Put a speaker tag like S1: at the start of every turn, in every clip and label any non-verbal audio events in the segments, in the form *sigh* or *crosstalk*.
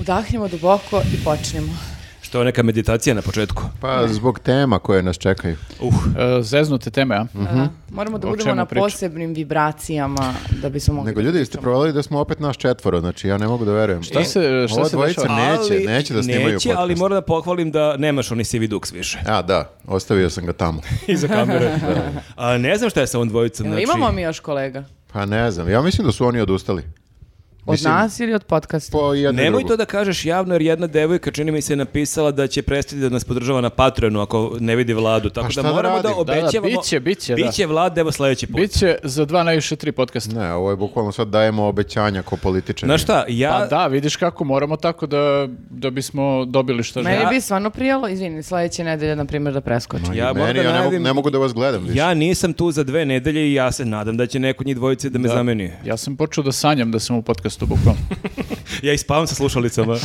S1: Udahnemo duboko i počnemo.
S2: Što je neka meditacija na početku?
S3: Pa zbog tema koje nas čekaju.
S2: Uh,
S4: E, zeznute teme, a?
S3: Mhm.
S1: Da. Moramo da
S4: O
S1: budemo
S4: čemu
S1: na
S4: priča?
S1: posebnim vibracijama da bismo mogli...
S3: Nego
S1: da
S3: ljudi, ste
S1: pričamo.
S3: provali da smo opet naš četvoro, znači ja ne mogu da verujem.
S4: Šta se- šta
S3: Ova
S4: se
S3: dvojica
S4: dešava?
S3: neće, neće da snimaju
S2: Neće, ali
S3: podcast.
S2: moram da pohvalim da nemaš oni CV duks više. *laughs*
S3: A, da, ostavio sam ga tamo. *laughs*
S2: Iza kamere. A, ne znam šta je sa ovom dvojicom.
S1: Jel
S2: Znači,
S1: Imamo mi još kolega?
S3: Pa ne znam, ja mislim da su oni odustali.
S1: Od
S3: Mislim-
S1: nas ili od podcasta?
S3: Po jednu i
S2: Nemoj
S3: drugu.
S2: to da kažeš javno, jer jedna devojka čini mi se je napisala da će prestati da nas podržava na Patreonu ako ne vidi vladu. Tako
S3: Pa šta
S2: da
S3: da
S2: moramo da,
S3: radim?
S4: Da, da,
S2: obećavamo...
S4: biće, biće, da.
S2: Biće vlada, evo sledeći put.
S4: Biće za dva najviše tri podcasta.
S3: Ne, ovo je bukvalno sad dajemo obećanja ko političari.
S2: Znaš šta, ja...
S4: Pa da, vidiš kako, moramo tako da, da bismo dobili što
S1: Meni
S4: želimo.
S1: bi stvarno prijalo, izvini, sledeće nedelje, na primjer, da preskočim.
S2: Ja
S3: Meni,
S2: moram da
S3: ja ne, mogu,
S2: najavim-
S3: ne mogu da vas gledam više.
S2: Ja nisam tu za dve nedelje i ja se nadam da će neko od njih dvojice da me zameni.
S4: Ja sam počeo da sanjam da sam u podcastu, bukvalno.
S2: Ja ispavam sa
S3: *laughs*
S2: slušalicama.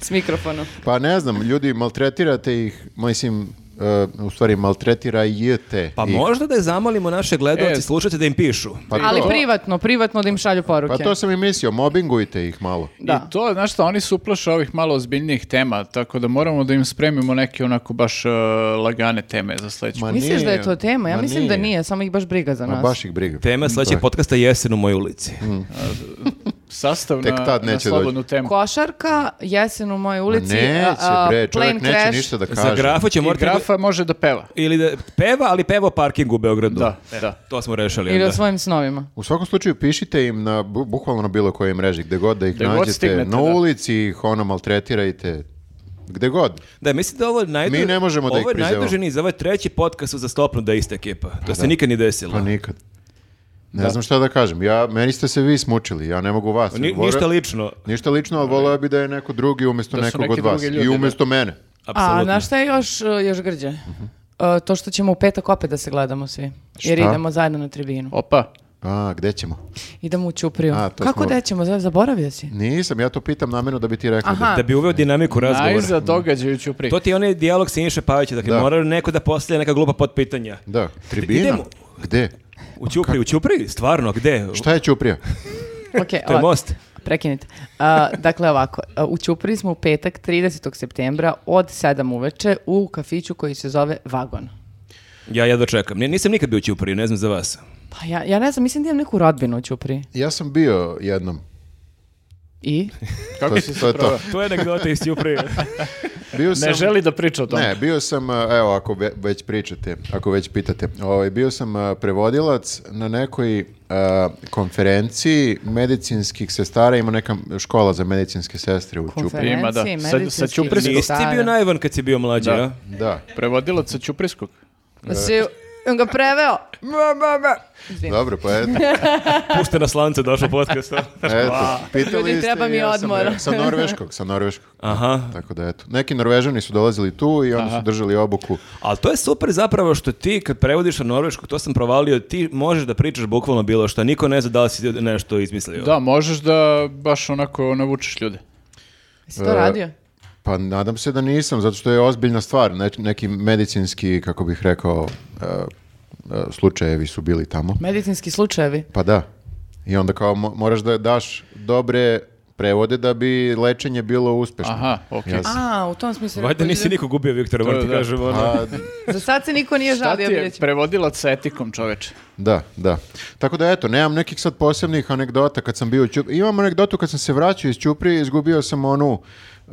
S1: S mikrofonom.
S3: Pa ne znam, ljudi, maltretirate ih, mislim, e, u stvari maltretirajete
S2: Pa
S3: ih.
S2: možda da zamolimo naše gledalce,
S4: E.
S2: slušajte da im pišu.
S3: Pa
S1: Ali
S3: to-
S1: privatno, privatno da im šalju poruke.
S3: Pa to sam i mislio, mobingujte ih malo.
S1: Da.
S4: I to, znaš šta, oni su uplaše ovih malo ozbiljnijih tema, tako da moramo da im spremimo neke onako baš e, lagane teme za sledeću.
S3: Ma
S1: Misliš da je
S3: nije.
S1: to tema? Ja
S3: Ma
S1: mislim da nije, samo ih baš briga za
S3: Ma
S1: nas.
S3: baš ih briga.
S2: Tema sledećeg podcasta je jesen u mojoj ulici.
S3: Mm,
S4: Sastav
S3: Tek
S4: na,
S3: tad
S4: na
S3: neće
S4: slobodnu
S3: doći.
S4: temu.
S1: Košarka, jesen u mojoj
S3: Ma
S1: ulici, a,
S3: Pa neće,
S1: a,
S3: bre, čovjek
S1: plane
S3: neće
S1: crash.
S3: ništa da kaže.
S2: Za grafu će
S4: I
S2: morati...
S4: grafa može da peva.
S2: Ili da peva, ali peva o parkingu u Beogradu.
S4: Da,
S2: E,
S4: da.
S2: To smo rešili.
S1: Ili o
S2: onda.
S1: svojim snovima.
S3: U svakom slučaju pišite im na bu- bukvalno na bilo kojoj mreži, gde god da ih
S4: Gde god
S3: nađete,
S4: stignete,
S3: na
S4: da.
S3: ulici ih ono maltretirajte, gde god.
S2: Da, mislim da ovo je najdu...
S3: Mi ne možemo da
S2: ovo
S3: ih
S2: je
S3: prizovemo.
S2: najduži niz, ovo je treći podcast za stopnu da je ista ekipa. To se nikad nije desilo.
S3: Pa nikad. Ne znam šta da kažem, ja, meni ste se vi smučili, ja ne mogu vas.
S2: Ni-
S3: Vole-
S2: ništa lično.
S3: Ništa lično, ali voleo bi da je neko drugi umjesto
S4: Da su
S3: nekog
S4: neki
S3: od vas.
S4: drugi ljudi,
S3: I umjesto mene.
S1: A,
S2: Apsolutno. Mhm.
S1: znaš šta je još, e, još grđe? E, to što ćemo u petak opet da se gledamo svi. Jer
S3: Šta?
S1: idemo zajedno na tribinu.
S4: Opa,
S3: A, gde ćemo?
S1: Idemo u Ćupriju.
S3: A, to
S1: Kako
S3: smo-
S1: da ćemo? Za- Zaboravio
S2: *laughs*
S1: si.
S3: Nisam, ja to pitam namjerno da bi ti rekao.
S1: Aha.
S2: Da bi uveo dinamiku razgovora.
S4: najza događaju ću pri.
S2: To ti je onaj dijalog sa Inše Pavića, dakle
S3: Da.
S2: mora neko da postavlja neka glupa potpitanja.
S3: Da, da tribina?
S2: Idemo.
S3: Gde?
S2: U Ćupri, u Ćupri? Stvarno, gde?
S3: Šta je Ćuprija?
S1: Ok,
S2: To je
S1: ovako,
S2: most.
S1: Prekinite. A, dakle, ovako, a, u Ćupriji smo u petak 30. septembra od 7 uveče u kafiću koji se zove Vagon.
S2: Ja jedva čekam. Ni- Nisam nikad bio u Ćupriju, ne znam za vas.
S1: Pa ja, ja ne znam, mislim da imam neku rodbinu u Ćupriji.
S3: Ja sam bio jednom.
S2: *laughs*
S1: I?
S4: Kako
S3: To-
S4: si
S3: to
S4: se
S3: je to.
S4: proveo?
S2: To je anegdota iz Ćuprije. *laughs*
S3: Bio sam...
S4: Ne želi da priča o tome.
S3: Ne, bio sam, e, evo, ako ve- već pričate, ako već pitate, ovaj, bio sam e, prevodilac na nekoj e, konferenciji medicinskih sestara, ima neka škola za medicinske sestre u Ćupri.
S1: Konferencije,
S4: Ima, da. Sa- sa
S1: medicinskih
S4: Ćuprijskog.
S2: Nisi ti
S1: sestara.
S2: bio naivan kad si bio mlađi,
S4: Da.
S2: a?
S3: Da,
S4: Prevodilac sa Ćuprijskog.
S1: Pa si- on ga preveo. Ma, ma, ma. Izvini.
S3: dobro, pa
S1: *laughs*
S3: eto,
S2: Pušte na slance, došao podcast.
S3: eto pitali
S1: Ljudi,
S3: ste
S1: treba
S3: i
S1: mi
S3: ja sam
S1: odmor.
S3: rekao, sa norveškog, sa norveškog.
S2: Aha.
S3: Tako da eto. Neki norvežani su dolazili tu i oni su držali obuku.
S2: Ali to je super zapravo što ti kad prevodiš na norveškog, to sam provalio, ti možeš da pričaš bukvalno bilo što, niko ne zna da li si nešto izmislio.
S4: Da, možeš da baš onako navučeš ljude.
S1: Si
S2: E.
S1: to radio?
S3: Pa nadam se da nisam, zato što je ozbiljna stvar. Ne- neki medicinski, kako bih rekao, e, e, slučajevi su bili tamo.
S1: Medicinski slučajevi.
S3: Pa da. I onda kao mo- moraš da daš dobre prevode da bi lečenje bilo uspešno.
S4: Aha, okej.
S3: Ja sam-
S1: A, u tom smislu.
S2: Valjda nisi niko gubio, Viktor, moram
S4: To je
S2: ti
S4: da.
S2: kažem. ono.
S3: A,
S1: Za sad se niko nije
S4: Šta ti
S1: žalio,
S4: je
S1: vidjet ćemo.
S4: prevodilac sa etikom, čoveče?
S3: da, da. Tako da eto, nemam nekih sad posebnih anegdota kad sam bio u Ćupriji. Imam anegdotu kad sam se vraćao iz Ćuprije, izgubio sam onu e,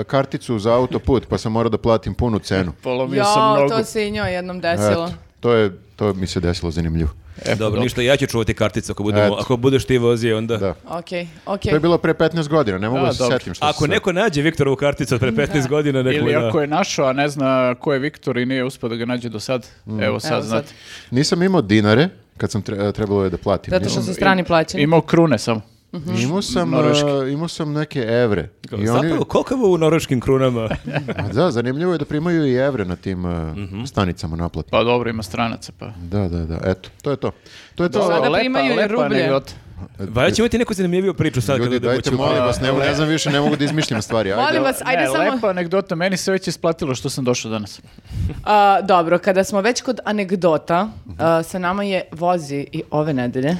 S3: e, karticu za autoput, pa sam morao da platim punu cenu.
S4: Polomio sam
S1: Jo,
S4: nogu.
S1: to se i njoj jednom
S3: Eto,
S1: desilo.
S3: to, je, to mi se desilo zanimljivo.
S4: E, pa
S2: Dobro,
S4: dobro.
S2: ništa, ja ću čuvati karticu ako, budemo,
S3: Eto.
S2: ako budeš ti vozio onda.
S3: Da.
S1: Okej, okej.
S3: To je bilo pre 15 godina, ne mogu
S4: Da,
S3: da, se
S4: dobro.
S3: setim što se
S2: Ako
S3: sad-
S2: neko nađe Viktorovu karticu od pre 15 godina, neko
S4: Ili
S2: da...
S4: ako je našao, a ne zna ko je Viktor i nije uspio da ga nađe do sad.
S2: Mm.
S4: Evo sad,
S1: Evo sad.
S4: znate.
S3: Nisam imao dinare kad sam tre- trebalo je da platim.
S1: Zato
S3: Nisam-
S1: što su strani plaćeni.
S4: Imao krune samo.
S1: Mhm.
S3: Imao sam,
S4: Norveški.
S3: e, imao sam neke evre. I oni-
S2: Zapravo, koliko je ovo u norveškim
S3: *laughs*
S2: krunama?
S3: A da, zanimljivo je da primaju i evre na tim uh,
S2: Mhm.
S3: stanicama naplate.
S4: Pa dobro, ima stranaca, pa...
S3: Da, da, da, eto. To je to. To je to.
S1: Sada primaju i rublje.
S4: anegdota.
S2: Valjda ćemo imati neku zanimljiviju priču sad
S3: Ljudi,
S2: kada budemo
S3: dajte,
S2: ću-
S3: molim vas, ne, mogu- ne znam više, ne mogu da izmišljam stvari. Ajde.
S1: Molim vas, ajde
S4: ne,
S1: samo...
S4: lepa anegdota, meni se već isplatilo što sam došao danas.
S1: A, dobro, kada smo
S4: Mhm.
S1: već kod anegdota, a, sa nama je vozi i ove nedelje.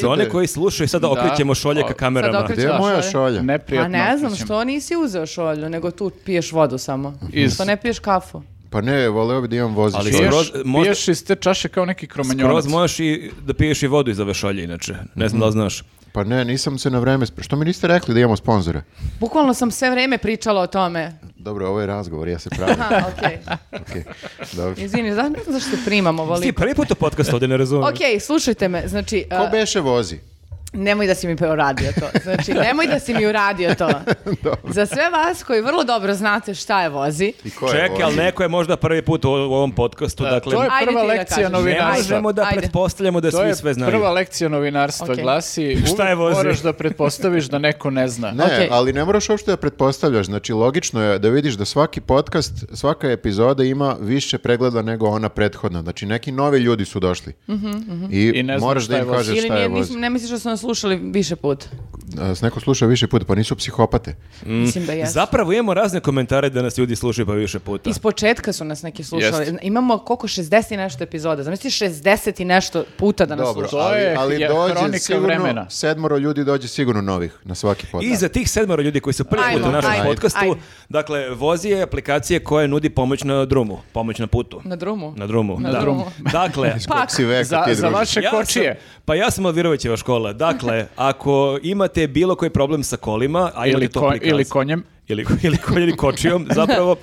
S2: Za one koji slušaju, sada
S4: Da.
S2: okrećemo šolje ka
S4: Sad
S2: kamerama.
S1: okrećemo.
S3: Gdje je moja
S1: Šolja.
S2: Pa
S3: šolja?
S1: A
S4: Neprijatno.
S1: ne znam,
S4: osjećam.
S1: što nisi uzeo šolju, nego tu piješ vodu samo.
S4: Iz-
S1: Što ne piješ kafu.
S3: Pa ne, voleo bi da imam vozi
S2: Ali
S3: šolju.
S4: Piješ,
S2: Skroz, možda-
S4: piješ iz te čaše kao neki kromanjonac.
S2: Skroz možeš i da piješ i vodu iz ove šolje, inače. Ne znam da li
S4: Mhm.
S2: znaš.
S3: Pa ne, nisam se na vreme... sp- Što mi niste rekli da imamo sponzore?
S1: Bukvalno sam sve vrijeme pričala o tome.
S3: Dobro, ovo je razgovor, ja se pravim.
S1: Ha,
S4: *laughs*
S1: okej. *laughs*
S3: Okej, dobro.
S1: Izvini, znaš ne znam zašto se primam
S2: Ti
S1: ovoliko?
S2: prvi put u podcast ovdje ne razumijem.
S1: Ok, slušajte me, znači,
S3: Ko
S1: uh,
S3: beše vozi?
S1: nemoj da si mi uradio to.
S4: *laughs*
S1: Znači, nemoj da si mi uradio to. Za sve vas koji vrlo dobro znate šta je vozi,
S3: I ko je
S2: Čekaj,
S3: vozi?
S2: ali neko je možda prvi put u u ovom podcastu, dakle...
S4: to je
S1: Ajde
S4: prva
S1: ti da
S4: lekcija
S1: kažeš.
S2: Ne
S1: Ajde.
S4: novinarstva.
S2: možemo da
S1: Ajde.
S2: pretpostavljamo da
S4: To
S2: svi
S4: je
S2: sve znaju.
S4: prva lekcija novinarstva.
S1: Ok.
S4: Glasi,
S2: *laughs* Šta je
S4: uvijek
S2: vozi?
S4: moraš da pretpostaviš da neko ne zna.
S3: Ne,
S1: Okej.
S3: ali ne moraš uopšte da pretpostavljaš. Znači, logično je da vidiš da svaki podcast, svaka epizoda ima više pregleda nego ona prethodna. Znači, neki novi ljudi su došli. I,
S4: I ne znam
S3: moraš
S4: šta
S3: da
S4: je
S3: im
S4: vozi.
S3: kažeš
S1: Mhm, ili
S3: šta
S1: nije,
S3: je vozi.
S1: nismo- ne misliš da su nas slušali više put.
S3: Nas neko sluša više puta, pa nisu psihopate.
S1: Mislim da jesu.
S2: Zapravo imamo razne komentare da nas ljudi slušaju pa više puta.
S1: Iz početka su nas neki slušali.
S4: Jeste.
S1: Imamo koliko 60 i nešto epizoda. Zamisli 60 i nešto puta da nas
S3: Dobro,
S1: slušaju.
S4: To
S3: ali,
S4: je-
S3: ali
S4: je
S3: dođe
S4: hronika
S3: sigurno,
S4: vremena.
S3: sedmoro ljudi dođe sigurno novih na svaki podcast.
S2: I za tih sedmero ljudi koji su prvi
S1: Ajmo,
S2: put u našem
S1: ajde,
S2: podcastu,
S1: ajde.
S2: dakle, Vozi je aplikacija koja nudi pomoć na drumu, pomoć na putu.
S1: Na drumu.
S2: Na drumu,
S1: Na
S2: da.
S1: drumu. Pa
S2: Dakle,
S1: Pak.
S3: Si veka,
S4: Za,
S3: ti
S4: za
S3: družiš.
S4: vaše kočije.
S2: sam- pa ja sam Alvirovićeva škola. Dakle, ako imate bilo koji problem sa kolima, a imate
S4: Ili,
S2: tu
S4: ko-
S2: aplikaciju-
S4: ili konjem.
S2: ili, *laughs* ili, ko- ili kočijom, zapravo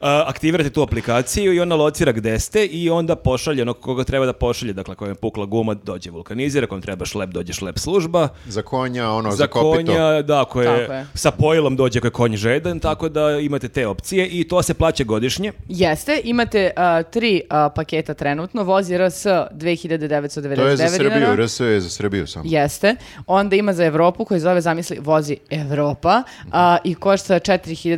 S2: a, aktivirate tu aplikaciju i ona locira gde ste i onda pošalje ono koga treba da pošalje, dakle kojem je pukla guma dođe vulkanizira, kojem treba šlep dođe šlep služba,
S3: Za konja, ono, za,
S2: za
S3: kopito.
S2: konja, da, ako je,
S1: Tako je.
S2: sa pojilom dođe ako je konj žedan, tako da imate te opcije i to se plaća godišnje.
S1: Jeste, imate a, tri a, paketa trenutno. Vozi RS 2999
S3: To je za Srbiju,
S1: dinara.
S3: RS je za Srbiju samo.
S1: Jeste. Onda ima za Evropu koji zove, zamisli, vozi Evropa a, i košta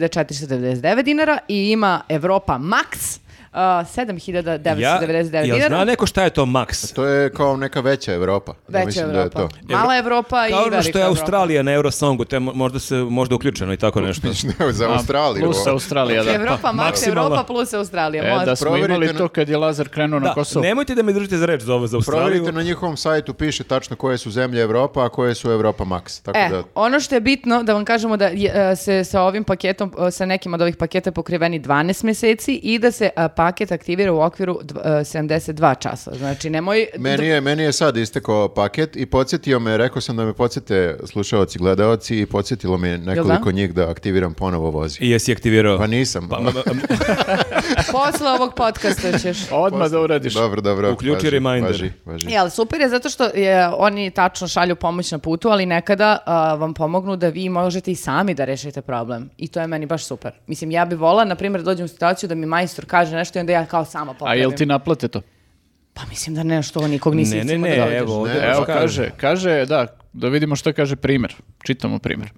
S1: 4499 dinara i ima Evropa Max a, 7999
S2: Ja, jel
S1: dinara.
S2: zna neko šta je to Max?
S3: To je kao neka veća Evropa. Ja
S1: Veća
S3: mislim
S1: Evropa.
S3: da je to.
S1: Mala Evropa Pa i
S2: Kao ono
S1: velika
S2: što je
S1: Evropa.
S2: Australija na Eurosongu, to je mo- možda se možda uključeno i tako nešto.
S3: *laughs* Ne, za Australiju.
S4: Plus Australija, da.
S1: Evropa, Max,
S2: maksimalno.
S1: Evropa plus Australija.
S4: E,
S1: može.
S4: da smo
S3: Proverite
S4: imali
S3: na-
S4: to kad je Lazar krenuo na
S2: Da,
S4: Kosovo.
S2: nemojte da me držite za reč za ovo za Australiju.
S3: Proverite na njihovom sajtu, piše tačno koje su zemlje Evropa, a koje su Evropa Max. Tako
S1: E,
S3: da,
S1: ono što je bitno da vam kažemo da je, e, se sa ovim paketom, e, sa nekim od ovih paketa pokriveni 12 mjeseci i da se e, paket aktivira u okviru dv- e, 72 časa. Znači, nemoj...
S3: meni, je, meni je sad istekao paket i podsjetio me, rekao sam da me podsjete slušaoci, gledaoci i podsjetilo me nekoliko njih da aktiviram ponovo vozi.
S2: I jesi aktivirao?
S3: Pa nisam.
S2: Pa, ma- ma-
S1: Posle ovog podcasta ćeš...
S4: Odmah da uradiš.
S3: dobro, dobro.
S2: Uključi
S3: važi,
S2: reminder.
S3: Važi, važi.
S1: Jel, super je zato što je, oni tačno šalju pomoć na putu, ali nekada a, vam pomognu da vi možete i sami da rešite problem. I to je meni baš super. Mislim, ja bi vola, na primjer, dođem u situaciju da mi majstor kaže nešto i onda ja kao sama
S4: A
S1: popravim.
S4: jel ti naplate to?
S1: Pa mislim da ne, što nikog *laughs* nisi
S2: ne, ne,
S1: imao da
S2: ne,
S1: dođeš.
S2: evo, ovdje
S3: Ne,
S2: baš
S4: Evo
S2: kaže.
S4: kaže, kaže, da, da vidimo što kaže primjer. Čitamo primjer.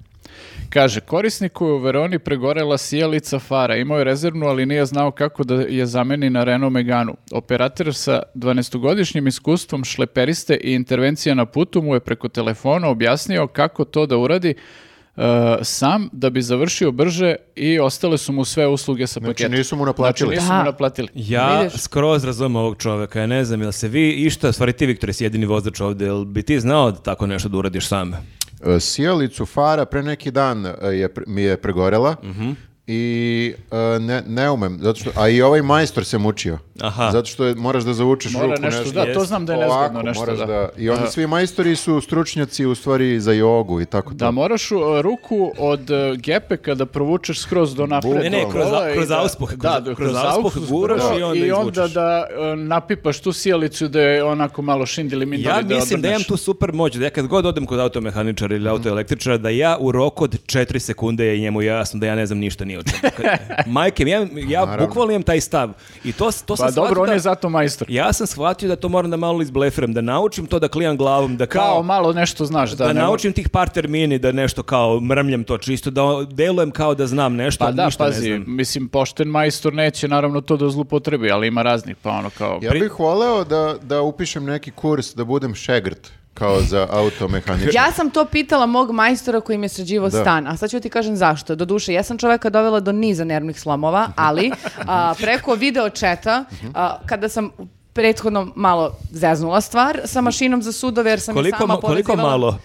S4: Kaže, korisniku je u Veroni pregorela sijalica fara. Imao je rezervnu, ali nije znao kako da je zameni na Renault Meganu. Operator sa 12-godišnjim iskustvom šleperiste i intervencija na putu mu je preko telefona objasnio kako to da uradi e, sam da bi završio brže i ostale su mu sve usluge sa
S3: Znači,
S4: paketom.
S3: nisu mu naplatili.
S4: Znači, nisu
S1: Da.
S4: mu naplatili.
S2: Ja
S1: Vidiš?
S2: skroz razumem ovog čoveka, ja ne znam, jel se vi išta, u stvari ti Viktor jesi jedini vozač ovdje, jel bi ti znao da tako nešto da uradiš sam?
S3: E, Sijalicu fara pre neki dan e, je, pre- mi je pregorela i e, ne, ne umem, zato što, a i ovaj majstor se mučio.
S2: Aha.
S3: Zato što je- moraš da zavučeš
S4: Mora
S3: ruku
S4: nešto, da, to
S2: jest.
S4: znam da je
S3: Ovako,
S4: nezgodno nešto.
S3: moraš da. I onda svi majstori su stručnjaci u stvari za jogu i tako
S4: Da
S3: to.
S4: moraš uh, ruku od uh, gepe kada provučeš skroz do napred.
S2: Ne, ne, kroz,
S4: Ovaj,
S2: kroz
S4: da-
S2: auspuh, kroz,
S4: Da,
S2: kroz,
S4: kroz,
S2: auspuh
S4: auspuh,
S2: guraš
S4: da,
S2: i onda
S4: I onda
S2: izvučeš.
S4: da uh, napipaš tu sjelicu da je onako malo šindili mindali
S2: Ja
S4: da Mhm.
S2: mislim da imam
S4: obrneš.
S2: tu super moć, da ja kad god odem kod automehaničara ili autoelektričara, da ja u roku od 4 sekunde je njemu jasno da ja ne znam ništa ni o
S4: *laughs*
S2: čemu. Kad- Majke, mi, ja, ja bukvalno imam taj stav. I to, s- to
S4: Pa
S2: sam
S4: dobro,
S2: shvatio
S4: on je
S2: da-
S4: zato majstor.
S2: Ja sam shvatio da to moram da malo izblefiram, da naučim to da klijam glavom, da kao,
S4: Kao malo nešto znaš. Da,
S2: da,
S4: ne-
S2: naučim tih par termini, da nešto kao mrmljam to čisto, da delujem kao da znam nešto,
S4: Pa da,
S2: ništa ne
S4: pazi,
S2: znam.
S4: mislim, pošten majstor neće naravno to da zlupotrebi, ali ima raznih, pa ono kao...
S3: Ja bih voleo da, da upišem neki kurs da budem šegrt kao za automehaničar.
S1: Ja sam to pitala mog majstora koji mi je sređivao
S3: Da.
S1: stan, a sad ću ti kažem zašto. Doduše, ja sam čoveka dovela do niza nervnih slomova, ali a, preko video četa, a, kada sam prethodno malo zeznula stvar sa mašinom za sudove jer sam je
S2: Koliko,
S1: sama
S2: ma- koliko
S1: povezivala-
S2: malo?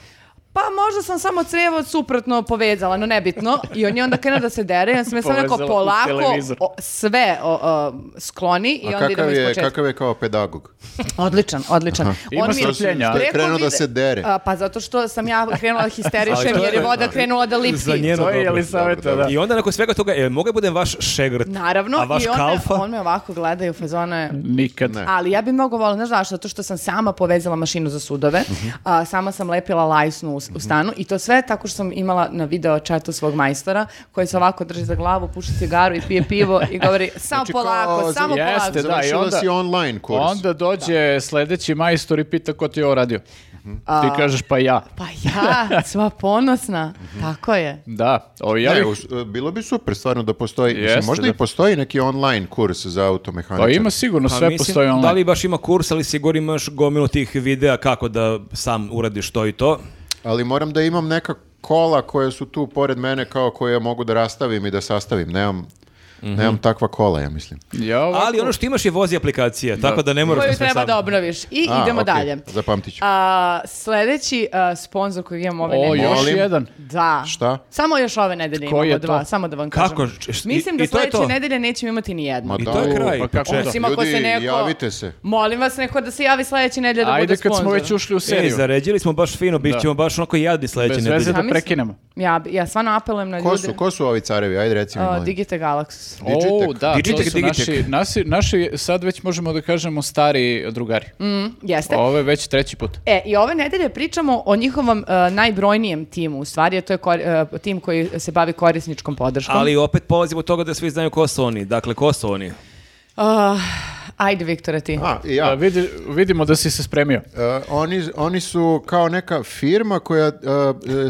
S1: Pa možda sam samo crevo suprotno povezala, no nebitno. I on je onda krenuo da se dere, ja sam je samo rekao
S4: Povezala u
S1: polako
S4: televizor.
S1: o, sve o, o, skloni i
S3: A
S1: onda idemo
S3: kakav je,
S1: ispočetka.
S3: kakav je kao pedagog?
S1: Odličan, odličan.
S4: Ima
S1: On mi je-
S4: strpljenja.
S3: Što je
S1: preko
S3: krenuo da
S1: vide-
S3: se dere.
S1: A, pa zato što sam ja krenula da histerišem
S2: Ali to
S1: jer je
S2: je-
S1: voda krenula da lipsi.
S2: Za njeno
S4: To je
S2: dobro.
S4: Jelisaveta,
S3: dobro,
S4: da.
S2: I onda nakon svega toga, jel mogu da budem vaš šegrt?
S1: Naravno,
S2: A vaš
S1: i on, me-
S2: kalfa?
S1: on me ovako gleda i u fazone...
S4: Nikad.
S3: Ne.
S1: Ali ja bi mnogo volila, znaš zašto? Zato što sam sama povezala mašinu za sudove,
S3: Mhm.
S1: a, sama sam lepila lajsnu u, u stanu i to sve tako što sam imala na video chatu svog majstora koji se ovako drži za glavu, puši cigaru i pije pivo i govori samo
S3: Znači, kao,
S1: polako,
S3: za-
S1: samo
S4: Jeste,
S1: polako.
S4: da. i
S3: Završila
S4: onda-
S3: si online kurs.
S4: Onda dođe sledeći majstor i pita ko ti je ovo radio.
S2: Mhm.
S4: Ti kažeš pa ja.
S1: Pa ja, sva ponosna.
S3: Mhm.
S1: Tako je.
S4: Da, o, ja
S3: Ne,
S4: bih-
S3: us- bilo bi super stvarno da postoji, mislim,
S4: Jeste,
S3: možda
S4: da.
S3: i postoji neki online kurs za
S4: Pa
S3: automehaničare.
S4: ima sigurno,
S2: Pa
S4: sve
S2: mislim,
S4: postoji online.
S2: Da li baš ima kurs, ali sigurno imaš gomilu tih videa kako da sam uradiš to i to.
S3: Ali moram da imam neka kola koja su tu pored mene kao koje ja mogu da rastavim i da sastavim. Nemam,
S4: Mhm.
S3: nemam takva kola, ja mislim.
S4: Ja ovako-
S2: Ali ono što imaš je vozi aplikacija, tako da ne moraš da
S1: Koju
S2: sve
S1: treba
S2: sam.
S1: da obnoviš. I
S3: A,
S1: idemo
S3: okej,
S1: dalje.
S3: Zapamtit ću.
S1: A, sledeći a, sponsor koji imam ove
S4: O,
S1: nedelje.
S4: još
S3: Molim.
S4: jedan.
S1: Da.
S3: Šta?
S1: Samo još ove nedelje
S4: Koji
S1: imamo
S4: je to?
S1: dva, samo da vam kažem.
S2: Kako? Č- š-
S1: Mislim
S2: i-
S1: da
S2: i to je
S1: sledeće
S2: to?
S1: nedelje nećemo imati ni jednu.
S3: Ma
S2: I
S3: da,
S2: to je
S3: u-
S2: kraj.
S4: pa kako da?
S1: Osim ako
S3: Ljudi,
S1: se neko...
S3: javite se.
S1: Molim vas neko da se javi sledeće nedelje da
S4: Ajde
S1: bude
S4: kad
S1: sponsor.
S4: smo već ušli u
S2: E,
S4: seriju.
S2: zaređili smo baš fino, bit
S4: Da.
S2: ćemo baš onako jadni sledeće
S4: Bez veze
S2: nedelje.
S4: da
S1: Zamisli.
S4: prekinemo.
S1: Ja, bi- ja stvarno apelujem na
S3: Ko
S1: ljude.
S3: su, ko su ovi carevi? Ajde reci mi,
S1: A,
S3: molim.
S1: Digite Galaxy.
S3: Digitek.
S4: O, da,
S2: Digitek,
S4: to su
S2: digitek.
S4: naši, nasi- naši, sad već možemo da kažemo stari drugari.
S1: Jeste.
S4: Ovo je već treći put.
S1: E, i ove nedelje pričamo o njihovom e, najbrojnijem timu, u stvari, a to je kor- e, tim koji se bavi korisničkom podrškom.
S2: Ali opet polazimo od toga da svi znaju ko su oni. Dakle, ko su oni?
S1: Ah, ajde, Viktore, ti.
S3: A, i ja.
S4: Da, vidi- vidimo da si se spremio.
S3: E, oni, oni su kao neka firma koja uh,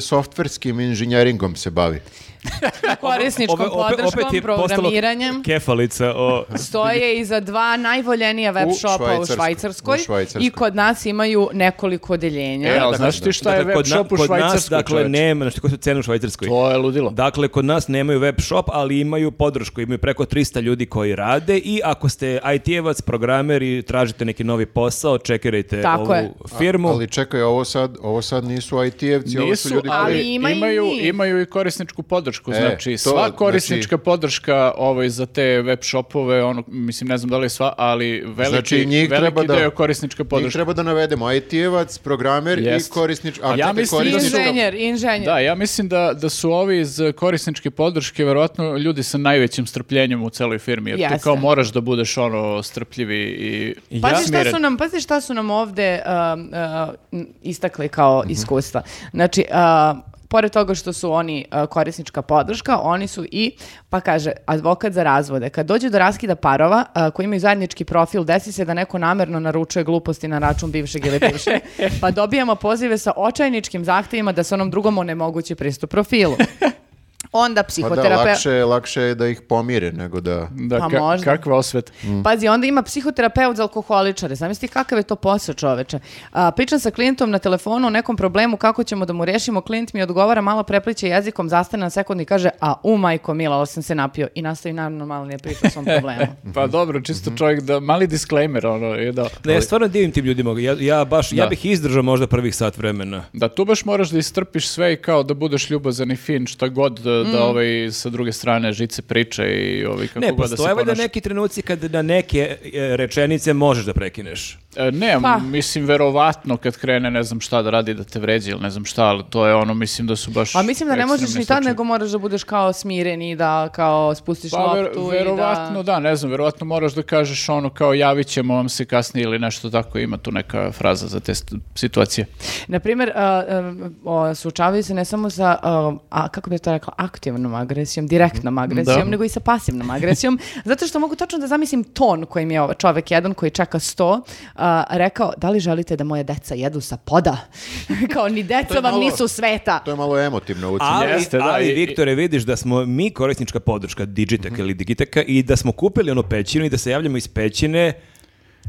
S3: softverskim inženjeringom se bavi.
S4: Pa,
S1: Korisničkom
S2: Ove- opet-
S1: podrškom,
S2: opet je postalo
S1: programiranjem.
S2: Kefalica o...
S1: Stoje iza dva najvoljenija web
S3: U
S1: shopa u
S3: Švajcarskoj.
S1: Švajcarskoj,
S3: U Švajcarskoj.
S1: i kod nas imaju nekoliko odeljenja.
S4: E, ali znaš ti šta je
S2: Dakle,
S4: web
S2: kod, na-
S4: shop u
S2: kod nas,
S4: Švajcarskoj,
S2: dakle,
S4: čoveče?
S2: nema, znači koji su cene u Švajcarskoj.
S4: To je ludilo.
S2: Dakle, kod nas nemaju web shop, ali imaju podršku. Imaju preko 300 ljudi koji rade i ako ste IT-evac, programer i tražite neki novi posao, čekirajte
S1: Tako
S2: ovu
S1: je.
S2: firmu.
S3: Ali čekaj, ovo sad, ovo sad nisu IT-evci, ovo su
S4: Nisu,
S3: ljudi koji...
S1: ali
S4: ali
S1: ima i
S4: E, imaju,
S1: njih.
S4: imaju i korisničku podršku. znači,
S3: E, to,
S4: sva
S3: znači-
S4: korisnička podrška ovaj, za te web shopove, ono, mislim, ne znam da li je sva, ali veliki,
S3: Znači, njih treba
S4: veliki
S3: da-
S4: deo korisnička
S3: Njih
S4: podrška.
S3: treba da navedemo, IT-evac, programer i
S4: Jest.
S3: korisnič...
S4: A ja
S3: čekaj,
S1: I
S4: mislim- Korisničkom.
S1: Inženjer, inženjer.
S4: Da, ja mislim da, da su ovi iz korisničke podrške verovatno ljudi sa najvećim strpljenjem u celoj firmi, jer
S1: Jeste.
S4: ti kao moraš da budeš ono strpljivi i
S2: Ja-
S1: Pazi šta
S4: smiren.
S1: su nam, pazi šta su nam ovde um, uh, istakli kao iskustva. Znači, uh, pored toga što su oni uh, korisnička podrška, oni su i, pa kaže, advokat za razvode. Kad dođe do raskida parova uh, koji imaju zajednički profil, desi se da neko namerno naručuje gluposti na račun bivšeg ili bivše, pa dobijamo pozive sa očajničkim zahtevima da se onom drugom onemogući pristup profilu. Onda
S3: Pa da,
S1: psihoterapeut...
S3: lakše, lakše je da ih pomire nego da...
S4: Da,
S1: Pa
S4: ka-
S1: možda.
S4: kakva osveta.
S1: Pazi, onda ima psihoterapeut za alkoholičare. Zamisli kakav je to posao čoveče. A, pričam sa klijentom na telefonu o nekom problemu, kako ćemo da mu rešimo. Klijent mi odgovara, malo prepliče jezikom, zastane na sekund i kaže, a u majko mila, ovo sam se napio. I nastavi naravno malo ne priča
S4: *laughs*
S1: o svom problemu.
S4: Pa
S3: Mhm.
S4: dobro, čisto čovjek da, mali disclaimer, ono, je da,
S2: Ne, ja stvarno divim tim ljudima. Ja, ja baš, ja
S4: Da.
S2: bih izdržao možda prvih sat vremena.
S4: da tu baš moraš da istrpiš sve i kao da budeš ljubazan i fin, šta god da, da
S1: Mm.
S4: ovaj, sa druge strane žice priče i ovaj, kako
S2: Ne,
S4: god da se
S2: postoje valjda
S4: ponaša.
S2: neki trenuci kad na neke e, rečenice možeš da prekineš.
S4: E, Ne,
S1: Pa.
S4: mislim, verovatno kad krene ne znam šta da radi, da te vređe ili ne znam šta, ali to je ono, mislim da su baš...
S1: A Pa mislim da ne možeš
S4: ekstremni
S1: ni tad,
S4: slučajevi.
S1: nego moraš da budeš kao smiren i da kao spustiš
S4: Pa ver-
S1: loptu i da...
S4: verovatno da... ne znam, verovatno moraš da kažeš ono kao javit ćemo vam se kasnije ili nešto tako, ima tu neka fraza za te st- situacije.
S1: Naprimjer, a, em, o, suočavaju se ne samo sa, a, a, kako bih to rekla, aktivnom agresijom, direktnom agresijom,
S4: Da.
S1: nego i sa pasivnom agresijom, zato što mogu tačno da zamislim ton kojim je ovaj čovek jedan koji čeka sto, a, rekao, da li želite da moje deca jedu sa poda? *laughs* Kao, ni deca vam
S3: malo-
S1: nisu sveta.
S3: To je malo emotivno ucenjeno.
S2: Ali,
S4: Jeste, da,
S2: ali
S4: i- Mhm.
S2: Viktore, vidiš da smo mi korisnička podrška Digiteka ili Digiteka i da smo kupili onu pećinu i da se javljamo iz pećine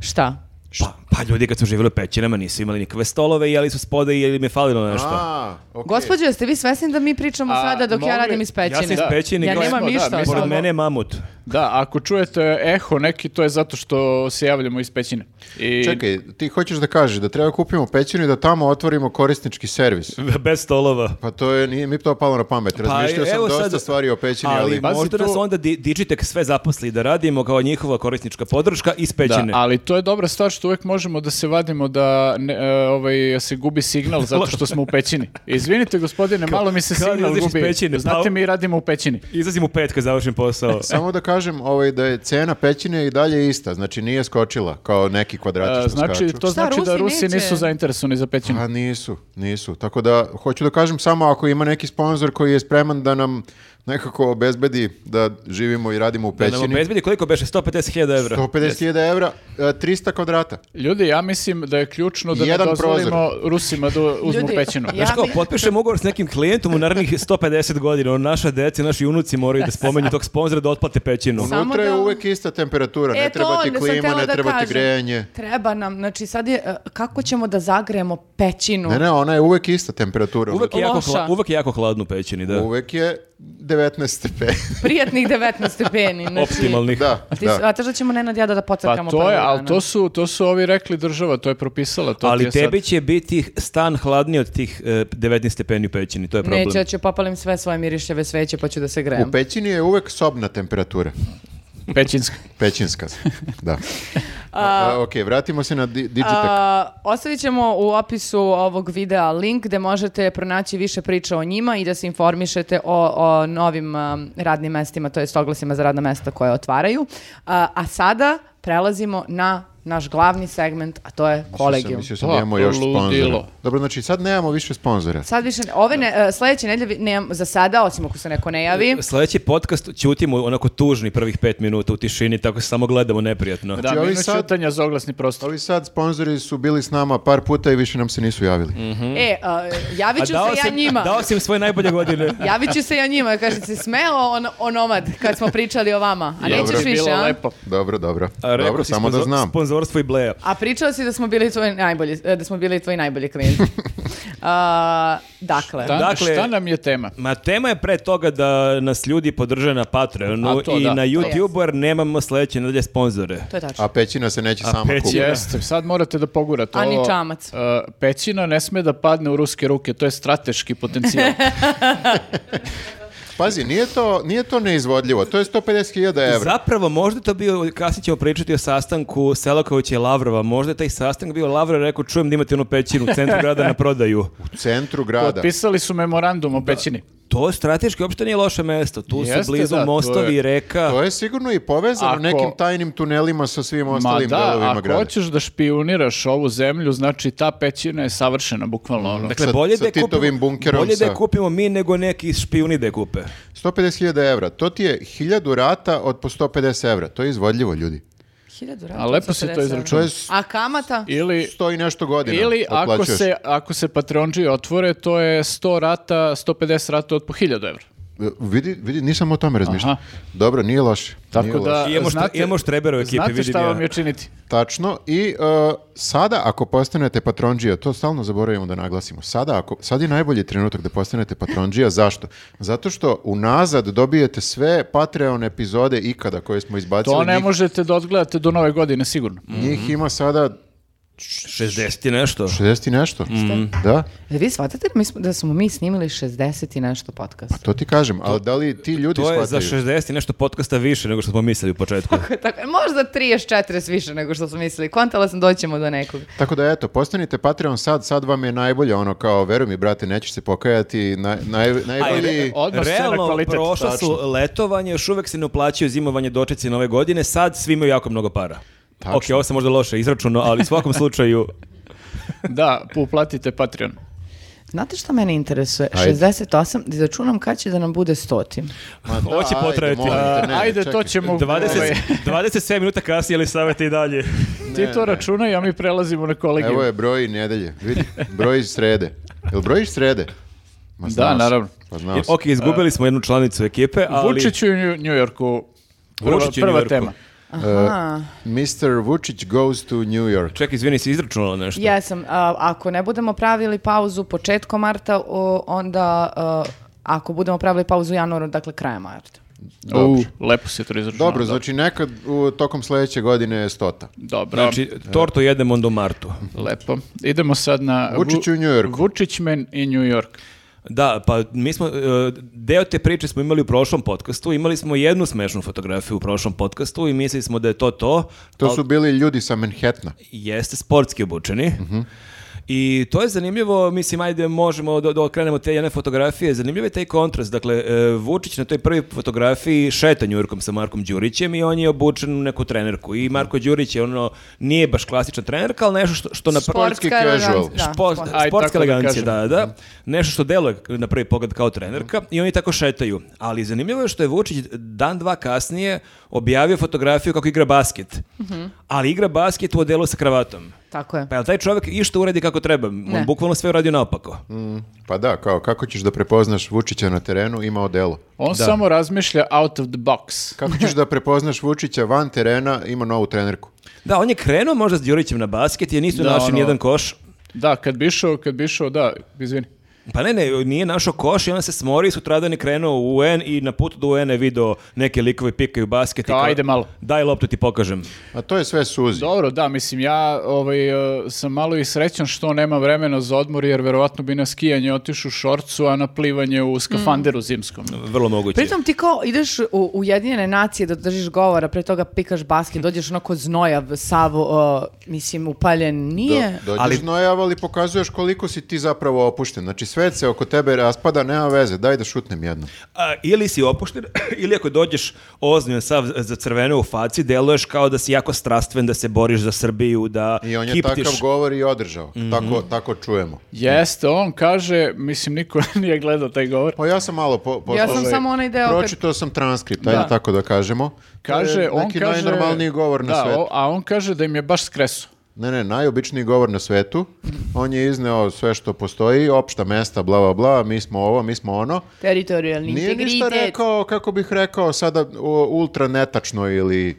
S1: Šta?
S2: Pa, Pa ljudi kad su živjeli u pećinama nisu imali nikakve stolove, jeli su spode i jel im je falilo nešto.
S3: A, okej.
S1: Gospođo, jeste vi svesni da mi pričamo
S4: A,
S1: sada dok ja
S4: mogli-
S1: radim iz pećine?
S2: ja sam iz pećine,
S1: Ja
S2: gle-
S1: nemam
S4: Da,
S1: ništa.
S4: mi
S1: od
S4: smo-
S1: toga.
S2: Pored mene je mamut. *laughs*
S4: Da, ako čujete eho neki, to je zato što se javljamo iz pećine. I
S3: Čekaj, ti hoćeš da kažeš da treba kupimo pećinu i da tamo otvorimo korisnički servis.
S2: Bez stolova. Pa,
S3: Pa to je, nije mi to palo na
S4: Pa
S3: pamet. Razmišljao sam
S2: evo
S3: dosta
S2: sad-
S3: stvari o pećini, ali...
S2: Ali,
S4: Pazi,
S2: možda nas
S4: to-
S2: onda di- Digitech sve zaposli da radimo kao njihova korisnička podrška iz
S4: Da,
S2: pećine.
S4: ali to je dobra stvar što uvek možemo da se vadimo da ne, e, ovaj, se gubi
S2: *laughs*
S4: signal zato što smo u pećini. Izvinite gospodine, malo mi se
S2: kad
S4: signal
S2: izlaziš iz
S4: gubi.
S2: pećine,
S4: Znate
S2: pa-
S4: mi radimo u pećini.
S2: Izlazim u pet kad završim
S3: *laughs*
S2: posao.
S3: Samo da kažem ovaj, da je cena pećine i dalje ista, znači nije skočila kao neki kvadrati što
S4: E, Znači,
S3: skaču.
S4: to znači da
S1: Rusi
S4: Rusi
S1: neće?
S4: nisu zainteresovani za
S1: *clears throat*
S4: pećinu.
S3: A Pa nisu, nisu. Tako da hoću da kažem samo ako ima neki sponsor koji je spreman da nam nekako obezbedi da živimo i radimo u
S2: Da nam
S3: pećini.
S2: obezbedi koliko beše 150.000 evra.
S3: 150.000 evra, e, 300 kvadrata.
S4: Ljudi, ja mislim da je ključno da ne
S3: Jedan
S4: dozvolimo Rusima da uzmu
S1: Ljudi,
S4: pećinu.
S1: ja-
S2: Znaš kao,
S1: bi-
S2: potpišem ugovor s nekim klijentom
S1: *laughs*
S2: u narednih 150 godina, ono, naša deca i naši unuci moraju da spomenju tog sponzora da otplate pećinu.
S1: Samo
S3: Unutra je
S1: da-
S3: uvek ista temperatura, ne treba ti
S1: ne E, sam
S3: klima,
S1: htjela
S3: ne
S1: da
S3: treba ti
S1: kažem.
S3: grejanje.
S1: Treba nam, znači sad je, e, kako ćemo da zagrejemo pećinu?
S3: Ne, ne, ona je uvek ista temperatura.
S2: Uvek je, jako,
S1: Loša.
S2: hla- uvek je jako hladno u pećini, da.
S3: Uvek je 19
S1: *laughs*
S3: stepeni.
S1: Prijatnih 19 stepeni. znači-
S2: Optimalnih.
S3: da,
S1: A Ti
S3: da.
S1: shvataš da ćemo Nenad i ja da
S4: Pa
S1: pocrkamo
S4: to
S1: prvog
S4: je, ali
S1: dana?
S4: to su, to su ovi rekli država, to je propisala. To ti
S2: Ali
S4: je sad-
S2: tebi će biti stan hladniji od tih e, 19 stepeni u pećini, to je problem.
S1: Neće, ja ću popalim sve svoje mirišljave sveće pa ću da se grejem.
S3: U pećini je uvek sobna temperatura.
S4: Pećinska.
S3: Pećinska. Da.
S1: *laughs*
S3: A, ok, vratimo se na di- Digitech.
S1: A, ostavit ćemo u opisu ovog videa link gde možete pronaći više priča o njima i da se informišete o, o novim um, radnim mestima, to jest oglasima za radna mesta koje otvaraju. A, a sada prelazimo na naš glavni segment, a to je kolegijum.
S3: Mislio sam
S4: Pa,
S3: da imamo još
S4: ludilo.
S3: sponzora. Dobro, znači sad nemamo više sponzora.
S1: Sad više, ne- ove ne, e, sledeće nedelje vi- nemam za sada, osim ako se neko ne javi.
S2: Sljedeći podcast ćutimo onako tužni prvih pet minuta u tišini, tako se samo gledamo neprijatno.
S4: Da,
S3: Znači, ovi
S4: minus
S3: sad-
S4: čutanja za oglasni prostor.
S3: Ovi sad sponzori su bili s nama par puta i više nam se nisu javili.
S4: Mm.
S1: E, a, javit
S2: A
S1: ću
S2: dao
S1: se ja
S2: sam,
S1: njima.
S2: dao sam im svoje najbolje
S4: *laughs*
S2: godine.
S1: Javit ću se ja njima, kaže se smeo on, onomad kad smo pričali o vama, a
S4: Dobro,
S1: nećeš više,
S4: bilo
S1: a?
S4: lepo.
S3: Dobro, dobro.
S2: A rekao
S3: dobro,
S2: si
S3: samo da
S2: sponzo-
S3: znam.
S2: Sponzorstvo i bleja.
S1: A pričao si da smo bili tvoji najbolji, e, da smo bili tvoji najbolji klijenti. A, dakle,
S4: Da,
S2: Dakle-
S4: šta nam je tema?
S2: Ma tema je pre toga da nas ljudi podrže na Patreonu
S4: A to
S2: i
S4: da,
S2: na
S4: to
S2: YouTube, jer nemamo sledeće nedelje sponzore.
S1: to je tačno.
S3: A pećina se neće
S2: A
S3: sama
S2: peći-
S3: kupiti.
S4: Jeste, sad morate da pogurate
S1: A ni
S4: ovo.
S1: čamac.
S4: E, pećina ne sme da padne u ruske ruke, to je strateški potencijal.
S3: Pazi, nije to, nije to neizvodljivo. To je 150.000 evra.
S2: Zapravo, možda to bio, kasnije ćemo pričati o sastanku Selakovića i Lavrova, možda je taj sastanak bio Lavrov je rekao, čujem da imate onu pećinu u centru grada na prodaju.
S3: U centru grada.
S4: Potpisali su memorandum o pećini.
S2: *laughs* To strateški uopšte nije loše mesto, tu su
S4: Jeste,
S2: blizu
S4: da, to
S2: mostovi,
S4: je-
S2: reka.
S3: To je sigurno i povezano
S4: Ako-
S3: nekim tajnim tunelima sa svim
S4: Ma
S3: ostalim
S4: da,
S3: delovima
S4: ako
S3: grada.
S4: hoćeš da špioniraš ovu zemlju, znači ta pećina je savršena, bukvalno ono.
S2: Dakle,
S3: sa-
S2: bolje,
S3: sa
S2: da je
S3: Titovim
S2: kupimo,
S3: bunkerom,
S2: bolje da je
S3: sa-
S2: kupimo mi nego neki špijuni da je kupe.
S3: 150.000 evra. To ti je 1000 rata od po 150 evra. To je izvodljivo, ljudi.
S1: Hiljadu
S4: A lepo si to
S1: 40 evra.
S4: izračunao.
S3: To je
S1: A kamata?
S4: Ili,
S3: sto i nešto godina.
S4: ili ako
S3: otplaćuješ.
S4: se, ako se Patreonđi otvore, to je 100 rata, 150 rata od po 1000 evra.
S3: Vidi, vidi, nisam o tome razmišljao.
S4: Aha.
S3: Dobro, nije loše.
S4: Tako
S3: nije
S4: da-
S3: loše.
S4: A,
S2: Imamo,
S4: znate-
S2: znate, imamo štrebera u ekipi,
S4: Znate
S2: vidim
S4: šta
S2: ja.
S4: vam je činiti?
S3: Znači, Tačno. I e, sada ako postanete patronđija, to stalno zaboravimo da naglasimo. Sada ako sad je najbolji trenutak da postanete patronđija, *laughs* zašto? Zato što unazad dobijete sve Patreon epizode ikada koje smo izbacili.
S4: To ne Mhm.
S3: Njih-
S4: možete da odgledate do nove godine, sigurno.
S3: Njih ima sada
S2: 60 i nešto.
S3: 60 i nešto.
S4: Mhm.
S3: Da,
S1: Da E, vi shvatate da, mi smo, da smo mi snimili 60 i nešto podcast?
S3: to ti kažem. Ali da li ti ljudi
S2: To je za
S3: shvataju?
S2: 60 i nešto podcasta više nego što smo mislili u početku. *laughs*
S1: Tako, možda 30-40 više nego što smo mislili. Kontala sam doćemo do nekog.
S3: Tako da eto, postanite Patreon sad, sad vam je najbolje ono kao, veruj mi brate, nećeš se pokajati, naj, naj, najbolji...
S4: odnos cena,
S2: E Realno,
S4: kvalitet,
S2: prošla
S4: tačno.
S2: su letovanje, još uvek se ne uplaćaju zimovanje dočeci nove godine, sad svi imaju jako mnogo para.
S3: Tačno.
S2: Ok, ovo sam možda loše izračuno, ali u svakom
S3: *laughs*
S2: slučaju
S4: Da, uplatite Patreon.
S1: Znate šta mene interesuje?
S3: Ajde.
S1: 68, da izračunam kad će da nam bude stoti.
S3: Ma da,
S2: Hoće
S3: ajde,
S2: potrajati.
S3: molim te, ne,
S4: Ajde,
S3: čekaj.
S4: to ćemo...
S2: 20,
S4: ovaj,
S2: 27 minuta kasnije, ali savete i dalje.
S4: Ti to računaj, a mi prelazimo na kolegiju.
S3: Evo je broj nedelje, vidi, broj srede. Jel brojiš srede? Ma, znao
S4: Da,
S3: sam.
S4: naravno.
S3: Pa znao sam.
S2: Ok, izgubili smo jednu članicu ekipe, ali...
S4: Vučić u Nju- Njujorku. Prva,
S2: Vučić u
S4: prva
S2: Njujorku.
S4: tema.
S1: Aha.
S3: Mr. Vučić goes to New York.
S2: Ček, izvini, si izračunala nešto?
S1: Jesam. a, ako ne budemo pravili pauzu početkom marta, o, onda a, ako budemo pravili pauzu u januaru, dakle krajem marta.
S4: U, lepo se to izračunalo.
S3: Dobro, znači nekad u, tokom sledeće godine je stota.
S4: Dobro. Znači-
S2: Znači, tortu jedemo do martu.
S4: Lepo. Idemo sad na...
S3: Vučić u New Yorku.
S4: Vučićmen i New York.
S2: Da, pa mi smo, e, deo te priče smo imali u prošlom podcastu, imali smo jednu smešnu fotografiju u prošlom podcastu i mislili smo da je to to,
S3: To
S2: ali
S3: su bili ljudi sa Manhattana.
S2: jeste sportski obučeni. I to je zanimljivo, mislim, ajde možemo da, da okrenemo te jedne fotografije. Zanimljiv je taj kontrast. Dakle, e, Vučić na toj prvoj fotografiji šeta Njurkom sa Markom Đurićem i on je obučen u neku trenerku. I Marko Đurić je ono, nije baš klasična trenerka, ali nešto što, što na prvi...
S3: Sportski casual.
S1: eleganc- da,
S2: Špo-
S1: sport-
S4: Ajde, tako
S2: sportska
S4: da
S2: elegancija, da,
S4: kažem.
S2: da, Nešto što deluje na prvi pogled kao trenerka i oni tako šetaju. Ali zanimljivo je što je Vučić dan, dva kasnije objavio fotografiju kako igra basket.
S1: Mhm.
S2: Ali igra basket u odelu sa kravatom.
S1: Tako je.
S2: Pa jel taj čovjek išta uredi kako treba? On bukvalno sve radi naopako.
S4: Mm.
S3: Pa da, kao kako ćeš da prepoznaš Vučića na terenu, ima odelo.
S4: On samo razmišlja out of the box.
S3: Kako ćeš da prepoznaš Vučića van terena, ima novu trenerku.
S2: Da, on je krenuo možda s Đurićem na basket jer nisu
S4: Da,
S2: našli
S4: ono-
S2: nijedan koš.
S4: Da, kad bi išao, kad bi išao, da, izvini.
S2: Pa ne, ne, nije našao koš i onda se smori i sutradan je krenuo u UN i na putu do UN je video neke likove pikaju basket. i
S4: Kao, ajde malo.
S2: Daj loptu ti pokažem.
S3: A to je sve suzi.
S4: Dobro, da, mislim, ja ovaj, e, sam malo i srećan što nema vremena za odmor, jer verovatno bi na skijanje otišao u šorcu, a na plivanje u skafanderu zimskom.
S2: Vrlo moguće.
S1: Pritom ti kao ideš u Ujedinjene nacije da držiš govora, pre toga pikaš basket, dođeš onako znojav, sav, o, mislim, upaljen. Nije...
S3: Do, dođeš
S2: Ali-
S3: nojav, ali pokazuješ koliko si ti zapravo opušten. Znači sve se oko tebe raspada, nema veze, daj da šutnem jedno.
S2: A, ili si opušten, *clears throat* ili ako dođeš ozbiljan sav za crveno u faci, deluješ kao da si jako strastven, da se boriš za Srbiju, da
S3: I on je
S2: kiptiš.
S3: takav govor i održao.
S4: Mhm.
S3: tako, tako čujemo.
S4: Jeste, on kaže, mislim, niko *laughs* nije gledao taj govor,
S3: Pa ja sam malo po, po-
S1: Ja sam
S3: ovaj,
S1: samo onaj deo kad-
S3: Pročitao sam transkript, ajde tako da kažemo. To
S4: Kaže,
S3: je
S4: on
S3: neki
S4: kaže...
S3: najnormalniji govor na
S4: da,
S3: svetu.
S4: o- a on kaže da im je baš skreso.
S3: Ne, ne, najobičniji govor na svetu. On je izneo sve što postoji, opšta mesta, bla, bla, bla, mi smo ovo, mi smo ono.
S1: Teritorijalni
S3: Nije ništa
S1: integritet.
S3: rekao, kako bih rekao, sada o, ultra netačno ili,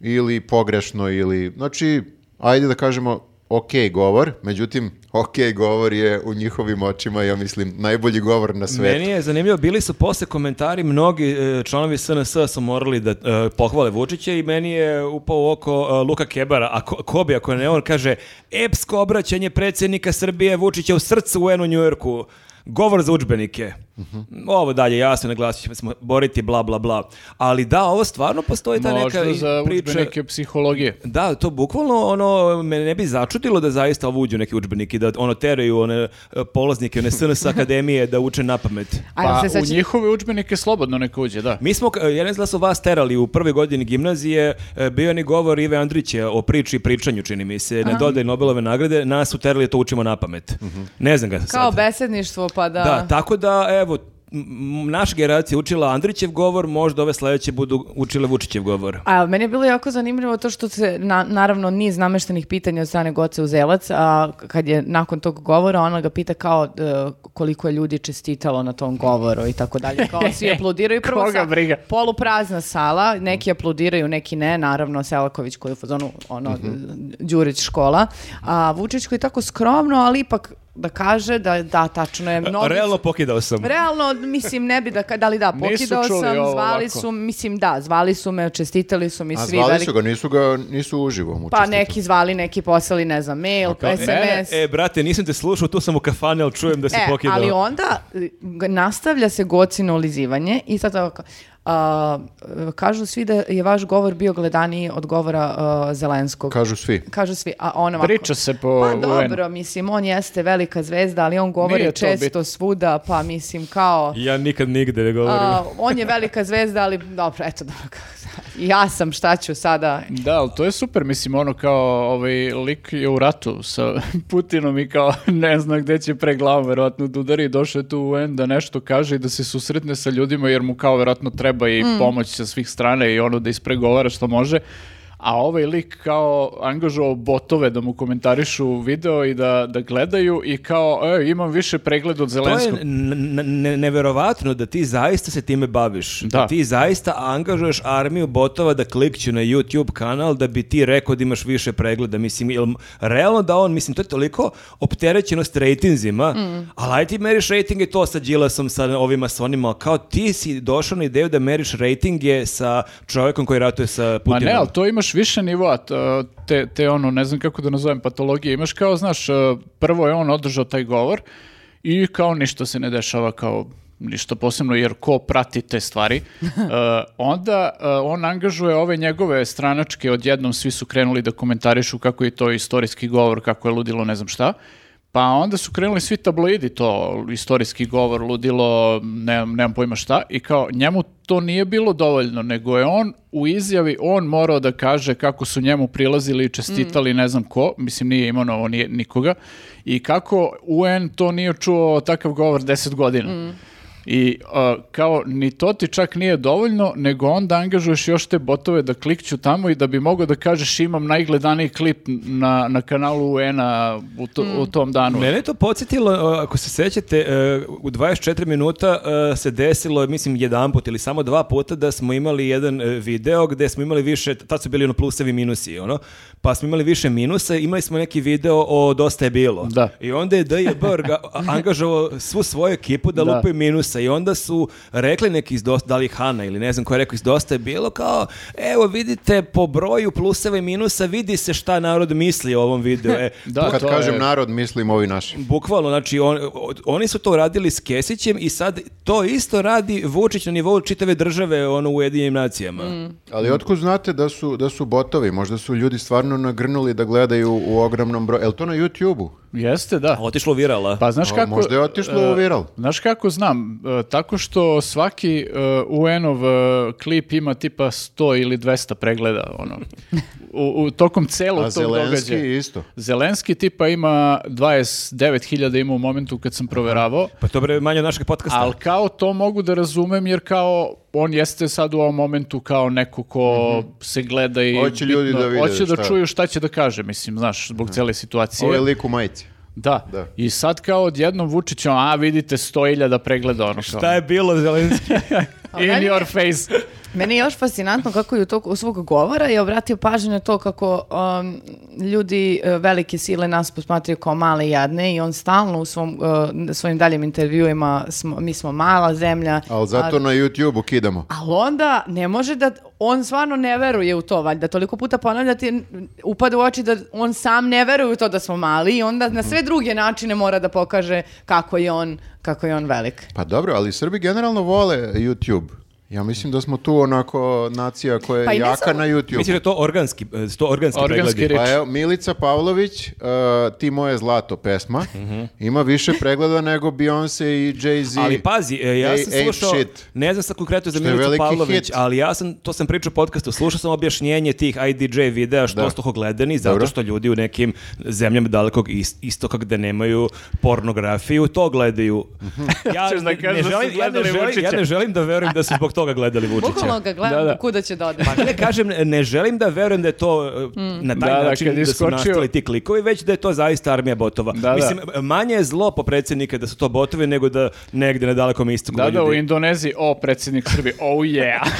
S3: ili pogrešno ili... Znači, ajde da kažemo ok govor, međutim, ok govor je u njihovim očima, ja mislim, najbolji govor na svetu.
S2: Meni je zanimljivo, bili su posle komentari, mnogi e, članovi SNS su morali da e, pohvale Vučića i meni je upao u oko e, Luka Kebara, a ko, ko bi, ako ne on, kaže epsko obraćanje predsjednika Srbije Vučića u srcu UN u Njujorku, govor za učbenike.
S4: Mhm.
S2: Ovo dalje, jasno, naglasit ćemo se boriti, bla, bla, bla. Ali da, ovo stvarno postoji ta
S4: Možda
S2: neka i
S4: za
S2: priča-
S4: udžbenike psihologije.
S2: Da, to bukvalno ono me ne bi začudilo da zaista ovo uđu neki udžbeniki da ono teraju one e, polaznike one SNS *laughs* akademije da uče na pamet.
S1: A jel
S4: Pa
S1: se
S4: u
S1: sećate-
S4: njihove udžbenike slobodno neka uđe, da.
S2: Mi smo, k- ja ne znam da su vas terali u prvoj godini gimnazije, e, bio je ni govor Ive Andrića o priči i pričanju, čini mi se, ne dodaj Nobelove nagrade, nas su terali da to učimo na pamet. Ne znam ga sad.
S1: Mhm. Kao besedništvo, pa da...
S2: Da, tako da, evo, m- m- naša generacija je učila Andrićev govor, možda ove sledeće budu učile Vučićev govor.
S1: A meni je bilo jako zanimljivo to što se, na, naravno, niz nameštenih pitanja od strane Goce Uzelac, a kad je nakon tog govora, ona ga pita kao e, koliko je ljudi čestitalo na tom govoru i tako dalje. Kao
S4: *laughs*
S1: svi aplodiraju. Prvo
S4: Koga
S1: sa-
S4: briga.
S1: Poluprazna sala, neki aplodiraju, neki ne, naravno, Selaković koji je u fazonu, ono,
S4: Mhm.
S1: Đurić škola, a Vučić koji je tako skromno, ali ipak da kaže da, da, tačno je. Mnogi
S2: Realno pokidao sam.
S1: Realno, mislim, ne bi da, ka- da li da,
S4: Nisu
S1: pokidao
S4: čuli
S1: sam,
S4: ovo
S1: zvali
S4: ovako.
S1: su, mislim da, zvali su me, čestitali su mi
S3: A
S1: svi.
S3: zvali
S1: veliki-
S3: su ga, nisu ga, nisu uživo mu
S1: Pa
S3: čestitali.
S1: neki zvali, neki poslali, ne znam, mail, SMS.
S2: E, e, brate, nisam te slušao, tu sam u kafani, ali čujem da si
S1: E,
S2: pokidao.
S1: ali onda e, g- nastavlja se gocino lizivanje i sad ovako, a, e, kažu svi da je vaš govor bio gledaniji od govora e, Zelenskog.
S3: Kažu svi.
S1: Kažu svi, a on ovako...
S4: Priča se po
S1: Pa
S4: UN.
S1: dobro, mislim, on jeste velika zvezda, ali on govori
S4: Nije to
S1: često
S4: bitno.
S1: svuda, pa mislim kao...
S2: Ja nikad nigde ne govorim.
S1: A, on je velika zvezda, ali dobro, eto *laughs* da. Ja sam, šta ću sada?
S4: Da, ali to je super, mislim, ono kao ovaj lik je u ratu sa *laughs* Putinom i kao *laughs* ne zna gde će pre glavu, verovatno da udari i došao je tu u UN da nešto kaže i da se susretne
S2: Mm.
S4: sa ljudima jer mu kao verovatno treba i pomoć sa svih strane i ono da ispregovara što može. a ovaj lik kao angažovao botove da mu komentarišu video i da, da gledaju i kao, e, imam više pregled od
S2: To je
S4: Zelenskog.
S2: n- n- n- neverovatno da ti zaista se time baviš.
S4: Da.
S2: ti zaista angažuješ armiju botova da klikću na YouTube kanal da bi ti rekao da imaš više pregleda. Mislim, jel, realno da on, mislim, to je toliko opterećenost rejtinzima, ali aj ti meriš rejtinge to sa Đilasom, sa ovima, sa onima, kao ti si došao na ideju da meriš rejtinge sa čovjekom koji ratuje sa
S4: Ma
S2: Putinom.
S4: ne, ali to imaš više nivoa, t- te, te ono, ne znam kako da nazovem, patologije. Imaš kao, znaš, e, prvo je on održao taj govor i kao ništa se ne dešava, kao ništa posebno, jer ko prati te stvari. E, onda e, on angažuje ove njegove stranačke, odjednom svi su krenuli da komentarišu kako je to istorijski govor, kako je ludilo, ne znam šta. Pa onda su krenuli svi tabloidi to, istorijski govor, ludilo, ne, nemam pojma šta, i kao njemu to nije bilo dovoljno, nego je on u izjavi, on morao da kaže kako su njemu prilazili i čestitali ne znam ko, mislim nije imenovao nije, nikoga, i kako UN to nije čuo takav govor 10 godina. I a, kao ni to ti čak nije dovoljno, nego onda angažuješ još te botove da klikću tamo i da bi mogao da kažeš imam najgledaniji klip na, na kanalu UN-a u, to- u tom danu.
S2: Mene je to podsjetilo, e, ako se sećate, e, u 24 minuta e, se desilo, mislim, jedan put ili samo dva puta da smo imali jedan e, video gde smo imali više, tad su bili ono plusevi i minusi, ono, pa smo imali više minusa, imali smo neki video o Dosta je bilo.
S4: Da.
S2: I onda je D.J.B. angažovao svu svoju ekipu da,
S4: Da.
S2: lupaju minusa i onda su rekli neki iz Dosta, da li Hana ili ne znam ko je rekao iz Dosta je bilo, kao, evo vidite po broju pluseva i minusa vidi se šta narod misli o ovom videu. E,
S4: *laughs* Da,
S3: Kad
S4: to
S3: kažem
S4: je-
S3: narod, mislim ovi naši.
S2: Bukvalno, znači on, od- oni su to radili s Kesićem i sad to isto radi Vučić na nivou čitave države ono, u Ujedinjenim nacijama.
S3: Ali otkud znate da su, da su botovi? Možda su ljudi stvarno nagrnuli da gledaju u ogromnom broju. Jel to na YouTube-u?
S4: Jeste, da.
S2: A Otišlo virala.
S4: Pa znaš
S3: O,
S4: kako...
S3: možda je otišlo u
S4: e,
S3: viral.
S4: Znaš kako znam? E, tako što svaki e, UN-ov e, klip ima tipa 100 ili 200 pregleda, ono. U, u tokom celog
S3: A
S4: tog
S3: Zelenski
S4: događaja.
S3: isto.
S4: Zelenski tipa ima 29.000 ima u momentu kad sam proveravao,
S2: Pa to bre manje od našeg podcasta.
S4: ali kao to mogu da razumem jer kao on jeste sad u ovom momentu kao neko ko se gleda i
S3: Mhm. Hoće ljudi da vide
S4: hoće da
S3: šta je. Mhm.
S4: čuju šta će da kaže, mislim, znaš, zbog cele situacije.
S3: Ovo je lik u majici.
S4: Da.
S3: Da.
S4: I sad kao odjednom Vučićom, a vidite 100.000 pregleda ono kao.
S2: Šta je bilo
S4: *laughs*
S2: Zelenski? *laughs*
S4: In your face.
S1: Meni je još fascinantno kako je u toku svog govora je obratio pažnju na to kako um, ljudi e, velike sile nas posmatraju kao male i jadne i on stalno u svom, e, svojim daljim intervjuima smo, mi smo mala zemlja.
S3: Ali zato na YouTube-u kidamo.
S1: Ali onda ne može da, on stvarno ne veruje u to, valjda toliko puta ponavlja ti n- upada u oči da on sam ne veruje u to da smo mali i onda na sve druge načine mora da pokaže kako je on, kako je on velik.
S3: Pa dobro, ali Srbi generalno vole YouTube. Ja mislim da smo tu onako nacija koja je
S1: Pa i ne
S3: jaka
S1: samo-
S3: na
S2: Mislim da
S3: YouTube.
S2: je to organski, e, su to organski,
S4: Organski
S2: pregledi.
S4: re-
S3: Pa evo, Milica Pavlović, uh, Ti moje zlato pesma, ima više pregleda nego Beyoncé i Jay-Z.
S2: Mhm. Ali pazi, e, ja
S3: Ej,
S2: sam
S3: ain't
S2: slušao,
S3: shit.
S2: ne znam sad konkretno za
S3: Što je
S2: Milicu
S3: veliki
S2: Pavlović,
S3: hit.
S2: ali ja sam, to sam pričao u podcastu, slušao sam objašnjenje tih IDJ videa što
S3: Da.
S2: ostaho gledani, zato
S3: Dobro.
S2: što ljudi u nekim zemljama dalekog is- istoka gde nemaju pornografiju, to gledaju.
S3: Mhm. *laughs*
S2: ja,
S4: Hoćeš da
S2: ne-
S4: kažeš
S2: ne
S4: da su
S2: želim, ja, ne
S4: gledali
S2: želim, ja
S4: Vučića?
S2: ne želim da verujem da su zbog toga gledali Vučića.
S1: Bukvalno ga gledam
S4: Da, da.
S1: kuda će da ode.
S2: Pa ne kažem, ne želim da verujem da je to e,
S1: Mm.
S2: na taj
S4: Da, da,
S2: način
S4: kad
S2: da,
S4: je
S2: su
S4: iskočio-
S2: nastali ti klikovi, već da je to zaista armija botova.
S4: Da, da.
S2: Mislim, manje je zlo po predsjednika da su to botovi nego da negde na dalekom istoku
S4: Da, da, u
S2: ljudi-
S4: Indoneziji, o, predsjednik Srbije, oh yeah.
S3: *laughs*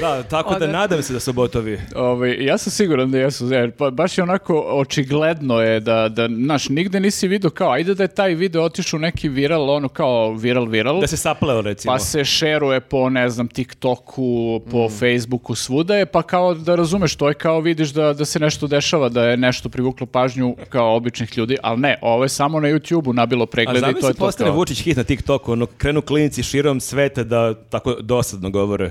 S2: Da, tako da
S1: Onda-
S2: nadam se da su botovi.
S4: Ovaj, ja sam siguran da jesu, jer pa, baš je onako očigledno je da, da, znaš, nigde nisi vidio kao, ajde da je taj video otišao u neki viral, ono kao viral, viral.
S2: Da se sapleo recimo.
S4: Pa se šeruje po, ne znam, TikToku,
S2: Mm.
S4: po Facebooku, svuda je, pa kao da razumeš, to je kao vidiš da, da se nešto dešava, da je nešto privuklo pažnju kao običnih ljudi, ali ne, ovo je samo na YouTube-u nabilo
S2: A
S4: preglede i to je
S2: zamisli
S4: to
S2: postane
S4: kao.
S2: Vučić hit na TikToku, ono, krenu klinci širom sveta da tako dosadno govore.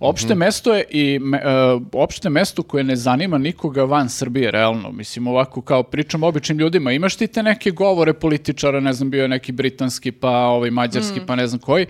S4: Opšte mesto je i me- e, opšte mesto koje ne zanima nikoga van Srbije, realno. Mislim, ovako kao pričam običnim ljudima. Imaš ti te neke govore političara, ne znam, bio je neki britanski, pa ovaj mađarski, pa ne znam koji,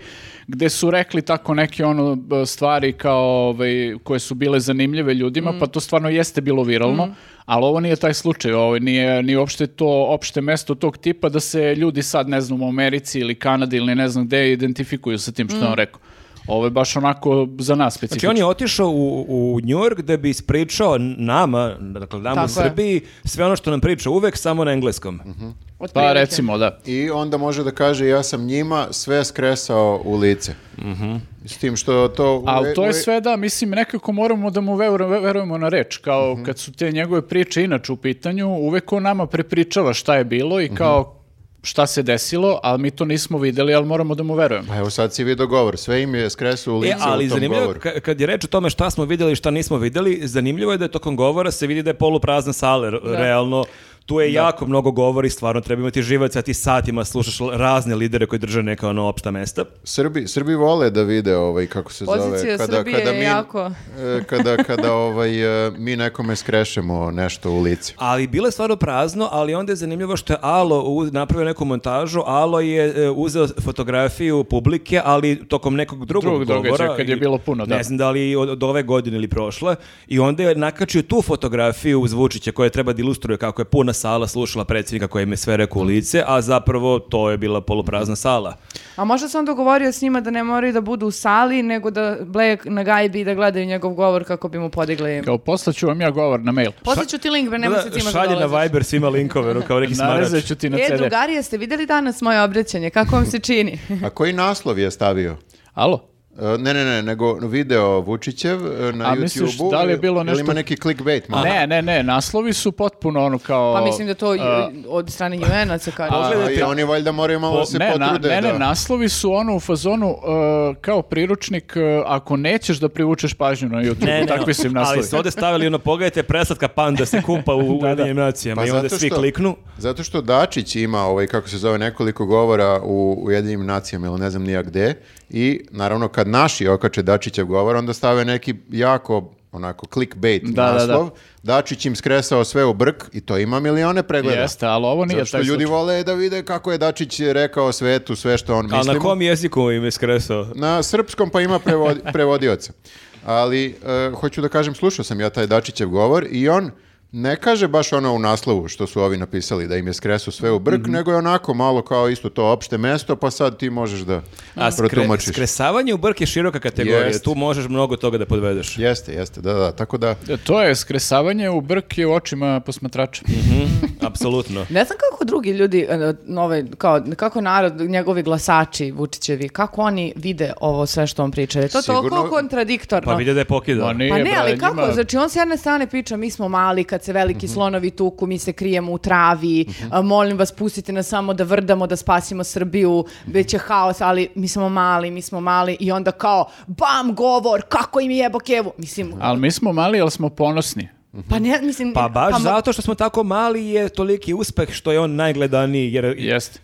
S4: gde su rekli tako neke ono b- stvari kao ovaj, koje su bile zanimljive ljudima, pa to stvarno jeste bilo viralno, ali ovo nije taj slučaj, ovo nije ni uopšte to opšte mesto tog tipa da se ljudi sad, ne znam, u Americi ili Kanadi ili ne znam gde identifikuju sa tim što je on rekao. Ovo je baš onako za nas
S2: Znači
S4: specifično.
S2: on je otišao u, u New York da bi ispričao nama, dakle nama u
S1: Tako je.
S2: Srbiji, sve ono što nam priča uvek samo na engleskom. E,
S4: Pa
S3: Mhm.
S1: otprilike.
S4: recimo, da.
S3: I onda može da kaže ja sam njima sve skresao u lice.
S2: Mhm.
S3: S tim što to...
S4: Ali to je
S3: uvek-
S4: sve da, mislim, nekako moramo da mu veru- verujemo na reč, kao kad su te njegove priče inače u pitanju, uvek on nama prepričava šta je bilo i kao šta se desilo, ali mi to nismo videli, ali moramo da mu verujemo.
S3: Pa evo sad si vidio govor, sve im je skresao u lice
S2: E, ali
S3: u tom
S2: zanimljivo,
S3: govoru.
S2: ka- kad je reč o tome šta smo vidjeli i šta nismo vidjeli, zanimljivo je da je tokom govora se vidi da je poluprazna sala, r- realno. Tu je jako mnogo govori, stvarno treba imati živaca, a ti satima slušaš l- razne lidere koji drže neka ono opšta mesta.
S3: Srbi, Srbi vole da vide ovaj, kako se zove.
S1: Pozicija Srbije je jako.
S3: e, kada, kada ovaj, e, mi nekome skrešemo nešto u lice.
S2: Ali bilo je stvarno prazno, ali onda je zanimljivo što je Alo u- napravio neku montažu, Alo je e, uzeo fotografiju publike, ali tokom nekog drugog
S4: Drugog događaja,
S2: govora.
S4: kad je
S2: i-
S4: bilo puno, da.
S2: Ne znam da li od, od ove godine ili prošle. I onda je nakačio tu fotografiju uz Vučića koja treba da ilustruje kako je puna sala slušala predsjednika koji im je sve rekao u lice, a zapravo to je bila poluprazna sala.
S1: A možda se on dogovorio s njima da ne moraju da budu u sali, nego da bleje na gajbi i da gledaju njegov govor kako bi mu podigli.
S4: Kao, poslaću vam ja govor na mail.
S1: Poslat ću ti link, bre, nema
S2: Da,
S1: se cima da
S2: šalje na
S1: dolaziš.
S2: Viber svima linkove, ono, kao neki smarač.
S4: Narezat ću ti na
S1: E,
S4: CD.
S1: drugari, jeste vidjeli danas moje obraćanje? Kako vam se čini?
S4: *laughs*
S3: A koji naslov je stavio?
S4: Alo?
S3: E, Ne, ne, ne, nego video Vučićev e, na
S4: A
S3: YouTube-u.
S4: misliš, da li je bilo
S3: Ili ima
S4: nešto-
S3: neki clickbait? malo?
S4: Ne, ne, ne, naslovi su potpuno ono kao...
S1: Pa mislim da to i-
S4: a,
S1: od strane UN-a se kaže.
S3: A i oni valjda moraju malo da se
S4: ne, na-
S3: potrude.
S4: ne, ne,
S3: da.
S4: naslovi su ono u fazonu uh, kao priručnik uh, ako nećeš da privučeš pažnju na YouTube.
S2: Ne, ne,
S4: Takvi su im naslovi.
S2: ali su ovdje stavili ono, pogledajte, preslatka panda se kupa
S4: *laughs*
S2: u Ujedinjenim nacijama
S3: Pa
S2: i onda
S3: zato
S2: svi
S3: što-
S2: kliknu.
S3: Zato što Dačić ima, ovaj, kako se zove, nekoliko govora u Ujedinim nacijama ili ne znam nija gde i naravno kad naši okače Dačićev govor, onda stave neki jako onako clickbait
S4: Da, da, da.
S3: naslov. Dačić im skresao sve u brk i to ima milione pregleda.
S4: Jeste, ali ovo nije
S3: Zato što
S4: taj
S3: ljudi
S4: slučaj.
S3: vole da vide kako je Dačić rekao svetu sve što on misli.
S2: Ali na kom jeziku im je skresao?
S3: Na srpskom pa ima prevod,
S2: *laughs*
S3: prevodioca. Ali e, hoću da kažem, slušao sam ja taj Dačićev govor i on ne kaže baš ono u naslovu što su ovi napisali da im je skresu sve u brk,
S2: Mhm.
S3: nego je onako malo kao isto to opšte mesto, pa sad ti možeš da
S2: A skre-
S3: protumačiš.
S2: skresavanje u brk je široka kategorija,
S3: Jest.
S2: tu možeš mnogo toga da podvedeš.
S3: Jeste, jeste, da, da, tako da
S4: E, To je skresavanje u brke u očima posmatrača.
S2: Mhm. Apsolutno.
S1: Ne znam kako drugi ljudi, e, ovaj, kao, kako narod, njegovi glasači Vučićevi, kako oni vide ovo sve što on priča. Je to
S3: Sigurno-
S1: toliko kontradiktorno.
S2: Pa vide da je pokidao.
S4: Ma nije,
S1: Pa ne,
S4: brale,
S1: ali kako?
S4: njima-
S1: Znači, on s jedne strane priča, mi smo mali, kad se veliki slonovi tuku, mi se krijemo u travi, a, molim vas, pustite nas samo da vrdamo, da spasimo Srbiju, već je haos, ali mi smo mali, mi smo mali, i onda kao, bam, govor, kako im je jebo kevu. Mislim,
S4: Ali mi smo mali, ali smo ponosni.
S1: pa ne, mislim...
S2: Pa baš
S1: mo-
S2: zato što smo tako mali je toliki uspeh što je on najgledaniji, jer
S4: Jeste.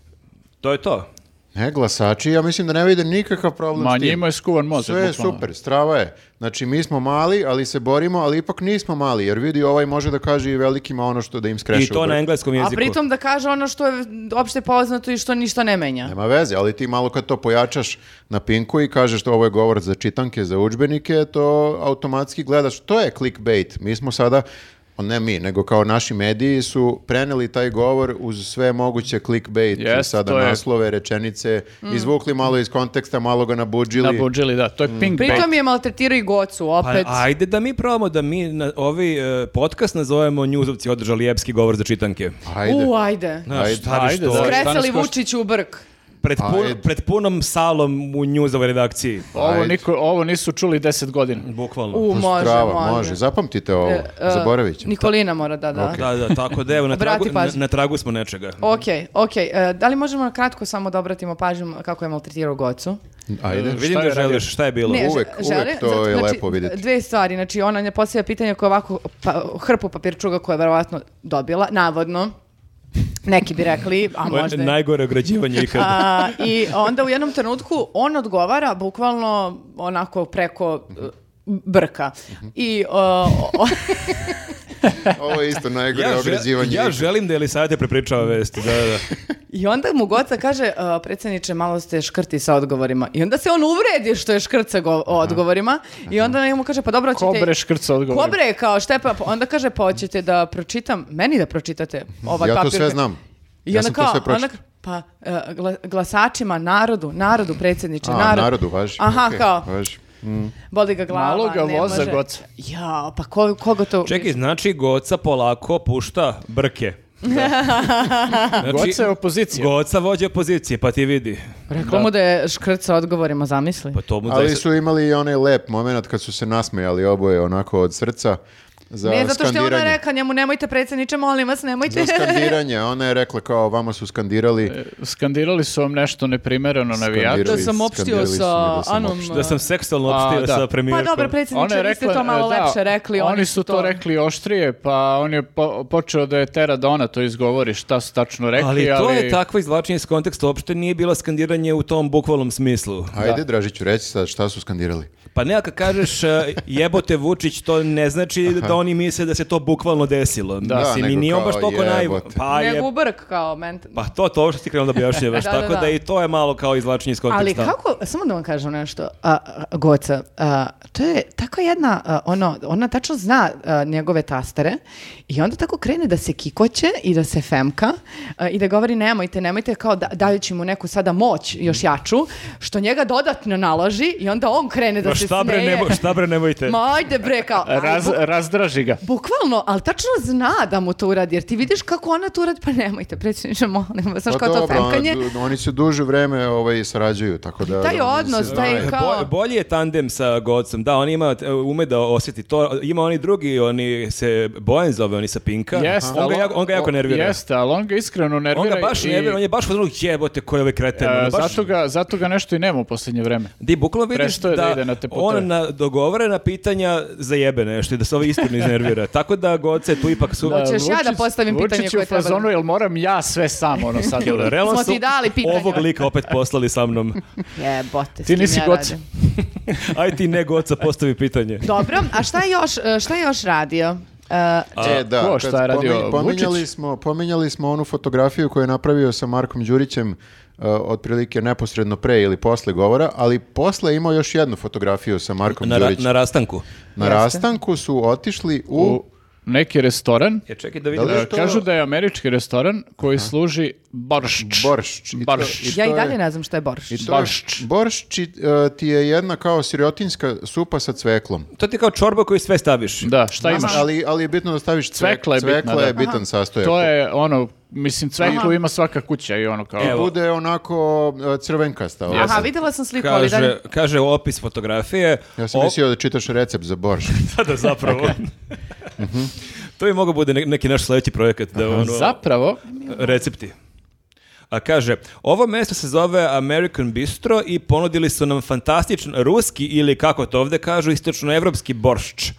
S2: to je to.
S3: ne glasači, ja mislim da ne vide nikakav problem
S4: Ma
S3: s tim.
S4: njima je skuvan mozak.
S3: Sve je
S4: bukvalno.
S3: super, strava je. Znači, mi smo mali, ali se borimo, ali ipak nismo mali, jer vidi, ovaj može da kaže i velikima ono što da im skreše
S2: I to
S3: u brk.
S2: na engleskom
S1: A
S2: jeziku.
S1: pritom da kaže ono što je opšte poznato i što ništa ne menja.
S3: Nema veze, ali ti malo kad to pojačaš na pinku i kažeš da ovo je govor za čitanke, za udžbenike, to automatski gledaš. To je clickbait. Mi smo sada o, ne mi, nego kao naši mediji su preneli taj govor uz sve moguće clickbait,
S4: Jest,
S3: sada
S4: to je.
S3: naslove, rečenice, izvukli malo iz konteksta, malo ga nabudžili.
S4: Nabudžili, da. To je
S3: Mm.
S4: pink
S1: Pritom
S4: bait.
S1: je maltretirao i gocu
S2: Pa
S1: opet.
S2: ajde da mi probamo da mi na ovaj e, podcast nazovemo Njuzovci održali epski govor za čitanke.
S3: Ajde.
S1: U, ajde.
S2: Znaš,
S3: Ajde.
S2: šta bi
S4: Ajde,
S2: što?
S4: da.
S1: Skresali
S4: danas košta-
S1: Vučić u brk.
S2: Pred, pun-
S3: Ajde.
S2: pred punom salom u Njuzovoj redakciji.
S4: Ovo,
S3: Ajde.
S4: niko, ovo nisu čuli deset godina.
S2: Bukvalno.
S1: U,
S3: To su
S1: može,
S3: strava,
S1: može.
S3: Zapamtite ovo,
S1: E, e,
S3: zaboravit ćemo.
S1: Nikolina mora, da, da.
S2: Da, da, tako da evo,
S1: *laughs*
S2: na
S1: Obrati
S2: tragu, na,
S1: pažnju.
S2: na tragu smo nečega.
S1: Ok, ok. E, da li možemo na kratko samo da obratimo pažnju kako je maltretirao Gocu?
S2: *laughs*
S3: Ajde.
S2: Vidim
S4: Šta
S2: da
S4: je radio?
S2: želiš, šta je bilo?
S1: Ne,
S3: uvek,
S1: že-
S3: uvek
S1: žele-
S3: to
S1: zato-
S3: je
S1: znači,
S3: lepo vidjeti.
S1: Dve stvari, znači ona ne postavlja pitanje koje ovako pa, hrpu papirčuga koje je verovatno dobila, navodno, Neki bi rekli, a
S2: Ovo je
S1: možda... i- *laughs*
S2: najgore ograđivanje ikada.
S1: A, I onda u jednom trenutku on odgovara bukvalno onako preko e, brka. I e, o- *laughs* o-
S3: Ovo je isto najgore
S2: Ja,
S3: ograđivanje.
S2: žel- ja želim da Elisaveta prepričava vest. Da, da.
S1: I onda mu Goca kaže, "E, predsjedniče, malo ste škrti sa odgovorima. I onda se on uvredi što je škrt sa go- odgovorima. I onda mu kaže, pa dobro, ćete...
S4: Kobre škrca odgovor.
S1: Kobre, kao šta je, pa, onda kaže, pa hoćete da pročitam, meni da pročitate ovaj
S3: Ja to
S1: papir.
S3: sve znam.
S1: I
S3: Ja
S1: onda
S3: sam to
S1: kao,
S3: sve pročitao.
S1: onda- pa e, gla- glasačima, narodu, narodu, predsjedniče,
S3: A,
S1: narodu.
S3: narodu, važi.
S1: Znači, Aha,
S3: Okej,
S1: kao,
S3: važi.
S1: boli ga glava,
S4: Malo ga
S1: ne
S4: voza,
S1: može.
S4: Goca.
S1: Ja, pa ko, koga to...
S2: Čekaj, znači Goca polako pušta brke.
S1: *laughs*
S2: Znači,
S4: Goca je opozicija.
S2: Goca vođa opozicije, pa ti vidi.
S1: Rekao mu da je škrt sa odgovorima, zamisli.
S2: Pa to mu
S3: Ali
S2: zaista-
S3: su imali i onaj lep moment kad su se nasmejali oboje onako od srca za
S1: Ne, zato što je ona
S3: skandiranje.
S1: rekla njemu, nemojte predsjedniče, molim vas, nemojte.
S3: *laughs* Za skandiranje. Ona je rekla kao vama su
S4: E,
S3: skandirali.
S4: Skandirali su vam nešto neprimereno navijač.
S3: Skandirali.
S1: *laughs* da sam opštio
S3: Skandirali su me
S1: sa
S3: da sam
S1: Anom.
S3: opštio.
S2: Da sam seksualno opštio
S4: A, da.
S2: sa
S1: Pa
S2: premijerkom.
S1: dobro,
S4: Ona
S1: predsjedniče,
S4: je
S1: vi ste
S4: rekla, e,
S1: to malo
S4: da,
S1: lepše rekli.
S4: Oni su to rekli oštrije, pa on je po- počeo da je tera da ona to izgovori šta su tačno rekli,
S2: Ali
S4: ali...
S2: to je takvo izvlačenje iz konteksta, uopšte nije bilo skandiranje u tom bukvalnom smislu.
S3: Ajde, Dražiću, reci sad šta su skandirali.
S2: Pa ne, kad kažeš e, jebote Vučić, to ne znači da oni misle da se to bukvalno desilo. Da, Mislim, i
S3: nego
S2: nije on baš
S3: kao
S2: toliko naj...
S3: jebote.
S2: Pa, je...
S1: Nego brk kao ment.
S2: pa to, to što ti krenuo da objašnjavaš.
S1: *laughs* Da, da,
S2: tako da,
S1: da.
S2: i to je malo kao izvlačenje iz
S1: Ali
S2: konteksta.
S1: kako, samo da vam kažem nešto, a, a, Goca, a, to je tako jedna, a, ono, ona tačno zna a, njegove tastere i onda tako krene da se kikoće i da se femka a, i da govori nemojte, nemojte, kao da, dajući mu neku sada moć još jaču, što njega dodatno naloži i onda on krene da
S2: Ma
S1: se
S2: Pa šta bre,
S1: smeje.
S2: nemo- šta bre, nemojte.
S1: Ma ajde bre, kao, ali
S4: Raz,
S1: buk-
S4: razdraži ga.
S1: Bukvalno, ali tačno zna da mu to uradi, jer ti vidiš kako ona to uradi, pa nemojte, predsjedniče, molim vas, znaš
S3: Pa
S1: kao to
S3: dobro, ona-
S1: femkanje.
S3: oni se duže vreme ovaj, sarađuju, tako da...
S1: Taj
S3: da,
S1: odnos,
S3: se
S1: taj
S3: znaju.
S1: kao-
S2: E, Bo- bolji je tandem sa Godsom. Da, on ima, e, ume da osjeti to. Ima oni drugi, oni se Bojan zove, oni sa Pinka.
S4: Jeste,
S2: on, ga
S4: ali
S2: jako, on ga jako
S4: o-
S2: nervira.
S4: Jeste, ali on ga iskreno nervira.
S2: On ga baš
S4: i-
S2: nervira, on je baš od onog jebote koji je ovaj kreten. on
S4: e,
S2: je baš...
S4: zato, ga, zato ga nešto i nema u posljednje vreme.
S2: Di bukvalno vidiš
S4: Prestao
S2: da,
S4: je da ide na te puteve.
S2: on na dogovorena pitanja zajebe nešto i da se ovo iskreno iznervira. Tako da Goce tu ipak su...
S1: Hoćeš ja da postavim pitanje
S4: Vučić je
S1: koje
S4: u
S1: treba da-
S4: fazonu, jel moram ja sve sam, ono sad.
S2: *laughs* Jel, realno
S1: Smo ti
S2: su
S1: dali pitanje.
S2: Ovog lika opet poslali
S1: *laughs*
S2: sa mnom.
S1: Jebote, s
S4: Ti
S1: kim
S4: nisi
S1: ja
S4: goc.
S1: radim?
S2: Aj ti ne Goca postavi pitanje.
S1: Dobro, a šta je još, e, šta je još radio? E,
S3: E, da,
S4: ko,
S3: kad
S4: šta je radio,
S3: pomen- pominjali
S4: Vučić?
S3: smo, pominjali smo onu fotografiju koju je napravio sa Markom Đurićem uh, otprilike neposredno pre ili posle govora, ali posle je imao još jednu fotografiju sa Markom
S2: Na, ra-
S3: Đurićem.
S2: na
S3: Na,
S2: rastanku.
S3: rastanku su otišli u...
S4: U neki restoran,
S2: Ja čekaj da vidim.
S3: vidim. Da li je
S4: e,
S3: to-
S4: kažu da je američki restoran koji služi boršč.
S3: Boršč. I to-
S4: Boršč.
S3: i to
S1: ja i
S3: je-
S1: dalje ne znam šta je borš.
S3: I to je-
S4: Boršč.
S3: boršč i, uh, ti je jedna kao siriotinska supa sa cveklom.
S2: To ti je kao čorba koju sve staviš.
S4: Da, šta imaš?
S3: Ali, ali je bitno da staviš cvek,
S4: Cvekla je bitna,
S3: cvekla je
S4: da.
S3: bitan sastojak.
S4: To je ono, mislim, cveklu ima svaka kuća i ono kao...
S2: Evo.
S3: Bude onako uh, crvenkasta. ovaj.
S1: Aha, vidjela sam sliku, ali da...
S2: Kaže, kaže opis fotografije.
S3: Ja sam
S2: O-
S3: mislio da čitaš recept za boršč.
S2: *laughs* da,
S3: *laughs*
S2: zapravo.
S3: Mhm.
S2: to bi mogao bude ne- neki naš sledeći projekat. Da ono,
S4: Zapravo,
S2: Recepti. A kaže, ovo mesto se zove American Bistro i ponudili su nam fantastičan ruski ili kako to ovde kažu istočnoevropski boršč,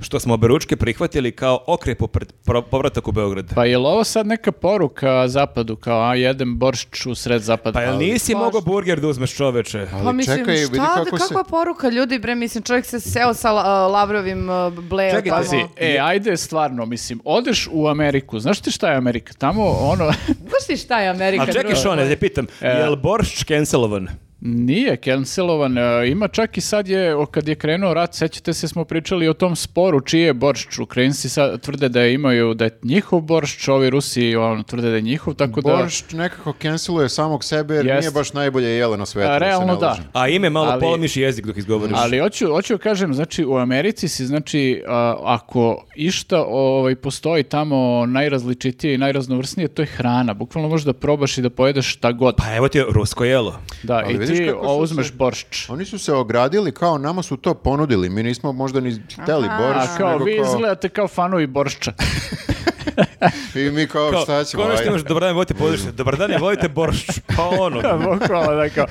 S2: što smo oberučke prihvatili kao okrep u pred- pro- povratak u Beograd.
S4: pa je li ovo sad neka poruka zapadu, kao a jedem boršč u sred zapada?
S2: Pa jel nisi
S1: Baš.
S2: mogao burger da uzmeš čoveče?
S1: Pa
S3: Ali
S1: mislim,
S3: čekaj, vidi
S1: šta,
S3: kako se...
S1: kakva poruka ljudi, bre, mislim, čovjek se seo sa la- Lavrovim uh, bleo
S2: Čekajte,
S1: tamo.
S2: si-
S4: E, ajde, stvarno, mislim, odeš u Ameriku, znaš ti šta je Amerika? Tamo, ono, *laughs*
S1: Znaš ti šta je Amerika?
S2: A čekaj
S1: drugo?
S2: Šone, da te pitam,
S3: E.
S2: jel boršč cancelovan?
S4: nije cancelovan, e, ima čak i sad je, o, kad je krenuo rat, sećate se, smo pričali o tom sporu čiji je boršč, Ukrajinci sad tvrde da je imaju, da je njihov boršč, ovi Rusi, ono, tvrde da je njihov, tako *laughs* da...
S3: Boršč nekako canceluje samog sebe jer
S4: Jest.
S3: nije baš najbolje jelo na svetu. se
S4: A,
S3: ne
S4: realno da.
S3: lažem.
S2: A ime malo
S4: Ali-
S2: polomiš jezik dok izgovoriš.
S4: Ali hoću, hoću kažem, znači u Americi si, znači a, ako išta ovaj, postoji tamo najrazličitije i najraznovrsnije, to je hrana. Bukvalno možeš da probaš i da pojedeš šta god.
S2: Pa evo ti je rusko jelo.
S4: Da,
S3: ali
S4: i
S3: vidiš
S4: ti
S3: kako su
S4: o, uzmeš
S3: se-
S4: boršč.
S3: Oni su se ogradili kao nama su to ponudili. Mi nismo možda ni hteli boršč.
S4: A kao
S3: nego
S4: vi izgledate kao fanovi boršča. *laughs*
S3: I mi kao,
S2: Kao,
S3: Pa šta ćemo,
S2: konačno
S3: ajde.
S2: imaš, dobar dan, volite područje, dobar dan, volite boršč. Pa ono,
S4: Bukvalno da kao,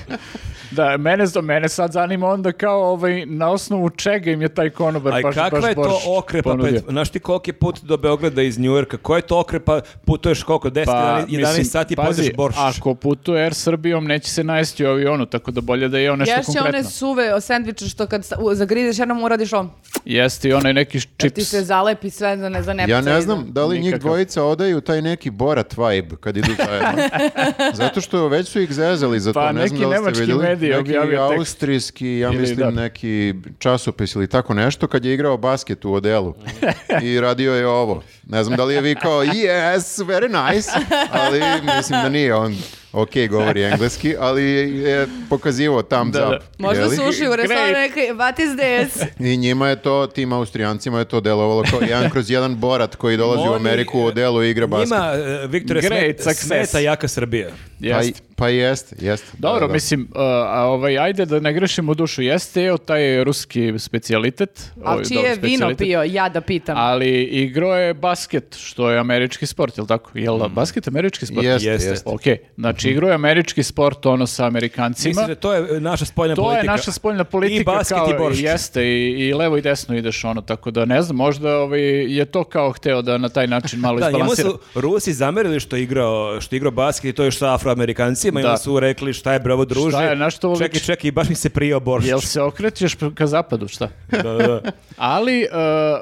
S4: Da, mene, mene sad zanima onda kao ovaj, na osnovu čega im je taj konobar
S2: Aj,
S4: baš,
S2: kakva
S4: baš
S2: je to
S4: boršč
S2: okrepa?
S4: ponudio.
S2: Pred, znaš ti koliki je put do Beograda iz Njujorka? Koja je to okrepa? Putuješ koliko? 10, 11, 11 sati i
S4: Pa, pazi,
S2: pođeš borš.
S4: Ako putuje Air Srbijom, neće se najesti u avionu, tako da bolje da je on nešto
S1: Ješće
S4: konkretno.
S1: one suve o sandviču što kad sa- u- zagrizeš jednom uradiš ovo.
S4: Jeste i onaj neki
S1: Jer ti
S4: čips.
S1: se zalepi sve za ne, za nepce
S3: Ja ne
S1: ide.
S3: znam da li njih
S4: Nikakav.
S3: dvojica odaju taj neki Borat vibe kad idu
S4: *laughs*
S3: zajedno. Zato što već su ih zezali za to.
S4: Pa,
S3: ne znam
S4: neki
S3: da li ste
S4: nemački
S3: vidjeli.
S4: medij je
S3: Neki
S4: objavio tekst.
S3: austrijski, ja
S4: Ili
S3: mislim
S4: da.
S3: neki časopis ili tako nešto kad je igrao basket u odelu. I radio je ovo. Ne znam da li je vi kao yes, very nice, ali mislim da nije on ok govori engleski, ali je pokazivao thumbs
S4: Da, da.
S3: up.
S1: Možda
S3: jeli?
S1: su ušli u restoran
S4: Great.
S1: rekli, what is
S3: *laughs*
S1: this?
S3: I njima je to, tim Austrijancima je to delovalo kao jedan kroz jedan borat koji dolazi u
S2: Oni,
S3: Ameriku u odelu i igra basket.
S2: Njima, e, Viktore,
S4: Great
S2: smeta,
S4: success.
S2: smeta jaka Srbija.
S3: Pa,
S4: Jeste.
S3: pa jeste, jeste.
S4: Dobro,
S3: Da, da.
S4: mislim, uh, a ovaj, ajde da ne grešimo u dušu, jeste je taj ruski specijalitet. ovaj,
S1: Ali čije
S4: dobro,
S1: je vino
S4: specijalitet,
S1: pio, ja da pitam.
S4: Ali igro je basket, što je američki sport, jel tako? Jel basket američki sport?
S3: Jeste,
S2: Mm. Jeste.
S3: jeste.
S4: Ok, znači igro je američki sport, ono sa amerikancima.
S2: Mislim da to je e, naša spoljna
S4: To
S2: politika.
S4: je naša spoljna politika.
S2: I basket
S4: kao,
S2: i borš.
S4: Jeste, i, i levo i desno ideš ono, tako da ne znam, možda ovaj, je to kao hteo da na taj način malo
S2: Da, njemu
S4: izbalansira.
S2: su Rusi zamerili što je igrao, što je igrao basket i to je što afroamerikancima i
S4: Da.
S2: onda su rekli šta je bravo druže.
S4: Šta je, na što ovo
S2: Čekaj,
S4: liči?
S2: čekaj, baš mi se prijao boršč.
S4: Jel se okrećeš ka zapadu, šta?
S2: Da, da.
S4: Ali, e,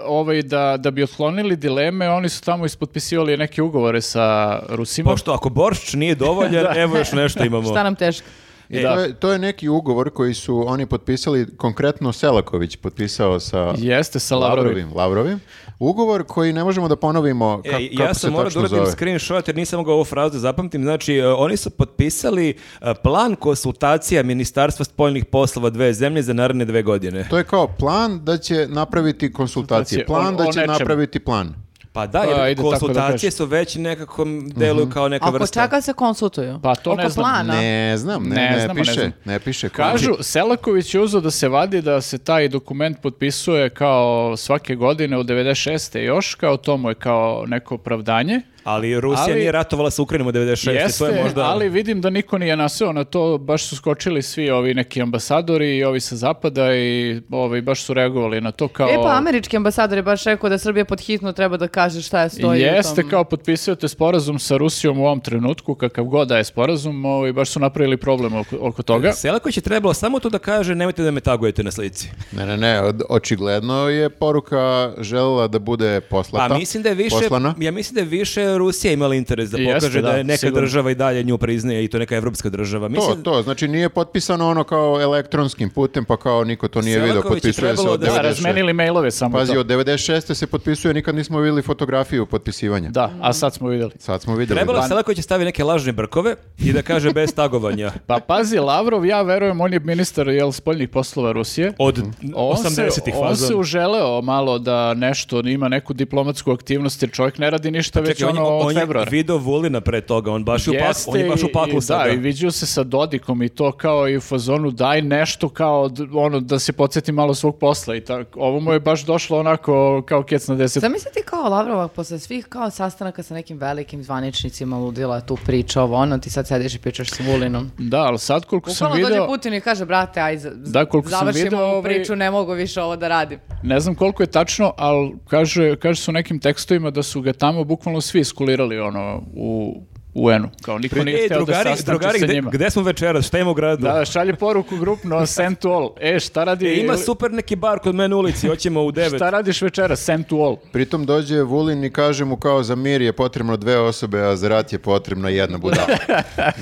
S4: ovaj, da, da bi otklonili dileme, oni su tamo ispotpisivali neke ugovore sa Rusima.
S2: Pošto ako boršč nije
S4: *laughs*
S2: dovoljan, evo još nešto imamo.
S1: Šta nam teško?
S3: I
S2: Da.
S3: to, je, to je neki ugovor koji su oni potpisali, konkretno Selaković potpisao sa
S4: Jeste, sa Lavrovim.
S3: Lavrovim. Lavrovim. Ugovor koji ne možemo da ponovimo ka,
S2: E,
S3: kako
S2: ja
S3: se
S2: sam morao da
S3: tačno
S2: uradim
S3: zove.
S2: screenshot jer nisam mogao ovu frazu da zapamtim. Znači, e, oni su potpisali e, plan konsultacija Ministarstva spoljnih poslova dve zemlje za naredne dve godine.
S3: To je kao plan da će napraviti konsultacije.
S4: Konsultacije,
S3: Plan
S4: o-
S3: da
S4: o
S3: će
S4: nečemu.
S3: napraviti plan.
S2: Pa da,
S4: Pa,
S2: jer
S4: ide tako da
S2: konsultacije
S4: kažem.
S2: su već nekako m,
S3: Mhm.
S2: deluju kao neka
S1: Ako
S2: vrsta.
S1: čeka se konsultuju.
S4: Pa to
S1: Oko
S4: ne znam.
S1: plana.
S3: Ne znam, ne,
S4: Ne
S3: ne,
S4: znamo, ne
S3: piše. Ne,
S4: znam.
S3: piše. koji-
S4: Kažu, Selaković je uzeo da se vadi da se taj dokument potpisuje kao svake godine u 96. još, kao to mu je kao neko opravdanje.
S2: Ali Rusija
S4: Ali-
S2: nije ratovala sa Ukrajinom od 96.
S4: Jeste,
S2: to je možda...
S4: ali vidim da niko nije naseo na to, baš su skočili svi ovi neki ambasadori i ovi sa zapada i ovi baš su reagovali na to kao...
S1: E pa američki ambasador je baš rekao da Srbija pod hitno treba da kaže šta je stoji u
S4: Jeste,
S1: tom.
S4: kao potpisujete sporazum sa Rusijom u ovom trenutku, kakav god da je sporazum, ovaj, baš su napravili problem oko, oko toga.
S2: Selaković je trebalo samo to da kaže nemojte da me tagujete na slici.
S3: Ne, ne, ne, od- očigledno je poruka želela da bude
S2: Pa
S3: poslata.
S2: mislim da je više
S3: Poslana.
S2: ja mislim da je više Rusija imala interes da
S4: Jeste,
S2: pokaže da,
S4: da,
S2: je neka
S4: sigurno.
S2: država i dalje nju priznaje i to neka evropska država.
S3: To,
S2: Mislim
S3: to, znači nije potpisano ono kao elektronskim putem, pa kao niko to nije vidio,
S2: Selaković je
S3: potpisuje se
S2: trebalo
S3: od
S2: da-
S4: Da,
S3: 96.
S4: razmenili mailove samo
S3: Pazi,
S4: to.
S3: od 96. se potpisuje, nikad nismo vidjeli fotografiju potpisivanja.
S4: Da, a sad smo vidjeli.
S3: Sad smo vidjeli.
S2: Trebalo je
S3: Da.
S2: Selaković da stavi neke lažne brkove i da kaže bez tagovanja.
S4: Pa pazi, Lavrov, ja verujem, on je ministar jel, spoljnih poslova Rusije.
S2: Od
S4: Mhm. On se,
S2: 80-ih
S4: on
S2: fazon.
S4: se uželeo malo da nešto, ima neku diplomatsku aktivnost, jer čovjek ne radi ništa već
S2: Pa Čekaj, on, je-
S4: ono
S2: on
S4: od
S2: je
S4: februara.
S2: video Vulina pre toga, on baš je u paklu, on je baš u
S4: Jeste i-
S2: paklu
S4: i
S2: sada.
S4: Da, i viđao se sa Dodikom i to kao i u fazonu daj nešto kao d- ono da se podsjeti malo svog posla i tako. Ovo mu je baš došlo onako kao kec na deset.
S1: Zamisli ti kao Lavrova posle svih kao sastanaka sa nekim velikim zvaničnicima ludila tu priča ovo ono ti sad sediš i pričaš s Vulinom.
S4: Da, ali sad koliko sam
S1: Bukvalno dođe
S4: video,
S1: Putin i kaže brate aj za-
S4: Da, koliko sam
S1: završimo
S4: video,
S1: ovu
S4: ovaj-
S1: priču ne mogu više ovo da
S4: *laughs*
S1: radim.
S4: ne znam koliko je tačno, ali kaže, kaže su u nekim tekstovima da su ga tamo bukvalno svi iskulirali ono u UN-u. Kao niko nije
S2: E,
S4: hteo
S2: drugari,
S4: da sastanče
S2: drugari,
S4: sa
S2: gde,
S4: njima.
S2: gde smo večeras, šta ima u gradu?
S4: Da, šalje poruku grupno, send to all. E, šta radi?
S2: E, ima super neki bar kod mene u ulici, hoćemo u 9.
S4: Šta radiš večera? Send to all.
S3: Pritom dođe Vulin i kaže mu kao za mir je potrebno dve osobe, a za rat je potrebna jedna budala.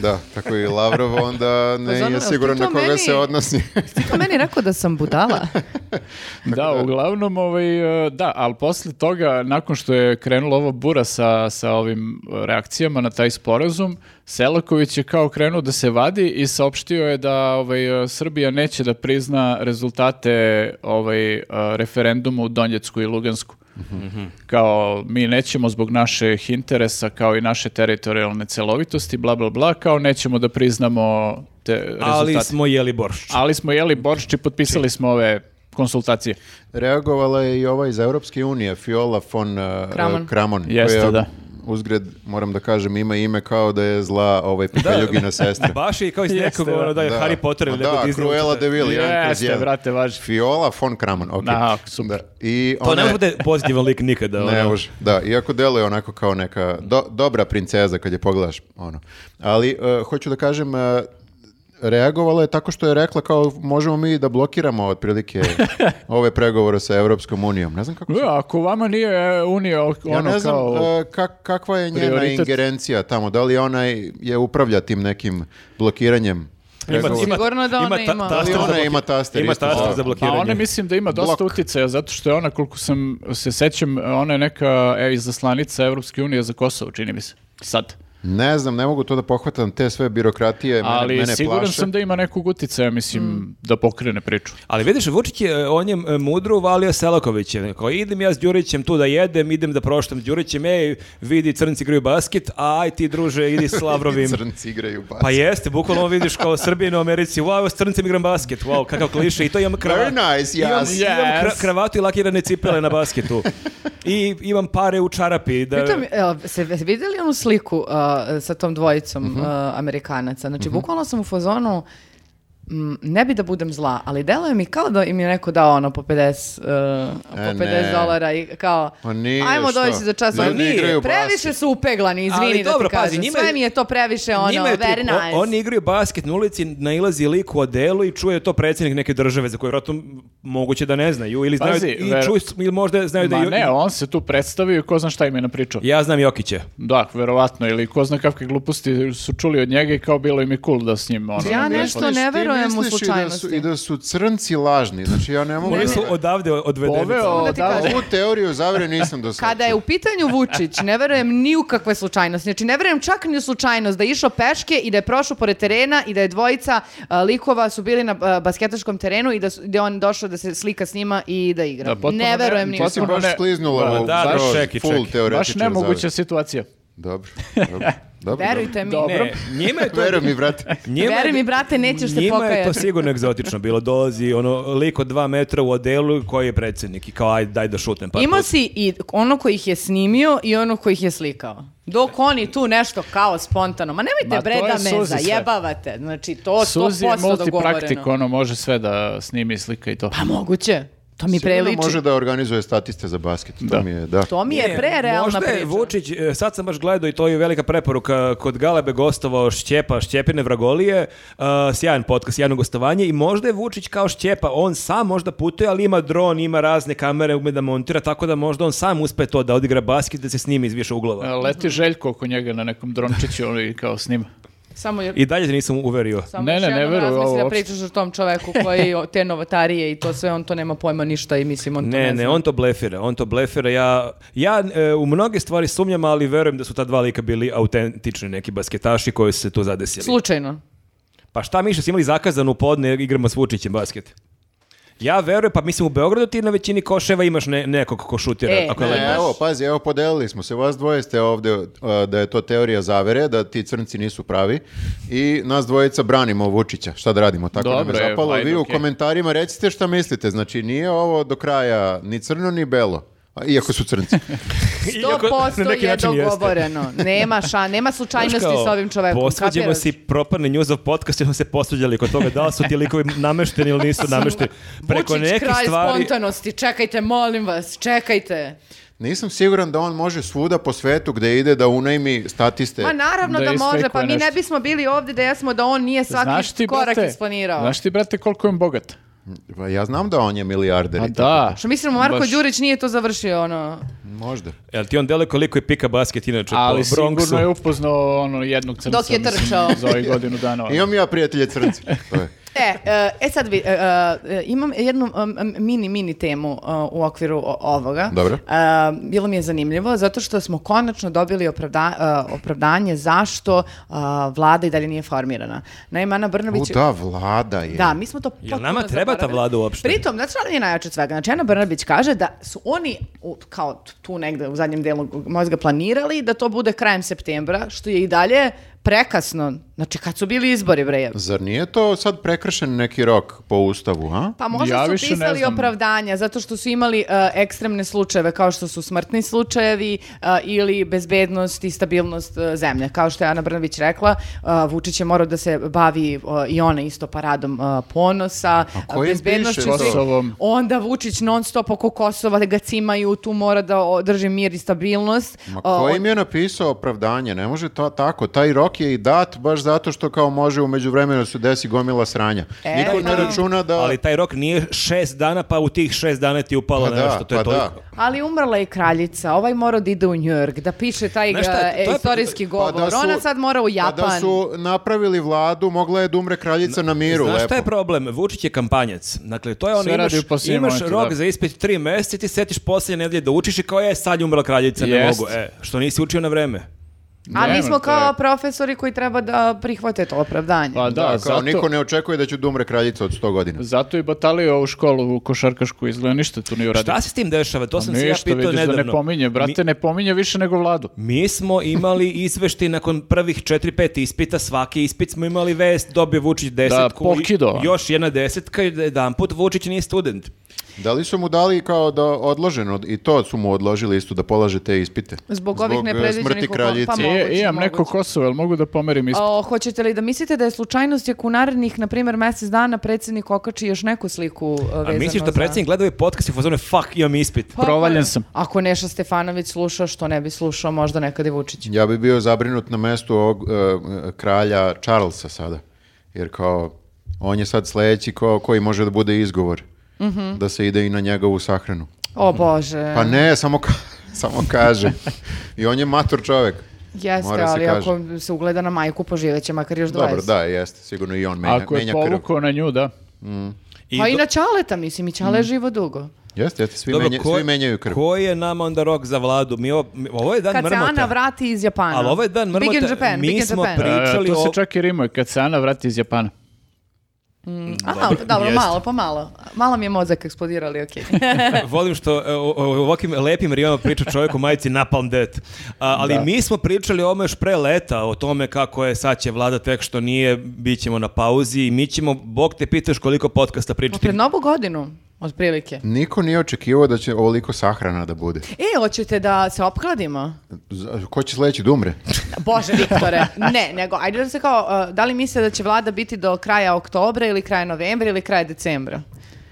S3: da, tako i Lavrov onda ne
S1: Zoran,
S3: je
S1: jel ti
S3: siguran
S1: to
S3: na koga
S1: meni-
S3: se odnosi.
S1: Ti to meni rekao da sam budala.
S4: Da, uglavnom, ovaj, e, da, ali posle toga, nakon što je krenula ova bura sa, sa ovim e, reakcijama na taj sporazum, Selaković je kao krenuo da se vadi i saopštio je da ovaj, e, Srbija neće da prizna rezultate ovaj, e, referenduma u Donjecku i Lugansku.
S2: Mhm.
S4: Kao, mi nećemo zbog naših interesa, kao i naše teritorijalne celovitosti, bla, bla, bla, kao nećemo da priznamo te rezultate.
S2: Ali smo jeli boršč.
S4: Ali smo jeli boršč i potpisali smo ove konsultacije.
S3: Reagovala je i ova iz Europske unije, Fiola von uh,
S1: Kramon.
S3: Kramon,
S4: Jeste,
S3: koja
S4: da.
S3: uzgred, moram da kažem, ima ime kao da je zla ovaj Pepeljugina sestra.
S2: Baš je kao iz nekog
S4: Jeste,
S2: ono da je Harry Potter ili
S3: Ma Pa da,
S2: nekog Disney.
S3: Cruella de Vil, jedan kroz
S4: Jeste,
S3: jedan.
S4: brate, važi.
S3: Fiola von Kramon, ok.
S4: Da, super.
S3: Da. I
S2: To
S3: ona
S2: ne
S3: je-
S2: može da je pozitivan lik nikada.
S3: Ne
S2: ono.
S3: može, da, iako deluje onako kao neka do- dobra princeza kad je pogledaš, ono. Ali, e, hoću da kažem, e, reagovala je tako što je rekla kao možemo mi da blokiramo otprilike ove pregovore sa Evropskom unijom. Ne znam kako se...
S4: E, ako vama nije e, unija, ok,
S3: Ja
S4: ono
S3: ne znam
S4: kao...
S3: e, kak- kakva je njena
S4: prioritet.
S3: ingerencija tamo, da li ona je upravlja tim nekim blokiranjem pregovora?
S1: Sigurno da ona
S2: ta-
S1: ima.
S2: taster
S3: Ali ona
S2: za
S3: ima
S2: bloki-
S3: taster
S2: Ima
S3: isto,
S2: taster
S3: da.
S2: za
S3: Pa
S4: Pa
S2: blokiranje.
S4: ona mislim da ima dosta
S3: Blok.
S4: utjecaja, zato što je ona, koliko sam se sećam, ona je neka e, izaslanica Evropske unije za Kosovo, čini mi se. Sad.
S3: Ne znam, ne mogu to da pohvatam, te sve birokratije E, mene,
S4: Ali
S3: mene
S4: siguran
S3: plaše. *laughs*
S4: sam da ima nekog utjecaja, mislim,
S1: Mm.
S4: da pokrene priču.
S2: Ali vidiš, Vučić je, on je e, mudro uvalio Selakovića. Kao, idem ja s Đurićem tu da jedem, idem da proštam s Đurićem, ej, vidi crnci igraju basket, a aj ti druže,
S3: *laughs*
S2: idi s Lavrovim.
S3: Crnci igraju basket.
S2: Pa jeste, bukvalno vidiš kao Srbije u Americi, wow, s crncem igram basket, wow, kakav kliše, i to imam kravat.
S3: Very nice,
S2: Imam,
S3: yes.
S2: imam kra-
S4: Yes.
S2: kravatu i lakirane cipele na basketu. I imam pare u čarapi. Da...
S1: Pritom, jel, se ve- vidjeli onu sliku a, sa tom dvojicom
S2: Mhm.
S1: a, Amerikanaca? Znači, bukvalno sam u fazonu, mm, ne bi da budem zla, ali deluje mi kao da im je neko dao ono po 50, e,
S3: E,
S1: po 50
S3: ne.
S1: dolara i kao,
S3: Pa nije,
S1: ajmo
S3: što?
S1: doći za čas.
S3: Ljudi
S1: Ono,
S3: igraju
S1: previše
S3: basket.
S1: su upeglani, izvini
S2: Ali
S1: da
S2: dobro,
S1: ti
S2: pazi,
S1: kažem.
S2: njima je-
S1: Sve mi je to previše ono,
S2: Njima je trip.
S1: very nice.
S2: O- oni igraju basket na ulici, nailazi lik u odelu i čuje to predsjednik neke države za koju vjerojatno moguće da ne znaju ili znaju
S4: Pazi,
S2: i
S4: vero-
S2: čuju s- ili možda znaju da
S4: Ma
S2: je-
S4: ne, on se tu predstavio i ko zna šta im je napričao.
S2: Ja znam Jokića.
S4: Da, verovatno, ili ko zna kakve gluposti su čuli od njega i kao bilo im je cool da s njim... Ono,
S1: Ja
S4: ne-
S1: nešto-
S3: Misliš,
S1: ne
S3: ti
S1: verujem u
S3: misliš i da su-
S1: slučajnosti.
S3: I da su crnci lažni, znači ja ne mogu...
S2: Oni
S3: da-
S2: su odavde odvedeni.
S4: Poveo
S1: Samo da ti
S4: odavde.
S1: kažem.
S3: Ovu teoriju zavre nisam do sada.
S1: Kada je u pitanju Vučić, ne verujem ni u kakve slučajnosti. Znači, ne verujem čak ni u slučajnost da je išao peške i da je prošao pored terena i da je dvojica a, likova su bili na a, basketaškom terenu i da, su, da je on došao da se slika s njima i da igra.
S4: Da, potpuno
S1: ne
S4: ne-
S1: verujem ni u
S3: To si
S4: potpuno-
S1: to.
S3: baš
S4: ne-
S3: skliznula
S2: Ma
S3: u
S2: da, da,
S3: skroz
S2: čekaj,
S3: full
S2: čekaj.
S3: teoretičar
S4: Baš nemoguća
S3: zavere.
S4: situacija.
S3: Dobro,
S1: *laughs*
S3: dobro, dobro.
S1: Verujte mi.
S4: Dobro.
S2: Ne, njima je to...
S3: Veruj mi, brate.
S2: Njima je-
S1: Veruj mi, brate, nećeš se
S2: Njima je to
S1: pokajati.
S2: sigurno egzotično bilo. Dolazi ono lik od dva metra u odelu koji je predsjednik i kao aj daj da pa šutnem
S4: Pa
S2: par
S1: Imao
S2: puta.
S1: si i ono koji ih je snimio i ono koji ih je slikao. Dok oni tu nešto kao spontano. Ma nemojte
S4: Ma, to
S1: bre
S4: je
S1: da me
S4: Suzi sve.
S1: zajebavate. Znači, to 100%
S4: Suzi je multipraktik,
S1: dogovoreno.
S4: ono može sve da snimi slika i to.
S1: Pa moguće. To mi
S3: Sigurno
S1: preliči.
S3: može da organizuje statiste za basket, to
S4: Da.
S3: mi je, da.
S1: To mi je
S2: Ne,
S1: prerealna
S2: možda je
S1: priča.
S2: Vučić, e, sad sam baš gledao i to je velika preporuka, kod Galebe gostovao Šćepa, Šćepine Vragolije, uh, sjajan podcast, sjajno gostovanje i možda je Vučić kao Šćepa, on sam možda putuje, ali ima dron, ima razne kamere, ume da montira, tako da možda on sam uspe to da odigra basket, da se snimi iz više
S1: Pa,
S2: uglova.
S4: E,
S1: mhm.
S4: Leti Željko oko njega na nekom drončiću ono i kao snima.
S1: Samo je...
S2: I dalje te nisam uverio.
S1: Samo
S4: Ne,
S1: još
S4: ne, ne
S1: jednom
S4: veruj
S1: razmisli
S4: ovo
S1: da
S4: uopšte.
S1: pričaš o tom čoveku
S4: *laughs*
S1: koji o- te novotarije i to sve, on to nema pojma ništa i mislim, on to ne,
S2: Ne, ne, on to blefira, on to blefira. Ja, ja e, u mnoge stvari sumnjam, ali verujem da su ta dva lika bili autentični neki basketaši koji su se tu zadesili.
S1: Slučajno.
S2: Pa šta Miša, si imali zakazan u podne igramo s Vučićem basket? Ja verujem, pa mislim u Beogradu ti na većini koševa imaš ne, nekog ko šutira.
S1: E,
S2: ako je
S1: ne,
S2: lepo.
S3: Ne,
S2: *laughs*
S3: evo, pazi, evo, podelili smo se, vas dvoje ste ovde, uh, da je to teorija zavere, da ti crnci nisu pravi i nas dvojica branimo Vučića, šta da radimo, tako nam
S4: Dobro
S3: je
S4: je,
S3: zapalo.
S4: ajde,
S3: Vi u
S4: okej.
S3: komentarima recite šta mislite, znači nije ovo do kraja ni crno ni belo, a iako su
S1: *laughs*
S3: crnci.
S2: *laughs*
S1: 100% je dogovoreno. Nema ša, nema
S2: Znaš
S1: slučajnosti
S2: kao,
S1: s ovim čovekom.
S2: Posvađamo
S1: kapiraš?
S2: si propane njuzov podcast i smo se posvađali kod toga da li su ti likovi namešteni ili nisu
S1: *laughs*
S2: namešteni. Preko
S1: Vučić,
S2: nekih
S1: kralj
S2: stvari...
S1: spontanosti, čekajte, molim vas, čekajte.
S3: Nisam siguran da on može svuda po svetu gde ide da unajmi statiste.
S1: Ma naravno
S4: Da
S1: da, može, pa
S4: isfejkuje
S1: mi ne
S4: nešto.
S1: bismo bili ovdje da jesmo da on nije svaki korak isplanirao.
S4: Znaš ti, brate, koliko je on bogat?
S3: Pa Ja znam da on je milijarder.
S4: A
S3: i tako.
S4: da.
S1: Što mislimo, Marko
S4: Baš.
S1: Đurić nije to završio, ono...
S3: Možda.
S2: Jel ti on dele koliko je pika basket inače
S4: Ali
S2: po Bronxu?
S4: sigurno je upoznao ono jednog crnca.
S1: Dok je
S4: mislim,
S1: trčao.
S4: Za ovih godinu
S3: *laughs*
S4: dana. ono.
S3: Imam ja prijatelje
S4: *laughs*
S3: crnci. To je.
S1: E, e, e sad vi, e, e, imam jednu um, um, mini, mini temu uh, u okviru o- ovoga.
S3: Dobro.
S1: E, bilo mi je zanimljivo zato što smo konačno dobili opravda- e, opravdanje zašto uh, vlada i dalje nije formirana. Naime, Ana Brnović...
S3: U, da, vlada je.
S1: Da, mi smo to
S2: Jel
S1: potpuno
S2: nama treba ta
S1: zaboravili.
S2: vlada uopšte?
S1: Pritom, znači šta je najjače od svega? Znači, Ana Brnabić kaže da su oni u- kao tu negde u zadnjem delu mozga planirali da to bude krajem septembra, što je i dalje prekasno. Znači, kad su bili izbori, bre, je-
S3: Zar nije to sad prekršen neki rok po ustavu, ha?
S1: Pa možda
S4: Ja
S1: su
S4: više ne
S1: pisali
S4: znam.
S1: opravdanja zato što su imali uh, ekstremne slučajeve kao što su smrtni slučajevi uh, ili bezbednost i stabilnost uh, zemlje. Kao što je Ana Brnović rekla, uh, Vučić je morao da se bavi uh, i ona isto paradom uh, ponosa,
S3: ko
S1: uh,
S3: im
S1: bezbednošću.
S3: piše to?
S1: svih.
S4: Kosovom.
S1: Onda Vučić non stop oko Kosova da ga cimaju, tu mora da održi mir i stabilnost.
S3: Ma
S1: Uh,
S3: ko
S1: on-
S3: im je napisao opravdanje? Ne može to tako. Taj rok je i dat baš zato što kao može u međuvremenu se desi gomila sranja.
S1: E,
S3: Niko ne
S1: pa.
S3: računa da...
S2: Ali taj rok nije šest dana, pa u tih šest dana ti je upalo
S3: Pa da,
S2: nešto. To je
S3: pa da.
S2: toliko.
S1: Ali umrla je kraljica, ovaj morao da ide u Njujork, da piše taj
S2: Znaš šta,
S1: uh,
S2: to je-
S1: istorijski
S3: Pa
S1: govor.
S3: da su-
S1: Ona sad mora u Japan.
S3: Pa da su napravili vladu, mogla je da umre kraljica na miru.
S2: Znaš
S3: lepo.
S2: šta je problem? Vučić je kampanjac. Dakle, to je ono,
S4: Sve
S2: imaš,
S4: radi u posljednjem
S2: imaš
S4: momentu,
S2: rok
S4: da.
S2: za ispit tri mjeseca, ti setiš posljednje nedelje da učiš i kao je, sad je umrla kraljica, ne
S4: Jest.
S2: mogu. E, što nisi učio na vreme?
S1: A mi
S4: Nema,
S1: smo
S4: to je-
S1: kao profesori koji treba da prihvate to opravdanje.
S3: Da,
S4: Pa da,
S3: kao
S4: zato,
S3: niko ne očekuje da će da umre kraljica od 100 godina.
S4: zato i batalio ovu školu u košarkašku izgleda ništa tu nije uradio.
S2: Šta se s tim dešava? To sam se ja
S4: Pa Ništa,
S2: pitao
S4: vidiš
S2: nedavno.
S4: da ne pominje, brate,
S2: Mi,
S4: ne pominje više nego vladu.
S2: mi smo imali izvešti nakon prvih 4-5 ispita, svaki ispit smo imali vest, dobio Vučić desetku, i
S4: pokido.
S2: još jedna desetka i jedan put Vučić nije student.
S3: Da li su mu dali kao da odloženo, i to su mu odložili isto da polaže te ispite?
S1: Zbog ovih
S3: eh,
S1: nepredviđenih
S3: smrti
S1: okolnosti.
S3: kraljice.
S1: Pa mo-
S4: I,
S1: Moguće,
S4: imam neko
S1: moguće.
S4: Kosovo, jel mogu da pomerim ispit?
S1: O, hoćete li da mislite da je slučajnost ako u narednih, na primjer, mjesec dana predsjednik okači još neku sliku e, vezano
S2: A misliš da
S1: za-
S2: predsjednik gleda ovaj podcast i fazone, fuck, imam ispit.
S1: Pa,
S4: Provaljen
S1: pa,
S4: sam.
S1: Ako Neša Stefanović sluša, što ne bi slušao, možda nekad i Vučić.
S3: Ja bi bio zabrinut na mestu ovog eh, kralja Charlesa sada. Jer kao, on je sad sledeći ko, koji može da bude izgovor. Da se ide i na njegovu sahranu.
S2: Hmm.
S1: O Bože.
S3: Pa ne, samo, ka- *laughs* samo kaže. I on je mator čovek.
S1: Jeste,
S3: mora se
S1: ali
S3: kaže.
S1: ako se ugleda na majku, poživeće makar još 20.
S3: Dobro, da, jeste. Sigurno i on menja,
S4: Ako je
S3: menja krv.
S4: povukao na nju, da.
S2: I
S1: Pa i
S2: do-
S1: na Čaleta, mislim, i
S2: Hmm.
S1: Čale je živo dugo.
S3: Jeste, jeste. Svi,
S2: Dobro,
S3: menja-
S2: ko-
S3: svi menjaju krv.
S2: Koji je nama onda rok za vladu? Mi ovo, mi- ovo je dan
S1: Kad se
S2: mrmota.
S1: Ana vrati iz Japana.
S2: Ali ovo je dan mrmota.
S1: Big in Japan,
S2: Mi
S1: Big in
S2: smo
S1: Japan.
S2: pri- Pričali
S4: E, to se
S2: o-
S4: čak i rimuje, kad se Ana vrati iz Japana.
S1: Aha, dobro,
S2: Jeste.
S1: malo, po malo. Malo mi je mozak eksplodirao, ali okej.
S2: *laughs* Volim što e, o, o ovakvim lepim rijama priča čovjek u majici Napalm Death. A, ali mi smo pričali o ovome još pre leta, o tome kako je sad će vlada tek što nije, bit ćemo na pauzi i mi ćemo, bog te pitaš koliko podcasta
S1: Pa
S2: pričati.
S1: Pred novu godinu, otprilike.
S3: Niko nije očekivao da će ovoliko sahrana da bude.
S1: E, hoćete da se opkladimo?
S3: Z- Ko će sledeći da umre?
S1: Bože, Viktore, ne, nego, ajde da se kao, uh, da li misle da će vlada biti do kraja oktobra ili kraja novembra ili kraja decembra?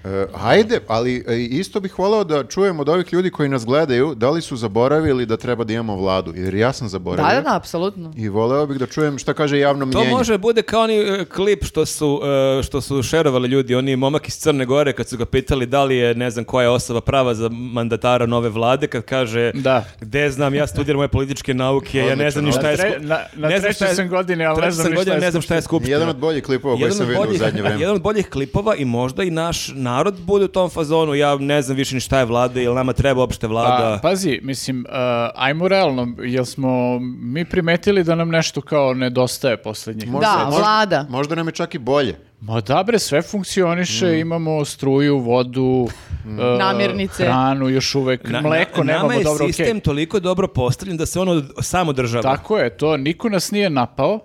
S3: E, hajde, ali e, isto bih voleo da čujem od ovih ljudi koji nas gledaju da li su zaboravili da treba da imamo vladu, jer ja sam
S1: Da,
S3: zaboravio.
S1: da, da, apsolutno.
S3: I voleo bih da čujem šta kaže javno
S2: To
S3: mnjenje.
S2: može bude kao oni e, klip što su, e, što su šerovali ljudi, oni momak iz Crne Gore kad su ga pitali da li je, ne znam, koja je osoba prava za mandatara nove vlade, kad kaže,
S4: Da.
S2: gde znam, ja studiram moje političke nauke, ja ne znam ni šta je...
S4: Na tre-
S2: sku-
S4: na- na
S2: ne znam
S4: trećoj
S2: šta je-
S4: sam godini, ali ne
S2: trećoj
S4: znam
S2: sam
S4: ni šta
S2: godini,
S4: je
S2: ne znam šta je skupština.
S3: Jedan od boljih klipova koji sam
S2: od
S3: vidio u zadnje vreme.
S2: jedan od boljih klipova i možda i naš narod bude u tom fazonu, ja ne znam više ni šta je vlada, jel nama treba opšte vlada.
S4: Pa, pazi, mislim, uh, ajmo realno, jel smo mi primetili da nam nešto kao nedostaje posljednjih?
S1: Da, vlada.
S3: Možda nam je čak i bolje.
S4: Ma da bre, sve funkcioniše,
S2: Mm.
S4: imamo struju, vodu, e,
S1: Namirnice.
S4: hranu, još uvek,
S2: Na- na-
S4: pa, mleko
S2: nama
S4: nemamo,
S2: je
S4: dobro,
S2: sistem
S4: okej.
S2: toliko dobro postavljen da se ono samo država.
S4: Tako je, to niko nas nije napao,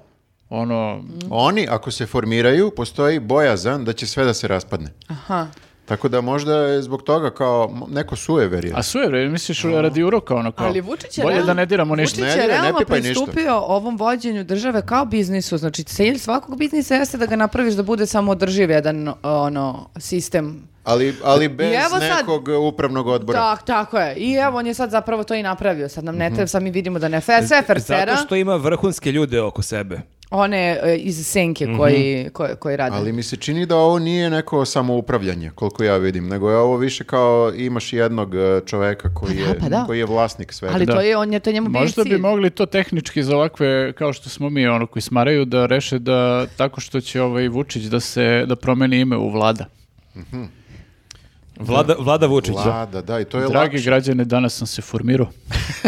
S4: ono,
S3: Oni, ako se formiraju, postoji bojazan da će sve da se raspadne.
S1: Aha.
S3: Tako da možda je zbog toga kao m- neko sujeverje.
S4: a su je, misliš, radi uroka, ono kao,
S1: Ali Vučić je
S4: bolje
S1: realno-
S4: da ne diramo ništa.
S3: Ne
S1: Vučić
S3: dire,
S1: je
S3: ne
S1: realno
S3: pipaj ništa.
S1: pristupio ovom vođenju države kao biznisu. Znači, cilj svakog biznisa jeste da ga napraviš da bude samo održiv jedan ono, sistem
S3: Ali, ali bez
S1: I evo sad-
S3: nekog upravnog odbora.
S1: Tak, tako je. I evo, on je sad zapravo to i napravio. Sad nam ne treba, sad mi vidimo da ne fe, sve fercera.
S2: Zato što ima vrhunske ljude oko sebe.
S1: One e, iz Senke
S4: Mhm.
S1: koji, koji, koji rade.
S3: Ali mi se čini da ovo nije neko samoupravljanje, koliko ja vidim, nego je ovo više kao imaš jednog e, čoveka koji
S1: Pa da,
S3: je,
S1: pa da.
S3: koji je vlasnik svega.
S1: Ali
S4: Da.
S1: to je, on je to je njemu bio
S4: Možda bi
S1: cilj.
S4: mogli to tehnički za ovakve, kao što smo mi, ono, koji smaraju, da reše da tako što će ovaj Vučić da se, da promeni ime u vlada.
S2: Vlada, vlada Vučić.
S3: Vlada, da, i to je
S4: Dragi
S3: lakše.
S4: građani, danas sam se formirao.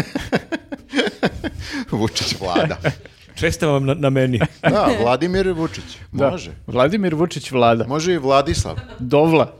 S3: *laughs* Vučić vlada.
S2: Čestam vam na, na
S1: *laughs*
S2: meni.
S3: Da, Vladimir Vučić.
S4: Da.
S3: Može.
S4: Vladimir Vučić vlada.
S3: Može i Vladislav.
S4: Dovla.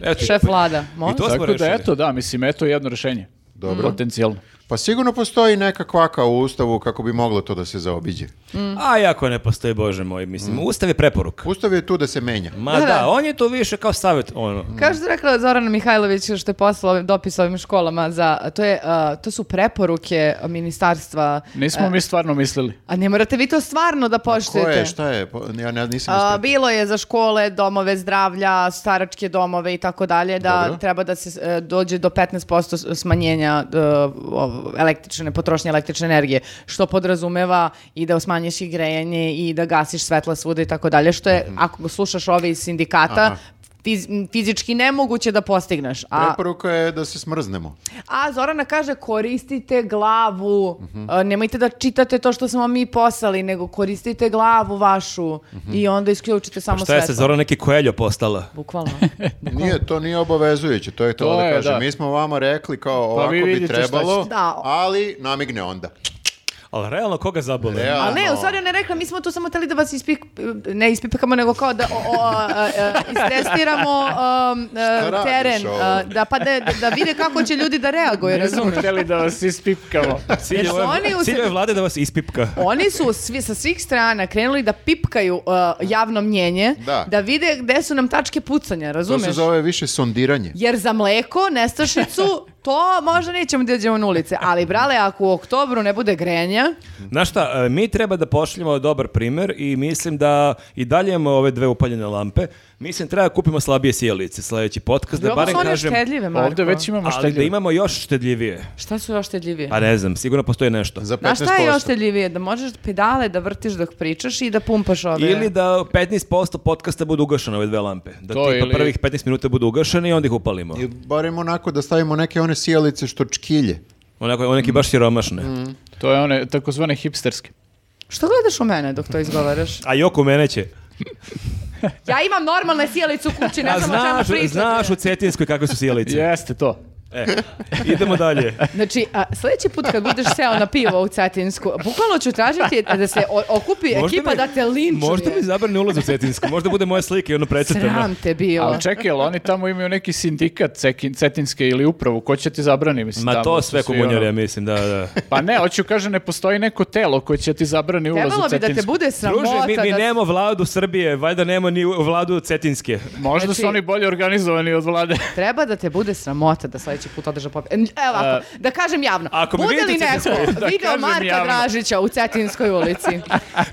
S2: Eto,
S1: Šef vlada.
S2: I to smo
S4: Tako da
S2: rešili.
S4: eto, da, mislim, eto jedno rešenje.
S3: Dobro.
S4: Potencijalno.
S3: Pa sigurno postoji neka kvaka u ustavu kako bi moglo to da se zaobiđe.
S1: Mm.
S2: A jako ne postoji, bože moj,
S3: Mm.
S2: mislim, ustav je preporuka.
S3: Ustav je tu da se menja.
S2: Ma
S1: Da,
S2: da,
S1: da.
S2: on je to više kao savjet, ono.
S1: Kao što je rekla Zorana Mihajlović što je poslala ovaj dopis ovim školama za to je uh, to su preporuke ministarstva.
S4: Nismo mi stvarno mislili.
S1: A ne morate vi to stvarno da poštujete.
S3: Ko je, šta je? Po- Ja ne- nisam
S1: A,
S3: ispratio.
S1: bilo je za škole, domove zdravlja, staračke domove i tako dalje, da
S3: Dobro.
S1: treba da se e, dođe do 15% s- smanjenja e, ovo, električne, potrošnje električne energije, što podrazumeva i da smanjiš i grejanje i da gasiš svetla svuda i tako dalje, što
S2: Mhm.
S1: je, ako slušaš ove iz sindikata, fiz- fizički nemoguće da postigneš. A,
S3: Preporuka je da se smrznemo.
S1: a Zorana kaže koristite glavu,
S2: Mhm.
S1: E, nemojte da čitate to što smo mi poslali, nego koristite glavu vašu i onda isključite samo
S2: Mhm. Pa Šta je se
S1: svetlo.
S2: Zora neki koeljo postala?
S3: *laughs*
S1: Bukvalno.
S3: Nije, to nije obavezujuće, to je to,
S4: To
S3: da
S4: je,
S3: kažem.
S4: da.
S3: Mi smo vama rekli kao ovako
S4: vi
S3: bi
S4: vidite šta
S3: trebalo,
S1: ćete. Da.
S3: ali namigne onda.
S2: Ali realno koga zabole?
S1: A
S3: Realno.
S1: ne, u stvari ona je rekla, mi smo tu samo hteli da vas ispik, ne ispipkamo, nego kao da o, o, a, a, istestiramo um, e,
S3: *laughs* Šta radiš
S1: teren,
S3: ovo?
S1: a, da, pa da, da vide kako će ljudi da reaguju.
S4: Ne
S1: razumeš?
S4: smo hteli da vas ispipkamo.
S2: Cilj
S1: Jer
S2: je
S1: su
S2: ove-
S1: oni u
S2: cilj je
S1: se-
S2: vlade da vas ispipka.
S1: Oni su svi, sa svih strana krenuli da pipkaju e, javno mnjenje,
S3: Da.
S1: vide gde su nam tačke pucanja,
S3: To
S1: razumeš?
S3: se zove više sondiranje.
S1: Jer za mleko, nestašicu, to možda nećemo da iđemo na ulice. Ali, brale, ako u oktobru ne bude grenja,
S2: Znaš šta, e, mi treba da pošaljemo dobar primer i mislim da i dalje imamo ove dve upaljene lampe. Mislim, treba da kupimo slabije sjelice sljedeći podcast, da
S1: ovo
S2: barem
S1: su one
S2: kažem...
S1: štedljive, Marko.
S4: Ovdje već imamo šta
S2: Ali da imamo još štedljivije.
S1: Šta su još štedljivije?
S2: Pa ne znam, sigurno postoji nešto.
S3: Za 15%.
S1: Znaš šta je još teljivije? Da možeš pedale da vrtiš dok pričaš i da pumpaš
S4: Pa
S1: ove...
S2: Ili da 15% podcasta budu ugašene ove dve lampe. Da
S4: To
S2: tipa
S4: ili-
S2: prvih 15 minuta budu ugašene i onda ih upalimo.
S3: I barem onako da stavimo neke one sjelice što čkilje.
S2: Onako, onaki baš siromašne.
S4: To je one takozvane hipsterske.
S1: Što gledaš u mene dok to izgovaraš?
S2: A Joko mene će.
S1: *laughs* Ja imam normalne sjelice u kući, ne
S2: A
S1: znam o čemu
S2: znaš,
S1: pričate.
S2: znaš u Cetinskoj kakve su sjelice.
S4: Jeste to.
S2: E, idemo dalje.
S1: Znači, a, sljedeći put kad budeš seo na pivo u Cetinsku, bukvalno ću tražiti da se o- okupi *laughs* ekipa
S2: mi-
S1: da te linčuje.
S2: Možda mi zabrani ulaz u Cetinsku, možda bude moja slika i ono precrtana.
S1: Sram te bilo.
S4: Ali čekaj, ali oni tamo imaju neki sindikat cekin, cetinske ili upravu. Ko će ti zabrani, mislim,
S2: Ma
S4: tamo
S2: to
S4: su
S2: sve
S4: svi,
S2: komunjari, ja
S4: ono-
S2: mislim, da, da.
S4: Pa ne, hoću kaže, ne postoji neko telo koje će ti zabrani ulaz
S1: Trebalo
S4: u
S1: bi da te
S4: Cetinsku.
S1: bude
S2: Druže,
S1: *laughs* sramota.
S2: mi, mi
S1: da-
S2: nemo vladu Srbije, valjda nemo ni vladu Cetinske.
S4: Možda
S1: Znači-
S4: su oni bolje organizovani od vlade. *laughs*
S1: Treba da te bude sramota da sljedeći put odeš na pobe- Evo ovako, da kažem javno.
S2: ako me
S1: bude li
S2: vidite u
S1: neko
S2: *laughs* Cetinskoj-
S4: Da
S1: video
S4: kažem
S1: Marka
S4: javno.
S1: Dražića u Cetinskoj
S2: *laughs*
S1: ulici?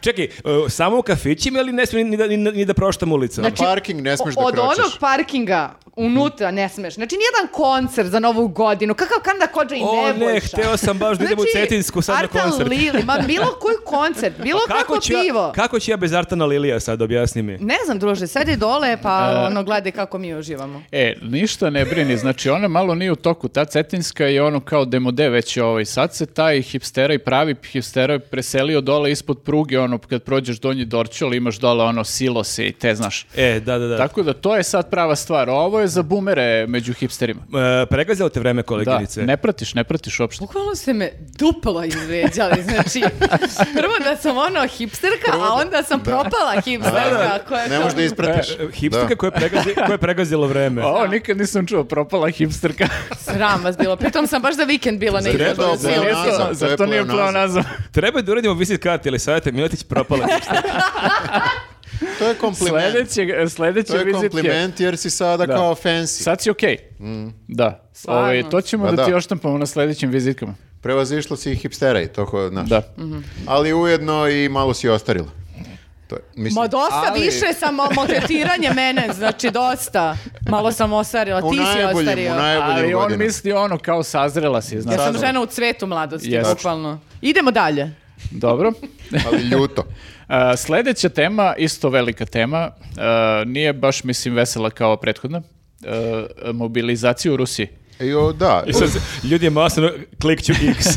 S2: Čekaj, e, samo u kafićima ili ne smijem ni da, ni, ni da proštam ulicama?
S3: Na parking ne smeš da
S1: Znači, Od
S3: kročiš.
S1: onog parkinga unutra ne smeš. Znači, nijedan koncert za novu godinu. Kakav kanda kođa i
S2: O
S1: nebojša.
S2: ne, hteo sam baš da idem u Cetinsku sad na
S1: Arta
S2: koncert.
S1: Znači, Lili, ma bilo koji
S2: *laughs*
S1: koncert, bilo Pa kako
S2: ću
S1: pivo.
S2: ja, kako ću ja bez Artana Lilija sad, objasni mi.
S1: Ne znam, druže, sedi dole pa
S3: E.
S1: ono, gledaj kako mi uživamo.
S4: E, ništa ne brini, znači ona malo nije u toku, ta cetinska je ono kao demode već ovaj, sad se taj hipstera i pravi hipstera preselio dole ispod pruge, ono kad prođeš donji dorčol imaš dole ono silose i te, znaš.
S2: E, da, da, da.
S4: Tako da to je sad prava stvar, ovo je za bumere među hipsterima.
S2: E, pregazilo te vreme,
S4: Da,
S2: koleginice.
S4: ne pratiš, ne pratiš uopšte.
S1: Bukvalno ste me duplo izvređali, znači *laughs* prvo da sam ono hipsterka, a onda sam propala hipsterka. koja je
S3: Ne
S1: to-
S3: možeš da ispratiš.
S2: E, Hipsterka koja, je pregazi- koja je pregazila vreme.
S4: Pa Ovo nikad nisam čuo, propala hipsterka.
S1: Sram vas bilo, pritom sam baš za vikend bila na
S3: Treba
S1: izložbi.
S3: da
S4: Zar nije
S3: pleonazam, to
S4: to-
S3: je
S4: Zar to nije
S3: pleonazam.
S4: pleonazam?
S2: Treba je da uradimo visit karti, ili savjeta Miletić propala.
S3: Da. To je kompliment.
S4: Sledeće, sledeće
S3: To je
S4: vizitke-
S3: kompliment jer si sada
S4: Da.
S3: kao fancy.
S4: Sad si okej. Da.
S1: Stvarno?
S4: Ovaj, to ćemo
S3: Pa
S4: da, ti
S3: da.
S4: oštampamo na sledećim vizitkama.
S3: Prevazišla si i hipstera i to ko znaš.
S4: Da.
S3: Ali ujedno i malo si ostarila. To je, mislim,
S1: Ma dosta
S4: ali-
S1: više sam mo- moketiranje mene, znači dosta. Malo sam ostarila,
S3: u
S1: ti si
S3: najboljim, u
S1: ostario.
S3: najboljim
S4: Ali on
S3: godinama.
S4: misli ono kao sazrela si, znaš.
S1: Ja sam
S3: Saznam.
S1: žena u cvetu mladosti,
S4: Jeste.
S1: bukvalno. Idemo dalje.
S4: Dobro. *laughs*
S3: Ali ljuto.
S4: A, sledeća tema, isto velika tema, a, nije baš, mislim, vesela kao prethodna. A, mobilizacija u Rusiji.
S3: I o, da.
S2: I sad se- ljudi je masno, klikću X.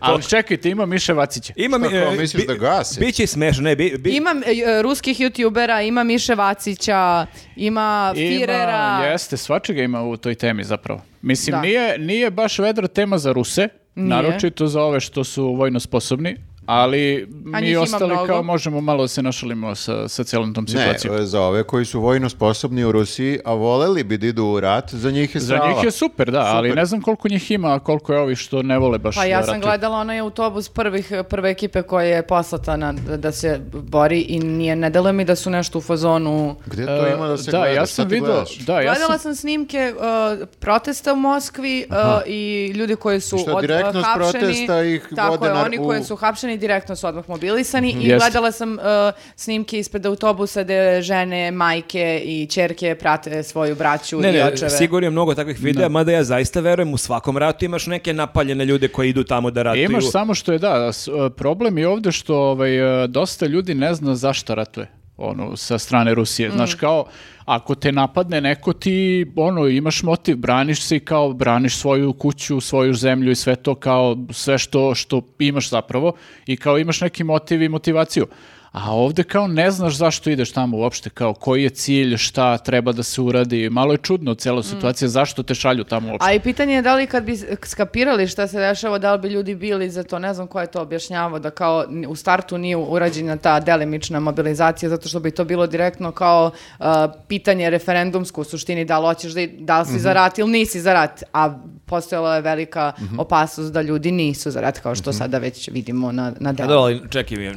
S4: Ali čekajte, ima Miše Vacića.
S2: Ima, mi-
S3: Šta, kao
S2: e,
S3: misliš da gasi?
S2: Biće i smešno, ne, bi, bi-
S1: Imam e, e, ruskih youtubera, ima Miše Vacića, ima Firera.
S4: Ima, jeste, svačega ima u toj temi zapravo. Mislim,
S1: Da.
S4: nije, nije baš vedra tema za Ruse, naročito za ove što su vojno sposobni, Ali
S1: A njih
S4: mi
S1: ima
S4: ostali
S1: mnogo.
S4: kao možemo malo da se našalimo sa, sa cijelom tom
S3: Ne, e,
S4: situacijom.
S3: za ove koji su vojno sposobni u Rusiji, a voleli bi da idu u rat, za njih je
S4: Za
S3: strava.
S4: njih je super, da, ali ne znam koliko njih ima, a koliko je ovi što ne vole baš
S1: Pa ja
S4: da
S1: sam
S4: ratuju.
S1: gledala onaj autobus prvih, prve ekipe koja je poslata na, da se bori i nije, ne deluje mi da su nešto u fazonu.
S3: Gde to ima da se gleda?
S4: E,
S3: Šta
S4: ja sam
S3: ti
S4: video,
S3: gledaš?
S4: da, ja
S1: Gledala
S4: sam,
S1: sam snimke uh, protesta u Moskvi uh, i ljudi koji su
S3: I šta,
S1: od, uh,
S3: direktno s
S1: hapšeni.
S3: protesta ih
S1: tako
S3: vode
S1: je,
S3: na-
S1: oni
S3: u-
S1: koji su hapšeni direktno su odmah mobilisani i
S4: Jeste.
S1: gledala sam uh, snimke ispred autobusa gde žene, majke i čerke prate svoju braću
S2: Ne,
S1: i
S2: ne,
S1: očeve.
S2: sigurno je mnogo takvih videa, mada ja zaista verujem u svakom ratu imaš neke napaljene ljude koji idu tamo da ratuju.
S4: E, imaš samo što je, da, s- e, problem je ovdje što ovaj, e, dosta ljudi ne zna zašto ratuje ono, sa strane Rusije. Znaš, kao, ako te napadne neko, ti, ono, imaš motiv, braniš se i kao, braniš svoju kuću, svoju zemlju i sve to, kao, sve što, što imaš zapravo i kao imaš neki motiv i motivaciju. A ovdje kao ne znaš zašto ideš tamo uopšte, kao koji je cilj, šta treba da se uradi, malo je čudno cijela situacija, zašto te šalju tamo uopšte.
S1: A i pitanje je da li kad bi skapirali šta se dešava, da li bi ljudi bili za to, ne znam ko je to objašnjavao, da kao n- u startu nije urađena ta delimična mobilizacija, zato što bi to bilo direktno kao uh, pitanje referendumsko u suštini, da li hoćeš da, i- da li si za rat ili nisi za rat, a postojala je velika opasnost da ljudi nisu za rat, kao što sada već vidimo na, na
S2: A
S1: delu.
S2: da, ali čekaj, mi,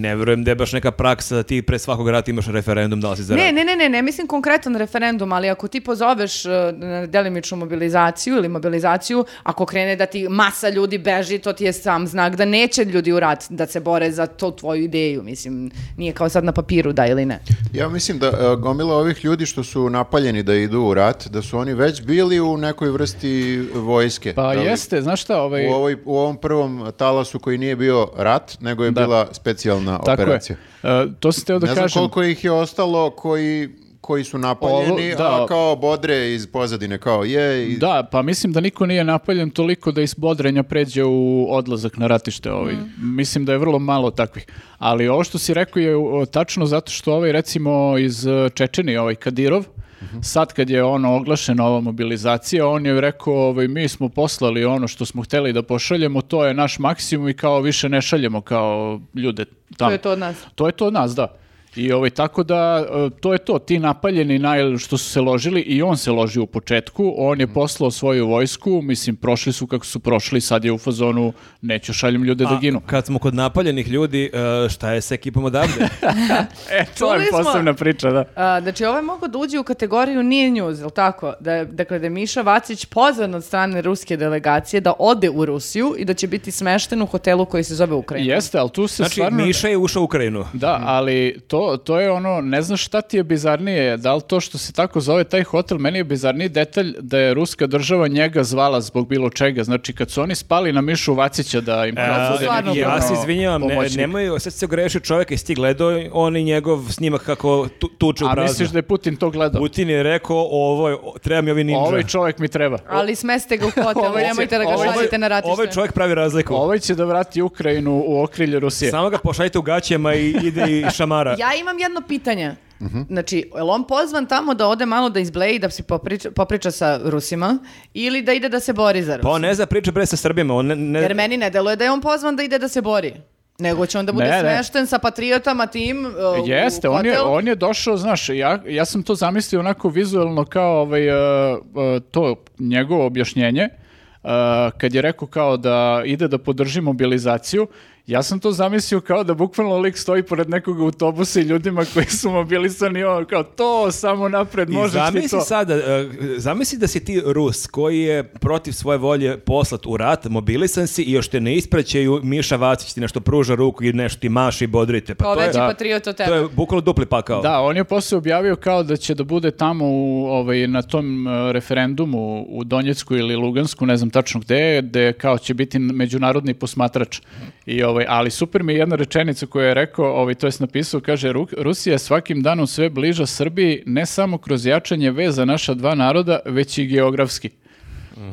S2: ne verujem da je baš neka praksa da ti pre svakog rata imaš referendum da li si za rat.
S1: Ne, ne, ne, ne, ne mislim konkretan referendum, ali ako ti pozoveš e, na delimičnu mobilizaciju ili mobilizaciju, ako krene da ti masa ljudi beži, to ti je sam znak da neće ljudi u rat da se bore za to tvoju ideju, mislim, nije kao sad na papiru da ili ne.
S3: Ja mislim da e, gomila ovih ljudi što su napaljeni da idu u rat, da su oni već bili u nekoj vrsti vojske.
S4: Pa
S3: Da li-
S4: jeste, znaš šta, ovaj...
S3: U, ovoj, u ovom prvom talasu koji nije bio rat, nego je
S4: Da.
S3: bila specijalna
S4: Tako
S3: operacija.
S4: je. E, to sam teo da
S3: ne znam
S4: kažem.
S3: koliko ih je ostalo koji, koji su napaljeni,
S4: Ovo- Pa, da.
S3: a kao bodre iz pozadine, kao je... I...
S4: Da, pa mislim da niko nije napaljen toliko da iz bodrenja pređe u odlazak na ratište. Ovaj.
S1: Mm.
S4: Mislim da je vrlo malo takvih. Ali ovo što si rekao je o, tačno zato što ovaj, recimo, iz e, Čečeni, ovaj Kadirov,
S3: Mhm.
S4: sad kad je ono oglašena ova mobilizacija, on je rekao ovaj, mi smo poslali ono što smo hteli da pošaljemo, to je naš maksimum i kao više ne šaljemo kao ljude tamo.
S1: To je to od nas. E,
S4: Pa To je to od nas, da. I ovaj, tako da, e, to je to, ti napaljeni naj, što su se ložili i on se loži u početku, on
S2: Mhm.
S4: je poslao svoju vojsku, mislim, prošli su kako su prošli, sad je u fazonu, neću šaljem ljude da
S2: A
S4: ginu.
S2: Kad smo kod napaljenih ljudi, e, šta je s ekipom
S4: *laughs*
S2: odavde?
S4: E, to
S1: Čuli
S4: je
S1: smo-
S4: posebna priča, da.
S1: A, znači, ovo je moglo da uđe u kategoriju nije news, jel tako? Da, je- dakle, da je Miša Vacić pozvan od strane ruske delegacije da ode u Rusiju i da će biti smešten u hotelu koji se zove Ukrajina.
S4: Jeste, ali tu se
S2: Znači, Mhm.
S4: stvarno...
S2: Miša je ušao u Ukrajinu.
S4: Da, ali to, to je ono, ne znam šta ti je bizarnije, da li to što se tako zove taj hotel, meni je bizarniji detalj da je ruska država njega zvala zbog bilo čega, znači kad su oni spali na Mišu Vacića da im
S2: E,
S4: bude
S1: stvarno
S4: neki
S2: ja
S4: ono
S2: se izvinjavam, ne,
S4: pomoćnik.
S2: nemoj, sad se ogreši čovjek i sti gledao on i njegov snimak kako tu, tuče u
S4: A
S2: prazno.
S4: misliš da je Putin to gledao?
S2: Putin je rekao, ovo je, o- treba mi ovi ninja.
S4: Ovaj čovjek mi treba.
S1: Ali smeste ga u hotelu,
S4: Ovaj će-
S1: nemojte da ga
S4: ovaj-
S1: šaljete na ratište.
S2: Ovaj čovjek pravi razliku.
S4: Ovaj će da vrati Ukrajinu u okrilje Rusije.
S2: Samo ga pošaljite u gaćama i ide i šamara.
S1: *laughs* Ja imam jedno pitanje. Znači, je li on pozvan tamo da ode malo da izbleji, da se popriča, popriča sa Rusima ili da ide da se bori za Rusiju?
S2: Pa on ne zna priče bre sa Srbima, on ne, ne-
S1: Jer meni ne deluje da je on pozvan da ide da se bori. Nego će onda bude
S4: Ne, ne.
S1: smešten sa patriotama tim uh,
S4: Jeste,
S1: u
S4: on je,
S1: hotel.
S4: on je došao, znaš, ja, ja sam to zamislio onako vizualno kao ovaj, e, e, to njegovo objašnjenje, e, kad je rekao kao da ide da podrži mobilizaciju, ja sam to zamislio kao da bukvalno lik stoji pored nekog autobusa i ljudima koji su mobilisani, on kao to, samo napred,
S2: I
S4: možeš ti
S2: zamisli
S4: to.
S2: sada, e, zamisli da si ti Rus koji je protiv svoje volje poslat u rat, mobilisan si i još te ne ispraćaju, Miša Vacić ti nešto pruža ruku i nešto ti maši i bodrite. Pa
S1: Kao
S2: to je,
S1: veći
S4: da.
S1: patriot od tebe.
S2: to je bukvalo dupli pakao.
S4: Da, on je posle objavio kao da će da bude tamo u, ovaj, na tom e, referendumu u Donjecku ili Lugansku, ne znam tačno gde, gde kao će biti međunarodni posmatrač. I, ovaj, ali super mi je jedna rečenica koju je rekao, ovaj, to jest napisao, kaže "Ru- Rusija je svakim danom sve bliža Srbiji, ne samo kroz jačanje veza naša dva naroda, već i geografski.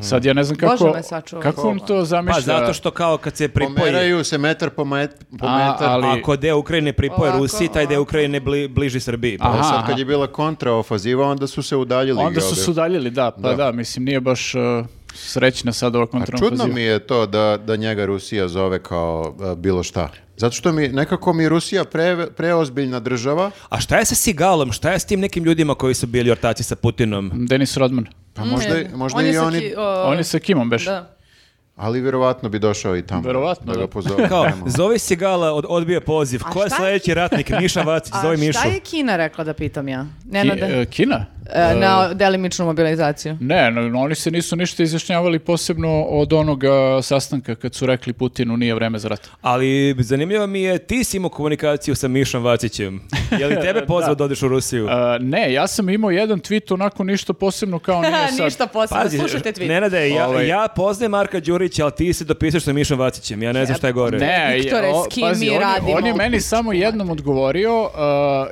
S4: Sad ja ne znam
S1: Bože
S4: kako,
S1: me sačuvaj.
S4: kako on to zamišlja.
S2: Pa zato što kao kad se pripoji,
S3: Pomeraju se metar po, met- po
S4: A,
S3: metar.
S4: ali-
S2: ako deo Ukrajine pripoje
S1: Ovako,
S2: Rusiji, taj deo
S1: ovako.
S2: Ukrajine bli- bliži Srbiji. Pa
S3: Ali
S4: Aha,
S3: E, sad kad
S4: aha.
S3: je bila kontraofaziva, onda su se udaljili.
S4: Onda su
S3: geografi.
S4: se udaljili, da, pa da,
S3: Da.
S4: mislim, nije baš... e, srećna sad ova
S3: A čudno
S4: kontrafaziva.
S3: mi je to da, da njega Rusija zove kao e, bilo šta. Zato što mi, nekako mi je Rusija pre, preozbiljna država,
S2: A šta je sa Sigalom? Šta je s tim nekim ljudima koji su bili ortaci sa Putinom?
S4: Denis Rodman.
S3: pa možda, i-
S1: Ne,
S3: možda
S1: on je
S3: i
S1: sa
S3: oni,
S1: ki- o,
S4: On je sa Kimom beš.
S1: Da.
S3: ali vjerovatno bi došao i tamo.
S4: Verovatno,
S3: da. ga
S4: da.
S3: pozove.
S2: Kao,
S3: Nemo.
S2: zove Sigala, od, odbija poziv.
S1: A
S2: Ko je
S1: šta je-
S2: sledeći ratnik? Miša Vacić,
S1: A
S2: zove Mišu.
S1: šta je Kina rekla da pitam ja? Ne,
S4: Ki- e, Kina?
S1: na delimičnu mobilizaciju.
S4: Ne, no, no, oni se nisu ništa izjašnjavali posebno od onoga sastanka kad su rekli Putinu nije vreme za rat.
S2: Ali zanimljivo mi je, ti si imao komunikaciju sa Mišom Vacićem. Je li
S4: *laughs*
S2: tebe pozvao da, odeš u Rusiju?
S4: E, ne, ja sam imao jedan tweet onako ništa
S1: *laughs*
S4: posebno kao nije sad.
S1: Ništa posebno, slušajte tweet.
S2: Nenade, ja,
S4: Ovaj-
S2: ja poznajem Marka Đurića, ali ti se dopisaš sa Mišom Vacićem. Ja ne znam šta je gore.
S4: Ne,
S1: Viktore,
S4: ja- o,
S1: s kim
S4: pazi,
S1: mi
S4: on, je-
S1: radimo?
S4: On je meni
S1: Pičku
S4: samo jednom odgovorio, uh,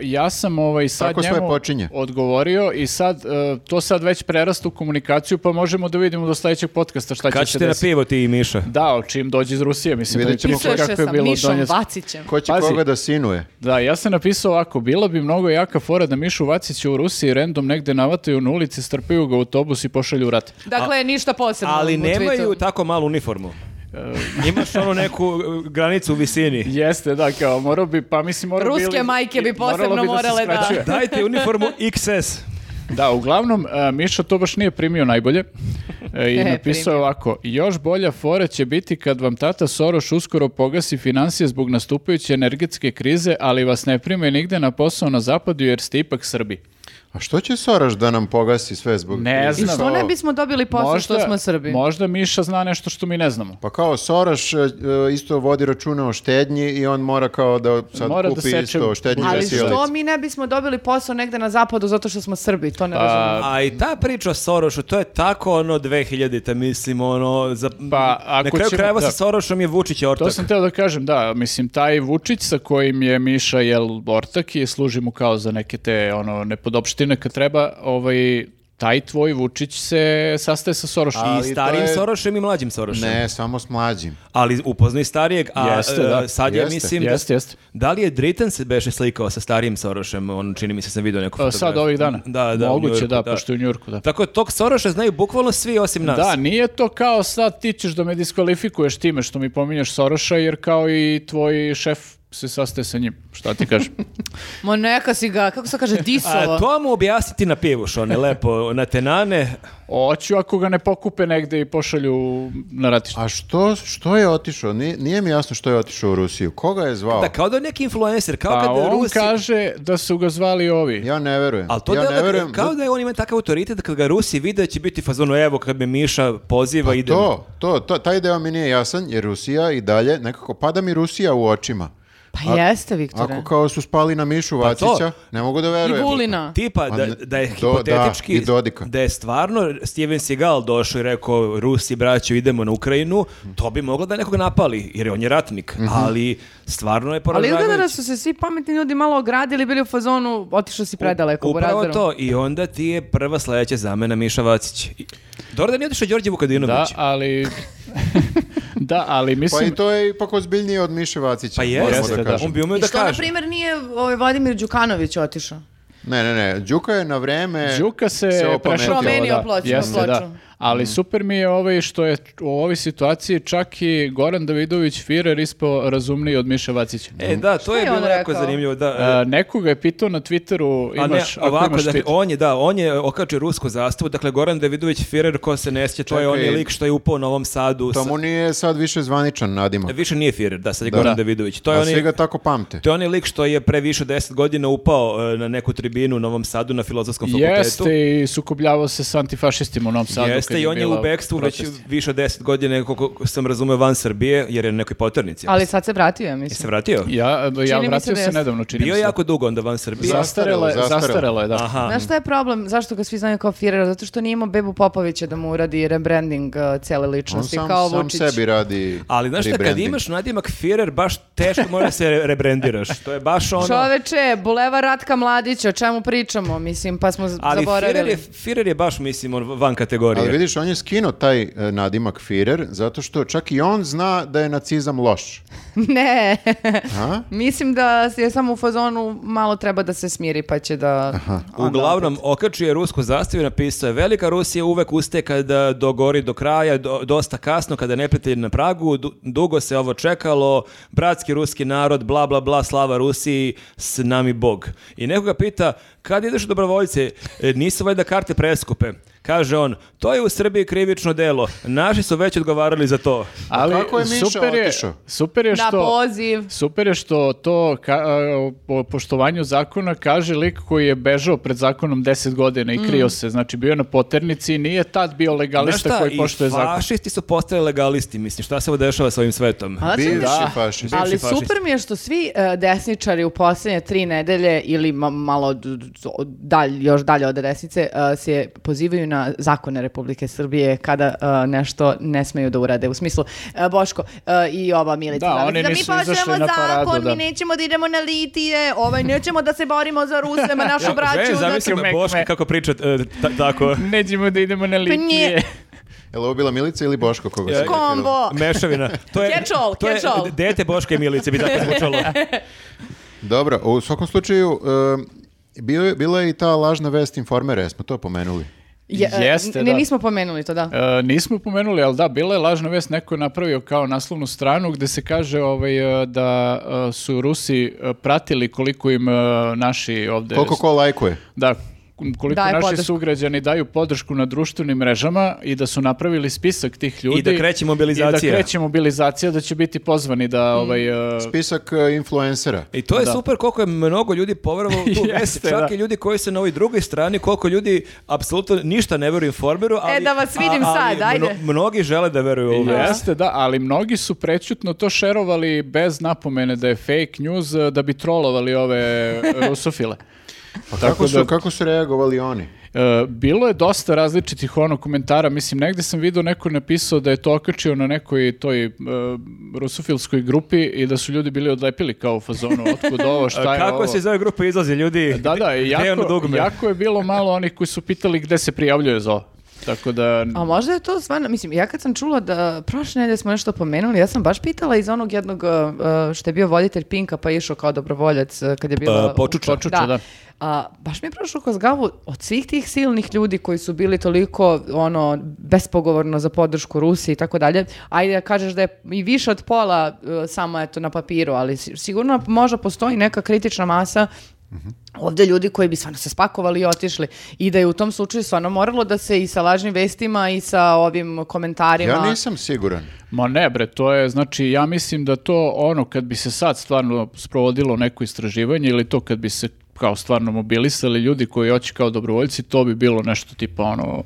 S4: ja sam ovaj, sad
S3: Tako sve
S4: njemu
S3: počinje.
S4: odgovorio i sad, uh, to sad već prerasta u komunikaciju, pa možemo da vidimo do sledećeg podcasta šta
S2: Kad
S4: će se
S2: ćete na
S4: desiti.
S2: pivo ti i Miša?
S4: Da, ali čim dođe iz Rusije, mislim da
S3: Vidjet ćemo
S4: ćemo
S1: Pisuješ
S4: kako
S1: se
S4: je
S1: sa
S4: bilo
S1: Mišom
S4: donijeti.
S1: Vacićem.
S3: Ko će
S4: Pazi.
S3: koga da sinuje?
S4: Da, ja sam napisao ovako, bila bi mnogo jaka fora da Mišu Vacića u Rusiji random negde navataju na ulici, strpaju ga u autobus i pošalju u rat.
S1: Dakle, ništa posebno
S2: Ali
S1: u
S2: nemaju
S1: tweetu.
S2: tako malu uniformu.
S4: E.
S2: Imaš onu neku e, granicu u
S4: *laughs*
S2: visini.
S4: Jeste, da, kao, morao bi, pa mislim, morao bi...
S1: Ruske
S4: ili-
S1: majke bi
S4: i- moralo
S1: posebno
S4: bi se
S1: morale da-
S4: skraćuje.
S2: Dajte uniformu XS.
S4: Da, uglavnom, e, Miša to baš nije primio najbolje
S1: *laughs*
S4: E, i
S1: E,
S4: napisao je
S1: primio.
S4: ovako, još bolja fora će biti kad vam tata Soroš uskoro pogasi financije zbog nastupajuće energetske krize, ali vas ne prime nigde na posao na zapadu jer ste ipak Srbi.
S3: A što će Soraš da nam pogasi sve zbog...
S4: Ne
S1: I
S4: znam.
S1: što
S3: Kao-
S1: ne bismo dobili posao što smo Srbi?
S4: Možda Miša zna nešto što mi ne znamo.
S3: Pa kao Soraš e, e, isto vodi računa o štednji i on mora kao da sad
S4: Mora da
S3: kupi
S4: seče
S3: isto štednju
S1: Ali
S3: za
S1: što
S3: sijalice.
S1: mi ne bismo dobili posao negde na zapadu zato što smo Srbi, to ne
S2: Pa-
S1: razumijem.
S2: A i ta priča o Sorošu, to je tako ono 2000-ta, mislim, ono... Za,
S4: Pa, ako
S2: na kraju
S4: ćemo-
S2: krajeva sa
S4: da.
S2: Sorošom je Vučić je ortak.
S4: To sam teo da kažem, da, mislim, taj Vučić sa kojim je Miša jel ortak i služi mu kao za neke te ono, nepodopštine kad treba, ovaj, taj tvoj Vučić se sastaje sa Sorošom.
S3: Ali to
S2: I starijim
S3: je-
S2: Sorošem i mlađim Sorošem.
S3: Ne, samo s mlađim.
S2: Ali upoznaj starijeg, a
S4: Jeste,
S2: e,
S4: da.
S2: sad ja
S3: Jeste.
S2: mislim... da-
S4: Jeste, jeste.
S2: Da li je Dritan se beše slikao sa starijim Sorošem? On čini mi se sam vidio neku
S4: E,
S2: fotografiju.
S4: Sad ovih dana.
S2: Da, da. u
S4: Moguće,
S2: Njujorku,
S4: da, pošto je u Njurku, da.
S2: Tako je, tog Soroša znaju bukvalno svi osim nas.
S4: Da, nije to kao sad ti ćeš da me diskvalifikuješ time što mi pominješ Soroša, jer kao i tvoj šef se sastaje sa njim. Šta ti
S2: *laughs*
S4: kažem?
S1: Ma neka si ga, kako se kaže, disovo.
S2: A to mu objasniti na pivu, što ne lepo, na tenane.
S4: Oću ako ga ne pokupe negde i pošalju na ratište.
S3: A što, što je otišao? Nije, nije mi jasno što je otišao u Rusiju. Koga je zvao?
S2: Da, kao da je neki influencer, kao
S4: Pa
S2: kad
S4: on
S2: Rusi...
S4: kaže da su ga zvali ovi.
S3: Ja ne verujem.
S2: Ali to
S3: ja
S2: delo
S3: ne
S2: da-
S3: verujem.
S2: kao da je on ima takav autoritet da kad ga Rusi vide će biti fazono evo kad me Miša poziva idem.
S3: Pa To, to, to, taj deo mi nije jasan jer Rusija i dalje, nekako pada mi Rusija u očima.
S1: Pa jeste, Viktore.
S3: Ako kao su spali na Mišu
S2: to.
S3: Vacića, ne mogu da
S1: I
S3: verujem.
S1: Vulina.
S2: Tipa
S3: Pa
S2: da,
S3: ne-
S2: da je
S3: to, da,
S2: hipotetički
S3: i Dodika.
S2: da je stvarno Steven Seagal došao i rekao Rusi braćo idemo na Ukrajinu, to bi moglo da nekog napali jer on je ratnik,
S3: Mhm.
S2: ali stvarno je
S1: Ali
S2: poražavajuće.
S1: izgleda da su se svi pametni ljudi malo ogradili, bili u fazonu, otišao si predaleko u
S2: Upravo
S1: Burazeru.
S2: to i onda ti je prva sledeća zamena Miša Vacić. I- Dobro da nije otišao Đorđe Vukadinović.
S4: Da, ali... *laughs* da, ali
S3: Pa
S4: mislim...
S3: i to je ipak ozbiljnije od Miše Vacića.
S2: Pa
S3: moramo
S2: jeste,
S3: da
S4: da.
S3: kažem.
S2: on bi umeo
S1: I
S2: da
S1: što, na
S2: kaže.
S1: primjer, nije ovaj, Vladimir Đukanović otišao?
S3: Ne, ne, ne. Đuka je na vreme...
S4: Đuka se,
S3: opametio.
S4: prešao
S1: Promenio ploču,
S4: Jeste,
S1: ploču.
S4: da.
S2: Mm.
S4: Ali super mi je ovaj što je u ovoj situaciji čak i Goran Davidović Firer ispao razumniji od Miše Vacića.
S2: E, da, to je,
S1: je on
S2: bilo jako
S1: rekao?
S2: zanimljivo. Da, e,
S4: A, nekoga je pitao na Twitteru,
S2: A
S4: imaš,
S2: ne,
S4: ako
S2: ovako,
S4: imaš
S2: dakle,
S4: tweet.
S2: on je, da, on je okačio rusku zastavu, dakle, Goran Davidović Firer, ko se ne sjeća, to je
S3: Čekaj.
S2: onaj lik što je upao u Novom Sadu.
S3: To
S2: sa-
S3: mu nije sad više zvaničan nadimak.
S2: E, Više nije Firer, da, sad je Goran
S4: Da.
S2: Davidović. To je,
S3: A
S2: onaj,
S3: svi ga tako pamte.
S2: to je onaj lik što je pre više od 10 godina upao e, na neku tribinu u Novom Sadu na filozofskom fakultetu.
S4: Jeste i sukobljavao se s antifašistima u Novom Sadu. kad
S2: Jeste, i on je
S4: bila
S2: u bekstvu već
S4: protest.
S2: više od 10 godina, koliko sam razumeo, van Srbije, jer je na nekoj poternici.
S1: Ali sad se vratio, ja
S2: Je se
S1: mislim.
S2: vratio?
S4: Ja, ja
S1: mi se
S4: vratio
S1: da
S4: se,
S1: jeste.
S4: nedavno, čini
S2: Bio
S4: mi
S2: je
S4: se.
S2: jako dugo onda van Srbije.
S3: Za-
S4: Zastarelo je,
S3: Zastarelo.
S4: zastarelo je, da.
S2: Aha.
S1: Znaš šta je problem? Zašto ga svi znaju kao Führer? Zato što nije imao Bebu Popovića da mu uradi rebranding uh, cijele
S3: On
S1: ličnosti
S3: sam,
S1: kao
S3: sam
S1: Vučić.
S3: sebi radi
S2: Ali znaš šta, kad
S3: rebranding.
S2: imaš nadimak Firer, baš teško mora da se re- rebrendiraš. To je baš ono...
S1: Čoveče, Buleva Ratka Mladića, o čemu pričamo? Mislim, pa smo z-
S2: Ali Firer
S1: zaboravili. *laughs*
S2: je, Führer je baš, mislim, on van kategorije.
S3: Ali vidiš, on je skinuo taj e, nadimak Führer, zato što čak i on zna da je nacizam loš.
S1: ne.
S3: A?
S1: Mislim da je samo u fazonu malo treba da se smiri pa će da... onda
S2: Uglavnom, okačio je rusku zastavu i napisao je Velika Rusija uvek uste kada dogori do kraja, do- dosta kasno, kada neprijatelj na pragu, du- dugo se ovo čekalo, bratski ruski narod, bla, bla, bla, slava Rusiji, s nami Bog. I nekoga pita, kad ideš u dobrovoljce, E, nisu valjda karte preskupe. Kaže on, to je u Srbiji krivično delo, naši su već odgovarali za to.
S4: Ali
S3: kako je Miša
S4: super je,
S3: otišao?
S4: super je
S1: Na
S4: što...
S1: poziv.
S4: Super je što to ka, a, o- o poštovanju zakona kaže lik koji je bežao pred zakonom 10 godina i krio se. Znači bio je na poternici i nije tad bio
S2: Znaš
S4: legalista
S2: šta,
S4: koji
S2: i
S4: poštuje zakon. *laughs*
S2: fašisti su postali legalisti, mislim, šta se ovo dešava s ovim svetom?
S1: A znači,
S3: Bivši
S1: da.
S3: fašist.
S1: Ali
S2: Bivši fašist.
S1: super mi je što svi e, desničari u posljednje tri nedelje ili ma- malo d- d- od- dalj, još dalje od desnice e, se pozivaju na zakone Republike Srbije kada e, nešto ne smeju da urade. U smislu, e, Boško e, i ova Milica.
S4: Da,
S1: Dalić,
S4: oni
S1: mi
S4: nisu izašli
S1: poštujemo
S4: na paradu,
S1: zakon,
S4: da.
S1: mi nećemo da idemo na litije, ovaj, nećemo da se borimo za Ruse,
S4: *laughs*
S1: ma našu
S2: Ja,
S1: braću.
S2: želim
S1: znači-
S2: zamislim
S4: znači-
S2: Boška kako priča e, ta- tako.
S4: Nećemo da idemo na litije.
S1: Pa nije.
S3: Je li ovo bila Milica ili Boško koga se
S1: Kombo.
S2: Mešavina. To je,
S1: Catch all,
S2: to je
S1: catch all.
S2: dete Boške Milice
S1: *laughs*
S2: bi tako zvučalo.
S3: Dobro, u svakom slučaju, e, bio je- bila je i ta lažna vest informera, jesmo to pomenuli.
S1: Je- e,
S4: Jeste,
S1: ne,
S4: da.
S1: Nismo pomenuli to, da.
S4: E, nismo pomenuli, ali da, bila je lažna vest, neko je napravio kao naslovnu stranu gde se kaže ovaj, e, da e, su Rusi e, pratili koliko im e, naši ovde...
S3: Koliko ko lajkuje?
S4: Da, koliko
S1: Daje
S4: naši
S1: podršku.
S4: sugrađani daju podršku na društvenim mrežama i da su napravili spisak tih ljudi.
S2: I da kreće mobilizacija.
S4: I da kreće mobilizacija, da će biti pozvani da... Ovaj, e,
S3: Spisak e, influencera.
S2: I to je
S4: Da.
S2: super koliko je mnogo ljudi poverovalo u tu vest.
S4: *laughs* Jeste,
S2: Čak
S4: da.
S2: i ljudi koji su na ovoj drugoj strani, koliko ljudi apsolutno ništa ne veruju informeru. Ali,
S1: E, da vas vidim
S2: a- ali
S1: sad, ajde.
S2: mno- mnogi žele da veruju u ovu vest.
S4: Jeste, da, ali mnogi su prećutno to šerovali bez napomene da je fake news e, da bi trolovali ove eh, rusofile.
S3: Pa
S4: Tako
S3: kako, su,
S4: da-
S3: kako su reagovali oni?
S4: E, bilo je dosta različitih ono komentara, mislim negdje sam vidio neko je napisao da je to okačio na nekoj toj e, rusofilskoj grupi i da su ljudi bili odlepili kao u fazonu, otkud ovo, šta
S2: A *laughs*
S4: je
S2: Kako
S4: ovo.
S2: se iz ove grupe izlazi ljudi?
S4: Da,
S2: *laughs*
S4: da, i
S2: Gde je ono
S4: jako,
S2: dugme?
S4: jako je bilo malo onih koji su pitali gde se prijavljuje za ovo. Tako da...
S1: A možda je to stvarno, mislim, ja kad sam čula da prošle nedelje smo nešto pomenuli, ja sam baš pitala iz onog jednog uh, što je bio voditelj Pinka pa je išao kao dobrovoljac uh, kad je bila...
S2: Uh, Počuča.
S4: Počuča, da.
S1: A, baš mi je prošlo kroz glavu od svih tih silnih ljudi koji su bili toliko ono bespogovorno za podršku Rusiji i tako dalje. Ajde da kažeš da je i više od pola uh, samo eto na papiru, ali si- sigurno možda postoji neka kritična masa ovdje ljudi koji bi stvarno se spakovali i otišli i da je u tom slučaju stvarno moralo da se i sa lažnim vestima i sa ovim komentarima
S3: Ja nisam siguran.
S4: Ma ne bre, to je, znači ja mislim da to ono kad bi se sad stvarno sprovodilo neko istraživanje ili to kad bi se kao stvarno mobilisali ljudi koji hoće kao dobrovoljci, to bi bilo nešto tipa ono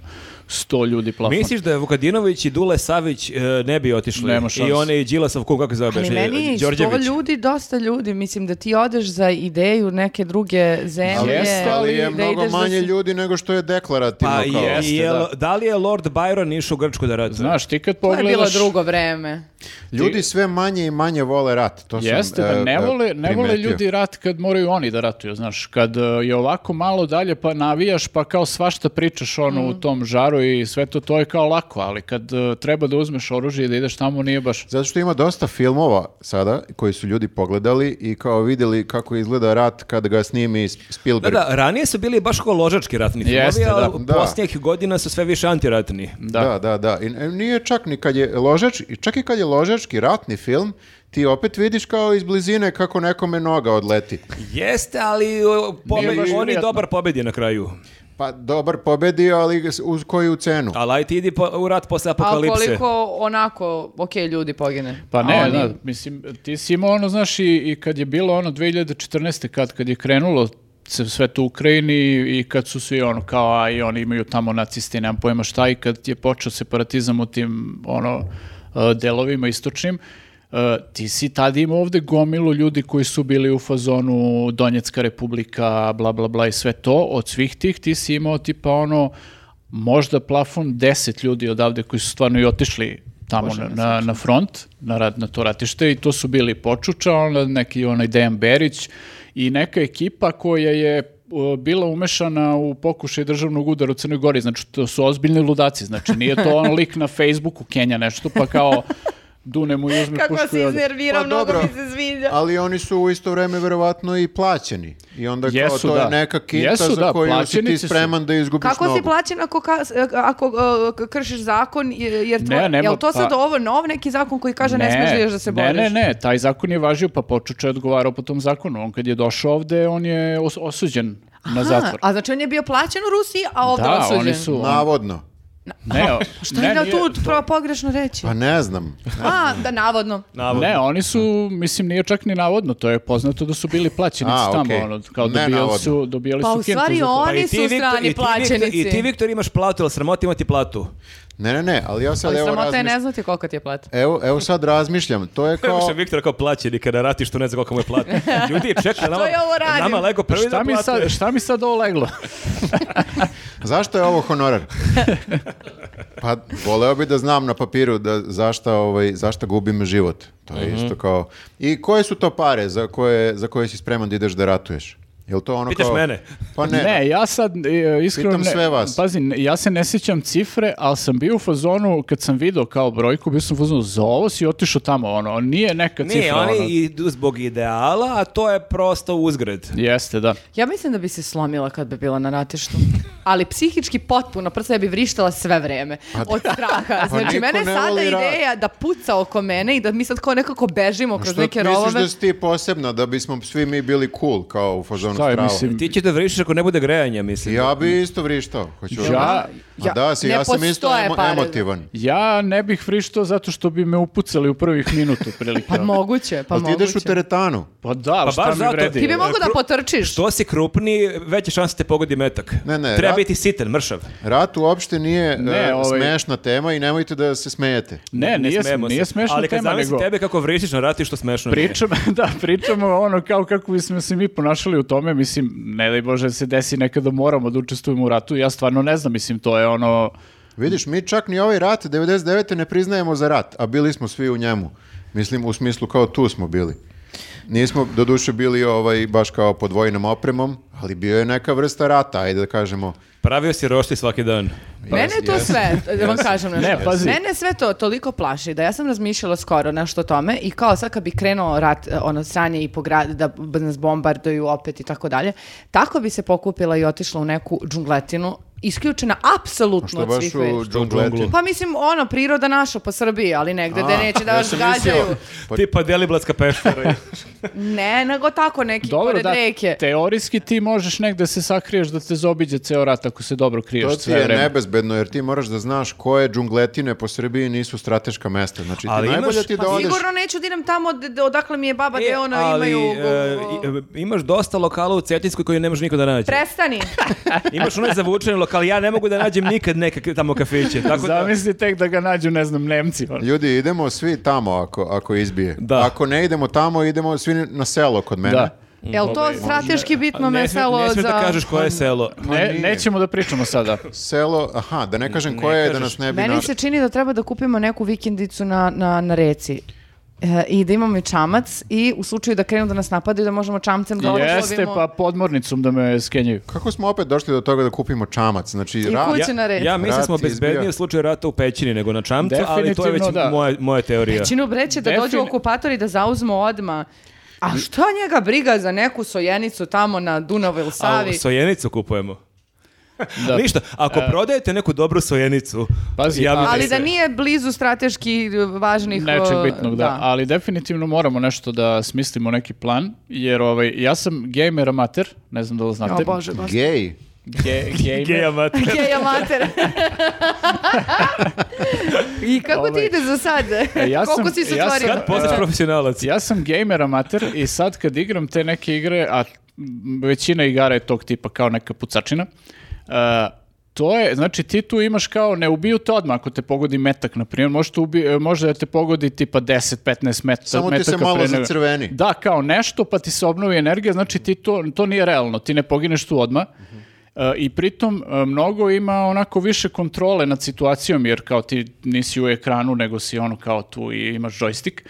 S4: 100 ljudi plafon.
S2: Misliš da je Vukadinović i Dule Savić e, ne bi otišli?
S4: Nema
S2: I
S4: šanse.
S2: on je i Đilasov, ko- kako se zove?
S1: Ali
S2: beše,
S1: meni je
S2: Đorđević.
S1: sto ljudi, dosta ljudi, mislim da ti odeš za ideju neke druge
S3: Ali,
S1: zemlje.
S4: Jeste,
S3: ali
S1: da
S3: je mnogo
S1: ideš da
S3: manje
S1: si-
S3: ljudi nego što je deklarativno.
S2: Pa
S3: kao.
S2: je,
S4: Jeste,
S2: je-
S4: da.
S2: da. li je Lord Byron išao u Grčku da ratuje?
S4: Znaš, ti kad
S1: To je bilo
S4: pogledaš...
S1: drugo vreme.
S3: Ljudi sve manje i manje vole rat. To sam,
S4: Jeste,
S3: e,
S4: da ne
S3: e,
S4: vole, ne vole
S3: primetio.
S4: ljudi rat kad moraju oni da ratuju, znaš, kad e, je ovako malo dalje pa navijaš pa kao svašta pričaš ono u tom žaru i sve to, to je kao lako, ali kad e, treba da uzmeš oružje i da ideš tamo nije baš...
S3: Zato što ima dosta filmova sada koji su ljudi pogledali i kao vidjeli kako izgleda rat kada ga snimi
S2: Da,
S3: Spielberg.
S2: da, ranije su bili baš kao ložački ratni filmovi,
S4: Jeste,
S2: a
S4: da.
S3: Da.
S2: posljednjih godina su sve više antiratni.
S3: Da, da, da. I e, nije čak ni kad je ložač, i čak i kad je ložački ratni film, ti opet vidiš kao iz blizine kako nekome noga odleti.
S2: Jeste, ali o,
S4: Nije baš
S2: pobe, on je
S4: prijatno.
S2: dobar pobedi na kraju.
S3: Pa dobar pobedi, ali s- uz koju cenu?
S2: Ali aj ti idi po- u rat posle
S1: A
S2: apokalipse.
S1: koliko onako, ok, ljudi pogine.
S4: Pa
S1: A
S4: ne,
S1: oni-
S4: da, mislim, ti si imao ono, znaš, i, i kad je bilo ono 2014. kad, kad je krenulo se sve to u Ukrajini i kad su svi ono kao, a i oni imaju tamo nacisti, nemam pojma šta, i kad je počeo separatizam u tim, ono, e, delovima istočnim, e, ti si tad imao ovde gomilu ljudi koji su bili u fazonu Donjecka republika, bla, bla, bla i sve to. Od svih tih ti si imao tipa ono, možda plafon 10 ljudi odavde koji su stvarno i otišli tamo na, na, na front, na, rad, na to ratište i to su bili Počuča, onda neki onaj Dejan Berić i neka ekipa koja je o, bila umešana u pokušaj državnog udara u Crnoj Gori, znači to su ozbiljni ludaci, znači nije
S1: *laughs*
S4: to on lik na Facebooku Kenja nešto, pa kao dune mu i uzme
S1: Kako
S4: pušku
S1: si
S4: i ode.
S1: iznervirao,
S3: Pa
S1: mnogo
S3: dobro.
S1: mi se sviđa.
S3: Ali oni su u isto vreme verovatno i plaćeni. I onda kao
S4: Jesu,
S3: to
S4: da.
S3: je neka kinta
S4: Jesu,
S3: za
S4: da,
S3: koju si ti
S4: plaćenici su.
S3: spreman da izgubiš
S1: Kako
S3: nogu.
S1: si plaćen ako, ka- ako uh, k- kršiš zakon? je- Jer tvoj,
S4: Ne, nema,
S1: jel to
S4: pa-
S1: sad ovo nov neki zakon koji kaže ne, smiješ da ideš da se boriš?
S4: Ne, ne, ne, taj zakon je važio, pa Počuče je odgovarao po tom zakonu. On kad je došao ovde, on je os- osuđen na zatvor.
S1: A znači on je bio plaćen u Rusiji, a ovdje
S4: da,
S1: osuđen.
S4: oni su...
S3: Navodno. *laughs*
S4: Ne, o-
S1: Šta
S4: ne,
S1: je da
S4: nije-
S1: tu pravo pogrešno reći?
S3: Pa ne znam.
S1: A, da, navodno.
S2: Navodno.
S4: Ne, oni su, mislim, nije čak ni navodno, to je poznato da su bili plaćenici
S3: A,
S4: tamo,
S3: okej.
S4: ono, kao
S3: Ne
S4: dobijali
S3: navodno.
S4: su, dobijali
S1: Pa
S4: su
S1: u
S4: kintu
S1: stvari
S4: za to.
S2: Pa i
S1: oni
S2: ti,
S1: su
S2: Viktor- i
S1: strani
S2: ti, Viktor-
S1: plaćenici.
S2: I ti, Viktor, imaš platu, ali sramoti imati platu.
S3: Ne, ne, ne, ali ja sad
S1: Ali
S3: evo
S1: sramota je
S3: razmišljam.
S1: ne znati koliko ti je plata.
S3: Evo, evo sad razmišljam. To
S4: *laughs*
S3: je
S2: Kao...
S3: kao...
S2: Više Viktor kao plaćeni kada rati što ne zna koliko mu je
S1: *laughs*
S2: platu. Ljudi, čekaj, nama,
S1: je ovo radim?
S2: nama Lego prvi
S4: Pa Šta
S2: da
S4: mi,
S2: platuje.
S4: sad, šta mi sad ovo leglo?
S3: Zašto je ovo honorar?
S4: *laughs*
S3: Pa, voleo bi da znam na papiru da zašta, ovaj, zašta gubim život. To
S4: Mhm.
S3: je isto kao... I koje su to pare za koje, za koje si spreman da ideš da ratuješ? Jel to ono
S2: Pitaš
S3: kao...
S2: mene?
S3: Pa ne.
S4: Ne, ja sad e, iskreno
S3: Pitam
S4: ne-
S3: sve vas.
S4: Pazi, ne- ja se ne sjećam cifre, ali sam bio u fazonu kad sam video kao brojku, bio sam u fazonu za ovo si otišao tamo, ono, nije neka
S2: Nije,
S4: cifra,
S2: oni
S4: ono.
S2: idu zbog ideala, a to je prosto uzgred.
S4: Jeste, da.
S1: Ja mislim da bi se slomila kad bi bila na ratištu. Ali psihički potpuno, prsa ja bi vrištala sve vreme. Od straha. Znači,
S3: Pa niko
S1: mene je
S3: ne
S1: sada
S3: voli rat.
S1: ideja da puca oko mene i da mi sad kao nekako bežimo kroz
S3: Što
S1: neke
S3: misliš
S1: rovove.
S3: da si ti posebna, da bismo svi mi bili cool, kao u fazonu
S4: Šta je,
S3: strava?
S4: mislim,
S2: Ti će da vrišiš ako ne bude grejanja, mislim.
S3: Ja bi isto vrištao. Hoću
S4: Ja-
S3: ja,
S1: ja-
S3: da, si,
S1: ne
S3: ja sam isto
S1: postoje
S3: emo-
S1: pare.
S3: emotivan.
S4: Ja ne bih frištao zato što bi me upucali u prvih minuta, prilike. ono.
S1: Pa moguće, pa
S3: Pa ti
S1: moguće.
S3: ideš u teretanu.
S4: Pa da,
S2: Pa
S4: šta
S2: baš
S4: mi
S2: zato.
S4: vredi?
S1: Ti bi mogao da
S2: Pro-
S1: potrčiš.
S2: Što si krupniji, veća šansa te pogodi metak.
S3: Ne, ne,
S2: Treba
S3: ra-
S2: biti sitan, mršav.
S3: Rat uopšte nije
S4: Ne,
S3: e,
S4: ovaj-
S3: smešna tema i nemojte da se smejete.
S4: Ne, nije,
S2: smemo se.
S4: nije smešna
S2: Ali kad
S4: tema,
S2: zamislim
S4: nego...
S2: tebe kako vrišiš na rati što smešno nije.
S4: Pričam, *laughs* da, pričamo ono kao kako bismo se mi ponašali u tome, mislim, ne daj Bože da se desi nekada moramo da učestvujemo u ratu, ja stvarno ne znam, mislim, to je ono,
S3: Vidiš, mi čak ni ovaj rat 99. ne priznajemo za rat, a bili smo svi u njemu. Mislim, u smislu kao tu smo bili. Nismo doduše bili ovaj, baš kao pod vojnom opremom, ali bio je neka vrsta rata, ajde da kažemo.
S2: Pravio si rošti svaki dan.
S3: Pa
S1: Mene to sve, da vam kažem nešto.
S4: Ne, pazi.
S1: Mene sve to toliko plaši da ja sam razmišljala skoro nešto o tome i kao sad kad bi krenuo rat, e, ono, sranje i po gradu, da b- nas bombarduju opet i tako dalje, tako bi se pokupila i otišla u neku džungletinu, isključena apsolutno
S3: Što
S1: od
S3: baš
S1: svih
S3: u
S1: već.
S3: džungletu.
S1: Pa mislim, ono, priroda naša po Srbiji, ali negde gde
S3: A,
S1: neće da
S3: ja
S1: vas
S3: sam
S1: gađaju.
S3: mislio- Pa-
S2: Tipa Deliblatska
S3: *laughs*
S2: peštara.
S1: Ne, nego tako neki
S4: dobro
S1: pored
S4: da,
S1: reke.
S4: teorijski ti možeš negde se sakriješ da te zaobiđe ceo rat ako se dobro kriješ
S3: To ti
S4: sve
S3: je
S4: vreme.
S3: nebezbedno, jer ti moraš da znaš koje džungletine po Srbiji nisu strateška mesta. Znači, ti
S2: Ali imaš-
S3: najbolje ti
S1: Pa
S3: da odeš...
S1: sigurno neću da idem tamo d- d- odakle mi je
S3: Pa
S1: baba, gde
S2: E,
S1: ono
S2: ali,
S1: imaju...
S2: e, i- e, imaš dosta lokala u Cetinskoj koji ne možeš nikad da nađe.
S1: Prestani!
S2: *laughs* Imaš onaj zavučeni lokal, ja ne mogu da nađem nikad neke k- tamo kafiće. Tako da,
S4: Zamisli tek da ga nađu, ne znam, Nemci. ono.
S3: Ljudi, idemo svi tamo ako, ako izbije.
S2: Da.
S3: Ako ne idemo tamo, idemo svi na selo kod mene.
S4: Da.
S1: Jel to strateški bitno
S2: Ovaj, ne smije-
S1: meselo
S2: ne smiješ
S1: za...
S2: da kažeš koje je selo.
S4: Ne,
S3: nije.
S4: nećemo da pričamo sada.
S3: Selo, aha, da ne kažem koje je, da
S2: kažeš.
S3: nas ne bi
S1: Meni
S3: naš-
S1: se čini da treba da kupimo neku vikendicu na, na, na reci. E, I da imamo i čamac i u slučaju da krenu da nas napadaju da možemo čamcem da odlovimo.
S4: Jeste, pa podmornicom da me skenjaju.
S3: Kako smo opet došli do toga da kupimo čamac? Znači,
S1: I
S3: rat-
S1: kuću na reci.
S2: Ja mislim da smo
S3: Rat je izbio.
S2: bezbedniji u slučaju rata u pećini nego na čamcu, ali to je već
S4: Definitivno da.
S2: moja, moja teorija.
S1: Činu breće da dođu
S4: Defini-
S1: okupatori da zauzmu odma. A što njega briga za neku sojenicu tamo na Dunavu ili
S2: A
S1: Savi?
S2: sojenicu kupujemo.
S4: Da.
S2: Ništa, ako prodajete neku dobru sojenicu,
S4: Pazi,
S2: javite
S1: Ali da
S2: se.
S1: nije blizu strateški e, važnih...
S4: Nečeg
S1: e,
S4: bitnog, da. Ali definitivno moramo nešto da smislimo neki plan, jer ovaj, ja sam gamer amater, ne znam da li znate.
S1: O Bože, Bože.
S3: Gej.
S4: Ge-
S2: Gej
S3: *laughs*
S4: gamer.
S2: amater.
S1: Gej
S4: *laughs*
S1: amater. I kako ti
S4: Ovaj,
S1: ide za sad?
S4: e, ja sam-
S1: Koliko si se
S4: ja sam-
S1: *laughs* otvorio?
S2: Kad postaš profesionalac?
S4: ja sam gamer amater i sad kad igram te neke igre, a m, većina igara je tog tipa kao neka pucačina, e, to je, znači ti tu imaš kao, ne ubiju te odmah ako te pogodi metak, na primjer, može, te ubi- e, može da te pogodi tipa 10-15 metaka.
S3: Samo ti se
S4: metaka
S3: malo
S4: pre nego-
S3: zacrveni.
S4: Da, kao nešto, pa ti se obnovi energija, znači ti to, to nije realno, ti ne pogineš tu odmah. E, I pritom e, mnogo ima onako više kontrole nad situacijom, jer kao ti nisi u ekranu, nego si ono kao tu i imaš joystick.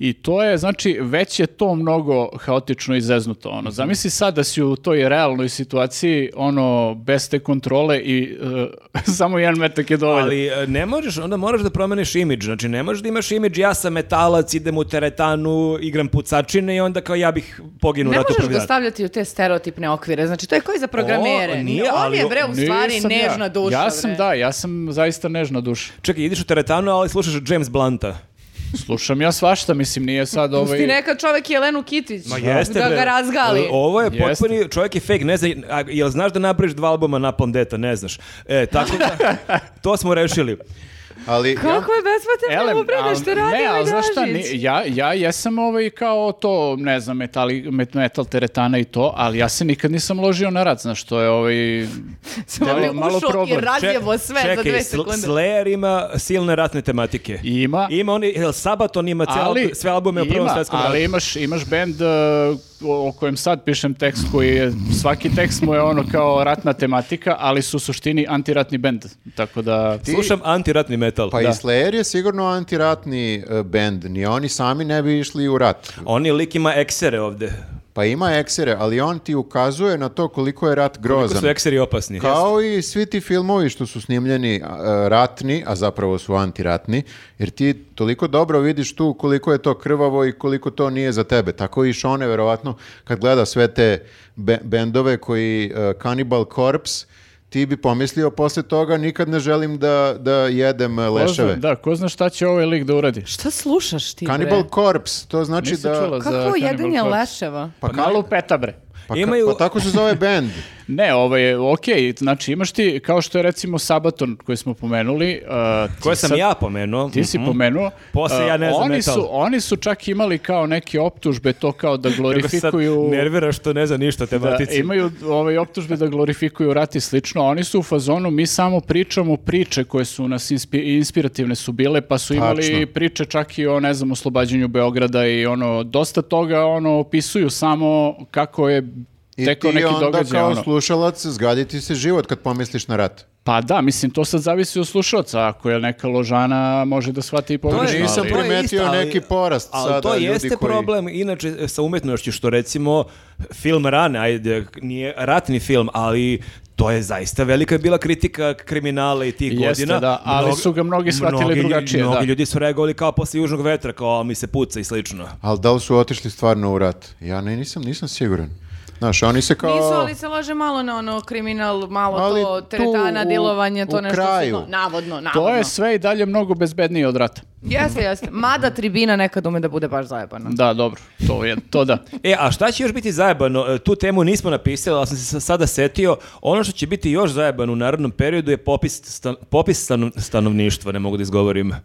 S4: I to je, znači, već je to mnogo haotično i zeznuto.
S1: Mhm.
S4: Ono. Zamisli sad da si u toj realnoj situaciji, ono, bez te kontrole i e, *laughs* samo jedan metak je dovoljan.
S2: Ali e, ne možeš, onda moraš da promeniš imidž. Znači, ne možeš da imaš imidž, ja sam metalac, idem u teretanu, igram pucačine i onda kao ja bih poginuo
S1: Ne
S2: na to
S1: možeš ga stavljati u te stereotipne okvire. Znači, to je koji za programere.
S2: O, nije,
S1: On
S2: ali
S1: je,
S2: o-
S1: bre, u stvari
S4: Nisam
S1: nežna
S4: ja.
S1: duša.
S4: Ja sam,
S1: bre.
S4: da, ja sam zaista nežna duša.
S2: Čekaj, ideš u teretanu, ali slušaš James Blanta.
S4: Slušam ja svašta, mislim, nije sad ovaj...
S1: Pusti nekad čovek Jelenu Kitić
S2: Ma jeste,
S1: da
S2: bre.
S1: ga razgali.
S2: O- E, Ovo je
S4: Jeste.
S2: potpuni, čovjek je fake, ne znam, a, jel znaš da napraviš dva albuma Napalm Deta, ne znaš. E, tako da, to smo rešili.
S3: Ali, ja,
S1: Kako je besplatan
S4: Elem,
S1: da upravlja
S4: al-
S1: što radi
S4: ne,
S1: ovaj
S4: al znaš šta,
S1: Dražić? *laughs*
S4: ni- ja, ja jesam ovaj kao to, ne znam, metali, met, metal teretana i to, ali ja se nikad nisam ložio na rad, znaš, to je ovaj...
S1: Samo
S4: malo-
S1: bi
S4: malo
S1: Ono ušao
S4: problem.
S1: i razjevo sve za
S2: čekaj,
S1: dve
S2: Sl-
S1: sekunde.
S2: Slayer ima silne ratne tematike.
S4: Ima,
S2: Ima oni, jel Sabaton ima cijel,
S4: ali,
S2: sve albume u prvom
S4: ima,
S2: svetskom ratu.
S4: ali imaš, imaš band uh, o o kojem sad pišem tekst koji je, svaki tekst mu je ono kao ratna tematika, ali su u suštini antiratni band, tako da...
S3: ti-
S2: Slušam antiratni metal.
S3: pa
S2: Da.
S3: i Slayer je sigurno antiratni e, bend, ni oni sami ne bi išli u rat.
S2: Oni lik ima eksere ovde.
S3: Pa ima eksere, ali on ti ukazuje na to koliko je
S2: Ko
S3: rat
S2: su
S3: grozan.
S2: ekseri opasni?
S3: Kao i svi ti filmovi što su snimljeni a, e, ratni, a zapravo su antiratni, jer ti toliko dobro vidiš tu koliko je to krvavo i koliko to nije za tebe. Tako i Šone, verovatno, kad gleda sve te be- bendove koji e, Cannibal Corpse, ti bi pomislio posle toga nikad ne želim da, da jedem e,
S4: Ko zna-
S3: leševe.
S4: da, ko zna šta će ovaj lik da uradi?
S1: Šta slušaš ti,
S3: Cannibal
S1: bre?
S3: Corpse, to znači
S4: Nisam
S3: da...
S4: čula za
S1: Kako jedan
S4: Cannibal
S1: je
S4: Corpse.
S1: leševa?
S4: Pa malo peta bre.
S3: Pa, ka-
S2: Imaju-
S3: pa tako se zove
S4: *laughs*
S3: bend.
S4: Ne, ovaj, ok, znači imaš ti, kao što je recimo Sabaton koji smo pomenuli. uh, ti
S2: Koje sam
S4: sad-
S2: ja pomenuo.
S4: Ti si
S2: Mhm.
S4: pomenuo. uh,
S2: Posle ja ne znam
S4: oni
S2: metal.
S4: Su, oni su čak imali kao neke optužbe to kao
S2: *laughs*
S4: da
S2: Kako se sad
S4: glorifikuju...
S2: nervira što ne zna ništa o
S4: Da,
S2: tematici.
S4: imaju ovaj, optužbe da glorifikuju rat i slično. Oni su u fazonu, mi samo pričamo priče koje su nas inspi- inspirativne su bile, pa su imali
S3: Tačno.
S4: priče čak i o, ne znam, oslobađanju Beograda i ono, dosta toga ono, opisuju samo kako je
S3: I
S4: tekao
S3: ti
S4: neki
S3: onda
S4: događaj.
S3: kao
S4: ono.
S3: slušalac zgaditi se život kad pomisliš na rat.
S4: Pa da, mislim, to sad zavisi od slušalca. Ako je neka ložana, može da shvati i pogrešno.
S3: je- nisam
S2: ali-
S4: ali-
S3: primetio
S2: ali-
S3: neki porast
S2: ali
S3: sada
S2: to
S3: ljudi
S2: jeste
S3: koji-
S2: problem inače sa umetnošću što recimo film Rane, ajde, nije ratni film, ali to je zaista velika bila kritika kriminala i tih
S4: Jeste,
S2: godina.
S4: da, ali su ga mnogi shvatili
S2: mnogi lju-
S4: drugačije,
S2: Mnogi
S4: da.
S2: ljudi su reagovali kao posle južnog vetra, kao "A, mi se puca i slično.
S3: Ali da li su otišli stvarno u rat? Ja ne, nisam, nisam siguran. Znaš, oni se kao...
S1: Nisu, ali se lože malo na ono kriminal, malo
S3: Ali
S1: to
S3: tu
S1: teretana,
S3: u-
S1: djelovanje, to
S3: u
S1: nešto
S3: kraju.
S1: sitno. Navodno, navodno.
S4: To je sve i dalje mnogo bezbednije od rata.
S1: Jeste, jeste. Mada tribina nekad ume da bude baš zajebana.
S4: Da, dobro, to je,
S1: *laughs*
S4: to da.
S2: E, a šta će još biti zajebano? E, Tu temu nismo napisali, ali sam se sa- sada setio. Ono što će biti još zajebano u narodnom periodu je popis, stan- popis stano- stanovništva, ne mogu da izgovorim.
S4: E,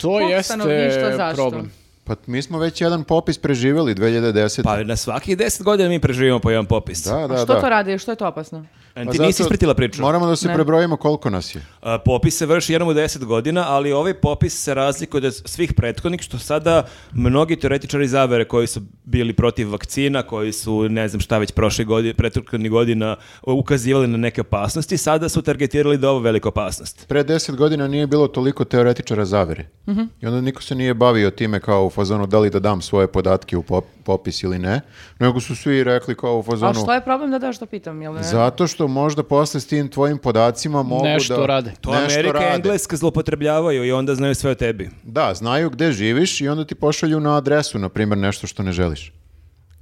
S4: to
S1: stanovništva,
S4: jeste
S1: zašto?
S4: problem.
S3: Pa mi smo već jedan popis preživjeli 2010.
S2: Pa na svakih deset godina mi preživimo po jedan popis.
S3: da, da,
S1: A što
S3: da.
S1: to radi? Što je to opasno?
S2: E,
S3: Pa
S2: Ti
S3: zato
S2: nisi ispratila priču.
S3: Moramo da se
S1: Ne.
S3: prebrojimo koliko nas je.
S2: A, Popis se vrši jednom u 10 godina, ali ovaj popis se razlikuje od svih prethodnih, što sada mnogi teoretičari zavere koji su bili protiv vakcina, koji su, ne znam šta već, prošle godine, prethodnih godina ukazivali na neke opasnosti, sada su targetirali da je ovo velika opasnost.
S3: Pre deset godina nije bilo toliko teoretičara zavere.
S1: Mhm.
S3: I onda niko se nije bavio time kao u fazonu da li da dam svoje podatke u pop- popis ili ne, nego su svi rekli kao u
S1: A
S3: fazonu...
S1: što je problem da da što pitam, jel ne?
S3: Zato što možda posle s tim tvojim podacima mogu
S4: Nešto
S3: da...
S4: rade.
S2: To
S3: nešto
S2: Amerika i
S3: rade.
S2: Engleska zlopotrebljavaju i onda znaju sve o tebi.
S3: Da, znaju gde živiš i onda ti pošalju na adresu, na primjer, nešto što ne želiš.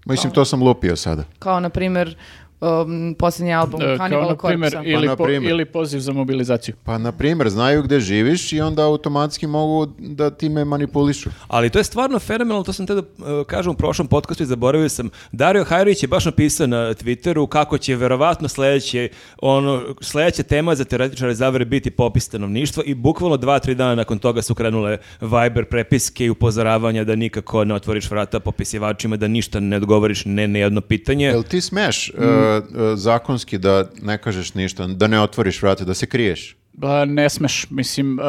S3: Mislim, to sam lupio sada.
S1: Kao, na primjer, um, posljednji album
S4: E, kao,
S1: Cannibal
S4: na primer,
S1: Corpse-a.
S4: ili,
S3: Pa, na
S4: po-
S3: primer.
S4: ili poziv za mobilizaciju.
S3: Pa, na primjer, znaju gde živiš i onda automatski mogu da time manipulišu.
S2: Ali to je stvarno fenomenalno, to sam tada e, kažem u prošlom podcastu i zaboravio sam. Dario Hajrović je baš napisao na Twitteru kako će verovatno sledeće, ono, sledeća tema za teoretičare zavere biti popis stanovništva i bukvalno dva, tri dana nakon toga su krenule Viber prepiske i upozoravanja da nikako ne otvoriš vrata popisivačima, da ništa ne odgovoriš ne na jedno pitanje.
S3: Jel ti smeš
S2: Mm.
S3: e, e, zakonski da ne kažeš ništa, da ne otvoriš vrate, da se kriješ?
S4: Ba, ne smeš, mislim, e,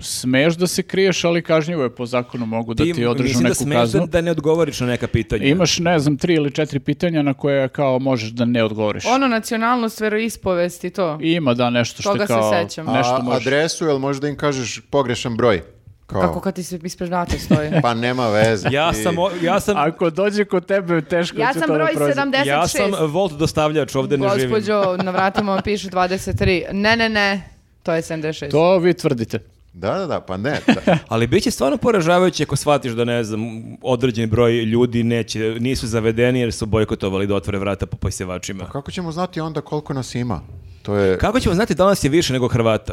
S4: smeš da se kriješ, ali kažnjivo je po zakonu mogu da
S2: Ti,
S4: ti, održu
S2: mislim da
S4: neku
S2: smeš da-
S4: kaznu.
S2: da ne odgovoriš na neka pitanja.
S4: Imaš, ne znam, tri ili četiri pitanja na koje kao možeš da ne odgovoriš.
S1: Ono nacionalnost, veroispovest i to.
S4: I Ima da nešto što
S1: Toga
S4: je
S1: se
S4: kao
S1: sećam.
S4: nešto
S3: A
S4: možeš.
S3: adresu, jel možda im kažeš pogrešan broj? Kao,
S1: Kako kad ti se ispred vrata stoji.
S3: Pa nema veze.
S2: *laughs* Ja
S3: ti-
S2: sam, o- ja sam,
S4: Ako dođe kod tebe, teško
S1: ja
S4: će
S1: sam
S4: to da
S1: broj
S4: prođe.
S1: 76.
S2: ja sam volt dostavljač, ovde ne živim.
S1: Gospođo, na vratima vam piše 23. Ne, ne, ne. To je 76.
S4: To vi tvrdite.
S3: Da, da, da, pa ne.
S2: *laughs*
S3: da.
S2: Ali bit će stvarno poražavajuće ako shvatiš da, ne znam, određen broj ljudi neće, nisu zavedeni jer su bojkotovali da otvore vrata po posivačima.
S3: Kako ćemo znati onda koliko nas ima? To je,
S2: Kako ćemo znati da nas je više nego Hrvata?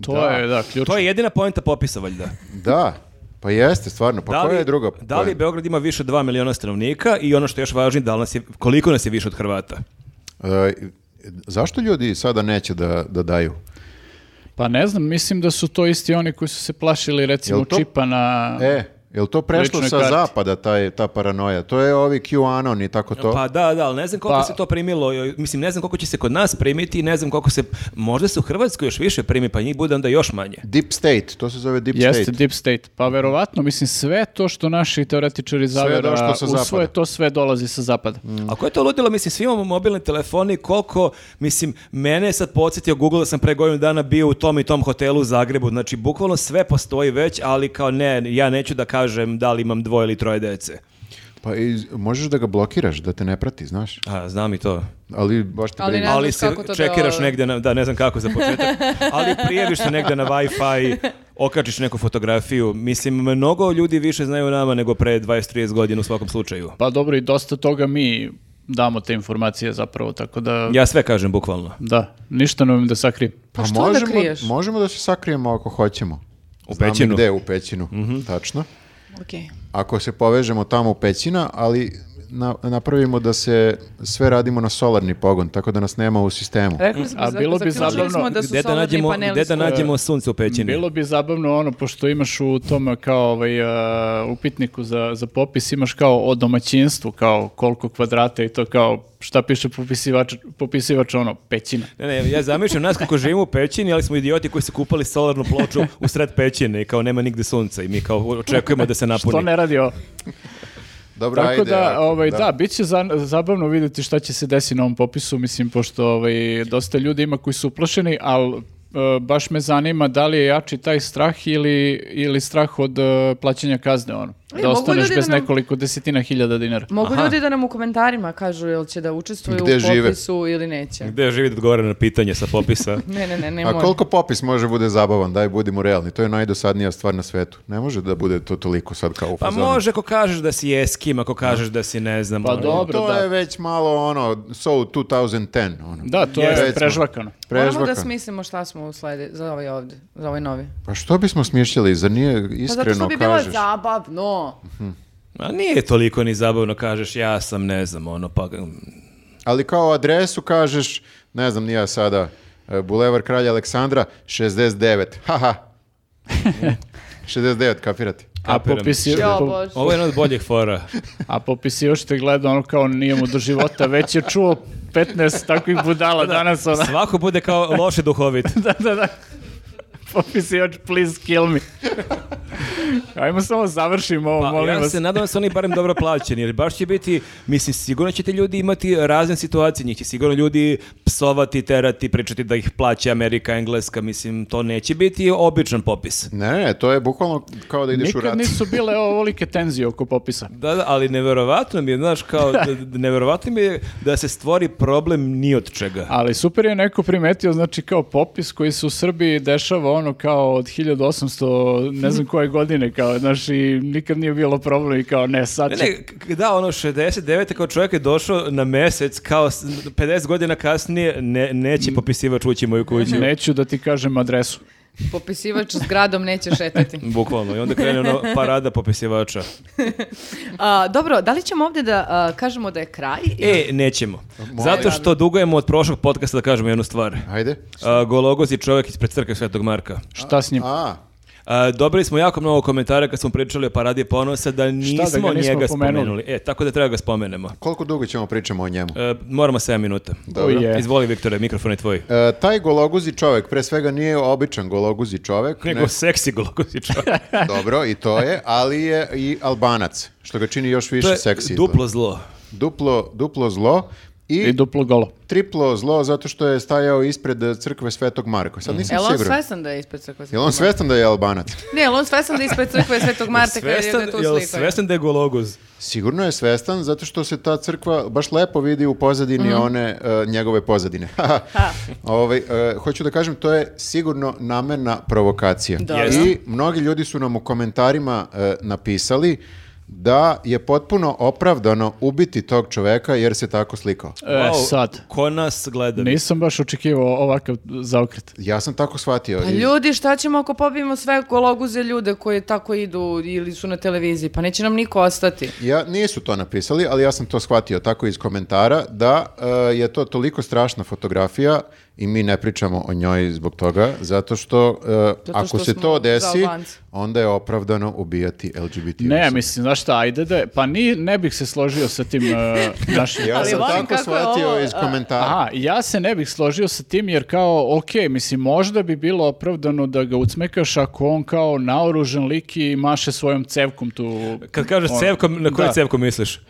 S4: To
S3: Da.
S4: je, da, ključno.
S2: To je jedina poenta popisa, valjda.
S3: da, pa jeste, stvarno. Pa koja je druga?
S2: Da li
S3: poenta?
S2: Beograd ima više od 2 miliona stanovnika i ono što je još važnije, da li nas je, koliko nas je više od Hrvata?
S3: E, zašto ljudi sada neće da, da daju?
S4: Pa ne znam, mislim da su to isti oni koji su se plašili recimo
S3: Jel to-
S4: čipa na...
S3: E, je to prešlo
S4: Ličnoj
S3: sa
S4: karti.
S3: zapada, taj, ta paranoja? To je ovi QAnon i tako to?
S2: Pa da, da, ali ne znam koliko
S4: Pa-
S2: se to primilo, joj, mislim ne znam koliko će se kod nas primiti i ne znam koliko se, možda se u Hrvatskoj još više primi, pa njih bude onda još manje.
S3: Deep State, to se zove Deep
S4: Jeste
S3: State.
S4: deep state. Pa verovatno, mislim, sve to što naši teoretičari zavera
S3: došlo sa
S4: usvoje,
S3: zapada. Mm.
S4: to sve dolazi sa zapada.
S2: A ko je to ludilo? Mislim, svi imamo mobilne telefone i koliko, mislim, mene je sad podsjetio Google da sam pre godinu dana bio u tom i tom hotelu u Zagrebu. Znači, bukvalno sve postoji već, ali kao ne, ja neću da kažem da li imam dvoje ili troje dece.
S3: Pa i, možeš da ga blokiraš, da te ne prati, znaš?
S2: A, znam i to.
S3: Ali baš te
S1: Ali
S3: briga.
S1: Ne znam
S2: ali se
S1: kako to
S2: čekiraš
S1: da- ovaj-
S2: negde, na, da, ne znam kako za početak,
S1: *laughs*
S2: ali prijeviš se negde na Wi-Fi, okačiš neku fotografiju. Mislim, mnogo ljudi više znaju o nama nego pre 20-30 godina u svakom slučaju.
S4: Pa dobro, i dosta toga mi damo te informacije zapravo, tako da...
S2: Ja sve kažem, bukvalno.
S4: Da, ništa ne umem da sakrijem.
S1: Pa što onda
S3: možemo,
S1: kriješ?
S3: možemo da se sakrijemo ako hoćemo.
S2: U
S3: Znam
S2: pećinu.
S3: gde, u pećinu,
S4: Mhm.
S3: tačno.
S1: Okej.
S3: Ako se povežemo tamo u pećina, ali na- napravimo da se sve radimo na solarni pogon, tako da nas nema u sistemu.
S2: Mm,
S1: Rekli smo,
S4: A
S1: za-
S4: bilo bi
S1: zaključili
S4: zabavno
S1: smo da su
S2: gde da
S1: solarni
S2: nađemo,
S1: paneli
S2: gde da
S1: skupi.
S2: nađemo sunce u pećini?
S4: Bilo bi zabavno ono, pošto imaš u tom kao ovaj, a, upitniku za, za popis, imaš kao o domaćinstvu, kao koliko kvadrata i to kao šta piše popisivač, popisivač ono, pećina.
S2: Ne, ne, ja zamišljam nas kako živimo u pećini, ali smo idioti koji su kupali solarnu ploču u sred pećine i kao nema nigde sunca i mi kao očekujemo da se napuni.
S4: Što ne radi ovo?
S3: Dobro,
S4: Tako
S3: ajde,
S4: da,
S3: ako-
S4: ovaj, da. bit će za- zabavno vidjeti šta će se desiti na ovom popisu, mislim, pošto ovaj, dosta ljudi ima koji su uplašeni, ali e, baš me zanima da li je jači taj strah ili, ili strah od e, plaćanja kazne, ono.
S1: E,
S4: da
S1: mogu
S4: ostaneš
S1: ljudi da
S4: bez
S1: nam-
S4: nekoliko desetina hiljada dinara.
S1: Mogu ljudi da nam u komentarima kažu jel će da učestvuju
S3: Gde
S1: u
S3: žive?
S1: popisu ili neće.
S2: Gde živi da odgovara na pitanje sa popisa?
S1: Ne, ne,
S4: E,
S1: ne, ne
S3: A
S1: može.
S3: koliko popis može bude zabavan, daj budimo realni, to je najdosadnija stvar na svetu. Ne može da bude to toliko sad kao u
S2: Pa
S3: fazonu.
S2: može ako kažeš da si eskim, ako kažeš da si ne znam.
S4: Pa
S2: ono,
S4: dobro,
S3: To
S4: da.
S3: je već malo ono, so 2010. Ono.
S4: Da, to
S2: Jeste.
S4: je prežvakano.
S1: Moramo Ono da
S3: Prežvakan.
S1: smislimo šta smo u slede- za ovaj ovdje, za ovaj novi.
S3: Pa što bismo smišljali, zar nije
S1: Pa zato
S3: iskreno
S1: što bi bilo
S3: kažeš?
S1: zabavno.
S2: A nije toliko ni zabavno kažeš ja sam ne znam ono pa...
S3: Ali kao adresu kažeš, ne znam, nija sada, e, Bulevar Kralja Aleksandra, 69.
S4: *laughs*
S3: Haha. 69, kapirati.
S4: A,
S2: Kapiram.
S4: popisi,
S1: Jo,
S4: po-
S1: Bože.
S2: Ovo je jedna od boljih
S4: *laughs*
S2: fora.
S4: a popisivač te gleda ono kao nije mu do života, već je čuo 15 takvih budala danas. Ona.
S2: Svako bude kao loše duhovit.
S4: *laughs* da, da, da. Popisivač, please kill me. Ajmo samo završimo ovo,
S2: Pa,
S4: molim
S2: ja
S4: vas.
S2: se nadam da su oni barem dobro plaćeni, jer baš će biti, mislim, sigurno će ti ljudi imati razne situacije, njih će sigurno ljudi psovati, terati, pričati da ih plaća Amerika, Engleska, mislim, to neće biti običan popis.
S3: Ne, ne, to je bukvalno kao da ideš u rat.
S4: Nikad nisu bile ovolike tenzije oko popisa.
S2: Da, da, ali neverovatno mi je, znaš,
S4: *laughs*
S2: kao, da- da- neverovatno mi je da se stvori problem ni od čega.
S4: Ali super je neko primetio, znači kao popis koji se u Srbiji dešava ono kao od 1800, ne znam koje godine, kao, znaš, i nikad nije bilo problem i kao, ne, sad
S2: Ne,
S4: će
S2: ne, k- da, ono, 69. kao čovjek je došao na mesec, kao s- 50 godina kasnije, ne,
S4: Mm.
S2: neće popisivač ući u moju kuću.
S4: Neću da ti kažem adresu.
S1: Popisivač s gradom neće
S3: *laughs*
S1: šetati.
S2: Bukvalno, i onda krene ono parada popisivača.
S1: A, dobro, da li ćemo ovdje da a, kažemo da je kraj?
S2: E, nećemo. Zato što dugujemo od prošlog podcasta da kažemo jednu stvar.
S3: Ajde.
S2: A, Gologoz je čovjek ispred crkve Svetog Marka.
S4: Šta s njim?
S3: A,
S2: A, dobili smo jako mnogo komentara kad smo pričali o paradi ponosa da nismo,
S4: nismo
S2: njega
S4: pomenuli?
S2: spomenuli. E, tako da treba ga spomenemo.
S3: koliko dugo ćemo pričamo o njemu?
S2: E, moramo 7 minuta.
S3: Dobro.
S4: O je.
S2: Izvoli, Viktore, mikrofon je tvoj.
S3: E, taj gologuzi čovek, pre svega nije običan gologuzi čovek,
S2: Nego
S3: ne-
S2: seksi Gologoz je čovjek.
S3: dobro i to je, ali je i albanac, što ga čini još više
S2: To je
S3: seksi.
S2: duplo zlo.
S3: duplo, duplo zlo
S4: I duplo golo.
S3: triplo zlo zato što je stajao ispred eh, crkve Svetog Marka. Sad nisam
S1: Jel on
S3: siguran.
S1: svestan da je ispred crkve
S3: Jel
S1: Svetog
S3: on svestan da je albanac?
S1: Marka? Ne, jel on svestan da je ispred crkve Svetog
S2: *laughs*
S1: Marta kada je da je
S2: Svestan,
S1: tu
S2: jel
S1: sliku?
S2: svestan da je gologuz?
S3: Sigurno je svestan zato što se ta crkva baš lepo vidi u pozadini one eh, njegove pozadine. *laughs* Ovaj, eh, hoću da kažem, to je sigurno namerna provokacija.
S1: Da.
S3: I mnogi ljudi su nam u komentarima eh, napisali da je potpuno opravdano ubiti tog čoveka jer se tako slikao.
S4: E, sad.
S2: Ko nas gleda?
S4: Nisam baš očekivao ovakav zaokret.
S3: Ja sam tako shvatio.
S1: Pa
S3: i-
S1: ljudi, šta ćemo ako pobijemo sve gologuze ljude koji tako idu ili su na televiziji? Pa neće nam niko ostati.
S3: Ja, nisu to napisali, ali ja sam to shvatio tako iz komentara da e, je to toliko strašna fotografija i mi ne pričamo o njoj zbog toga, zato što, e, ako
S1: što
S3: se
S1: smo
S3: to
S1: za
S3: desi,
S1: Albance.
S3: onda je opravdano ubijati LGBT
S4: Ne,
S3: osobe.
S4: mislim, znaš šta, ajde da, je- pa ni, ne bih se složio sa tim
S3: *laughs*
S4: e, našim...
S3: Ja
S1: Ali
S3: sam
S1: volim
S3: tako
S1: kako je
S3: shvatio
S1: ovo,
S3: iz
S1: a-
S3: komentara.
S4: Aha, ja se ne bih složio sa tim jer kao, ok, mislim, možda bi bilo opravdano da ga ucmekaš ako on kao naoružan lik i maše svojom cevkom tu...
S2: Kad kažeš
S4: ono,
S2: cevkom, na koju
S4: da,
S2: cevku misliš?
S4: e,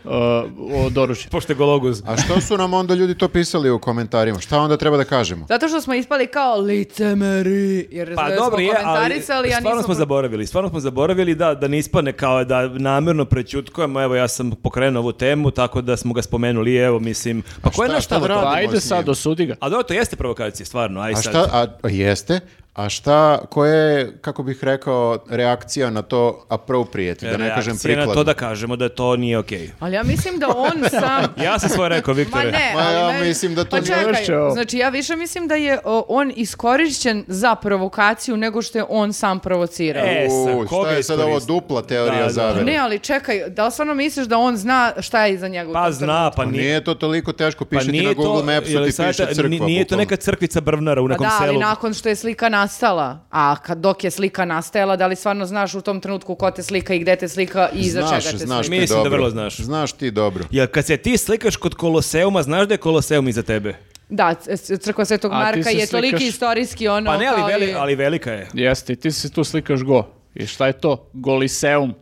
S4: od oružja.
S2: Pošto je gologuz.
S3: A što su nam onda ljudi to pisali u komentarima? Šta onda treba da kažemo?
S1: Zato što smo ispali kao licemeri, jer
S2: Pa
S1: smo
S2: dobro je, ali,
S1: komentarisali, a
S2: stvarno
S1: nismo...
S2: smo zaboravili. Stvarno smo zaboravili da, da ne ispane kao da namjerno prećutkujemo. Evo ja sam pokrenuo ovu temu, tako da smo ga spomenuli. Evo mislim, pa ko je
S3: šta-
S2: naš
S3: šta da
S2: tamo to?
S3: radimo
S4: Ajde
S3: s
S4: sad,
S3: njim?
S4: osudi ga.
S2: A dobro, to jeste provokacija, stvarno. Aj
S3: A
S2: E sad.
S3: šta, a, a jeste, a šta, koja je, kako bih rekao, reakcija na to appropriate, da ne kažem
S2: Reakcija na
S3: prikladno?
S2: to da kažemo da to nije okej.
S1: Ali ja mislim da
S2: *laughs*
S1: on sam...
S2: Ja sam svoje
S1: *laughs*
S2: rekao,
S1: Ma
S2: Viktore.
S1: ne,
S3: Ma
S1: ali
S3: ja
S1: meni-
S3: mislim da to
S1: pa
S3: nije
S1: čekaj,
S4: baš ovo.
S1: Znači ja više mislim da je o, on iskorišćen za provokaciju nego što je on sam provocirao.
S2: E, sa
S3: U,
S2: koga
S3: šta je sad ovo
S2: iskoristio?
S3: dupla teorija
S2: Da, da.
S3: zavere?
S1: Ne, ali čekaj, da li stvarno misliš da on zna šta je iza njegovog?
S2: Pa zna, pa
S3: Pa
S2: nije.
S3: nije to toliko teško,
S2: Pa
S3: piše ti na Google Mapsu, ti
S2: Jelisaveta,
S3: piše crkva.
S2: ni- Nije to
S3: bukvalno.
S2: neka crkvica Brvnara u
S1: Pa
S2: nekom
S1: da, ali
S2: selu.
S1: nakon što je slika nastala, a kad, dok je slika nastajala, da li stvarno znaš u tom trenutku ko te slika i gde te slika i iza
S3: Znaš,
S1: čega te
S3: znaš
S1: slika?
S3: ti
S2: Mislim da
S3: dobro.
S2: vrlo znaš.
S3: Znaš ti dobro.
S2: Jer kad se ti slikaš kod Koloseuma, znaš da je Koloseum iza tebe?
S1: Da, c- c- crkva Svetog
S4: A ti
S1: Marka
S4: se
S1: je toliki
S4: slikaš-
S1: istorijski ono
S2: Pa ne, ali,
S1: kao i-
S2: veli- ali velika je.
S4: Jeste, i ti se tu slikaš go. I šta je to? Goliseum.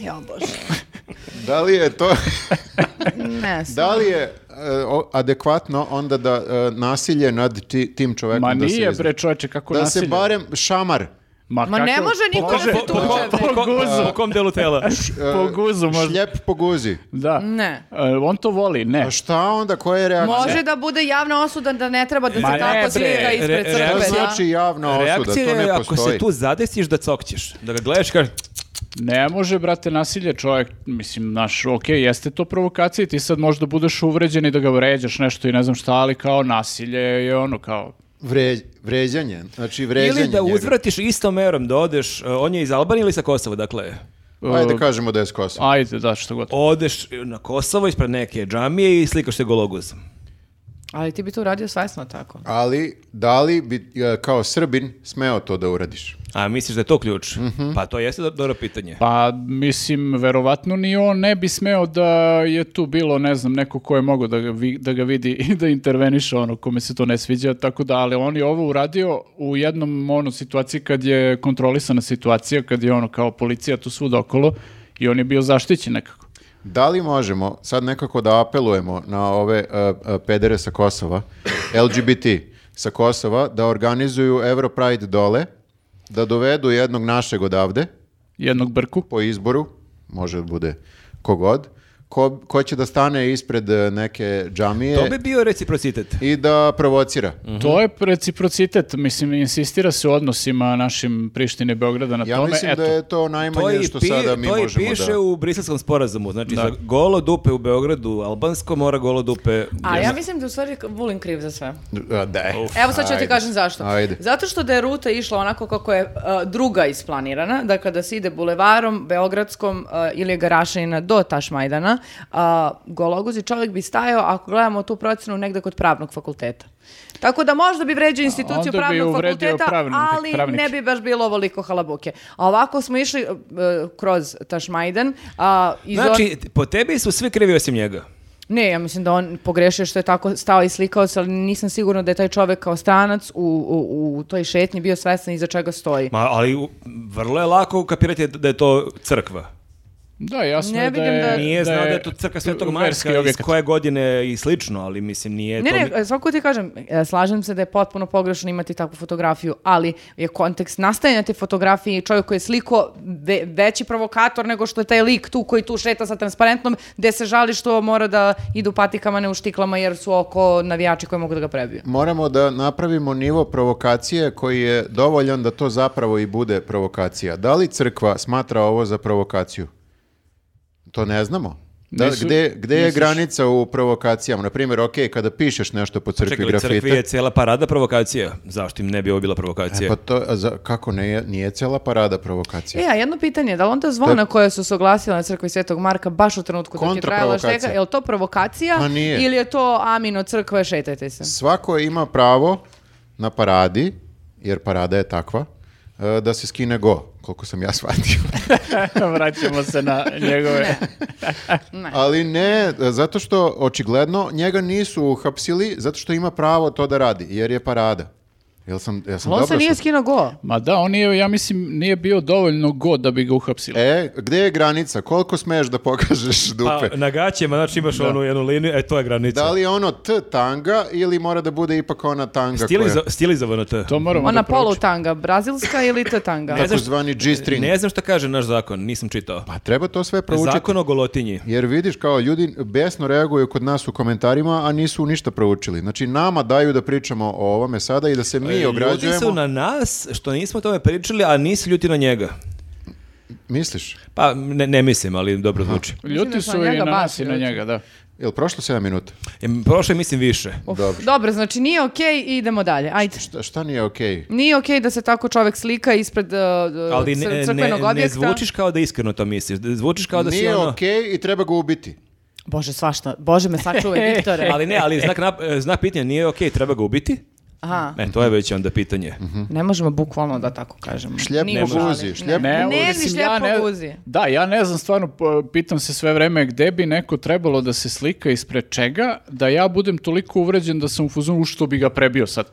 S1: Ja, bože.
S3: Da li je
S2: *laughs*
S3: to,
S1: Ne,
S3: da li je e, o- adekvatno onda da e, nasilje nad ti- tim čovekom
S4: Ma
S3: da se
S4: nije
S3: izda?
S4: bre čovječe kako
S3: Da
S4: nasilje.
S3: se barem šamar. e,
S1: Ma ne
S4: kako-
S1: može
S4: *laughs*
S1: niko
S4: Bože,
S1: da se tuče,
S4: po-
S1: bre.
S4: po- po guzu.
S2: Po kom delu tela?
S3: e,
S4: Po guzu možda.
S3: Šljep po guzi.
S4: Da.
S1: Ne.
S4: E, on to voli, ne.
S3: A šta onda, koja je reakcija?
S1: Može da bude javna osuda da ne treba da
S4: Ma
S1: se
S4: ne,
S1: tako
S4: bre,
S1: slika
S2: re-
S1: ispred
S2: re-
S1: crkve.
S3: Šta
S1: da.
S3: znači javna osuda?
S2: Reakcija
S3: To
S2: je
S3: ne
S2: ako se
S3: postoji.
S2: tu zadesiš da cokćeš. Da ga gledaš i kažeš,
S4: Ne može, brate, nasilje čovjek, mislim, naš, ok, jeste to provokacija i ti sad možda budeš uvređen i da ga vređaš nešto i ne znam šta, ali kao nasilje je ono kao...
S3: Vre- vređanje. Znači vređanje
S2: ili da
S3: njega.
S2: uzvratiš istom merom da odeš, e, on je iz Albanije ili sa Kosova, dakle,
S3: Ajde
S4: e,
S3: kažemo da je s Kosova.
S4: Ajde, da, što god.
S2: odeš na Kosovo ispred neke džamije i slikaš se gologuz.
S1: Ali ti bi to uradio svesno tako.
S3: Ali da li bi e, kao Srbin smeo to da uradiš?
S2: A misliš da je to ključ?
S3: Mhm.
S2: Pa to jeste do- dobro pitanje.
S4: Pa, mislim, verovatno ni on ne bi smeo da je tu bilo, ne znam, neko ko je mogao da ga, vi- da ga vidi i da interveniše ono, kome se to ne sviđa, tako da, ali on je ovo uradio u jednom, ono, situaciji kad je kontrolisana situacija, kad je, ono, kao policija tu svud okolo i on je bio zaštićen nekako.
S3: Da li možemo sad nekako da apelujemo na ove uh, uh, pedere sa Kosova, LGBT sa Kosova, da organizuju Europride dole, da dovedu jednog našeg odavde
S4: Jednog brku.
S3: po izboru, može da bude kogod, ko, ko će da stane ispred uh, neke džamije
S2: To bi Mm. bio reciprocitet.
S3: i da provocira.
S2: Mhm.
S4: To je reciprocitet, mislim, insistira se u odnosima našim Prištine i Beograda na
S3: Ja
S4: tome.
S3: mislim
S4: Eto,
S3: da je to
S2: To
S3: najmanje
S2: i,
S3: što
S2: pi-
S3: sada mi
S2: to i
S3: možemo
S2: piše
S3: da...
S2: u briselskom sporazumu. Znači, za golo dupe u Beogradu, albansko mora golo dupe...
S1: A ja mislim da u stvari Vulin kriv za sve.
S3: A, Da.
S1: Evo sad ću ti
S3: Ajde.
S1: kažem zašto.
S3: Ajde.
S1: Zato što da je ruta išla onako kako je uh, druga isplanirana, dakle da se ide bulevarom, Beogradskom uh, ili Garašanina do Tašmajdana, uh, Gologuzi čovjek bi stajao, ako gledamo tu procenu, negde kod pravnog fakulteta. Tako da možda bi vređao
S4: onda
S1: instituciju
S4: bi
S1: pravnog
S4: uvredio
S1: fakulteta,
S4: pravni-
S1: ali
S4: pravnike.
S1: ne bi baš bilo ovoliko halabuke. A ovako smo išli uh, uh, kroz Tašmajdan. Uh, iz on-
S2: Znači, po tebi su svi krivi osim njega.
S1: ne, ja mislim da on pogrešio što je tako stao i slikao se, ali nisam sigurna da je taj čovek kao stranac u, u, u toj šetnji bio svestan iza čega stoji.
S2: Ma, ali u- vrlo je lako ukapirati da je to crkva.
S4: Da, jasno
S1: Ne
S4: je da
S1: vidim
S4: je...
S1: da-
S2: Nije znao da je to crkva Svetog Marka iz koje godine i slično, ali mislim nije
S1: Ne,
S2: to...
S1: ne,
S2: ni-
S1: e, svakako ti kažem, e, slažem se da je potpuno pogrešno imati takvu fotografiju, ali je kontekst nastajanja te fotografije i čovjek koji je sliko ve- veći provokator nego što je taj lik tu koji tu šeta sa transparentnom gde se žali što mora da idu patikama, ne u štiklama jer su oko navijači koji mogu da ga prebiju.
S3: Moramo da napravimo nivo provokacije koji je dovoljan da to zapravo i bude provokacija. Da li crkva smatra ovo za provokaciju? To ne znamo. Da,
S4: Nisu-
S3: gde, gde je
S4: misliš-
S3: granica u provokacijama? Na primjer, ok, kada pišeš nešto po crkvi
S2: Čekali,
S3: grafite...
S2: crkvi je cijela parada provokacija. Zašto im ne bi ovo bila provokacija?
S3: Pa to, a za, kako ne, je- nije cela parada provokacija?
S1: E, a jedno pitanje, da li onda zvona
S3: Da.
S1: koja su se oglasila na crkvi Svetog Marka baš u trenutku dok je trajala
S3: Kontraprovokacija.
S1: šteka, je li to provokacija
S3: Ma nije.
S1: ili je to amin od crkve, šetajte se?
S3: Svako ima pravo na paradi, jer parada je takva, e, da se skine go, koliko sam ja shvatio.
S4: *laughs* Vraćamo se na njegove...
S3: Ali ne, e, zato što očigledno njega nisu uhapsili, zato što ima pravo to da radi, jer je parada. Jel sam, jel sam
S1: Ali on
S3: dobro
S1: se nije
S3: shvatio?
S1: skinuo go.
S4: Ma da, on je, ja mislim, nije bio dovoljno god da bi ga uhapsili.
S3: E, gde je granica? Koliko smeš da pokažeš dupe?
S2: Pa, na gaćima, znači imaš onu jednu liniju, e to je granica.
S3: Da li je ono T tanga ili mora da bude ipak ona tanga
S2: Stiliza,
S3: koja...
S2: stilizovano to.
S4: To moramo
S1: Ona
S4: da polu...
S1: polu tanga, brazilska ili t tanga?
S2: Ne znam
S3: Takozvani G-string.
S2: Ne znam šta kaže naš zakon, nisam čitao.
S3: Pa treba to sve proučiti.
S2: Zakon o golotinji.
S3: Jer vidiš kao ljudi besno reaguju kod nas u komentarima, a nisu ništa proučili. Znači nama daju da pričamo o ovome sada i da se mi
S2: E, Ljudi
S3: ograđujemo.
S2: su na nas što nismo o tome pričali, a nisu ljuti na njega.
S3: Misliš?
S2: Pa ne, ne mislim, ali dobro zvuči.
S1: Mislim da
S4: Ljuti
S1: smo
S4: su
S1: na
S4: i
S1: njega
S4: na nas
S1: baš
S4: i na
S1: ljuti.
S4: njega, da.
S3: Jel prošlo 7 minuta?
S2: E, Prošlo je mislim više.
S1: Uf,
S3: Dobro.
S1: dobro. znači nije okej i idemo dalje. Ajde.
S3: Šta, šta nije okej?
S1: Nije okej da se tako čovek slika ispred uh,
S2: Ali
S1: cr-
S2: ne, ne,
S1: crkvenog
S2: ne,
S1: objekta.
S2: zvučiš kao da iskreno to misliš. Zvučiš kao da si
S3: Nije
S2: ono...
S3: okej i treba ga ubiti.
S1: Bože, svašta. Bože, me
S2: *laughs*
S1: sačuvaj, Viktore.
S2: Ali ne, ali znak, nap- e, znak pitanja nije okej, treba ga ubiti.
S1: Aha,
S2: E, to je već onda pitanje.
S1: ne možemo bukvalno da tako kažemo.
S3: Šljep
S1: Nije
S3: po
S1: šale.
S3: guzi, šljep
S1: Ne,
S4: Ne,
S1: ne,
S4: ovo-
S1: ni
S4: mislim,
S1: šljep
S4: ja
S1: po
S4: ne-
S1: guzi.
S4: Da, ja ne znam, stvarno po- pitam se sve vreme gde bi neko trebalo da se slika ispred čega, da ja budem toliko uvređen da sam u fuzonu što bi ga prebio sad.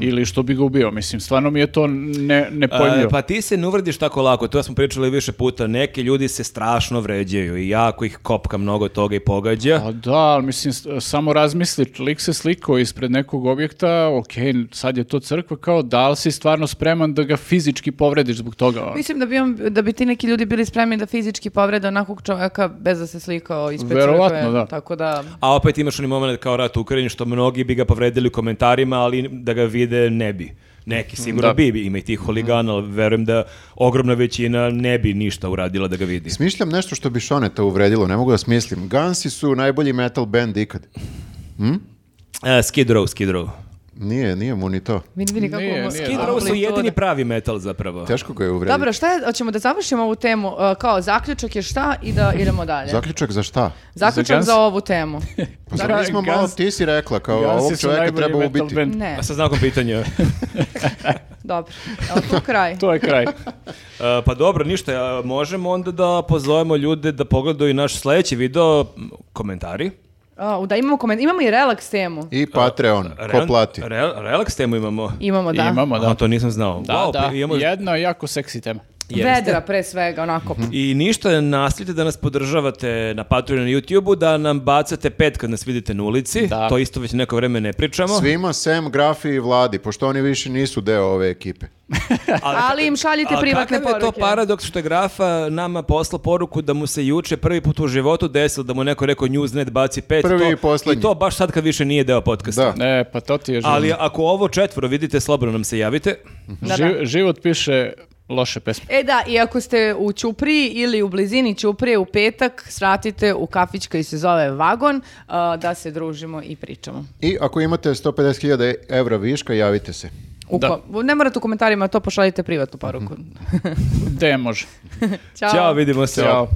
S4: Ili što bi ga ubio, mislim, stvarno mi je to ne, nepojmljivo.
S2: Mhm. E, pa ti se ne uvrediš tako lako, to smo pričali više puta. Neki ljudi se strašno vređaju i jako ih kopka mnogo toga i pogađa.
S4: A Pa da, ali mislim, s- samo razmisli, lik se slikao ispred nekog objekta, ok, sad je to crkva, kao da li si stvarno spreman da ga fizički povrediš zbog toga? ono?
S1: Mislim da bi, on, da bi ti neki ljudi bili spremni da fizički povrede onakog čoveka bez da se slikao ispred crkve.
S4: Verovatno, da.
S1: Tako da...
S2: A opet imaš onaj moment kao rat u Ukrajini što mnogi bi ga povredili u komentarima, ali da ga vide ne bi. Neki sigurno
S4: Da.
S2: bi, ima i tih huligana, ali verujem da ogromna većina ne bi ništa uradila da ga vidi.
S3: Smišljam nešto što bi Šoneta uvredilo, ne mogu da smislim. Gansi su najbolji metal band ikad.
S2: E, Skid Row, Skid Row.
S3: Nije, nije mu ni to.
S1: Vidi, vidi kako
S4: Nije,
S1: mu-
S3: E,
S4: nije.
S2: Skid
S4: Da.
S2: Row su
S1: amplituda.
S2: jedini pravi metal zapravo.
S3: Teško ga je uvrediti.
S1: Dobro, šta je, hoćemo da završimo ovu temu, uh, kao zaključak je šta i da idemo dalje.
S3: Zaključak za šta?
S1: Zaključak
S4: Za
S1: za ovu temu.
S3: Pa zar nismo
S4: Gans-
S3: malo, ti si rekla kao
S4: Gansi
S3: ovog
S4: su
S3: čovjeka
S4: najbolji
S3: treba
S4: metal
S3: ubiti.
S4: band.
S1: Ne,
S2: A sa znakom
S3: *laughs*
S2: pitanja.
S1: dobro. Evo tu kraj.
S4: To je kraj.
S2: E, pa dobro, ništa, a možemo onda da pozovemo ljude da pogledaju naš sledeći video, m, komentari.
S1: A, da, imamo koment, imamo i relaks temu.
S3: I Patreon, ko
S2: Rel-
S3: plati?
S2: rel- relax temu imamo.
S1: Imamo, da.
S4: Imamo, *laughs* da.
S2: A, to nisam znao.
S4: Da,
S2: Wow,
S4: da,
S2: pa imamo-
S4: jedna jako seksi tema.
S2: Jeste.
S1: Vedra pre svega, onako.
S2: I ništa, nastavite da nas podržavate na Patreonu i na YouTubeu, da nam bacate pet kad nas vidite na ulici.
S4: Da.
S2: To isto već neko vreme ne pričamo.
S3: Svima sem Grafi i Vladi, pošto oni više nisu deo ove ekipe.
S1: Ali im šaljite
S2: A
S1: privatne
S2: kakav je to
S1: poruke.
S2: paradoks što je Grafa nama poslao poruku da mu se juče prvi put u životu desilo da mu neko rekao Newsnet baci pet.
S3: Prvi
S2: to,
S3: i poslednji.
S2: I to baš sad kad više nije deo podcasta.
S3: Da.
S4: Ne, pa to ti je život.
S2: Ali ako ovo četvoro vidite, slobodno nam se javite.
S1: Da, da.
S4: Živ- život piše loše pesme.
S1: E da, i ako ste u Ćupriji ili u blizini Ćuprije u petak, sratite u kafić koji se zove Vagon, a, da se družimo i pričamo.
S3: I ako imate 150.000 evra viška, javite se.
S1: U
S4: Da.
S1: ko- Ne morate u komentarima, to pošaljite privatnu poruku.
S4: Gde može?
S1: Ćao.
S2: Mhm. Ćao, vidimo se.
S4: Ćao.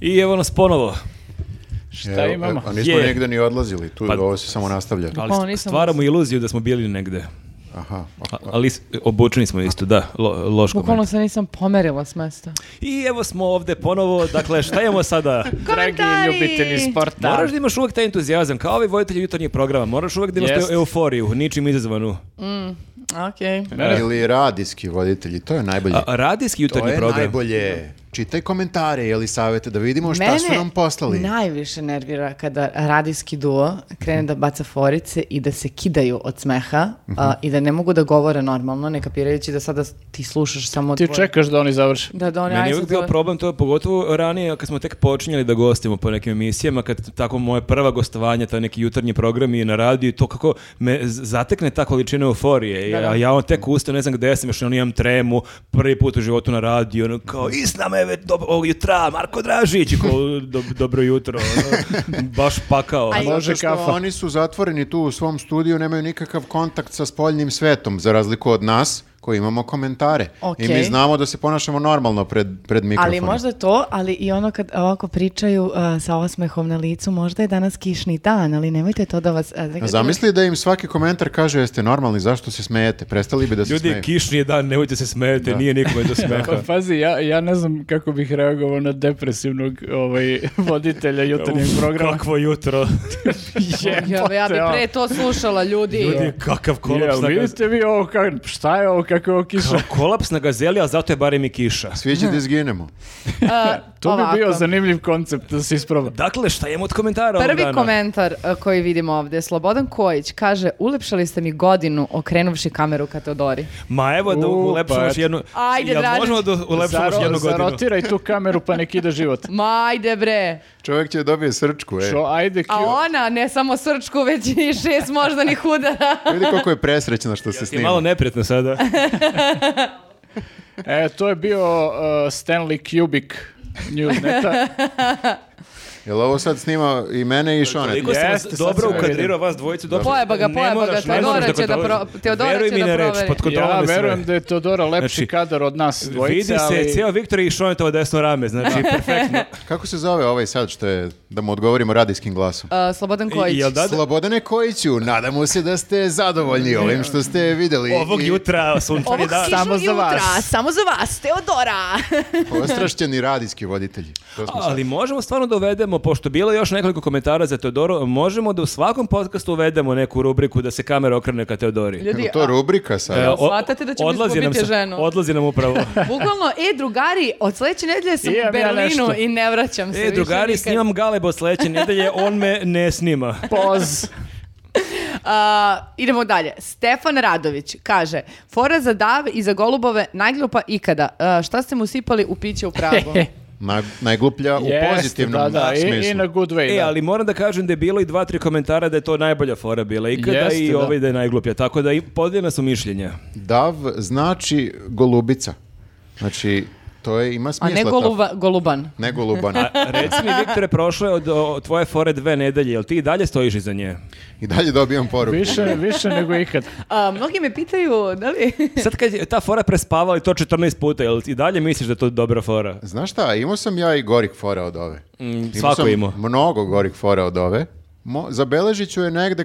S2: I evo nas ponovo.
S4: Šta
S3: Evo, e,
S4: imamo?
S3: A nismo
S2: Je.
S3: negde ni odlazili, tu
S2: Pa-
S3: ovo se samo nastavlja.
S2: Ali
S1: Pa, nisam-
S2: stvaramo iluziju da smo bili negde.
S3: Aha.
S2: A- Ali s- obučeni smo isto, da, lo, loš
S1: Bukvalno
S2: komentar.
S1: se nisam pomerila s mesta.
S2: I evo smo ovde ponovo, dakle šta imamo sada?
S4: Dragi
S1: Komentari!
S4: ljubitelji sporta.
S2: Moraš da imaš uvek taj entuzijazam, kao ovi voditelji jutarnjeg programa, moraš uvek da imaš tu
S4: Jest.
S2: euforiju, ničim izazvanu.
S1: Okej.
S3: Ili radijski voditelji, to je najbolje.
S2: A, radijski
S3: to
S2: jutarnji
S3: je
S2: program.
S3: najbolje. Čitaj komentare ili savete da vidimo šta su
S1: Mene
S3: nam poslali.
S1: najviše nervira kada radijski duo krene da baca forice i da se kidaju od smeha
S3: Mhm.
S1: a, i da ne mogu da govore normalno, ne kapirajući da sada ti slušaš samo...
S4: Ti
S1: tvoje-
S4: čekaš da oni završe.
S1: Da, da oni
S2: Meni
S1: aj
S2: je
S1: sad
S2: uvijek bio
S1: govore.
S2: problem to, pogotovo ranije kad smo tek počinjali da gostimo po nekim emisijama, kad tako moje prva gostovanja, taj neki jutarnji program i na radiju i to kako me z- zatekne ta količina euforije.
S1: Da, da.
S2: Ja, ja on tek ustao, ne znam gde sam, još on imam tremu, prvi put u životu na radiju, ono kao, i s nama je već dobro, ovog jutra, Marko Dražić, i kao, "Dob- dobro jutro,
S1: *laughs*
S2: ono, baš pakao.
S1: A i-
S4: Može
S3: Zato što
S4: kafa.
S3: oni su zatvoreni tu u svom studiju, nemaju nikakav kontakt sa spoljnim svetom, za razliku od nas koji imamo komentare.
S1: Okej.
S3: I mi znamo da se ponašamo normalno pred, pred mikrofonom.
S1: Ali možda to, ali i ono kad ovako pričaju uh, sa osmehom na licu, možda je danas kišni dan, ali nemojte to da vas... Uh,
S3: A Zamisli da im svaki komentar kaže jeste normalni, zašto se smejete? Prestali bi da se
S2: Ljudi,
S3: smeju.
S2: kišni je dan, nemojte se smijete, nije nikome do
S4: *laughs*
S2: smeha.
S4: Pa pazi, ja, ja ne znam kako bih reagovao na depresivnog ovaj, voditelja jutarnjeg
S2: Uf,
S4: programa.
S2: Kakvo jutro.
S1: Ja, ja bi
S4: Jebote, ono.
S1: pre to slušala, ljudi.
S2: Ljudi, kakav kolaps
S4: Jel,
S2: na gaz-
S4: vidite vi ovo, ka, šta je ovo, kako je ovo kiša?
S2: Kolaps na gazeli, a zato je barem i kiša.
S3: Svi će da izginemo.
S4: To bi bio
S1: Uh, Ovako.
S4: zanimljiv koncept da se isproba.
S2: Dakle, šta imamo od komentara ovog
S1: Prvi
S2: dana?
S1: komentar e, koji vidimo ovdje, Slobodan Kojić kaže, ulepšali ste mi godinu okrenuvši kameru ka Teodori.
S2: Ma evo da
S4: U,
S2: ulepšamo
S4: pa
S2: još
S4: eto.
S2: jednu...
S1: Ajde,
S2: Jel
S1: Dražić.
S2: možemo da ulepšamo još
S4: Zaro-
S2: jednu godinu?
S4: Zarotiraj tu kameru pa nek ide
S3: *laughs*
S4: život.
S1: Ma ajde bre,
S3: Čovjek će da dobije srčku, e.
S4: Šo, ajde,
S1: a
S4: Kio.
S1: ona ne samo srčku, već i šest možda ni
S3: *laughs*
S1: hudara.
S3: Vidi koliko je presrećna što se
S2: Je
S3: snima.
S2: malo neprijatno
S4: *laughs*
S2: sada.
S4: Pa E, to je bio uh, Stanley Kubik
S3: *laughs*
S4: Newsneta.
S3: Jel ovo sad snima i mene i Šone?
S2: Koliko sam vas
S4: Jeste, sad
S2: dobro
S4: sam ga
S2: ukadrirao vas dvojicu, dobro.
S1: Pojeba ga,
S2: Ne
S1: pojeba ga,
S2: moraš, ne
S1: Teodora
S2: moraš
S1: će da
S2: kontroliš.
S1: pro- Teodora
S2: Veruj
S1: će
S2: mi
S1: da
S2: na reč,
S1: proveri.
S2: pod kontrolom
S4: ja
S2: je sve.
S4: verujem da je Teodora lepši
S2: Znači,
S4: kadar od nas dvojice,
S2: Vidi se,
S4: ali...
S2: ceo Viktor i Šone to desno rame, znači perfektno.
S3: Kako se zove ovaj sad što je, da mu odgovorimo radijskim glasom?
S1: E, Slobodan Kojić.
S2: I, jel da,
S3: Slobodane Kojiću, nadamo se da ste zadovoljni ovim što ste vidjeli.
S2: ovog
S3: i
S2: jutra sunčani
S1: Ovog
S2: dan.
S1: kišnog
S4: Samo za
S1: jutra,
S4: vas.
S1: samo za vas, Teodora.
S3: Ostrašćeni radijski voditelji. To smo sad.
S2: Ali možemo stvarno da uvedemo, pošto je bilo još nekoliko komentara za Teodoru, možemo da u svakom podcastu uvedemo neku rubriku da se kamera okrene ka Teodori.
S1: Ljudi,
S3: Kako to
S1: a-
S3: rubrika sad?
S2: E, o-
S1: shvatate da ćemo
S2: odlazi nam
S1: izgubiti
S2: se-
S1: ženu?
S2: Odlazi nam
S1: *laughs*
S2: upravo.
S1: Bukvalno, e, drugari, od sledeće nedelje sam
S4: Imam ja
S1: u Berlinu
S4: nešto.
S1: i ne vraćam se
S2: e,
S1: više
S2: drugari,
S1: nikad.
S2: snimam Galebo sledeće nedelje, on me ne snima.
S4: Pa Poz.
S1: A, idemo dalje. Stefan Radović kaže, fora za dave i za golubove najglupa ikada. A, šta ste mu sipali u piće u Pragu?
S3: Na- najgluplja u
S4: Jeste,
S3: pozitivnom
S4: da, da, i-
S3: smislu.
S4: I, na good way,
S2: E,
S4: da.
S2: ali moram da kažem da je bilo i dva, tri komentara da je to najbolja fora bila ikada
S4: Jeste,
S2: i
S4: da.
S2: ovaj da je najgluplja. Tako da i podijeljena su
S4: *laughs*
S2: mišljenja.
S3: Dav znači golubica. Znači, to je, ima
S1: A
S3: smisla.
S1: ne
S3: ta-
S1: goluba, goluban.
S3: Ne goluban.
S4: *laughs*
S2: Reci mi, Viktore, prošlo je od o, tvoje fore dve nedelje, jel ti i dalje stojiš iza nje?
S3: I dalje dobijam poruku.
S4: Više, više nego
S3: *laughs*
S4: ikad.
S1: A, mnogi me pitaju, da li...
S2: Sad kad je ta fora prespavala i to 14 puta, jel i dalje misliš da je to dobra fora?
S3: Znaš šta, imao sam ja i gorih fora od ove.
S4: Mm,
S2: svako
S3: sam
S2: imao.
S3: mnogo gorih fora od ove. Mo, zabeležit ću je negde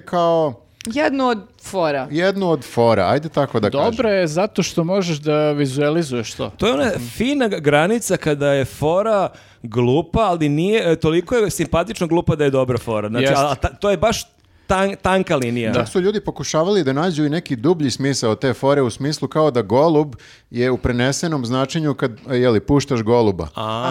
S1: *laughs*
S3: kao
S1: Jednu od fora.
S3: jednu od fora, ajde tako da kažem.
S4: Dobro je zato što možeš da vizualizuješ to.
S2: To je ona fina granica kada je fora glupa, ali nije, e, toliko je simpatično glupa da je dobra fora. Znači,
S4: Jeste.
S2: a, a ta- to je baš tan- tanka linija.
S3: Da. su ljudi pokušavali da nađu i neki dublji smisao te fore u smislu kao da golub je u prenesenom značenju kad e, jeli, puštaš goluba.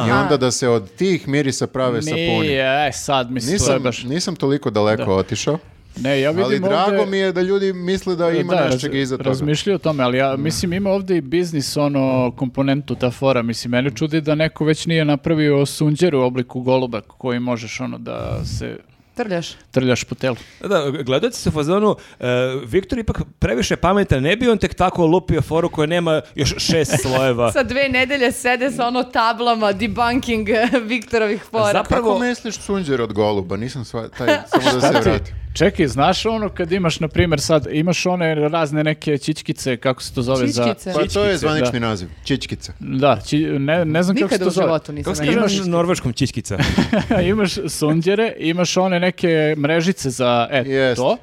S3: I onda da se od tih mirisa prave sapuni.
S4: Nije, e, sad mislim, to je
S3: Nisam,
S4: baš...
S3: nisam toliko daleko otišao,
S4: Ne, ja vidim
S3: ali drago
S4: ovde-
S3: mi je da ljudi misle da ima
S4: Da,
S3: da,
S4: raz-
S3: nečeg iza toga. Mm.
S4: Razmišljaju o tome, ali ja mislim ima ovdje i biznis ono komponentu ta fora, mislim mene čudi da neko već nije napravio sunđer u obliku goluba koji možeš ono da se
S1: Trljaš.
S4: trljaš po telu.
S2: Da, gledajte se u fazonu, e, Viktor ipak previše pametan, ne bi on tek tako lupio foru koja nema još šest slojeva.
S1: Sa dve nedelje sede sa ono tablama debunking *laughs* Viktorovih fora.
S2: Zapravo-
S3: Kako misliš sunđer od goluba? Nisam sva, taj,
S4: *laughs*
S3: samo da se vratim.
S4: Čekaj, znaš ono kad imaš na primjer sad imaš one razne neke čičkice kako se to zove
S1: Čičkice.
S4: za
S3: Pa to je
S4: Čičkice,
S3: zvanični naziv, čičkica.
S4: Da, či- ne, ne znam kako se
S1: Nikada
S4: to
S1: u
S4: zove. *laughs*
S1: životu nisam
S2: Kako se
S1: imala.
S2: kaže na norveškom čičkica?
S4: imaš sunđere, imaš one neke mrežice za e,
S3: Jest.
S4: to.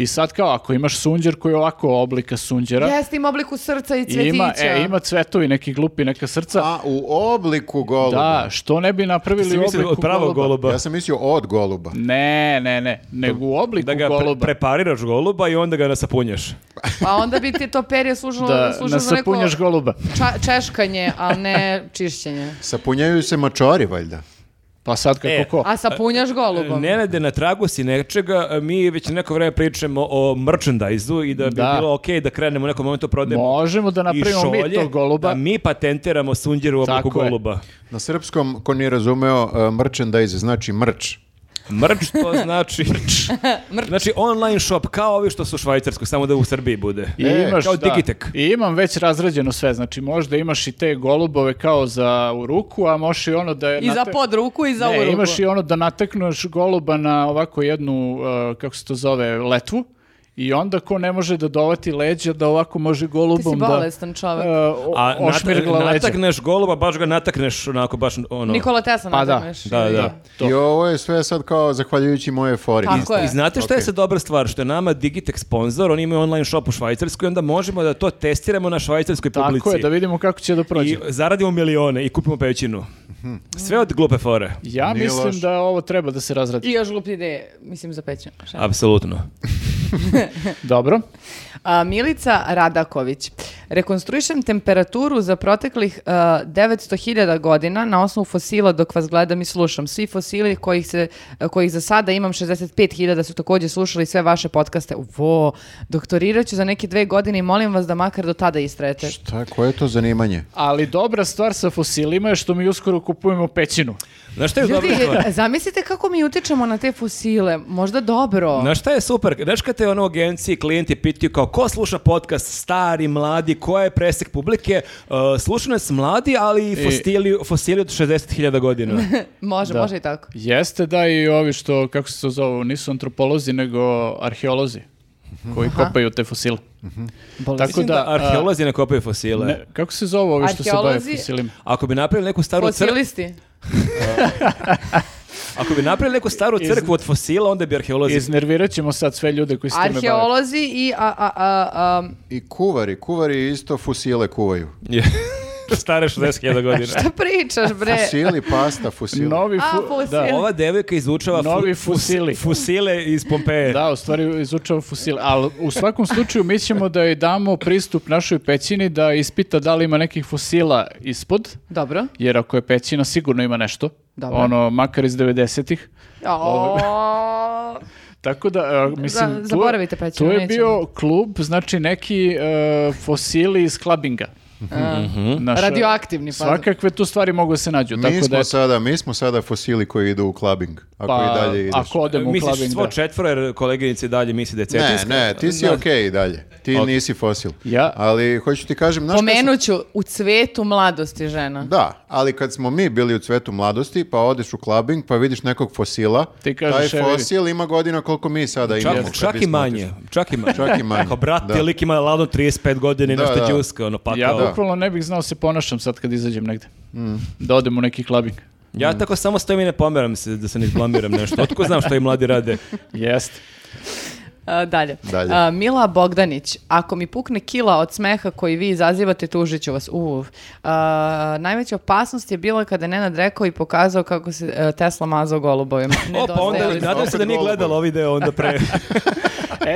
S4: I sad kao, ako imaš sunđer koji je ovako oblika sunđera,
S1: Jeste im obliku srca i
S4: i
S1: cvjetića.
S4: ima, e, ima cvetovi, neki glupi, neka srca,
S3: A u obliku
S4: da,
S3: goluba.
S4: što ne bi napravili
S2: Si
S4: u
S2: mislio
S4: obliku
S2: od pravog
S4: goluba?
S2: goluba.
S3: Ja sam mislio od goluba.
S4: Ne, ne, ne, nego u obliku
S2: Da ga pre-
S4: goluba.
S2: prepariraš goluba i onda ga nasapunjaš.
S1: Pa onda bi ti to perje služilo,
S4: da
S1: služilo za neko
S4: nasapunjaš goluba.
S1: ča- češkanje, a ne čišćenje.
S3: Sapunjaju se mačori, valjda.
S4: Pa sad kako
S2: E,
S4: ko?
S1: A sapunjaš golubom.
S2: Nenade, na tragu si nečega, mi već neko vreme pričamo o merchandise i da bi
S4: Da.
S2: bilo okej da krenemo u nekom momentu prodajemo
S4: Možemo da
S2: i
S4: napravimo mi
S2: šolje,
S4: tog goluba.
S2: da mi patentiramo sunđer u obliku
S4: Tako je.
S2: goluba.
S3: Na srpskom, ko nije razumeo, uh, merchandise znači mrč.
S2: Mrč
S4: *laughs*
S2: to znači... Znači online shop, kao ovi što su u Švajcarskoj, samo da u Srbiji bude.
S4: I
S3: E,
S4: imaš,
S2: kao
S4: da.
S2: Digitek.
S4: I imam već razrađeno sve, znači možda imaš i te golubove kao za u ruku, a možeš i ono da... je
S1: I za
S4: nate-
S1: pod ruku i za u
S4: Ne,
S1: ruku.
S4: imaš i ono da natekneš goluba na ovako jednu, uh, kako se to zove, letvu i onda ko ne može da dovati leđa da ovako može
S1: Ti si
S4: golubom da...
S1: bolestan čovek.
S4: uh, o-
S2: A nat-
S4: ošmirgla leđa.
S2: natakneš goluba, baš ga natakneš onako, baš ono...
S1: Nikola Tesla
S4: Pa da.
S1: natakneš.
S2: Da, da.
S1: I-
S3: I ovo je sve sad kao zahvaljujući moje fori.
S1: Tako je.
S2: I znate šta je
S3: Ok.
S2: sad dobra stvar? Što je nama Digitech sponsor, oni imaju online shop u Švajcarskoj, onda možemo da to testiramo na švajcarskoj publici.
S4: Tako je, da vidimo kako će da prođe.
S2: I zaradimo milione i kupimo pećinu. Sve od glupe fore.
S4: Ja
S3: Nije
S4: mislim
S3: loše.
S4: da ovo treba da se razradi.
S1: I još gluplje ideje, mislim, za pećinu. Šta?
S2: Apsolutno.
S4: Dobro.
S1: A, Milica Radaković. Rekonstruišem temperaturu za proteklih e, 900.000 godina na osnovu fosila dok vas gledam i slušam. Svi fosili kojih, se, kojih za sada imam 65.000 su također slušali sve vaše podcaste. Vo, doktorirat ću za neke dve godine i molim vas da makar do tada istrajete.
S3: Šta, koje je to zanimanje?
S4: Ali dobra stvar sa fosilima je što mi uskoro kupujemo pećinu.
S2: Znaš šta je dobra
S1: Ljudi,
S2: stvar?
S1: zamislite kako mi utičemo na te fosile. Možda dobro.
S2: Znaš šta je super? Znaš kad te ono u agenciji klijenti pitaju kao ko sluša podcast, stari, mladi, koja je presek publike? Uh, slušaju nas mladi, ali i fosili, fosili od 60.000 godina.
S1: Može, može i tako.
S4: Jeste da i ovi što, kako se to zovu, nisu antropolozi nego arheolozi koji kopaju te fosile. Tako
S2: Mislim
S4: da,
S2: Mhm.
S4: uh,
S2: da,
S4: a,
S2: arheolozi ne kopaju fosile.
S4: ne, kako se zovu ovi što se bave
S1: Arheolozi-
S4: fosilima?
S2: Ako bi napravili neku staru crkvu,
S1: Fosilisti.
S2: ako bi napravili neku staru crkvu od fosila, onda bi arheolozi
S4: Iznervirat ćemo sad sve ljude koji se time bave.
S1: Arheolozi i... A, a, a, a,
S3: I kuvari, kuvari isto fusile kuvaju.
S2: Je. *laughs* Stare 60.000
S4: *laughs*
S2: godina.
S1: šta pričaš, bre?
S3: Fusili, pasta, fusili.
S4: Novi
S1: A,
S4: fu-
S1: fosil.
S4: da,
S2: Ova devojka izučava fu-
S4: Novi
S2: fus-
S4: fusili.
S2: fusile iz Pompeje. E,
S4: da, u stvari izučava fosile. Ali u svakom slučaju mi ćemo da joj damo pristup našoj pećini da ispita da li ima nekih fosila ispod.
S1: Dobro.
S4: Jer ako je pećina, sigurno ima nešto.
S1: Dobro.
S4: Ono, makar iz 90-ih.
S1: *laughs* O,
S4: Tako da, e, mislim... tu je-
S1: zaboravite pećinu,
S4: Tu je
S1: nećemo.
S4: bio klub, znači neki e, fosili iz klabinga. Mhm. Naša-
S1: Eh, Radioaktivni, pa.
S4: Svakakve tu stvari mogu da se nađu.
S3: Mi
S4: tako
S3: smo
S4: da, eto,
S3: sada, mi smo sada fusili koji idu u klabing. Ako
S4: pa,
S3: i dalje ideš.
S4: ako odemo u
S2: Misliš
S4: klabing,
S2: svo
S4: da.
S2: četvoro, jer koleginici dalje misli da je
S3: Ne,
S2: cetinska.
S3: ne, ti si
S2: Da.
S3: okej i dalje. Ti nisi fosil.
S4: Ja-
S3: Ali hoću ti kažem, znaš kad smo-
S1: Pomenut ću, u cvetu mladosti žena.
S3: Da, ali kad smo mi bili u cvetu mladosti, pa odeš u klabing, pa vidiš nekog fosila,
S4: Ti kažeš,
S3: taj
S4: "E, vidi."
S3: fosil ima godina koliko mi sada imamo.
S2: Čak,
S3: kad
S2: čak i
S3: bismo
S2: manje.
S3: otišli.
S2: Čak i manje.
S3: Čak i manje,
S2: Kao brat,
S3: da.
S2: ti lik ima ladno 35 godina i
S3: Da,
S2: nešto
S3: da.
S2: đuska, ono, pa
S4: Ja
S2: kao...
S4: bukvalno ne bih znao se ponašam sad kad izađem negde. Da odem u neki klabing.
S2: Ja tako samo stojim i ne pomeram se, da se ne izblamiram nešto. Otko znam što i mladi rade.
S4: Jeste.
S1: A, Eh, dalje.
S3: Dalje.
S1: A, Mila Bogdanić, ako mi pukne kila od smeha koji vi izazivate, tužit ću vas. Uf. A, najveća opasnost je bila kada je Nenad rekao i pokazao kako se e, Tesla mazao
S4: *laughs*
S1: golubovima.
S2: O, pa onda,
S1: Nedostajali smo.
S2: nadam se da
S3: Opet
S2: nije
S3: golubovi.
S2: gledala ovaj deo onda
S3: *laughs*
S2: pre.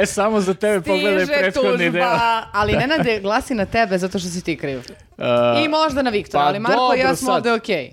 S4: E, samo za tebe pogledaj
S1: Stiže
S4: prethodni
S1: tužba,
S4: deo. *laughs*
S1: ali Nenade glasi na tebe zato što si ti kriv. I možda na Viktora,
S4: pa
S1: ali Marko i ja
S4: dobro
S1: smo
S4: sad.
S1: ovde okej.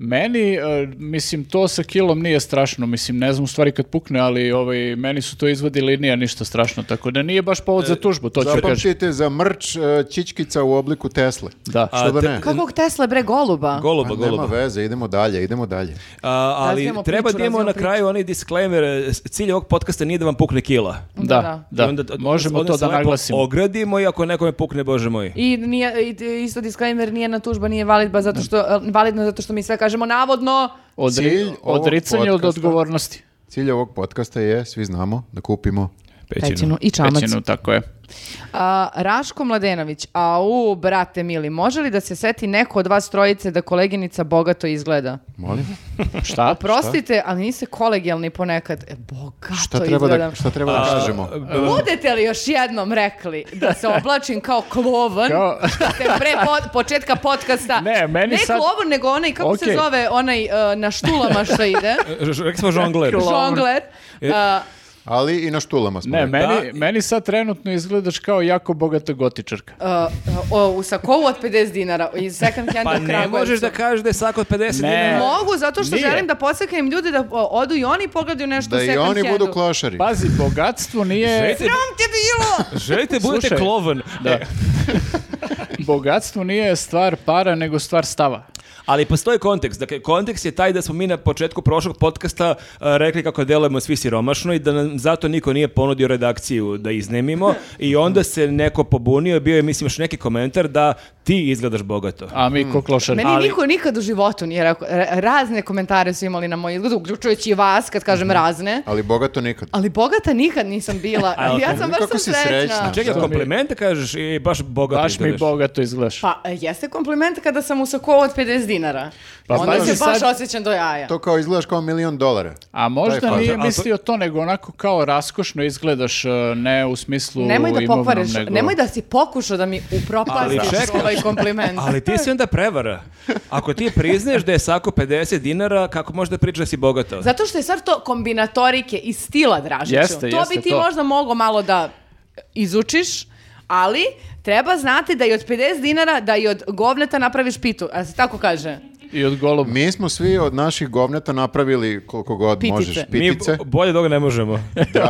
S4: Meni, e, mislim, to sa kilom nije strašno, mislim, ne znam u stvari kad pukne, ali ovaj, meni su to izvadi linija ništa strašno, tako da nije baš povod za
S2: E,
S4: tužbu, to ću da kažem.
S3: Zapamtite za mrč e, čičkica u obliku Tesle.
S4: Da.
S2: A,
S3: Što da
S2: te-
S3: ne?
S1: Kakvog Tesla bre goluba?
S2: Goluba,
S3: Pa
S2: goluba.
S3: nema veze, idemo dalje, idemo dalje.
S2: A, ali
S1: Razvijamo
S2: treba
S1: priču,
S2: da imamo na
S1: razvijamo
S2: kraju onaj disclaimer, e, cilj ovog podcasta nije da vam pukne kila.
S1: Da,
S4: Da,
S1: da.
S4: da.
S2: I onda- od-
S4: Možemo
S2: onda
S4: to
S2: se
S4: da
S2: lepo
S4: naglasimo.
S2: Ogradimo i ako nekome pukne, bože moj.
S1: I, nije, i- isto disclaimer, nijedna tužba nije validba zato što, validna zato što mi sve kažemo navodno.
S4: Odri-
S3: Cilj ovog
S4: odricanje od
S3: podcasta-
S4: odgovornosti.
S3: Cilj ovog podcasta je, svi znamo, da kupimo
S2: Pećinu.
S1: Pećinu i čamac.
S4: Pećinu, tako je.
S1: A, Raško Mladenović, au, brate mili, može li da se seti neko od vas trojice da koleginica bogato izgleda?
S3: Molim?
S4: Šta?
S1: Prostite, ali niste kolegijalni ponekad. E, bogato
S3: Šta treba da,
S1: izgledam.
S3: šta treba da kažemo?
S1: E. Budete li još jednom rekli da se oblačim kao klovan,
S4: Kao-
S1: *laughs* što ste pre pod- početka podcasta,
S4: Ne, meni sad-
S1: klovan, nego onaj, kako se
S4: Okej.
S1: zove, onaj e, na štulama što ide,
S2: Ž- ž- Rekli smo žongler.
S1: žongler,
S2: E.
S1: E, a,
S3: Ali i na štulama smo.
S4: Ne,
S3: rekli.
S4: meni,
S2: Da.
S4: meni sad trenutno izgledaš kao jako bogata gotičarka.
S1: a, o, u sakovu od 50 dinara, iz second handa
S2: Pa
S1: u
S2: ne
S1: Kragujevcu.
S2: možeš da kažeš da je sak od 50
S4: Ne.
S2: dinara.
S1: Mogu, zato što
S4: Nije.
S1: želim da podstaknem ljude da o, odu i oni i pogledaju nešto
S3: Da
S1: u
S3: i
S1: second
S3: oni
S1: handu.
S3: budu klošari.
S4: Pazi, bogatstvo nije...
S2: Želite,
S1: Sram te bilo!
S2: *laughs* želite budete
S4: Slušaj.
S2: klovan.
S4: Da. *laughs* bogatstvo nije stvar para, nego stvar stava.
S2: Ali postoji kontekst. Dakle, kontekst je taj da smo mi na početku prošlog podcasta a, rekli kako delujemo svi siromašno i da nam zato niko nije ponudio redakciju da iznemimo i onda se neko pobunio i bio je, mislim, još neki komentar da ti izgledaš bogato.
S4: A mi ko klošar.
S1: Meni niko nikad u životu nije rekao, ra- razne komentare su imali na moj izgled, uključujući i vas kad
S2: Mhm.
S1: kažem razne.
S3: Ali bogato nikad.
S1: Ali bogata nikad nisam
S2: *laughs*
S1: bila.
S2: Ali
S1: ja sam baš sam
S3: kako si
S1: srećna. Znači,
S3: srećna.
S2: Čekaj,
S4: Što mi-
S2: komplimente kažeš i baš bogato
S4: Baš mi
S2: izgledaš.
S4: bogato izgledaš.
S1: Pa e, jeste kompliment kada sam u sakou od 50 dinara.
S4: Pa,
S1: Onda
S4: pazi
S1: se baš
S4: sad-
S1: osjećam do jaja.
S3: To kao izgledaš kao milion dolara.
S4: A možda
S3: fazon.
S4: nije
S2: A to-
S4: mislio to, nego onako kao raskošno izgledaš, e, ne u smislu
S1: Nemoj da
S4: imovnom,
S1: pokvareš,
S4: nego...
S1: nemoj da si pokušao da mi
S2: Ali
S1: upropastiš
S2: čekaj.
S1: ovaj kompliment.
S2: Ali ti si onda prevara. Ako ti priznaješ da je sako 50 dinara, kako možeš da pričaš da si bogato?
S1: Zato što je sad to kombinatorike i stila, Dražiću.
S4: Jeste,
S1: to bi
S4: jeste
S1: ti
S4: to.
S1: možda mogao malo da izučiš, ali treba znati da i od 50 dinara, da i od govneta napraviš pitu. A se tako kaže?
S4: I od goluba.
S3: Mi smo svi od naših govneta napravili koliko god
S1: Pitice.
S3: možeš.
S2: Mi
S3: Pitice.
S2: bo- bolje toga ne možemo.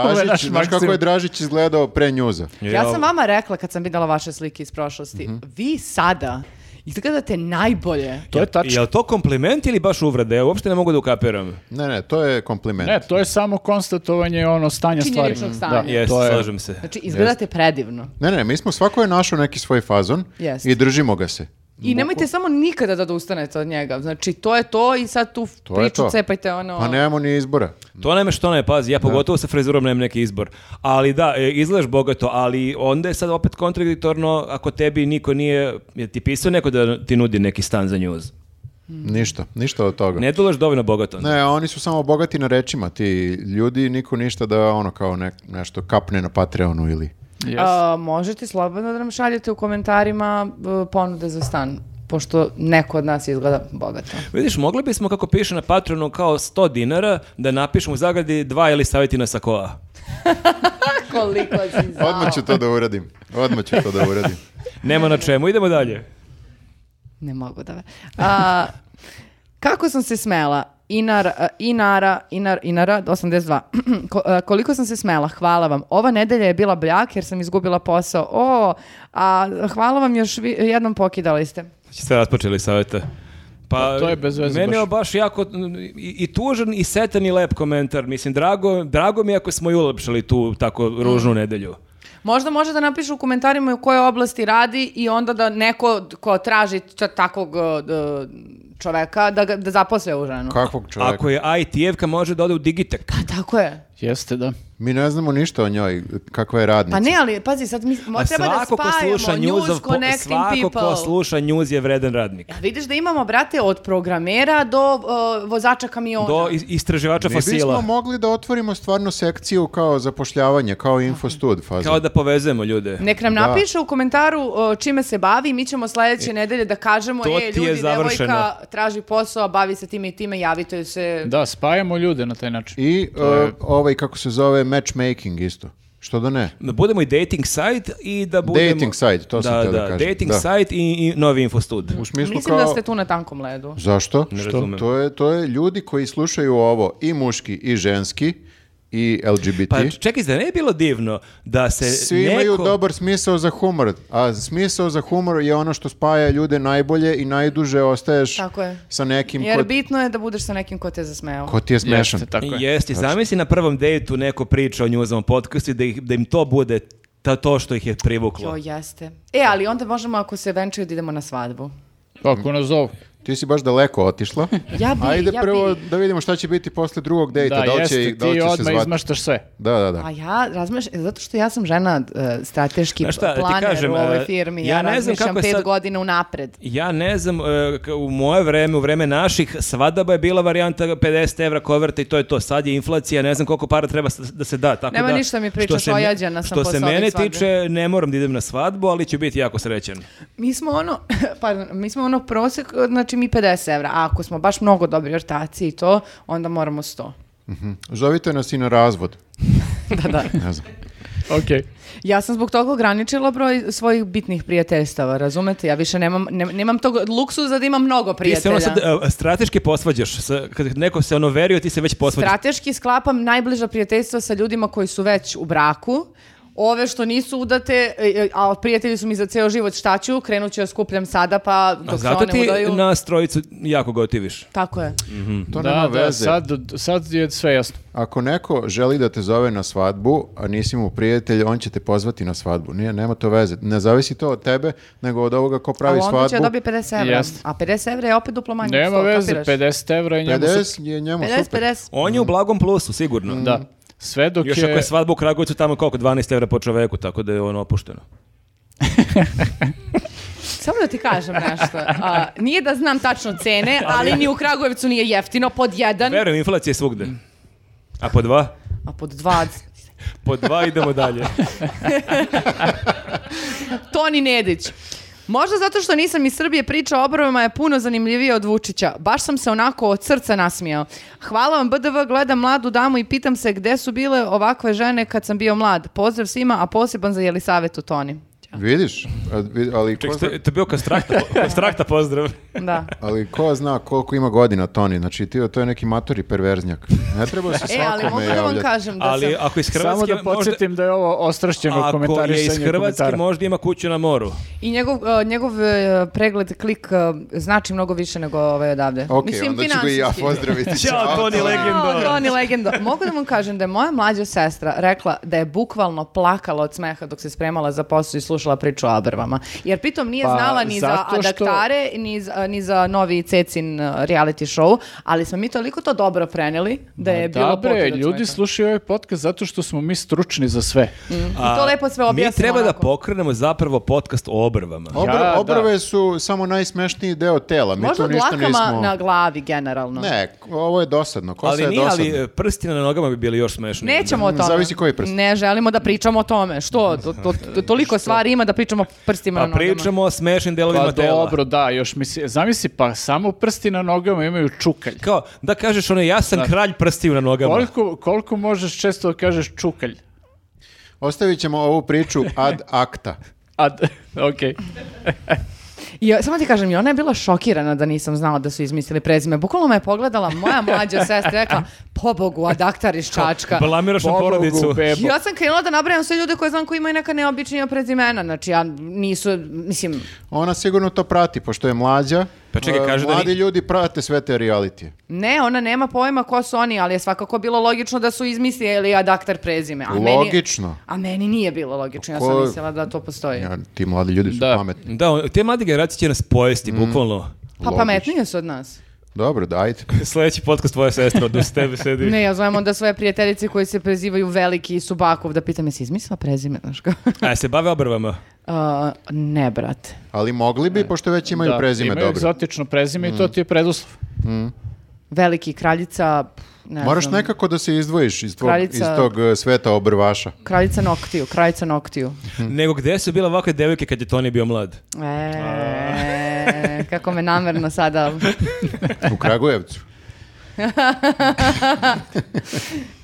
S4: Ovo je naš
S3: Dražić, znaš kako
S4: maksimum.
S3: je Dražić izgledao pre njuza?
S1: Ja sam vama rekla kad sam videla vaše slike iz prošlosti, vi sada izgledate najbolje.
S4: To je tačno.
S2: Jel to kompliment ili baš uvrede? Ja uopšte ne mogu da ukapiram.
S3: Ne, ne, to je kompliment.
S4: Ne, to je samo konstatovanje ono stanja stvari.
S1: Činjeničnog stanja.
S4: Da,
S2: Jeste,
S4: to je-
S2: slažem se.
S1: Znači, izgledate predivno.
S3: Ne, ne, mi smo svako je našao neki svoj fazon
S1: Jest.
S3: i držimo ga se.
S1: I nemojte samo nikada da odustanete od njega. Znači, to je to i sad tu
S3: To je
S1: priču
S3: to.
S1: cepajte ono...
S3: Pa nemamo ni izbora.
S2: To nema što ne, pazi, ja pogotovo sa frizurom nemam neki izbor. Ali da, e, izgledaš bogato, ali onda je sad opet kontradiktorno ako tebi niko nije, je ti pisao neko da ti nudi neki stan za njuz.
S1: Hmm.
S3: Ništa, ništa od toga. Ne.
S2: Ne dolaš dovoljno bogato.
S3: oni su samo bogati na rečima, ti ljudi, niko ništa da ono kao ne- nešto kapne na Patreonu ili...
S4: Jes.
S1: A, možete slobodno da nam šaljete u komentarima e, ponude za stan, pošto neko od nas izgleda bogato.
S2: Vidiš, mogli bismo, kako piše na Patreonu, kao 100 dinara, da napišemo u zagradi dva ili staviti na sakoa.
S1: *laughs* Koliko si
S3: Odmah ću to da uradim, odmah ću to da uradim.
S2: Nema na čemu, idemo dalje.
S1: Ne mogu da... ve- A, kako sam se smela? Inar, e, Inara, Inar, Inara, 82. *clears throat* Ko- e, koliko sam se smela, hvala vam. Ova nedelja je bila bljak jer sam izgubila posao. O, a hvala vam još vi- jednom pokidali ste.
S2: Znači ste raspočeli savjeta. Pa,
S4: to je bez veze
S2: Meni je
S4: baš.
S2: baš jako mm, i, i tužan i setan i lep komentar. Mislim, drago, drago mi je ako smo i ulepšali tu tako
S1: Mm.
S2: ružnu nedelju.
S1: Možda može da napišu u komentarima u kojoj oblasti radi i onda da neko ko traži t- takvog e, čoveka da, ga, da zaposle u ženu.
S3: Kakvog čovjeka?
S2: Ako je IT-evka, može da ode u Digitek.
S1: Pa tako je.
S4: Jeste, da.
S3: Mi ne znamo ništa o njoj, kakva je radnica.
S1: Pa ne, ali pazi, sad mi mo, treba da spajamo news,
S2: po-
S1: connecting
S2: svako
S1: people.
S2: ko sluša njuz je vredan radnik.
S1: Ja, Vidiš da imamo, brate, od programera do uh, vozača kamiona.
S2: Do is- istraživača
S3: Mi bismo
S2: fosila.
S3: mogli da otvorimo stvarno sekciju kao zapošljavanje, kao infostud faza.
S2: Kao da povezujemo ljude.
S1: Nek nam
S3: Da.
S1: napiše u komentaru uh, čime se bavi i mi ćemo sledeće nedelje da kažemo
S2: E, to
S1: e,
S2: ti je
S1: ljudi,
S2: završeno."
S1: devojka traži posao, a bavi se time i time, javite se.
S4: Da, spajamo ljude na taj način.
S3: I e, ovaj, kako se zove, matchmaking isto. Što da ne?
S2: Da budemo i dating site i da budemo...
S3: Dating site, to sam
S2: da,
S3: htio da
S2: da,
S3: kažem,
S2: dating
S3: da.
S2: site i, i novi infostud.
S3: U smislu
S1: Mislim
S3: kao...
S1: da ste tu na tankom ledu.
S3: Zašto?
S2: Što? razumem.
S3: To je, to je ljudi koji slušaju ovo, i muški, i ženski, i LGBT.
S2: Pa čekaj, da ne je bilo divno da se
S3: Svi
S2: neko...
S3: imaju dobar smisao za humor, a smisao za humor je ono što spaja ljude najbolje i najduže ostaješ
S1: Tako je.
S3: sa nekim
S1: Jer
S3: ko,
S1: bitno je da budeš sa nekim ko te zasmeo.
S3: ko ti je smešan.
S4: Jeste, tako je.
S2: Jeste, zamisli na prvom dejtu neko priča o njuzovom podcastu i da, ih, da im to bude ta, to što ih je privuklo.
S1: Jo, jeste. E, ali onda možemo ako se venčaju da idemo na svadbu.
S4: Kako nas zovu?
S3: Ti si baš daleko
S1: *laughs*
S3: otišla.
S2: E,
S1: Ja bi,
S3: Ajde
S1: ja
S3: prvo
S1: bi.
S3: da vidimo šta će biti posle drugog dejta.
S4: Da,
S3: Da, li
S4: jeste,
S3: će, da li
S4: ti
S3: će se
S4: odmah
S3: zvati.
S4: izmaštaš sve.
S3: Da, da, da.
S1: A Pa ja razmišljam, e, zato što ja sam žena e, strateški
S2: Znaš šta, da ti
S1: planer
S2: kažem,
S1: u
S2: e,
S1: ovoj firmi. Ja,
S2: ja ne znam
S1: razmišljam
S2: kako je
S1: pet
S2: sad-
S1: godina unapred.
S2: Ja ne znam, e, k- u moje vreme, u vreme naših, svadaba je bila varijanta 50 evra koverta i to je to. Sad je inflacija, ne znam koliko para treba s- da se da. Tako
S1: Nema
S2: da,
S1: ništa mi
S2: što
S1: pričaš,
S2: se me-
S1: ojađena sam
S2: Što se
S1: posle ovih
S2: mene
S1: svadbi.
S2: tiče, ne moram da idem na svadbu, ali ću biti jako srećen.
S1: Mi smo ono, *laughs* pardon, mi smo ono prosek, znači mi 50 evra, a ako smo baš mnogo dobri ortaci i to, onda moramo
S2: *laughs*
S1: 100.
S3: Mhm. Zovite nas i na razvod.
S1: da, da.
S3: Ne znam.
S4: Ok.
S1: Ja sam zbog toga ograničila broj svojih bitnih prijateljstava, razumete? Ja više nemam, ne- nemam tog luksuza da imam mnogo
S2: Ti se
S1: prijatelja.
S2: ono sad e, strateški posvađaš. sa- Kad neko se ono verio, ti se već posvađaš.
S1: Strateški sklapam najbliža prijateljstva sa ljudima koji su već u braku. Ove što nisu udate, e, e, a prijatelji su mi za ceo život šta ću, krenut ću ja skupljam sada pa
S2: A
S1: dok se
S2: zato
S1: one
S2: ti
S1: udaju.
S2: nas trojicu jako gotiviš.
S1: Tako je.
S3: To
S4: da,
S3: nema
S4: da,
S3: veze.
S4: Pa sad, sad je sve jasno.
S3: Ako neko želi da te zove na svadbu, a nisi mu prijatelj, on će te pozvati na svadbu. Nije, nema to veze. Ne zavisi to od tebe, nego od ovoga ko pravi
S1: Ali onda
S3: svadbu.
S1: će dobiti 50 evra.
S4: Jeste.
S1: A 50 evra je opet duplo manje. od
S4: Nema
S1: 100,
S4: veze,
S1: kapiraš?
S4: 50 evra je njemu su-
S3: 50 je njemu
S1: 50,
S3: super.
S1: 50.
S2: On je u blagom plusu, sigurno.
S4: Da. Sve Mm. dok
S2: Mm. Još
S4: je...
S2: ako je svadba u Kragujevcu tamo je koliko, 12 evra po čoveku, tako da je ono opušteno.
S1: Samo da ti kažem nešto. A, nije da znam tačno cene, ali ni u Kragujevcu nije jeftino, pod jedan,
S2: Verujem, inflacija je svugde. A po dva?
S1: a pod dva.
S2: Po dva idemo dalje.
S1: Toni Nedić. Možda zato što nisam iz Srbije priča o obrovima je puno zanimljivije od Vučića. Baš sam se onako od srca nasmijao. Hvala vam BDV, gledam mladu damu i pitam se gde su bile ovakve žene kad sam bio mlad. Pozdrav svima, a poseban za Jelisavetu Toni.
S3: Vidiš? A, vi- Ali ko,
S2: Ček,
S3: zna,
S2: to, to je bio kastrakta, kastrakta pozdrav.
S3: *laughs*
S1: Da.
S3: ali ko zna koliko ima godina Toni? Znači ti, to je neki matori perverznjak. Ne treba se
S1: *laughs* E, ali
S3: svakome
S1: mogu da vam
S3: javljati.
S1: kažem da
S2: Ali
S1: sam...
S2: ako iz
S4: Samo
S2: Hrvatske...
S4: da podsjetim da je ovo ostrašćeno
S2: Ako je
S4: komentarisanje
S2: iz Hrvatske,
S4: komentara.
S2: možda ima kuću na moru.
S1: I njegov, e, njegov e, pregled klik e, znači mnogo više nego ovaj odavde.
S3: Ok, onda ću ga i ja
S1: finansijski.
S4: *laughs*
S3: pozdraviti.
S2: Ćao, Toni,
S3: Toni.
S2: legend.
S4: ono.
S2: Legendo.
S1: Jao, Toni Legendo. Mogu da vam kažem da je moja mlađa sestra rekla da je bukvalno plakala od smeha dok se spremala za posao i slušala priču o abrvama. Jer pritom nije
S4: Pa,
S1: znala ni za
S4: zato što-
S1: adaktare, ni za, ni za novi Cecin uh, reality show, ali smo mi toliko to dobro preneli da je bilo
S4: Da bre,
S1: potrebe od
S4: ljudi
S1: smeha.
S4: slušaju ovaj podcast zato što smo mi stručni za sve.
S1: I to lepo sve objasnimo.
S2: Mi treba da
S1: onako.
S2: pokrenemo zapravo podcast o obrvama.
S3: Obr-
S4: Ja, da.
S3: obrve su samo najsmešniji deo tela. Mi
S1: Možda
S3: tu ništa
S1: dlakama
S3: nismo...
S1: na glavi generalno.
S3: Ne, ovo je dosadno. Kosa
S2: ali
S3: je
S2: nije,
S3: dosadna.
S2: ali e, prsti na nogama bi bili još smešniji.
S1: Nećemo o tome.
S3: Zavisi koji prst.
S1: Ne želimo da pričamo o tome. Što? To, to- to- toliko stvari ima da pričamo prstima na
S2: Pa
S1: nogama.
S2: pričamo o smešnim delovima
S4: Pa
S2: tela.
S4: dobro, da, još mi se... Zamisli, pa samo prsti na nogama imaju čukalj.
S2: Kao, da kažeš ono, ja sam kralj prstiju na nogama.
S4: Koliko, koliko možeš često da kažeš čukalj?
S3: Ostavit ćemo ovu priču ad acta.
S4: A, d- *laughs* okej.
S1: I, ja- samo ti kažem, i ona je bila šokirana da nisam znala da su izmislili prezime. Bukvalno me je pogledala, moja mlađa sestra rekla, pobogu, adaktar iz Čačka.
S2: Blamiraš na
S4: Pobogu,
S2: porodicu.
S4: bebo.
S1: Ja sam krenula da nabrajam sve ljude koje znam koji imaju neka neobičnija prezimena. Znači, ja nisu, mislim,
S3: Ona sigurno to prati, pošto je mlađa.
S2: Pa čekaj,
S3: E,
S2: kaže da
S3: Mladi
S2: ni-
S3: ljudi prate sve te realitije.
S1: ne, ona nema pojma ko su oni, ali je svakako bilo logično da su izmislili adaktar prezime. A meni-
S3: Logično.
S1: a meni nije bilo logično, ja
S3: Ko-
S1: sam mislila da to postoji.
S3: Ja, ti mladi ljudi su
S4: Da.
S3: pametni.
S2: Da, on- te mlade generacije će nas pojesti, bukvalno.
S1: Pa pametnije su od nas.
S3: Dobro, dajte.
S2: Sljedeći podcast tvoja sestra, da s tebe sedi.
S1: Ne, ja zovem onda svoje prijateljice koje se prezivaju Veliki i Subakov da pitam jesi izmislila prezime, znaš kao?
S2: A se bave obrvama.
S1: A, Uh, ne, brate.
S3: Ali mogli bi, pošto već imaju
S4: E, Da,
S3: prezime
S4: imaju
S3: dobro.
S4: egzotično prezime i
S2: Mm.
S4: to ti je preduslov.
S1: Veliki kraljica, pf, ne
S3: Moraš
S1: znam,
S3: nekako da se izdvojiš iz, tvog,
S1: Kraljica-
S3: iz tog e, sveta obrvaša.
S1: kraljica noktiju, kraljica noktiju.
S2: Nego gde su bile ovakve devojke kad je Toni bio mlad?
S3: *laughs*
S1: E, kako me namerno sada... *laughs*
S3: U
S2: *laughs*
S3: Kragujevcu.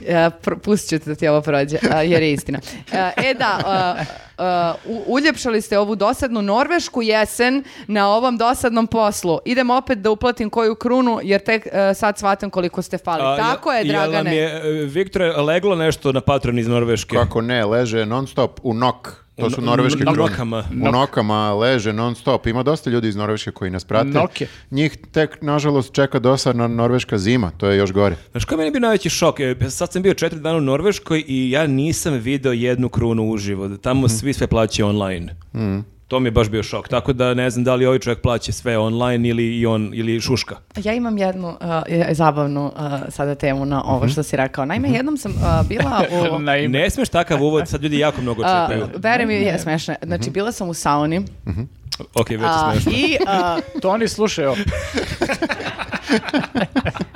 S1: E, pr- pustit ću te da ti ovo prođe, a, jer je istina. E, E da, a, a, u- uljepšali ste ovu dosadnu norvešku jesen na ovom dosadnom poslu. Idem opet da uplatim koju krunu, jer tek e, sad shvatam koliko ste fali.
S2: A,
S1: Tako je,
S2: jel- jel vam
S1: Dragane.
S2: je, e, Viktore, leglo nešto na patron iz Norveške?
S3: Kako ne, leže non stop u nok.
S2: U
S3: To su
S2: no-
S3: norveške
S2: u
S3: krune.
S2: nokama.
S3: U nokama leže non stop. Ima dosta ljudi iz Norveške koji nas prate.
S4: Noke.
S3: Njih tek, nažalost, čeka dosadna norveška zima. To je još gore.
S2: Znaš koji je meni bio najveći šok? E, Sad sam bio četiri dana u Norveškoj i ja nisam video jednu krunu uživo. Tamo svi sve plaćaju online. To To mi je baš bio šok. Tako da ne znam da li ovaj čovjek plaća sve online ili i on ili šuška.
S1: Ja imam jednu uh, je- zabavnu uh, sada temu na ovo što si rekao. Naime, jednom sam uh, bila u...
S4: *laughs* Na ime.
S2: Ne smeš takav uvod, sad ljudi jako
S1: *laughs*
S2: mnogo očekuju.
S1: Uh, Veruj mi, je smešno. Znači, bila sam u sauni
S2: ok, već je
S1: a,
S2: smešno.
S1: i eh, a,
S4: Toni, slušaj, evo.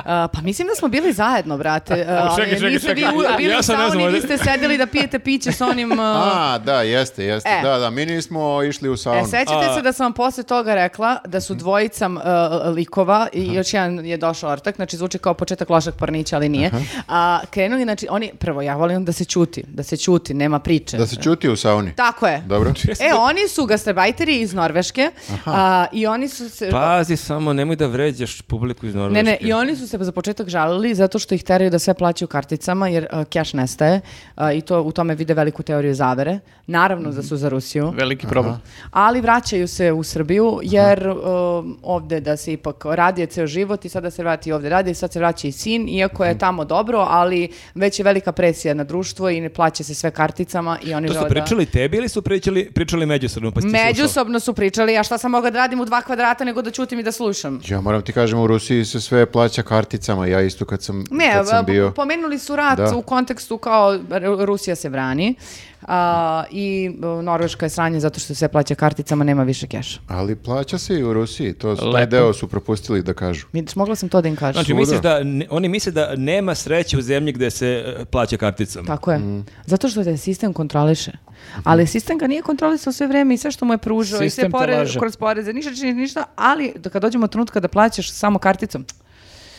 S1: a, pa mislim da smo bili zajedno, brate. A,
S4: čekaj,
S1: ali
S4: čekaj,
S1: niste vi
S4: čekaj.
S1: u- bili
S2: Ja
S1: u
S2: sam ne
S1: sauni,
S2: znam,
S1: vi ste sedjeli da pijete piće s onim... uh,
S3: A, da, jeste, jeste.
S1: E.
S3: Da, da, mi nismo išli u saunu.
S1: E, sećate se da sam vam posle toga rekla da su dvojicam uh, likova i još jedan je došao ortak, znači zvuči kao početak lošeg parnića, ali nije. A krenuli, znači, oni, prvo, ja volim da se čuti, da se čuti, nema priče.
S3: Da se čuti u sauni.
S1: Tako je.
S3: Dobro.
S1: E, oni su gastarbajteri iz Norveške a, i oni su se...
S2: Pazi samo, nemoj da vređaš publiku iz Pa, Norveške.
S1: Ne, ne, i oni su se za početak žalili zato što ih teraju da sve plaćaju karticama jer uh, keš nestaje a, i to u tome vide veliku teoriju zavere. Naravno da su za Rusiju.
S4: Veliki problem.
S1: Ali vraćaju se u Srbiju jer um, ovde da se ipak radi je ceo život i sada se vrati ovde radi i sad se vraća i sin iako je tamo dobro, ali već je velika presija na društvo i ne plaća se sve karticama i oni
S2: To su
S1: žele da-
S2: pričali tebi ili su pričali, pričali međusobno pa si ti slušao?
S1: Međusobno su pričali, a šta sam mogla da radim u dva kvadrata nego da čutim i da slušam.
S3: Ja moram ti kažem, u Rusiji se sve plaća karticama. Ja isto kad sam,
S1: Ne,
S3: kad sam
S1: po-
S3: bio...
S1: pomenuli su rat
S3: Da.
S1: u kontekstu kao Ru- Rusija se brani a, i e, Norveška je sranje zato što se plaća karticama, nema više keša.
S3: Ali plaća se i u Rusiji. To, su- taj
S4: Lepo.
S3: deo su propustili da kažu.
S1: Vidiš, mogla sam to da im kažem.
S2: Znači, misliš da, ne- oni misle da nema sreće u zemlji gde se e, plaća karticom.
S1: Tako je.
S3: Mm.
S1: Zato što te sistem kontroliše. Ali sistem ga nije kontrolisao sve vrijeme i sve što mu je pružao i sve
S4: Sistem te
S1: pore,
S4: laže.
S1: kroz poreze, ništa čini ništa, ali da kad dođemo do trenutka da plaćaš samo karticom,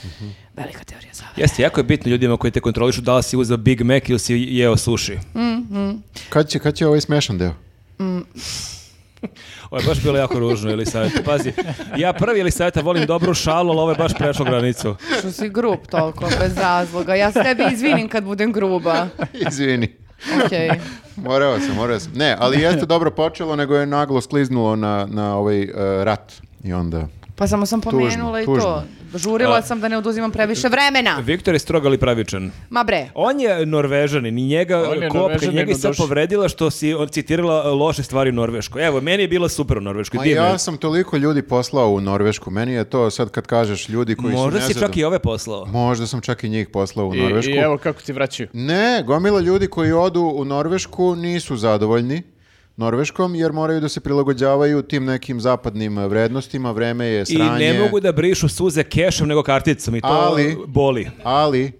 S3: Mhm.
S1: velika teorija zavere.
S2: Jeste, jako je bitno ljudima koji te kontrolišu da li si uzeo Big Mac ili si jeo sushi.
S3: Kad će, kad će ovaj smešan *laughs* deo?
S2: Ovo je baš bilo jako ružno, Elisaveta. Pazi, ja prvi Elisaveta volim dobru šalu, ali ovo je baš prešlo granicu.
S1: Što si grub toliko, bez razloga. Ja se tebi izvinim kad budem gruba.
S3: Izvini.
S1: Okej.
S3: Morao sam, morao sam. Ne, ali jeste dobro počelo, nego je naglo skliznulo na, na ovaj eh, rat. I onda...
S1: Pa samo sam
S3: Tužno,
S1: pomenula i
S3: tužno.
S1: to. Žurila
S2: A-
S1: sam da ne oduzimam previše vremena.
S2: Viktor je strogali pravičan.
S1: Ma bre.
S2: On je norvežanin i njega
S4: On je
S2: kopka,
S4: Norvežanin,
S2: njega sam
S4: doduše.
S2: povredila što si on citirala e, loše stvari u Norveškoj. Evo, meni je bilo super u Norveškoj.
S3: Ma
S2: divno je.
S3: ja sam toliko ljudi poslao u Norvešku. Meni je to sad kad kažeš ljudi koji
S2: Možda
S3: su
S2: si čak
S3: nezadov-
S2: i ove poslao.
S3: Možda sam čak i njih poslao u
S4: I,
S3: Norvešku.
S4: I evo kako ti vraćaju.
S3: Ne, gomila ljudi koji odu u Norvešku nisu zadovoljni Norveškom jer moraju da se prilagođavaju tim nekim zapadnim eh, vrednostima, vreme je
S2: I
S3: sranje.
S2: ne mogu da brišu suze kešom nego karticom i to
S3: Ali-
S2: boli.
S3: Ali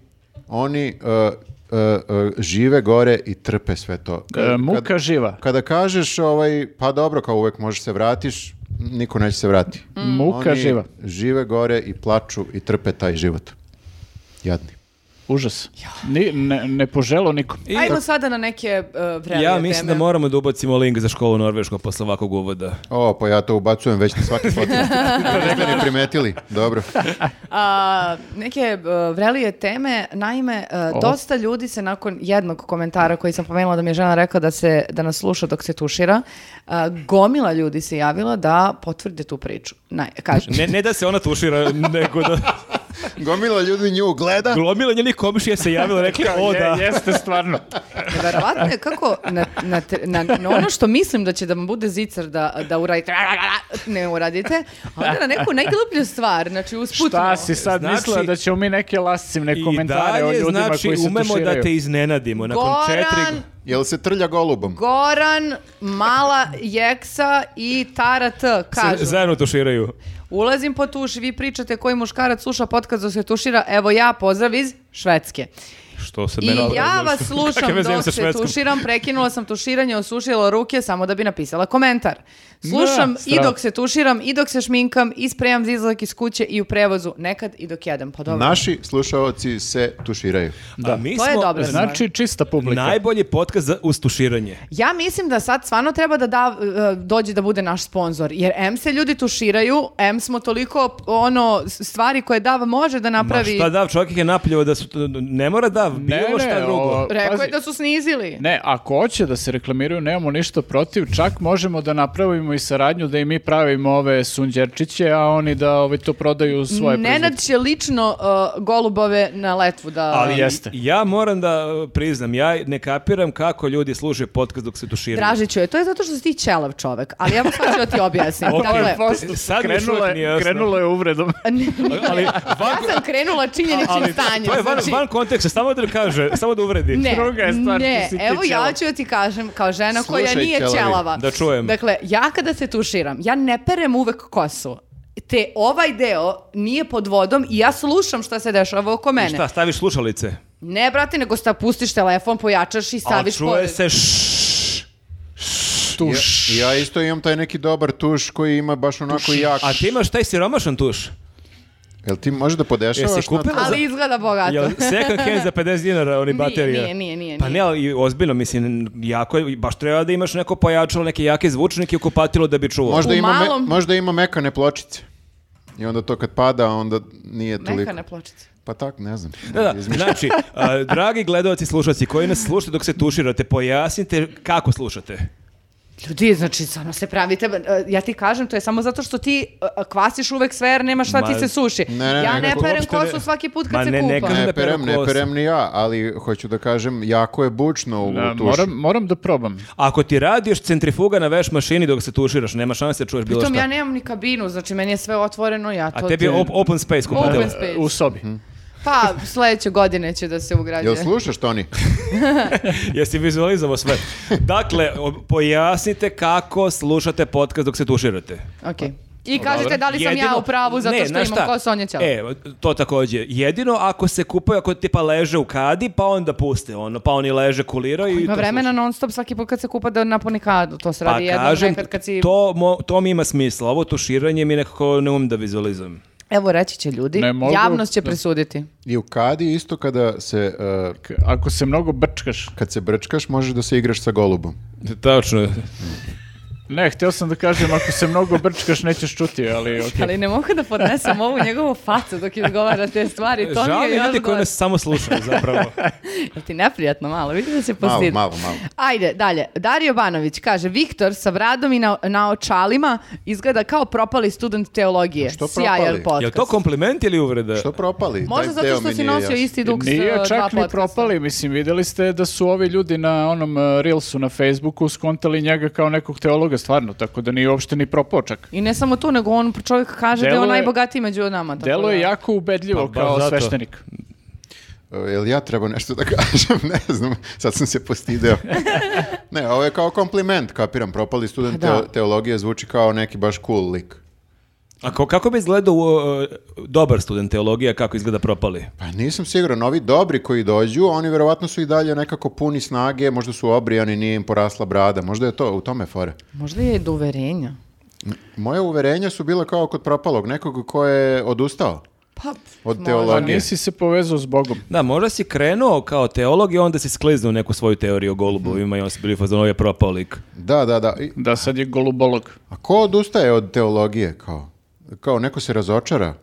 S3: oni eh, eh, eh, žive gore i trpe sve to.
S4: E, muka živa.
S3: Kada kažeš ovaj, pa dobro, kao uvek možeš se vratiš, niko neće se vrati.
S4: Mm. Muka
S3: Mm. Oni
S4: živa.
S3: žive gore i plaču i trpe taj život. Jadni.
S4: Užas. Ni, ne, ne poželo nikom.
S2: I-
S1: Ajmo sada na neke uh, vrelije
S2: ja mislim
S1: teme.
S2: da moramo da ubacimo link za školu u Norveškoj posle ovakvog uvoda.
S3: O, pa ja to ubacujem već na svaki
S4: *laughs*
S3: podcast. Niste ni primetili. Dobro.
S1: A, neke uh, vrelije teme, naime, uh, dosta ljudi se nakon jednog komentara koji sam pomenula da mi je žena rekla da, se, da nas sluša dok se tušira, uh, gomila ljudi se javila da potvrde tu priču. Naj, kažem.
S2: Ne, ne da se ona tušira, nego da
S3: Gomila ljudi nju gleda.
S2: glomila njenih komšija se javila i rekla, o da.
S4: jeste stvarno.
S1: Neverovatno je kako na, na, tre- na, na ono što mislim da će da vam bude zicar da, da uradite, ne uradite, a onda na neku najgluplju stvar, znači usputno.
S4: Šta si sad
S2: Znači-
S4: mislila da ćemo mi neke lascivne
S2: I
S4: komentare o
S2: dalje,
S4: ljudima
S2: znači,
S4: koji se
S2: umemo
S4: tuširaju?
S2: da te iznenadimo. Nakon četiri...
S1: Goran,
S3: Jel se trlja golubom?
S1: Goran, Mala Jeksa i Tara T
S2: se
S1: kažu.
S2: zajedno tuširaju.
S1: Ulazim po tuš, vi pričate koji muškarac sluša podcast dok se tušira. Evo ja, pozdrav iz Švedske.
S2: Što se
S1: I
S2: mene
S1: ja vas
S2: Kakve
S1: slušam
S2: veze imam
S1: dok
S2: sa
S1: se
S2: Švedskom?
S1: tuširam, prekinula sam tuširanje, osušila ruke samo da bi napisala komentar. Slušam
S4: Da,
S1: i
S4: strava.
S1: dok se tuširam, i dok se šminkam, i spremam za izlazak iz kuće i u prevozu, nekad i dok jedem. Pa dobro.
S3: Naši slušaoci se tuširaju.
S2: Da. A mi
S1: To je
S2: smo
S1: dobro.
S4: Znači čista publika.
S2: najbolji podcast za ustuširanje.
S1: Ja mislim da sad stvarno treba da da, e, dođe da bude naš sponsor, jer M se ljudi tuširaju, M smo toliko ono stvari koje Dav može da
S2: Ma
S1: napravi.
S2: šta Dav, čovjek ih je napljivao da su, ne mora Dav, stav, bilo šta drugo.
S4: o,
S1: Rekao je
S4: pazi.
S1: da su snizili.
S4: Ne, ako hoće da se reklamiraju, nemamo ništa protiv, čak možemo da napravimo i saradnju da i mi pravimo ove sunđerčiće, a oni da ovaj, to prodaju svoje proizvode.
S1: Nenad će lično uh, golubove na letvu da...
S2: Ali
S4: jeste.
S2: ja moram da uh, priznam, ja ne kapiram kako ljudi slušaju podcast dok se tuširaju.
S1: Dražiću je, to je zato što si ti ćelav čovek, ali ja vam sad ću da ti objasnim.
S2: *laughs* Ok.
S1: Dakle,
S2: Posto- sad mi još
S4: Krenula
S2: uvijek
S4: je-
S2: nije jasno.
S4: krenula je uvredom.
S2: Ali van,
S1: ja sam krenula činjeničnim stanjem.
S2: to je van,
S1: znači-
S2: van konteksta, samo da kaže, samo da uvredi.
S1: Ne,
S4: Druga je stvar
S1: ne,
S4: što si ti
S1: evo ja
S4: ćelav.
S1: ću da ti kažem kao žena koja
S3: Slušaj,
S1: nije
S3: ćelavi,
S1: ćelava.
S2: da čujem.
S1: Dakle, ja kada se tuširam, ja ne perem uvek kosu. Te ovaj deo nije pod vodom i ja slušam šta se dešava oko mene.
S2: Šta, staviš slušalice?
S1: Ne, brate, nego sta pustiš telefon, pojačaš i
S2: A
S1: staviš
S2: čuje
S1: pored.
S2: se šš,
S3: Ja, ja isto imam taj neki dobar tuš koji ima baš onako jak.
S2: A ti imaš taj siromašan tuš?
S3: Jel ti možeš da podešavaš?
S2: Jesi kupila
S3: na-
S2: za-
S1: Ali izgleda bogato.
S2: Jel second hand za 50 dinara, oni
S1: Nije,
S2: baterije?
S1: nije, nije, nije,
S2: Pa
S1: nije.
S2: ne, ali ozbiljno, mislim, jako je, baš treba da imaš neko pojačalo, neke jake zvučnike u kupatilu da bi čuvao.
S3: Možda
S1: U
S3: ima, me-
S1: malom-
S3: možda ima mekane pločice. I onda to kad pada, onda nije toliko.
S1: Mekane pločice.
S3: Pa tak, ne znam.
S2: Da, da,
S3: Izmišljam.
S2: znači, a, dragi gledovaci i slušalci koji nas slušate dok se tuširate, pojasnite kako slušate.
S1: Ljudi, znači, samo se pravite, e, ja ti kažem, to je samo zato što ti e, kvasiš uvek sve jer nema šta
S2: Ma,
S1: ti se suši.
S3: ne, ne,
S1: ja
S3: ne,
S1: ne,
S2: ne,
S1: perem
S2: uopšte ne.
S1: kosu svaki put kad
S2: Ma
S1: se
S2: ne, ne
S1: kupam.
S2: kažem da
S3: Ne perem, ne
S2: peru kose.
S3: perem ni ja, ali hoću da kažem, jako je bučno u
S4: Da,
S3: tušu.
S4: moram, moram da probam.
S2: Ako ti radiš centrifuga na veš mašini dok se tuširaš, nema šanse da čuješ bilo
S1: Pritom
S2: šta.
S1: ja nemam ni kabinu, znači meni je sve otvoreno, ja to...
S2: A tebi je op- open space kupatila.
S1: Open space.
S4: U sobi.
S2: Mhm.
S1: Pa, sledeće godine će da se ugrađuje.
S3: Jel slušaš, Toni?
S2: Jesi vizualizovao sve. Dakle, o- pojasnite kako slušate podcast dok se tuširate.
S1: Okej. I kažete da li sam ja
S2: Jedino-
S1: u pravu zato
S2: Ne,
S1: što
S2: znaš
S1: imam
S2: šta?
S1: kosu, on je ćelav.
S2: E, to takođe. Jedino ako se kupaju, ako tipa leže u kadi, pa onda puste ono, pa oni leže kuliraju i
S1: Ima
S2: to
S1: vremena non stop svaki put kad se kupa da napuni kadu. To se
S2: Pa
S1: radi jednom
S2: kažem,
S1: nekad kad si...
S2: to, mo, to mi ima smisla. Ovo tuširanje mi nekako ne umem da vizualizujem.
S1: Evo reći će ljudi,
S4: Ne mogu-
S1: javnost će presuditi.
S3: I u kadi isto kada se, uh,
S4: K- Ako se mnogo brčkaš.
S3: kad se brčkaš, možeš da se igraš sa golubom.
S2: Tačno.
S4: Ne, htio sam da kažem, ako se mnogo brčkaš nećeš čuti, ali okej.
S1: Ali ne mogu da podnesem ovu njegovu facu dok izgovara te stvari. To
S2: Žao
S1: mi
S2: mi
S1: je još
S2: ljudi koji
S1: gore.
S2: nas samo slušaju
S1: *laughs*
S2: zapravo.
S1: Jel ti neprijatno malo, vidi da se
S3: Malo,
S1: postidi.
S3: malo, malo.
S1: Ajde, dalje. Dario Banović kaže, Viktor sa vradom i na, na očalima izgleda kao propali student teologije.
S3: Pa Što
S1: Sjajan
S3: propali?
S1: podcast.
S2: Je to kompliment ili uvreda?
S3: Što propali?
S1: Možda
S3: Taj
S1: zato
S3: deo
S1: što
S3: mi
S1: si
S3: nije
S1: nosio
S3: jasan.
S1: isti duks
S4: Nije
S1: uh, dva
S4: čak ni
S1: podcasta.
S4: propali, mislim, vidjeli ste da su ovi ljudi na onom uh, Reelsu na Facebooku skontali njega kao nekog teologa, stvarno, tako da nije uopšte ni propao čak.
S1: I ne samo to, nego on čovjek kaže da je on
S4: Delo je-
S1: najbogatiji među nama. tako
S4: Delo je
S1: da.
S4: jako ubedljivo
S2: Pa, baš
S4: kao
S2: zato.
S4: sveštenik.
S3: E, Jel ja treba nešto da kažem? *laughs* Ne znam, sad sam se postideo. ne, ovo je kao kompliment, kapiram. Propali student
S1: Pa da.
S3: teo- teologije zvuči kao neki baš cool lik.
S2: A ko- kako bi izgledao uh, dobar student teologija kako izgleda propali?
S3: Pa nisam siguran, ovi dobri koji dođu, oni verovatno su i dalje nekako puni snage, možda su obrijani, nije im porasla brada, možda je to, u tome je fora.
S1: Možda je do uverenja.
S3: Moje uverenja su bila kao kod propalog, nekog ko je odustao
S1: Pa,
S3: od
S4: Pa
S3: teologije.
S4: nisi se povezao s Bogom.
S2: Da, možda si krenuo kao teolog i onda si skliznuo u neku svoju teoriju o
S4: Mhm.
S2: golubovima i on si bili fazon, "Ovo je propao lik.
S3: Da, da, da. I-
S4: Da, sad je golubolog.
S3: A ko odustaje od teologije, kao? Kao neko se razočara.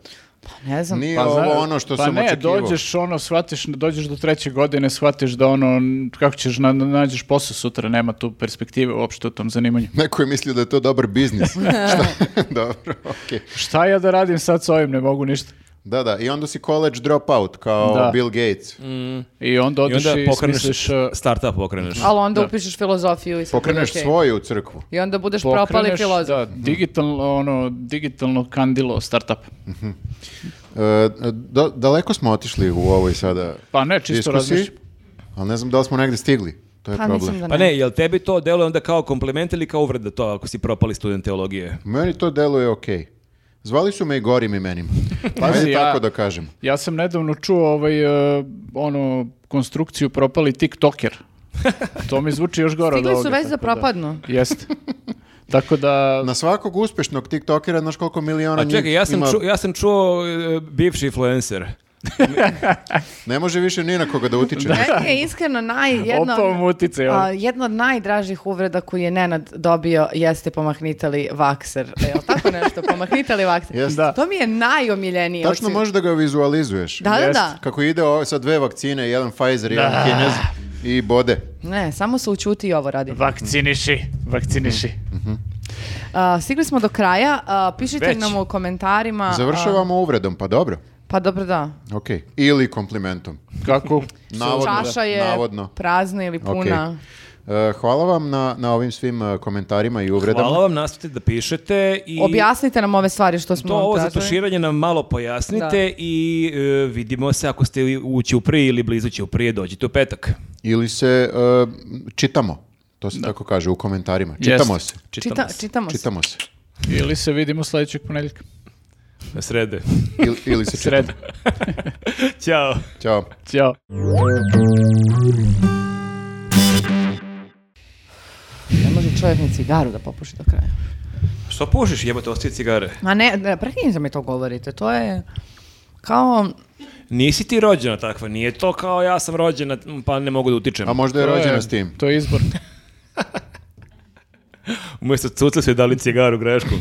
S3: Pa,
S1: Pa, ne znam.
S3: Nije ovo
S4: zna-
S3: ono što
S4: pa
S3: sam
S4: ne,
S3: očekivao.
S4: dođeš ono, shvatiš, dođeš do treće godine, shvatiš da ono, n- kako ćeš na, nađeš posao sutra, nema tu perspektive uopšte u tom zanimanju.
S3: Neko je mislio da je to dobar
S1: *laughs*
S3: biznis. Šta? *laughs* Dobro, okej.
S4: Šta ja da radim sad s ovim, ne mogu ništa.
S3: Da, da, i onda si college dropout, kao
S4: Da.
S3: Bill
S1: Mm,
S3: Gates.
S4: I onda
S2: I
S4: odeš i,
S2: onda pokreneš,
S4: smisliš, uh,
S2: startup pokreneš.
S1: Ali onda upišeš filozofiju i sve
S3: Pokreneš
S1: bude okej.
S3: svoju crkvu.
S1: I onda budeš propali
S4: pokreneš,
S1: filozof.
S4: da, digitalno, ono, digitalno kandilo startup.
S3: E, da- daleko smo otišli u ovoj sada
S4: Pa ne, čisto
S3: diskusiji,
S4: razmišljam.
S3: ali ne znam da li smo negdje stigli. To je
S1: Pa
S3: problem.
S1: mislim da
S2: Pa
S1: ne.
S2: ne, jel tebi to deluje onda kao kompliment ili kao uvreda to ako si propali student teologije?
S3: Meni to deluje okej. Zvali su me i gorim
S4: *laughs*
S3: imenima.
S4: Pazi,
S3: Ajde
S4: ja-
S3: tako da kažem.
S4: Ja sam nedavno čuo ovaj, uh, ono, konstrukciju propali
S2: *laughs*
S4: TikToker. To mi zvuči još gore od
S1: Stigli su
S4: ovoga,
S1: već da
S4: tako da-
S1: propadnu.
S4: Jeste. Tako
S3: *laughs*
S4: da...
S3: Na svakog uspešnog tiktokera, znaš koliko miliona
S2: A čekaj, ja sam,
S3: njih ima...
S2: ču- ja sam čuo e, bivši influencer.
S3: Ne može više ni na koga da
S4: *laughs*
S3: utiče. Znači,
S1: Meni je E, iskreno naj, jedno,
S4: Opao mu uticaj, ono.
S1: a, jedna od najdražih uvreda koju je Nenad dobio jeste pomahnitali vakser. E, jel tako
S2: *laughs*
S1: nešto? Pomahnitali vakser.
S3: Jeste.
S4: Da.
S1: To mi je najomiljenije.
S3: Tačno
S1: Hoću-
S3: možeš da ga vizualizuješ.
S1: Da, da,
S4: Jeste.
S1: da.
S3: Kako ide ovo sa dve vakcine, jedan Pfizer, jedan Kinez i bode.
S1: Ne, samo se učuti i ovo radi.
S4: Vakciniši, vakciniši.
S1: A, stigli smo do kraja. A, pišite
S2: Već.
S1: nam u komentarima. a,
S3: Završavamo uvredom, pa dobro.
S1: pa dobro, da.
S3: Ok. Ili komplimentom.
S4: Kako?
S3: Navodno.
S1: Čaša je
S3: Navodno.
S1: prazna ili
S3: Ok.
S1: puna.
S3: E, hvala vam na, na ovim svim e, komentarima i uvredama.
S2: Hvala vam, nastavite da pišete i
S1: Objasnite nam ove stvari što smo
S2: to ovo
S1: tražili.
S2: zatuširanje nam malo pojasnite i e, vidimo se ako ste u Ćupriji ili blizu Ćuprije, dođite u petak.
S3: Ili se e, čitamo. To se tako kaže u komentarima. Čitamo
S4: Jeste.
S3: se.
S2: Čitamo
S1: Čita-
S2: se.
S1: čitamo se.
S3: Čitamo se.
S4: Ili se vidimo sljedećeg ponedjeljka.
S2: Na
S4: *laughs*
S2: srede.
S3: Ili,
S2: *laughs*
S3: ili se čitamo.
S4: Sreda.
S2: Ćao.
S3: Ćao.
S4: Ćao.
S1: Ne može čovjek ni cigaru da popuši do kraja.
S2: Što pušiš, jebote, ostaje cigare?
S1: Ma ne, ne prekinite da mi to govorite. To je kao...
S2: Nisi ti rođena takva, nije to kao ja sam rođena, m, pa ne mogu da utičem.
S3: A možda je
S4: To
S3: rođena s tim.
S4: To je izbor.
S2: Umjesto cucle su joj dali cigaru grešku.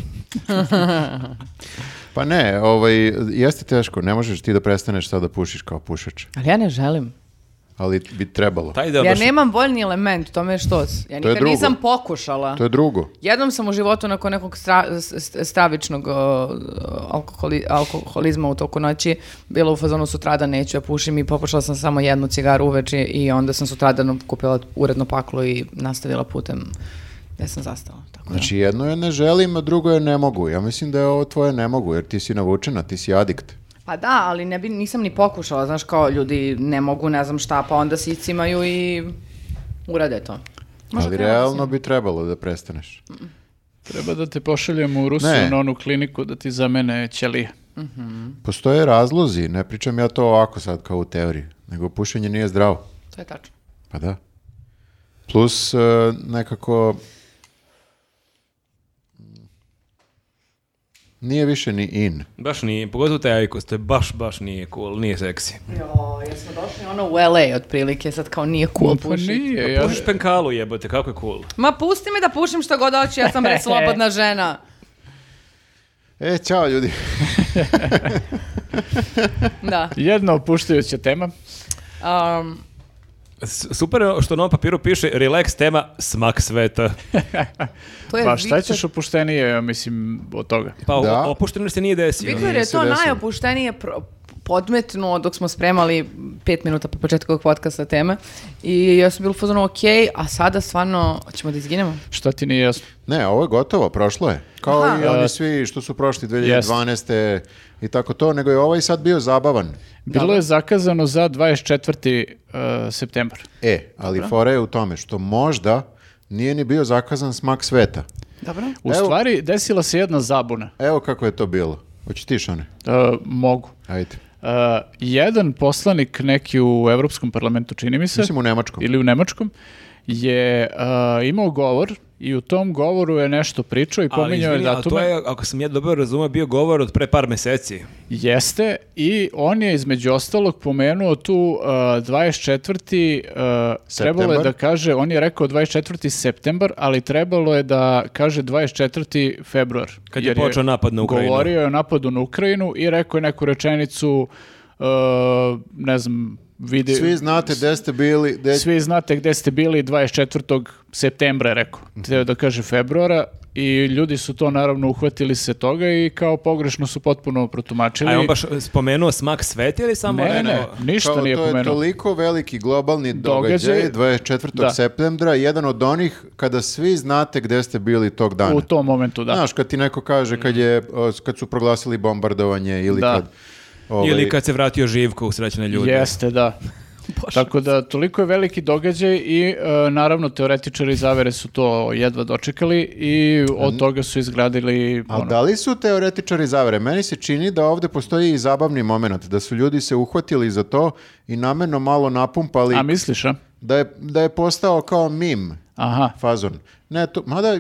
S3: Pa ne, ovaj, jeste teško. Ne možeš ti da prestaneš sad da pušiš kao pušač.
S1: Ali ja ne želim.
S3: Ali bi trebalo.
S2: Taj deo
S1: ja
S2: baš-
S1: nemam voljni element, to me je što. Ja nikad
S3: drugo.
S1: nisam pokušala.
S3: To je drugo.
S1: Jednom sam u životu nakon nekog stra- s- s- stravičnog o, alkoholi- alkoholizma u toku noći bila u fazonu sutradan neću ja pušim i popušala sam samo jednu cigaru uveče i onda sam sutradan kupila uredno paklo i nastavila putem gde sam zastala. Tako da.
S3: Znači jedno je ne želim, a drugo je ne mogu. Ja mislim da je ovo tvoje ne mogu, jer ti si navučena, ti si adikt.
S1: Pa da, ali ne bi, nisam ni pokušala, znaš kao ljudi ne mogu, ne znam šta, pa onda se icimaju i urade to. Možda
S3: Ali
S1: treba Mm. da
S3: realno
S1: se-
S3: bi trebalo da prestaneš.
S4: Treba da te pošaljemo u Rusiju
S3: Ne.
S4: na onu kliniku da ti zamene ćelije.
S3: Postoje razlozi, ne pričam ja to ovako sad kao u teoriji, nego pušenje nije zdravo.
S1: To je tačno.
S3: Pa da. Plus e, nekako... mm, Nije više ni in.
S2: Baš nije, pogotovo taj ajkos, to je baš, baš nije cool, nije seksi.
S1: Jo, jer smo došli ono u LA otprilike, sad kao nije cool
S4: Pa
S1: pušiti.
S4: nije, ja,
S2: Pušiš penkalu jebote, kako je cool.
S1: Ma pusti me da pušim što god hoću, ja sam
S4: *laughs*
S1: bre slobodna žena.
S3: E, čao ljudi.
S1: Da.
S4: jedna opuštajuća tema.
S1: Um,
S2: S- Super je što na ovom papiru piše relax tema smak sveta.
S1: to je
S4: Pa šta
S1: Viktor-
S4: ćeš opuštenije, ja mislim, od toga?
S2: Pa
S3: Da.
S2: o- opušteno se nije desio.
S1: Viktor je
S3: Nije se
S1: to
S3: desilo.
S1: najopuštenije pro- podmetnuo dok smo spremali pet minuta po početku ovog podcasta teme i ja sam bila u fazonu ok, a sada stvarno ćemo da izginemo.
S4: Šta ti nije jasno?
S3: Ne, ovo je gotovo, prošlo je. Kao
S1: Aha.
S3: i oni
S4: E,
S3: svi što su prošli 2012. i tako to, nego je ovaj sad bio zabavan.
S4: Bilo je zakazano za 24. uh, septembar.
S3: E, ali fora je u tome što možda nije ni bio zakazan smak sveta.
S1: Dobro.
S4: U
S3: Evo.
S4: stvari, desila se jedna zabuna.
S3: Evo kako je to bilo. Hoće ti Šone?
S4: Uh, mogu.
S3: Ajde.
S4: Uh, jedan poslanik neki u Europskom parlamentu, čini mi se,
S3: Mislim u Nemačkom.
S4: ili u Nemačkom, je uh, imao govor i u tom govoru je nešto pričao i
S2: Ali,
S4: pominjao je
S2: izvini, a to
S4: datume.
S2: je, ako sam ja dobro razumio, bio govor od pre par meseci.
S4: Jeste, i on je između ostalog pomenuo tu uh, 24. uh, trebalo je
S3: Septembar.
S4: da kaže, on je rekao 24. septembar, ali trebalo je da kaže 24. februar.
S2: Kad je
S4: jer
S2: počeo napad na Ukrajinu.
S4: Govorio je o napadu na Ukrajinu i rekao je neku rečenicu, uh, ne znam, vidi,
S3: Svi znate gde ste bili, gde...
S4: svi znate gde ste bili 24. septembra, je rekao.
S3: Mhm.
S4: Hteo da kaže februara i ljudi su to naravno uhvatili se toga i kao pogrešno su potpuno protumačili.
S2: A je on baš e, spomenuo smak sveta ili samo... ono
S4: Ne, ne,
S2: rekao-
S4: ništa
S3: Kao,
S4: nije
S3: to je
S4: pomenuo.
S3: toliko veliki globalni događaj,
S4: Događaj.
S3: 24.
S4: Da.
S3: septembra, jedan od onih kada svi znate gde ste bili tog dana.
S4: U tom momentu, da. Mhm.
S3: Znaš, kad ti neko kaže kad, je, o, kad su proglasili bombardovanje ili
S4: Da.
S3: kad... ovaj,
S2: Ili kad se vratio Živko u srećne ljude.
S4: Jeste, *laughs* da. Tako da, toliko je veliki događaj i e, naravno teoretičari zavere su to jedva dočekali i od toga su izgradili
S3: A
S4: ono,
S3: da li su teoretičari zavere? Meni se čini da ovdje postoji i zabavni moment, da su ljudi se uhvatili za to i namjerno malo napumpali
S4: A misliš, a?
S3: da, je, da je postao kao mim.
S4: Aha.
S3: fazon. Ne, to, mada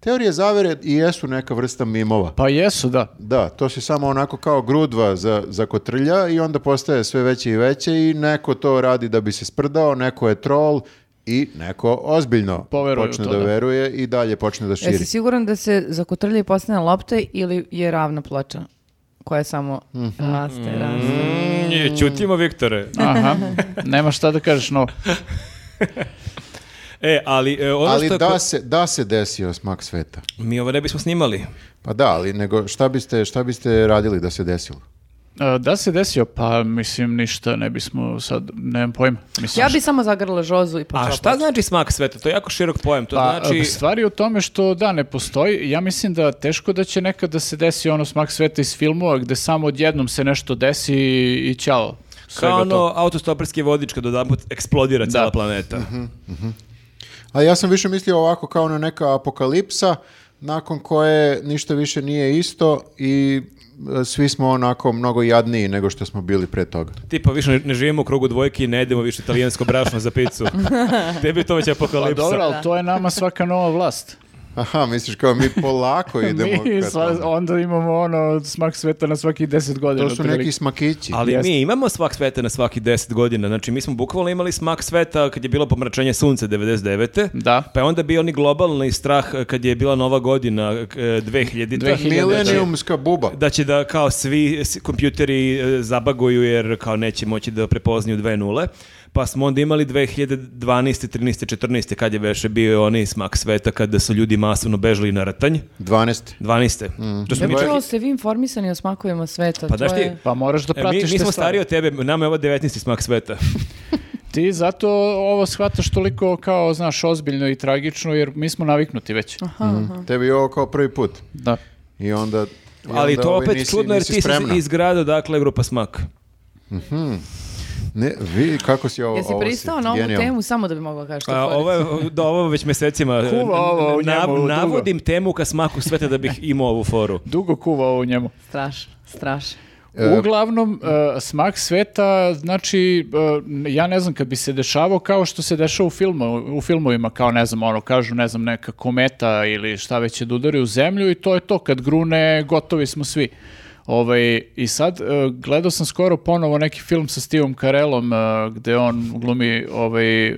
S3: teorije zavere i jesu neka vrsta mimova.
S4: Pa jesu, *laughs* da.
S3: Da, to se samo onako kao grudva za, za kotrlja i onda postaje sve veće i veće i neko to radi da bi se sprdao, neko je trol i neko ozbiljno
S4: Poveruje u
S3: počne
S4: to,
S3: da,
S4: da.
S3: veruje i dalje počne da širi.
S1: Jesi siguran da se zakotrlja i postane lopta ili je ravna ploča koja samo
S4: Mhm.
S1: raste, raste?
S2: Mm, Ćutimo, Viktore.
S4: Aha. Nema šta da kažeš, no.
S2: E, ali e, ono
S3: Ali
S2: što je ko-
S3: da se, da se desio smak sveta.
S2: mi ovo ne bismo snimali.
S3: Pa da, ali nego šta biste, šta biste radili da se desilo?
S4: E, Da se desio, pa mislim ništa, ne bismo sad, nemam pojma. Mislim,
S1: Ja bi samo zagrla žozu i počela
S2: A šta znači smak sveta? To je jako širok pojam. To
S4: Pa,
S2: znači...
S4: e, stvar je u tome što da, ne postoji. Ja mislim da teško da će nekad da se desi ono smak sveta iz filmova gde samo odjednom se nešto desi i, i ćao. Svega
S2: Kao
S4: to.
S2: ono autostoperski vodič kad odaput eksplodira cijela planeta.
S4: Mhm.
S3: A ja sam više mislio ovako kao na neka apokalipsa nakon koje ništa više nije isto i e, svi smo onako mnogo jadniji nego što smo bili pre toga.
S2: Tipa, više ne- ne živimo u krugu dvojki i ne jedemo više italijansko brašno za
S4: *laughs*
S2: picu. Tebi je to već
S4: Pa
S2: apokalipsa.
S4: dobro, ali to je nama svaka nova vlast.
S3: Aha, misliš
S2: *laughs*
S3: kao mi polako *laughs* idemo
S4: Mi
S3: ka
S4: sva-
S3: tome.
S4: onda imamo ono smak sveta na svakih deset godina.
S3: To su
S4: otprilike.
S3: neki smakići.
S2: Ali
S4: Jeste.
S2: mi imamo smak sveta na svaki 10 godina. Znači, mi smo bukvalno imali smak sveta kad je bilo pomračenje sunca 99.
S4: Da.
S2: Pa je onda bio oni globalni strah eh, kad je bila nova godina eh, 2000.
S4: 2000.
S3: Milenijumska buba.
S2: Da će da kao svi s- kompjuteri eh, zabaguju jer kao neće moći da prepoznaju dve nule. Pa smo onda imali 2012. 13. 14. kad je veše bio onaj smak sveta kada su ljudi masovno bežali na rtanj.
S3: 12.
S2: 12.
S4: Mm.
S2: To smo mi čak-
S1: Evo, ste vi informisani o smakovima sveta.
S2: Pa
S1: to
S2: znaš ti,
S1: je-
S4: Pa moraš da
S2: E, mi,
S4: pratiš
S2: mi
S4: te
S2: smo
S4: stvari.
S2: stariji od tebe, nama je ovo 19. smak sveta.
S4: Ti zato ovo shvataš toliko kao, znaš, ozbiljno i tragično, jer mi smo naviknuti već.
S3: Tebi je ovo kao prvi put.
S4: Da.
S3: I onda... i
S2: Ali
S3: onda
S2: to
S3: ovaj
S2: opet
S3: nisi-
S2: čudno jer
S3: nisi
S2: ti si
S3: spremna.
S2: iz grada, dakle, grupa Smak.
S3: Ne, vi, kako si ovo...
S1: Jesi
S3: ovo si
S1: pristao na ovu
S3: genijalno.
S1: temu samo da bi mogla kažeš
S2: A, Pa ovo, je, da, ovo već mesecima
S4: *laughs* Kuva ovo u njemu dugo.
S2: navodim temu ka Smaku sveta da bih imao ovu
S4: *laughs*
S2: foru.
S4: Dugo kuva ovo u njemu.
S1: Strašno, strašno.
S4: Uglavnom, e, smak sveta, znači, e, ja ne znam, kad bi se dešavao kao što se dešava u, filmu, u filmovima, kao ne znam, ono, kažu, ne znam, neka kometa ili šta već je da udari u zemlju i to je to, kad grune, gotovi smo svi. Ovaj, I sad, e, gledao sam skoro ponovo neki film sa Stevom Carellom, e, gde on glumi ovaj, e,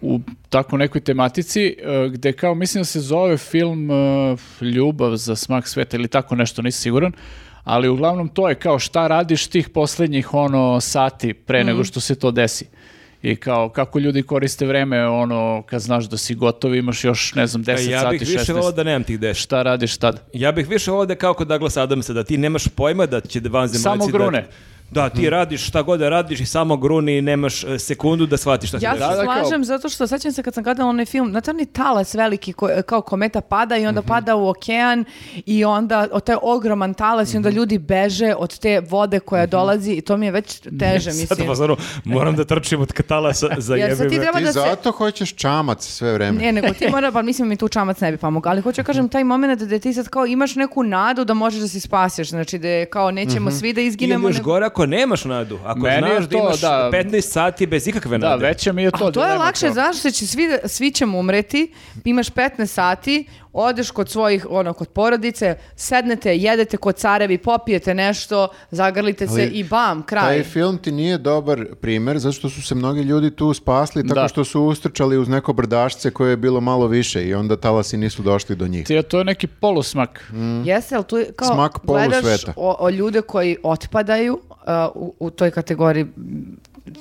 S4: u tako nekoj tematici e, gde kao mislim da se zove film e, Ljubav za smak sveta ili tako nešto, nisam siguran. Ali uglavnom to je kao šta radiš tih posljednjih ono sati pre
S1: Mhm.
S4: nego što se to desi. I kao kako ljudi koriste vreme ono kad znaš da si gotov imaš još ne znam 10
S2: E, ja
S4: sati,
S2: bih više
S4: 16.
S2: volao da nemam tih deš.
S4: Šta radiš tad?
S2: Ja bih više volao da je kao kod Douglas Adamsa, da ti nemaš pojma da će vanzemaljci...
S4: Samo grune. Hm.
S2: Da, da, ti radiš šta god da radiš i samo gruni i nemaš e, sekundu da shvatiš šta se
S1: Ja
S2: dešava.
S1: se
S4: da, kao-
S1: slažem zato što sećam se kad sam gledala onaj film, znate onaj talas veliki ko- kao kometa pada i onda
S2: Mhm.
S1: pada u okean i onda o taj ogroman talas i onda
S2: Mhm.
S1: ljudi beže od te vode koja dolazi i to mi je već teže,
S2: Sad
S1: *laughs* mislim.
S2: pa stvarno, moram da trčim od
S1: *laughs*
S2: katala sa, za
S1: Jer sad
S2: jebim.
S1: ti treba
S3: Ti
S1: da se-
S3: zato hoćeš čamac sve vreme.
S1: Ne, nego ti mora, pa mislim mi tu čamac ne bi pomogao, ali hoću da
S2: Mhm.
S1: kažem taj moment da ti sad kao imaš neku nadu da možeš da se spasiš, znači da je kao nećemo svi da
S2: Ili
S1: izginemo.
S2: Mhm. još
S1: nego-
S2: gore ako nemaš nadu. Ako
S4: Meni je
S2: znaš da
S4: to,
S2: imaš
S4: da.
S2: 15 sati bez ikakve
S4: Da,
S2: nade.
S4: veće mi je
S3: E,
S4: to.
S1: A to je
S4: dilema
S1: lakše,
S4: kao.
S1: znaš da će svi, svi ćemo umreti, imaš 15 sati, odeš kod svojih, ono, kod porodice, sednete, jedete kod carevi, popijete nešto, zagrlite se
S3: Ali
S1: i bam, kraj.
S3: Taj film ti nije dobar primer zato što su se mnogi ljudi tu spasli tako
S4: Da.
S3: što su ustrčali uz neko brdašce koje je bilo malo više i onda talasi nisu došli do njih.
S4: Ti je to neki polusmak.
S1: Mhm. Mm. Jeste, ali tu je kao
S3: Smak
S1: gledaš
S3: polusveta.
S1: o, o ljude koji otpadaju, a, u, u toj kategoriji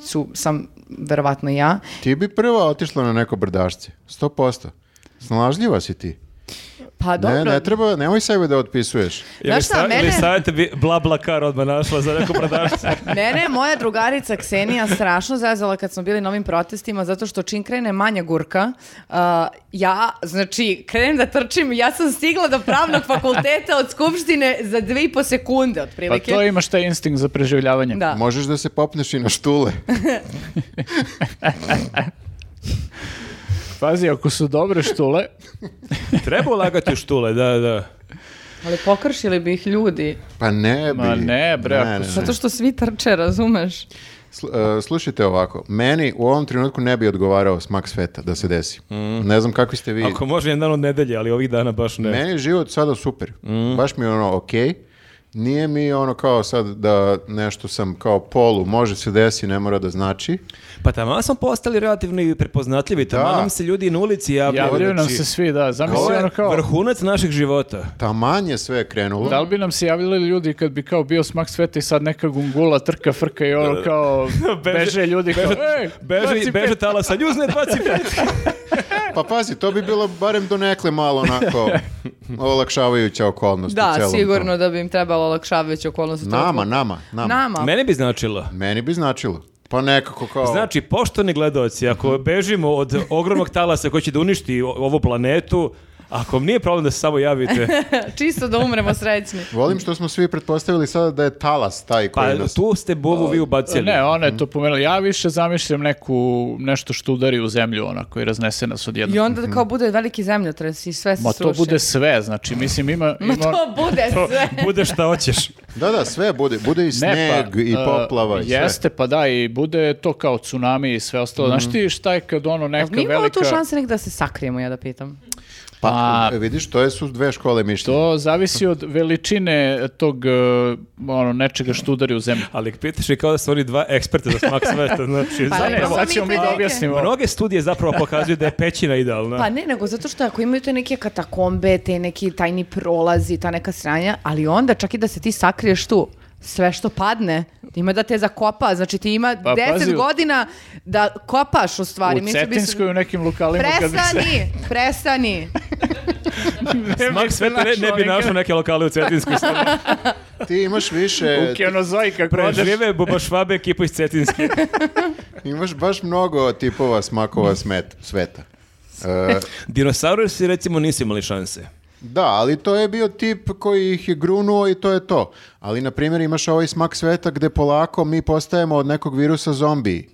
S1: su, sam verovatno ja,
S3: Ti bi prva otišla na neko brdašce, 100%. Snalažljiva si ti.
S1: pa dobro,
S3: Ne, ne treba, nemoj sebe da otpisuješ.
S2: Ili,
S1: Znaš šta,
S2: sa, ili
S1: mene-
S2: savjete bi bla bla kar odmah našla za neku prodavnicu.
S1: Mene je moja drugarica Ksenija strašno zezala kad smo bili na ovim protestima zato što čim krene manja gurka, a, ja, znači, krenem da trčim, ja sam stigla do pravnog fakulteta od Skupštine za dve i po sekunde,
S4: Pa
S1: otprilike.
S4: to imaš taj instinkt za preživljavanje.
S1: Da.
S3: Možeš da se popneš i na štule.
S1: *laughs*
S4: Pazi, ako su dobre štule,
S2: *laughs*
S1: *laughs*
S2: Treba ulagati u štule, da, da.
S1: Ali pokršili bi ih ljudi,
S3: Pa ne bi.
S4: Ma ne, bre, ako
S1: zato što svi trče, razumeš?
S3: Sl- e, slušajte ovako, meni u ovom trenutku ne bi odgovarao smak sveta da se desi.
S4: Mm.
S3: Ne znam kakvi ste vi.
S2: Ako može jedan od nedelje, ali ovih dana baš ne.
S3: Meni je život sada super.
S4: Mm.
S3: Baš mi je ono ok. Nije mi ono kao sad da nešto sam kao polu, može se desi, ne mora da znači.
S2: Pa tamo smo postali relativno i prepoznatljivi. Tamo
S3: Da.
S2: nam se ljudi i na ulici javljaju.
S4: Javljaju nam
S2: znači,
S4: se svi, da.
S2: Ovo
S4: Zamisli
S2: je
S4: ono kao...
S2: vrhunac naših života.
S3: Taman je sve krenulo.
S4: Da li bi nam se javili ljudi kad bi kao bio smak sveta i sad neka gungula trka frka i ono kao beže ljudi kao ej,
S2: Beže,
S4: baci
S2: beže
S4: pet."
S2: talasa, ljuzne
S4: *laughs*
S2: 25.
S3: Pa pazi, to bi bilo barem do nekle malo
S4: *laughs*
S3: onako olakšavajuća okolnost u
S1: Da,
S3: celom
S1: sigurno
S3: tom.
S1: da bi im trebalo olakšavajući okolnosti. u
S3: Nama,
S1: trenutku.
S3: nama, nama.
S1: Nama.
S2: Meni bi značilo.
S3: Meni bi značilo. Pa nekako kao...
S2: Znači, poštovni gledoci, ako bežimo od ogromnog talasa koji će da uništi o- ovu planetu, ako vam nije problem da se samo
S4: *laughs* Pa
S2: javite,
S1: pa, Čisto da umremo srećni.
S3: Volim što smo svi pretpostavili sada da je talas taj koji
S2: pa
S3: nas...
S2: tu ste buvu vi ubacili.
S4: Ne, ona je to pomenula. Ja više zamišljam neku, nešto što udari u zemlju onako i raznese nas odjednom.
S1: I onda kao bude veliki zemljotres i sve se
S4: Ma
S1: sruši.
S4: to bude sve, znači, mislim, ima...
S1: Ma
S4: ima-
S1: to
S4: *laughs*
S1: bude
S2: To
S1: sve.
S2: bude šta hoćeš.
S3: Da, da, sve bude. Bude i sneg i
S4: pa, e,
S3: poplava i sve.
S4: Jeste, pa da, i bude to kao tsunami i sve ostalo. Znaš ti šta je kad ono neka
S1: Mi imamo
S4: velika...
S1: tu šanse nekada da se sakrijemo, ja da pitam.
S3: Pa,
S4: A-
S3: vidiš, to je su dve škole mišljenja.
S4: To zavisi od veličine tog e, ono, nečega što udari u zemlju.
S2: Ali pitaš i kao da su oni dva eksperta za smak sveta. Znači,
S1: Pa ne,
S4: Ne,
S2: zapravo,
S1: samo
S4: sad ćemo mi da
S1: prilike.
S4: objasnimo.
S2: mnoge studije zapravo pokazuju da je pećina idealna.
S1: Pa ne, nego zato što ako imaju te neke katakombe, te neki tajni prolazi, ta neka sranja, ali onda čak i da se ti sakriješ tu, sve što padne, ima da te zakopa, znači ti ima
S4: Pa,
S1: 10
S4: pazi, u-
S1: godina da kopaš u stvari.
S4: U
S1: Mislim, bi se-
S4: Cetinskoj, u nekim lokalima kad bi se...
S1: Prestani, prestani.
S2: Smak sveta ne, ne bi našao neke lokale u
S1: *laughs*
S2: Cetinskoj. stvarno.
S3: Ti imaš više,
S4: *laughs* U Kenozoji kako odeš.
S2: Prežive Buba Švabe ekipu iz Cetinske.
S3: ti imaš baš mnogo tipova smakova smet, sveta. E,
S2: *laughs* Dinosaurusi recimo nisu imali šanse.
S3: da, ali to je bio tip koji ih je grunuo i to je to. Ali, na primjer, imaš ovaj smak sveta gde polako mi postajemo od nekog virusa zombiji.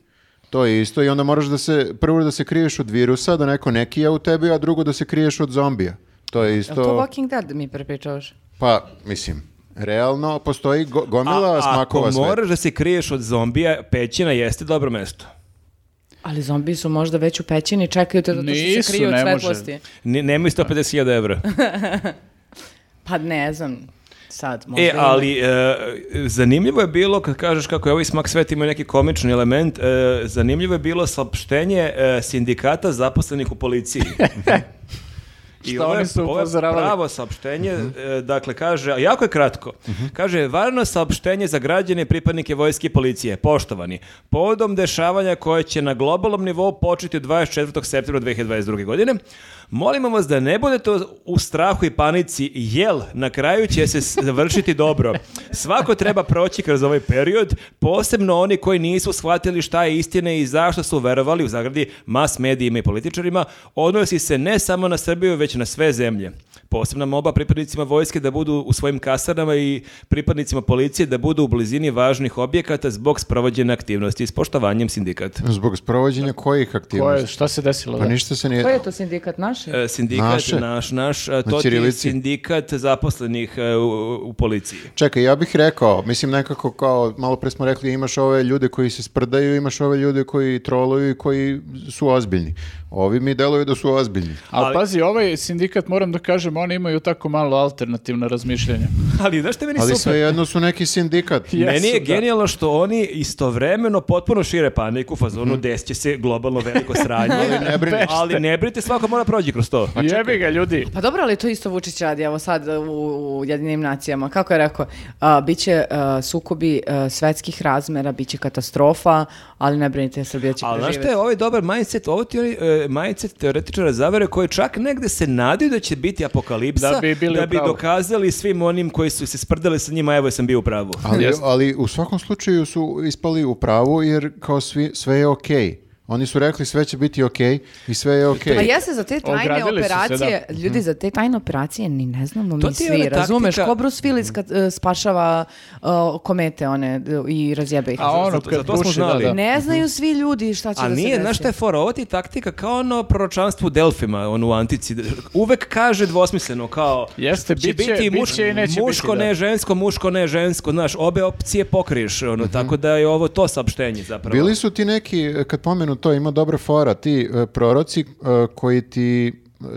S3: To je isto i onda moraš da se, prvo da se kriješ od virusa, da neko neki je u tebi, a drugo da se kriješ od zombija. To je isto...
S1: Jel to Walking Dead mi prepričavaš?
S3: Pa, mislim, realno postoji go- gomila smakova
S2: ako
S3: sveta.
S2: moraš da se kriješ od zombija, pećina jeste dobro mesto.
S1: Ali zombi su možda već u pećini, čekaju te zato što
S4: Nisu,
S1: se kriju od
S4: ne može.
S1: svetlosti.
S2: Ne, nemoj
S1: *laughs*
S2: 150.000 evra.
S1: Pa ne znam, sad možda
S2: E,
S1: ima.
S2: ali e, zanimljivo je bilo, kad kažeš kako je ovaj smak sveta ima neki komični element, e, zanimljivo je bilo saopštenje e, sindikata zaposlenih u policiji.
S1: *laughs*
S2: I
S4: Šta
S2: ovo je-
S4: oni su
S2: ovo je
S4: upozoravali? Mhm.
S2: pravo saopštenje, e, dakle, kaže, a jako je kratko, kaže, varno saopštenje za građane i pripadnike vojske i policije, poštovani, povodom dešavanja koje će na globalnom nivou početi od 24. septembra 2022. godine, molimo vas da ne budete u strahu i panici, jel, na kraju će se s- završiti dobro. Svako treba proći kroz ovaj period, posebno oni koji nisu shvatili šta je istina i zašto su verovali u zagradi mas medijima i političarima, odnosi se ne samo na Srbiju, već na sve zemlje. Posebna moba pripadnicima vojske da budu u svojim kasarnama i pripadnicima policije da budu u blizini važnih objekata zbog sprovođene aktivnosti s poštovanjem sindikata.
S3: Zbog sprovođenja kojih
S4: Ko je,
S3: aktivnosti?
S4: šta se desilo?
S3: Pa
S4: da?
S3: ništa se nije...
S1: Koji je to sindikat naši?
S2: E, Sindikat
S3: Naše?
S2: naš, naš, e, to ti je
S3: ćirilici?
S2: sindikat zaposlenih e, u, u policiji. *laughs*
S3: Čekaj, ja bih rekao, mislim nekako kao, malo pre smo rekli, imaš ove ljude koji se sprdaju, imaš ove ljude koji troluju i koji su ozbiljni. Ovi mi deluju da su ozbiljni.
S4: Ali,
S2: Ali-
S4: pazi, ovaj sindikat, moram da kažem, oni imaju tako malo alternativna razmišljanja.
S2: Ali znaš što je meni
S3: Ali
S2: super?
S3: svejedno su neki sindikat.
S4: Jesu,
S2: Meni je
S4: da.
S2: genijalno što oni istovremeno potpuno šire paniku u fazonu
S4: Mhm.
S2: desit će se globalno veliko
S4: *laughs*
S2: sranje.
S3: Ali ne brini.
S2: ali ne brinite, svako mora prođi kroz to.
S4: Jebi ga, ljudi.
S1: Pa dobro, ali to isto Vučić radi, evo sad u, u Jedinim nacijama. Kako je rekao, a, biće a, sukobi a, svetskih razmera, biće katastrofa, ali ne brinite, Srbija će
S2: Ali znaš
S1: preživjeti.
S2: što je ovaj dobar mindset, ovo ti oni, e, mindset teoretičara zavere koji čak negde se nadaju da će biti apokalipsa,
S4: Da bi bili u pravu.
S2: dokazali svim onim koji su se sprdali sa njima, evo sam bio u pravu.
S3: Ali, ali u svakom slučaju su ispali u pravu jer kao svi, sve je okej. Oni su rekli sve će biti ok i sve je ok.
S1: A ja se Pa za te tajne
S4: Ogradili su se,
S1: operacije, ljudi, za te tajne operacije ni ne znamo mi
S2: Mhm. To ti je ona
S1: svi, razumeš?
S2: taktika-
S1: Ko Bruce Willis kad e, spašava e, komete one e, i razjebe ih.
S4: A ono
S2: Zato-
S4: kad
S2: zato smo
S4: buši, da,
S2: znali.
S4: da.
S1: Ne znaju svi ljudi šta će
S2: A
S1: da se
S2: nije,
S1: desi.
S2: znaš šta je fora, ovo ti je taktika kao ono proročanstvo u Delfima, ono u Antici. Uvek kaže dvosmisleno, kao
S4: Jeste,
S2: će
S4: bit će-
S2: biti
S4: bit
S2: muš-
S4: će i neće
S2: muško
S4: biti, da.
S2: ne žensko, muško ne žensko, znaš, obe opcije pokriješ, ono,
S1: Mhm.
S2: tako da je ovo to saopštenje zapravo.
S3: Bili su ti neki, kad pomenu to, ima dobra fora, ti e, proroci e, koji ti e,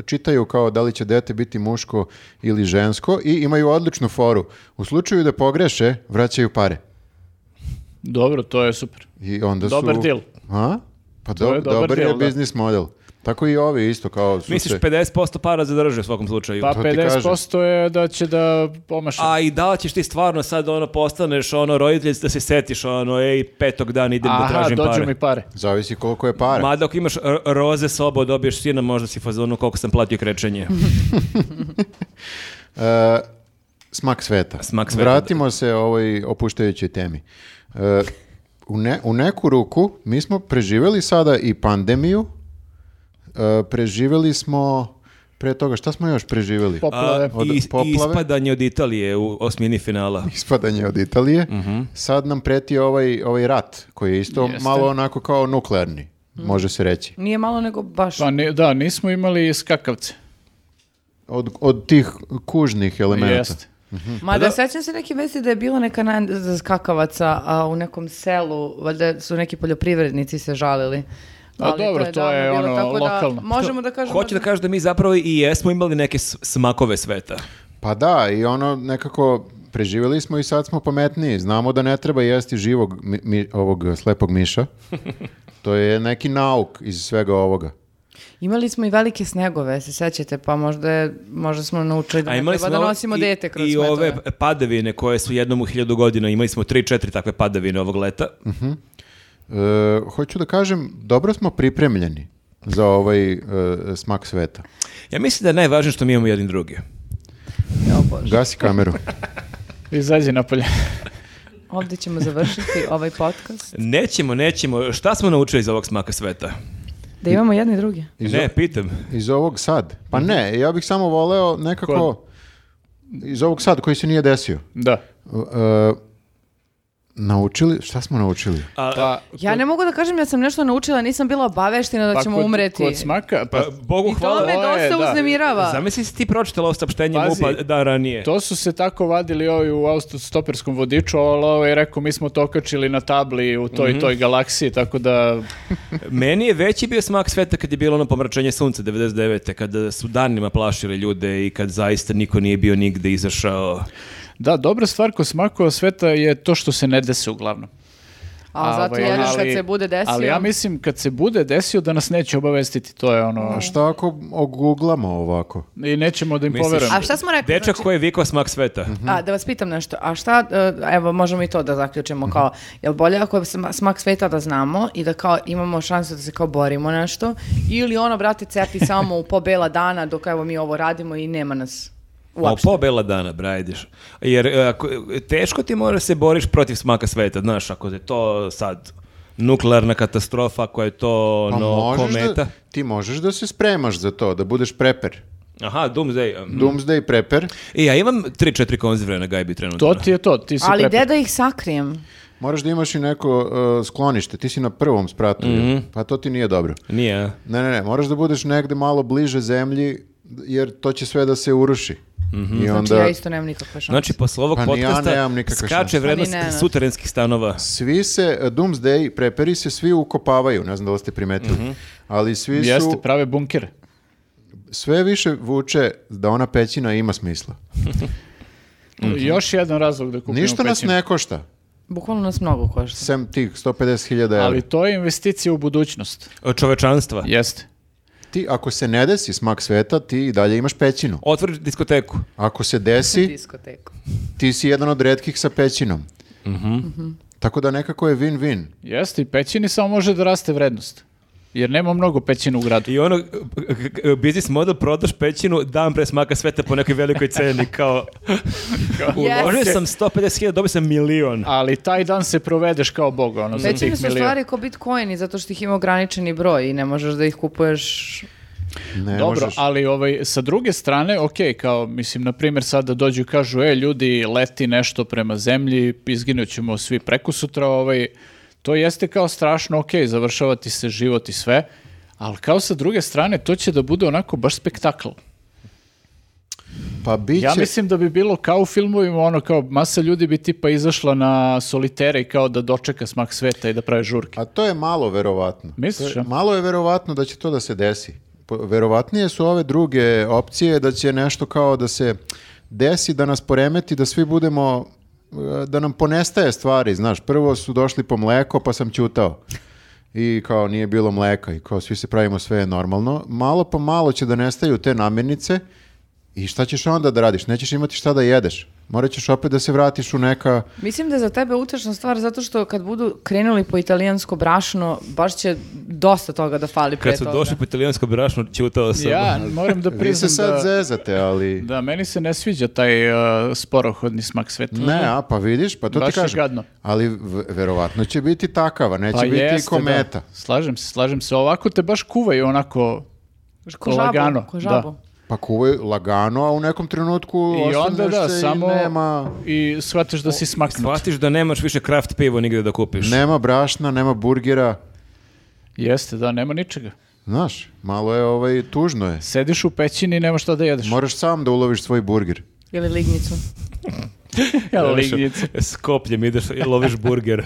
S3: čitaju kao da li će dete biti muško ili žensko i imaju odličnu foru. U slučaju da pogreše, vraćaju pare.
S4: Dobro, to je super.
S3: I onda
S4: Dobar
S3: su...
S4: deal.
S3: A? Pa
S4: To
S3: do-
S4: je dobar
S3: dobar, je
S4: deal, da.
S3: biznis model. Tako i ovi isto kao su
S2: Misliš
S3: se-
S2: 50% para zadrže u svakom slučaju.
S4: Pa
S3: To ti kažem.
S4: 50% je da će da pomaša.
S2: A i da li ćeš ti stvarno sad ono postaneš ono roditelj da se setiš ono ej petog dana idem da
S4: Aha,
S2: tražim
S4: dođu
S2: pare.
S4: mi pare.
S3: Zavisi koliko je para.
S2: Mada ako imaš r- roze sobo, dobiješ sina, možda si fazonu koliko sam
S1: *laughs*
S2: platio krečenje.
S3: E, smak sveta.
S2: Smak sveta,
S3: Vratimo se ovoj opuštajućoj temi. E, u, ne- u neku ruku mi smo preživjeli sada i pandemiju, e, preživjeli smo pre toga, šta smo još preživjeli?
S4: Poplave.
S2: i, i
S3: poplave?
S2: ispadanje od Italije u osmini finala.
S3: Ispadanje od Italije. Sad nam preti ovaj, ovaj rat, koji je isto
S4: Jeste.
S3: malo onako kao nuklearni, može se reći.
S1: Nije malo nego baš.
S4: Pa ni- da, nismo imali skakavce.
S3: Od, od tih kužnih elemenata.
S4: Jeste.
S1: Ma
S4: Pa
S1: da, sećam se neke vesti da je bila neka na, za skakavaca a, u nekom selu, valjda su neki poljoprivrednici se žalili.
S4: A dobro, to
S1: davno
S4: je
S1: bilo,
S4: ono,
S1: tako da
S4: lokalno.
S1: možemo da kažemo...
S2: Hoću da kažem da mi zapravo i jesmo imali neke s- smakove sveta.
S3: Pa da, i ono nekako preživjeli smo i sad smo pametniji. Znamo da ne treba jesti živog mi- mi- ovog slepog miša. To je neki nauk iz svega ovoga.
S1: Imali smo i velike snegove, se sećate, pa možda, je, možda smo naučili da
S2: A
S1: ne
S2: imali
S1: treba
S2: smo
S1: da
S4: ono
S2: ovo-
S1: nosimo
S2: i-
S1: dete kroz
S2: I
S1: smetove.
S2: ove padavine koje su jednom u hiljadu godina, imali smo tri, četiri takve padavine ovog leta.
S3: E, hoću da kažem, dobro smo pripremljeni za ovaj e, smak sveta.
S2: Ja mislim da je najvažnije što mi imamo jedni drugi.
S1: Evo Bože.
S3: Gasi kameru.
S4: Izađi napolje.
S1: Ovdje ćemo
S4: *laughs*
S1: završiti ovaj podcast.
S2: Nećemo, nećemo. Šta smo naučili iz ovog smaka sveta?
S1: Da imamo jedni drugi.
S3: Iz,
S2: Ne, pitam.
S3: iz ovog sad. Pa ne, ja bih samo voleo nekako iz ovog sad koji se nije desio.
S4: Da.
S3: E, naučili, šta smo naučili?
S2: A,
S4: Pa,
S1: Ja ne mogu da kažem ja sam nešto naučila, nisam bila obaveština da
S4: pa
S1: ćemo
S4: kod-
S1: umreti.
S4: Kod smaka, pa
S2: pa, Bogu
S1: I to
S2: hvala.
S1: me
S4: ovo je,
S1: dosta
S4: da.
S1: uznemirava.
S2: Zamisli si ti pročitala ovo saopštenje
S4: Pazi,
S2: MUPA pa- dan ranije.
S4: To su se tako vadili ovi u autostoperskom vodiču, ali ovo je rekao, mi smo to okačili na tabli u toj i toj galaksiji, tako da
S2: Meni je veći bio smak sveta kad je bilo ono pomračenje sunca 99. Kada su danima plašili ljude i kad zaista niko nije bio nigde izašao.
S4: Da, dobra stvar kod smakova sveta je to što se ne dese uglavnom.
S1: A zato
S4: ovaj,
S1: jedeš kad
S4: ali-
S1: se bude desio.
S4: Ali ja mislim kad se bude desio da nas neće obavestiti, to je ono...
S3: A šta ako oguglamo ovako?
S4: I nećemo da im
S2: Misliš?
S4: poverujemo.
S1: A šta smo rekli?
S2: Dečak
S1: Znači,
S2: koji je vikao smak sveta.
S3: Mhm.
S1: a, da vas pitam nešto. A šta, e, evo, možemo i to da zaključimo kao, jel bolje ako je sma- smak sveta da znamo i da kao imamo šansu da se kao borimo nešto ili ono, brate, cepi samo u po bela dana dok evo mi ovo radimo i nema nas
S2: Ma,
S1: uopšte.
S2: pobela dana, brajdiš. Jer e, ako, teško ti mora se boriš protiv smaka sveta, znaš, ako je to sad nuklearna katastrofa, ako je to
S3: Pa
S2: ono,
S3: možeš
S2: kometa.
S3: Da, ti možeš da se spremaš za to, da budeš preper.
S2: Aha, Doomsday. mhm.
S3: Doomsday preper.
S2: E, ja imam 3-4 konzivre na gajbi trenutno.
S4: To ti je to, ti si
S1: Ali
S4: prepet.
S1: gde da ih sakrijem?
S3: Moraš da imaš i neko uh, sklonište. Ti si na prvom spratu.
S4: Mhm.
S3: Pa to ti nije dobro.
S2: Nije, a?
S3: Ne, ne, ne. Moraš da budeš negde malo bliže zemlji, jer to će sve da se uruši.
S4: Mhm.
S3: I onda
S1: Znači, ja isto nemam nikakve šanse.
S2: Znači, posle ovog
S3: Pa ni ja
S2: podcasta
S3: nemam nikakve
S2: skače
S3: šanse.
S2: vrednost
S1: Pa ni Nenad.
S2: suterenskih stanova.
S3: svi se, uh, Doomsday preperi se svi ukopavaju. Ne znam da li ste primetili. Ali svi
S4: Mhm. Jeste,
S3: su,
S4: prave bunkere.
S3: sve više vuče da ona pećina ima smisla.
S4: Još jedan razlog da kupimo
S3: Ništa nas
S4: pećinu.
S3: ne košta.
S1: Bukvalno nas mnogo košta.
S3: Sem tih 150.000 evra.
S4: Ali to je investicija u budućnost.
S2: Čovečanstva.
S4: Jeste.
S3: Ti, ako se ne desi smak sveta, ti i dalje imaš pećinu.
S2: Otvori diskoteku.
S3: Ako se desi,
S1: Diskoteku.
S3: ti si jedan od redkih sa pećinom.
S4: Mhm.
S3: Tako da nekako je win-win.
S4: Jeste, i pećini samo može da raste vrednost. Jer nema mnogo pećina u gradu.
S2: I ono, k- k- k- biznis model, prodaš pećinu, dan pre smaka sveta po nekoj velikoj ceni, *laughs* kao, uložio
S1: Yes.
S2: sam 150.000, dobio sam milion.
S4: Ali taj dan se provedeš kao bog, ono, za
S1: Većine
S4: tih
S1: su
S4: milion.
S1: stvari ko bitcoini, zato što ih ima ograničeni broj i ne možeš da ih kupuješ
S3: Ne
S4: Dobro,
S3: možeš.
S4: ali ovaj, sa druge strane, ok, kao, mislim, na primjer, sada dođu i kažu, e, ljudi, leti nešto prema zemlji, izginut ćemo svi preko sutra, ovaj, to jeste kao strašno, ok, završava ti se život i sve, ali kao sa druge strane, to će da bude onako baš spektakl.
S3: Pa biće...
S4: Ja mislim da bi bilo kao u filmovima, ono kao masa ljudi bi tipa izašla na solitere i kao da dočeka smak sveta i da prave žurke.
S3: A to je malo verovatno.
S4: Misliš,
S3: To
S4: a?
S3: je, malo je verovatno da će to da se desi. Po- Verovatnije su ove druge opcije da će nešto kao da se desi, da nas poremeti, da svi budemo e, da nam ponestaje stvari, znaš, prvo su došli po mleko, pa sam ćutao. I kao nije bilo mleka i kao svi se pravimo sve je normalno. Malo po malo će da nestaju te namirnice i šta ćeš onda da radiš? Nećeš imati šta da jedeš. Morat ćeš opet da se vratiš u neka
S1: Mislim da je za tebe utešna stvar zato što kad budu krenuli po italijansko brašno, baš će dosta toga da fali pre
S2: Kad su
S1: toga.
S2: došli po italijanskom brašnu, čutao *laughs* sam.
S4: Ja moram da
S3: Vi se
S4: priznam
S3: sad
S4: da,
S3: zezate, ali...
S4: da meni se ne sviđa taj uh, sporohodni smak sveta.
S3: Ne, a pa vidiš, pa to
S4: Mhm. Baš
S3: ti
S4: je
S3: kažem.
S4: gadno.
S3: Ali v- verovatno će biti takava, neće biti
S4: Pa jeste,
S3: kometa.
S4: da. Slažem se, slažem se. Ovako te baš kuvaju onako
S1: Ko žabu,
S4: lagano.
S1: ko žabu.
S4: Da.
S3: Pa kuvaju lagano, a u nekom trenutku
S4: I onda da,
S3: ostaneš se
S4: samo
S3: i nema,
S4: i shvatiš da si smaknut.
S2: Shvatiš da nemaš više kraft pivo nigde da kupiš.
S3: nema brašna, nema burgera.
S4: Jeste, da, nema ničega.
S3: Znaš, malo je ovaj, tužno je.
S4: Sediš u pećini i nema šta da jedeš.
S3: Moraš sam da uloviš svoj burger.
S1: Ili lignicu.
S4: *laughs* Ja,
S2: Znaš,
S4: lignjice.
S2: S kopljem ideš i loviš *laughs* burger.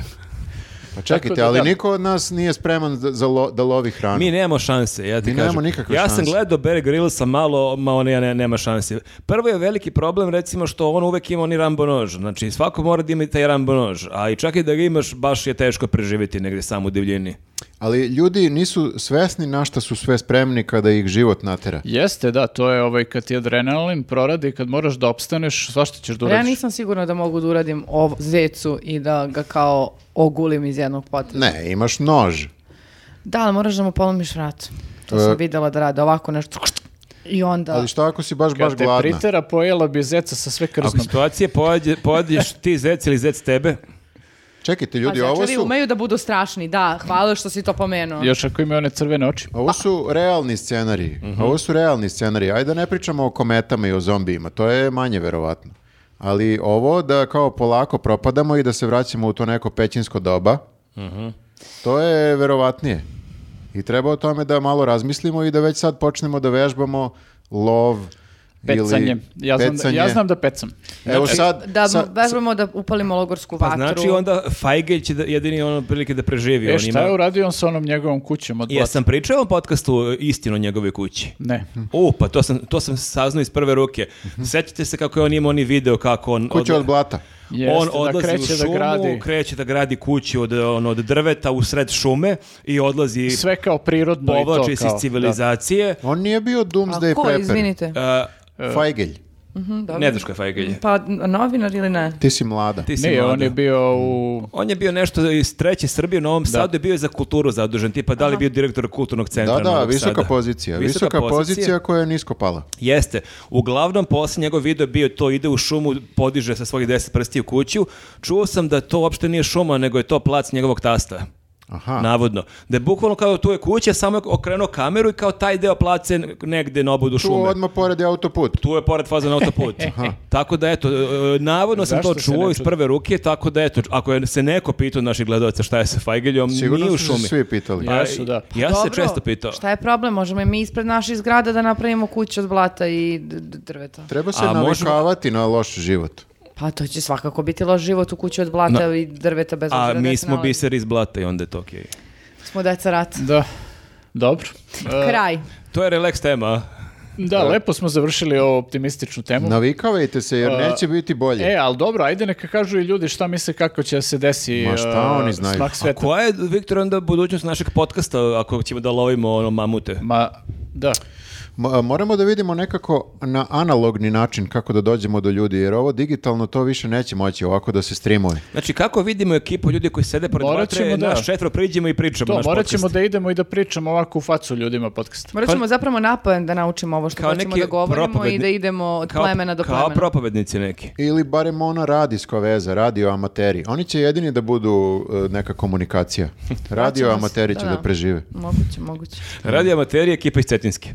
S3: Pa čekajte,
S4: da,
S3: ali
S4: da.
S3: niko od nas nije spreman za, za lo- da lovi hranu.
S2: Mi nemamo šanse, ja ti
S3: Mi
S2: kažem.
S3: nemamo nikakve
S2: ja sam
S3: šanse.
S2: gledao Barry Grillsa malo, ma on ja ne, nema šanse. Prvo je veliki problem recimo što on uvek ima oni rambo nož. Znači svako mora da ima i taj rambo nož, a i čak i da ga imaš baš je teško preživjeti negdje sam u divljini.
S3: Ali ljudi nisu svesni na šta su sve spremni kada ih život natera.
S4: Jeste, da, to je ovaj, kad ti adrenalin proradi, kad moraš da opstaneš, svašta ćeš da
S1: Pa Ja
S4: uradiš.
S1: nisam sigurna da mogu da uradim ovo zecu i da ga kao ogulim iz jednog poteza.
S3: Ne, imaš nož.
S1: Da, ali moraš da mu polomiš vrat. To
S3: E.
S1: sam videla da rade ovako nešto. I onda...
S3: Ali šta ako si baš,
S4: Kad
S3: baš
S4: te
S3: gladna?
S4: pritera, pojela bi zeca sa sve
S2: Ako
S4: krznom.
S2: situacije pojađe- pojađeš ti zec ili zec tebe,
S3: Čekajte,
S1: Pa
S3: ljudi, ovo
S1: začari
S3: su...
S1: umeju da budu strašni, da, hvala što si to pomenuo.
S4: Još ako imaju one crvene oči.
S3: Pa, Ovo su realni scenariji. Ovo su realni scenariji. Ajde da ne pričamo o kometama i o zombijima. To je manje verovatno. Ali ovo da kao polako propadamo i da se vraćamo u to neko pećinsko doba, to je verovatnije. I treba o tome da malo razmislimo i da već sad počnemo da vežbamo lov
S4: Pecanje.
S3: ili
S4: Ja znam, da,
S3: pecanje.
S4: ja znam da pecam.
S3: Evo sad,
S1: E, Da
S3: sa-
S1: vežbamo da upalimo logorsku
S2: pa
S1: vatru.
S2: znači onda Feige će da, jedini ono prilike da preživi.
S4: E,
S2: on
S4: šta
S2: ima-
S4: je uradio on sa onom njegovom kućom od blata?
S2: Jesam pričao u ovom podcastu istinu o njegovoj kući.
S4: Ne.
S2: U, pa to sam, to sam saznao iz prve ruke.
S4: Mhm.
S2: Sjećate se kako je on imao oni video kako on...
S3: kuća od blata.
S4: Jeste,
S2: on
S4: da
S2: odlazi
S4: kreće
S2: u
S4: da
S2: šumu,
S4: gradi.
S2: kreće da gradi kuću od, ono, od drveta u sred šume i odlazi,
S4: Sve kao prirodno i to kao.
S2: povlači se iz civilizacije.
S3: On nije bio Doomsday
S1: A ko,
S3: Prepper.
S1: izvinite?
S2: A,
S3: Feigelj,
S1: Mhm, dobro.
S2: E, ne znaš ko je Feigl.
S1: Pa n- novinar ili ne?
S3: ti si mlada.
S2: Ti si
S4: Ne,
S2: mlada.
S4: on je bio u...
S2: On je bio nešto iz treće Srbije u Novom Sadu, je bio je za kulturu zadužen, tipa da li je bio direktor kulturnog centra
S3: Da, da,
S2: Novog
S3: visoka
S2: Sada.
S3: pozicija. Visoka, pozicija koja je nisko pala.
S2: Jeste. Uglavnom, poslije njegov video je bio to ide u šumu, podiže sa svojih deset prsti u kuću. Čuo sam da to uopšte nije šuma, nego je to plac njegovog tasta.
S3: Aha.
S2: Navodno. Da je bukvalno kao tu je kuća, samo je okrenuo kameru i kao taj deo place negde na obodu
S3: Tu
S2: šume.
S3: odmah pored je autoput.
S2: Tu je pored faza na
S3: *laughs*
S2: autoput. tako da eto, e, navodno sam
S4: Zašto
S2: to
S4: se ne
S2: čuo iz
S4: čudi?
S2: prve ruke, tako da eto, ako je se neko pitao od naših gledalaca šta je sa Fajgeljom,
S3: Sigurno
S2: nije u
S3: su se
S2: šumi.
S3: svi pitali.
S4: Ja. Jesu, da.
S2: Pa Ja sam se
S1: Dobro,
S2: često pitao.
S1: Šta je problem? Možemo i mi ispred naših zgrada da napravimo kuću od blata i d- d- drveta.
S3: Treba se
S2: A možemo-
S3: navikavati na loš život.
S1: Pa to će svakako biti loš život u kući od blata i drveta bez
S2: A
S1: obzira gde
S2: mi
S1: se
S2: smo
S1: nalazi.
S2: biser iz blata i onda je to okej.
S1: Smo deca
S2: *laughs*
S1: rata.
S4: Da. Dobro. E,
S1: Kraj.
S2: To je relax tema, a?
S4: Da, lepo smo završili ovu optimističnu temu.
S3: Navikavajte se jer neće biti bolje.
S4: E, ali dobro, ajde neka kažu i ljudi šta misle kako će se desi
S3: Ma šta
S4: e,
S3: oni znaju?
S4: smak
S2: A
S4: sveta.
S2: koja je, Viktor, onda budućnost našeg podcasta ako ćemo da lovimo ono mamute?
S4: Ma, da.
S3: mo- moramo da vidimo nekako na analogni način kako da dođemo do ljudi, jer ovo digitalno to više neće moći ovako da se streamuje.
S2: Znači, kako vidimo ekipu ljudi koji sede pored
S4: Morat
S2: vatre,
S4: ćemo da-
S2: naš četvro priđemo i pričamo
S4: To,
S2: naš
S4: morat
S2: podcast.
S4: ćemo da idemo i da pričamo ovako u facu ljudima podcast.
S1: Morat ćemo zapravo napadan da naučimo ovo što
S2: pa- Kao
S1: hoćemo
S2: neki
S1: da govorimo i
S2: propovedni-
S1: da idemo od plemena do
S2: Kao
S1: plemena.
S2: propovednici neki.
S3: Ili barem ona radijska veza, radio amateri. Oni će jedini da budu e, neka
S1: *laughs*
S3: komunikacija. Radio
S1: Vraćamo se,
S3: amateri će da prežive.
S1: Moguće, moguće.
S2: Radio Amateri, ekipa iz Cetinske.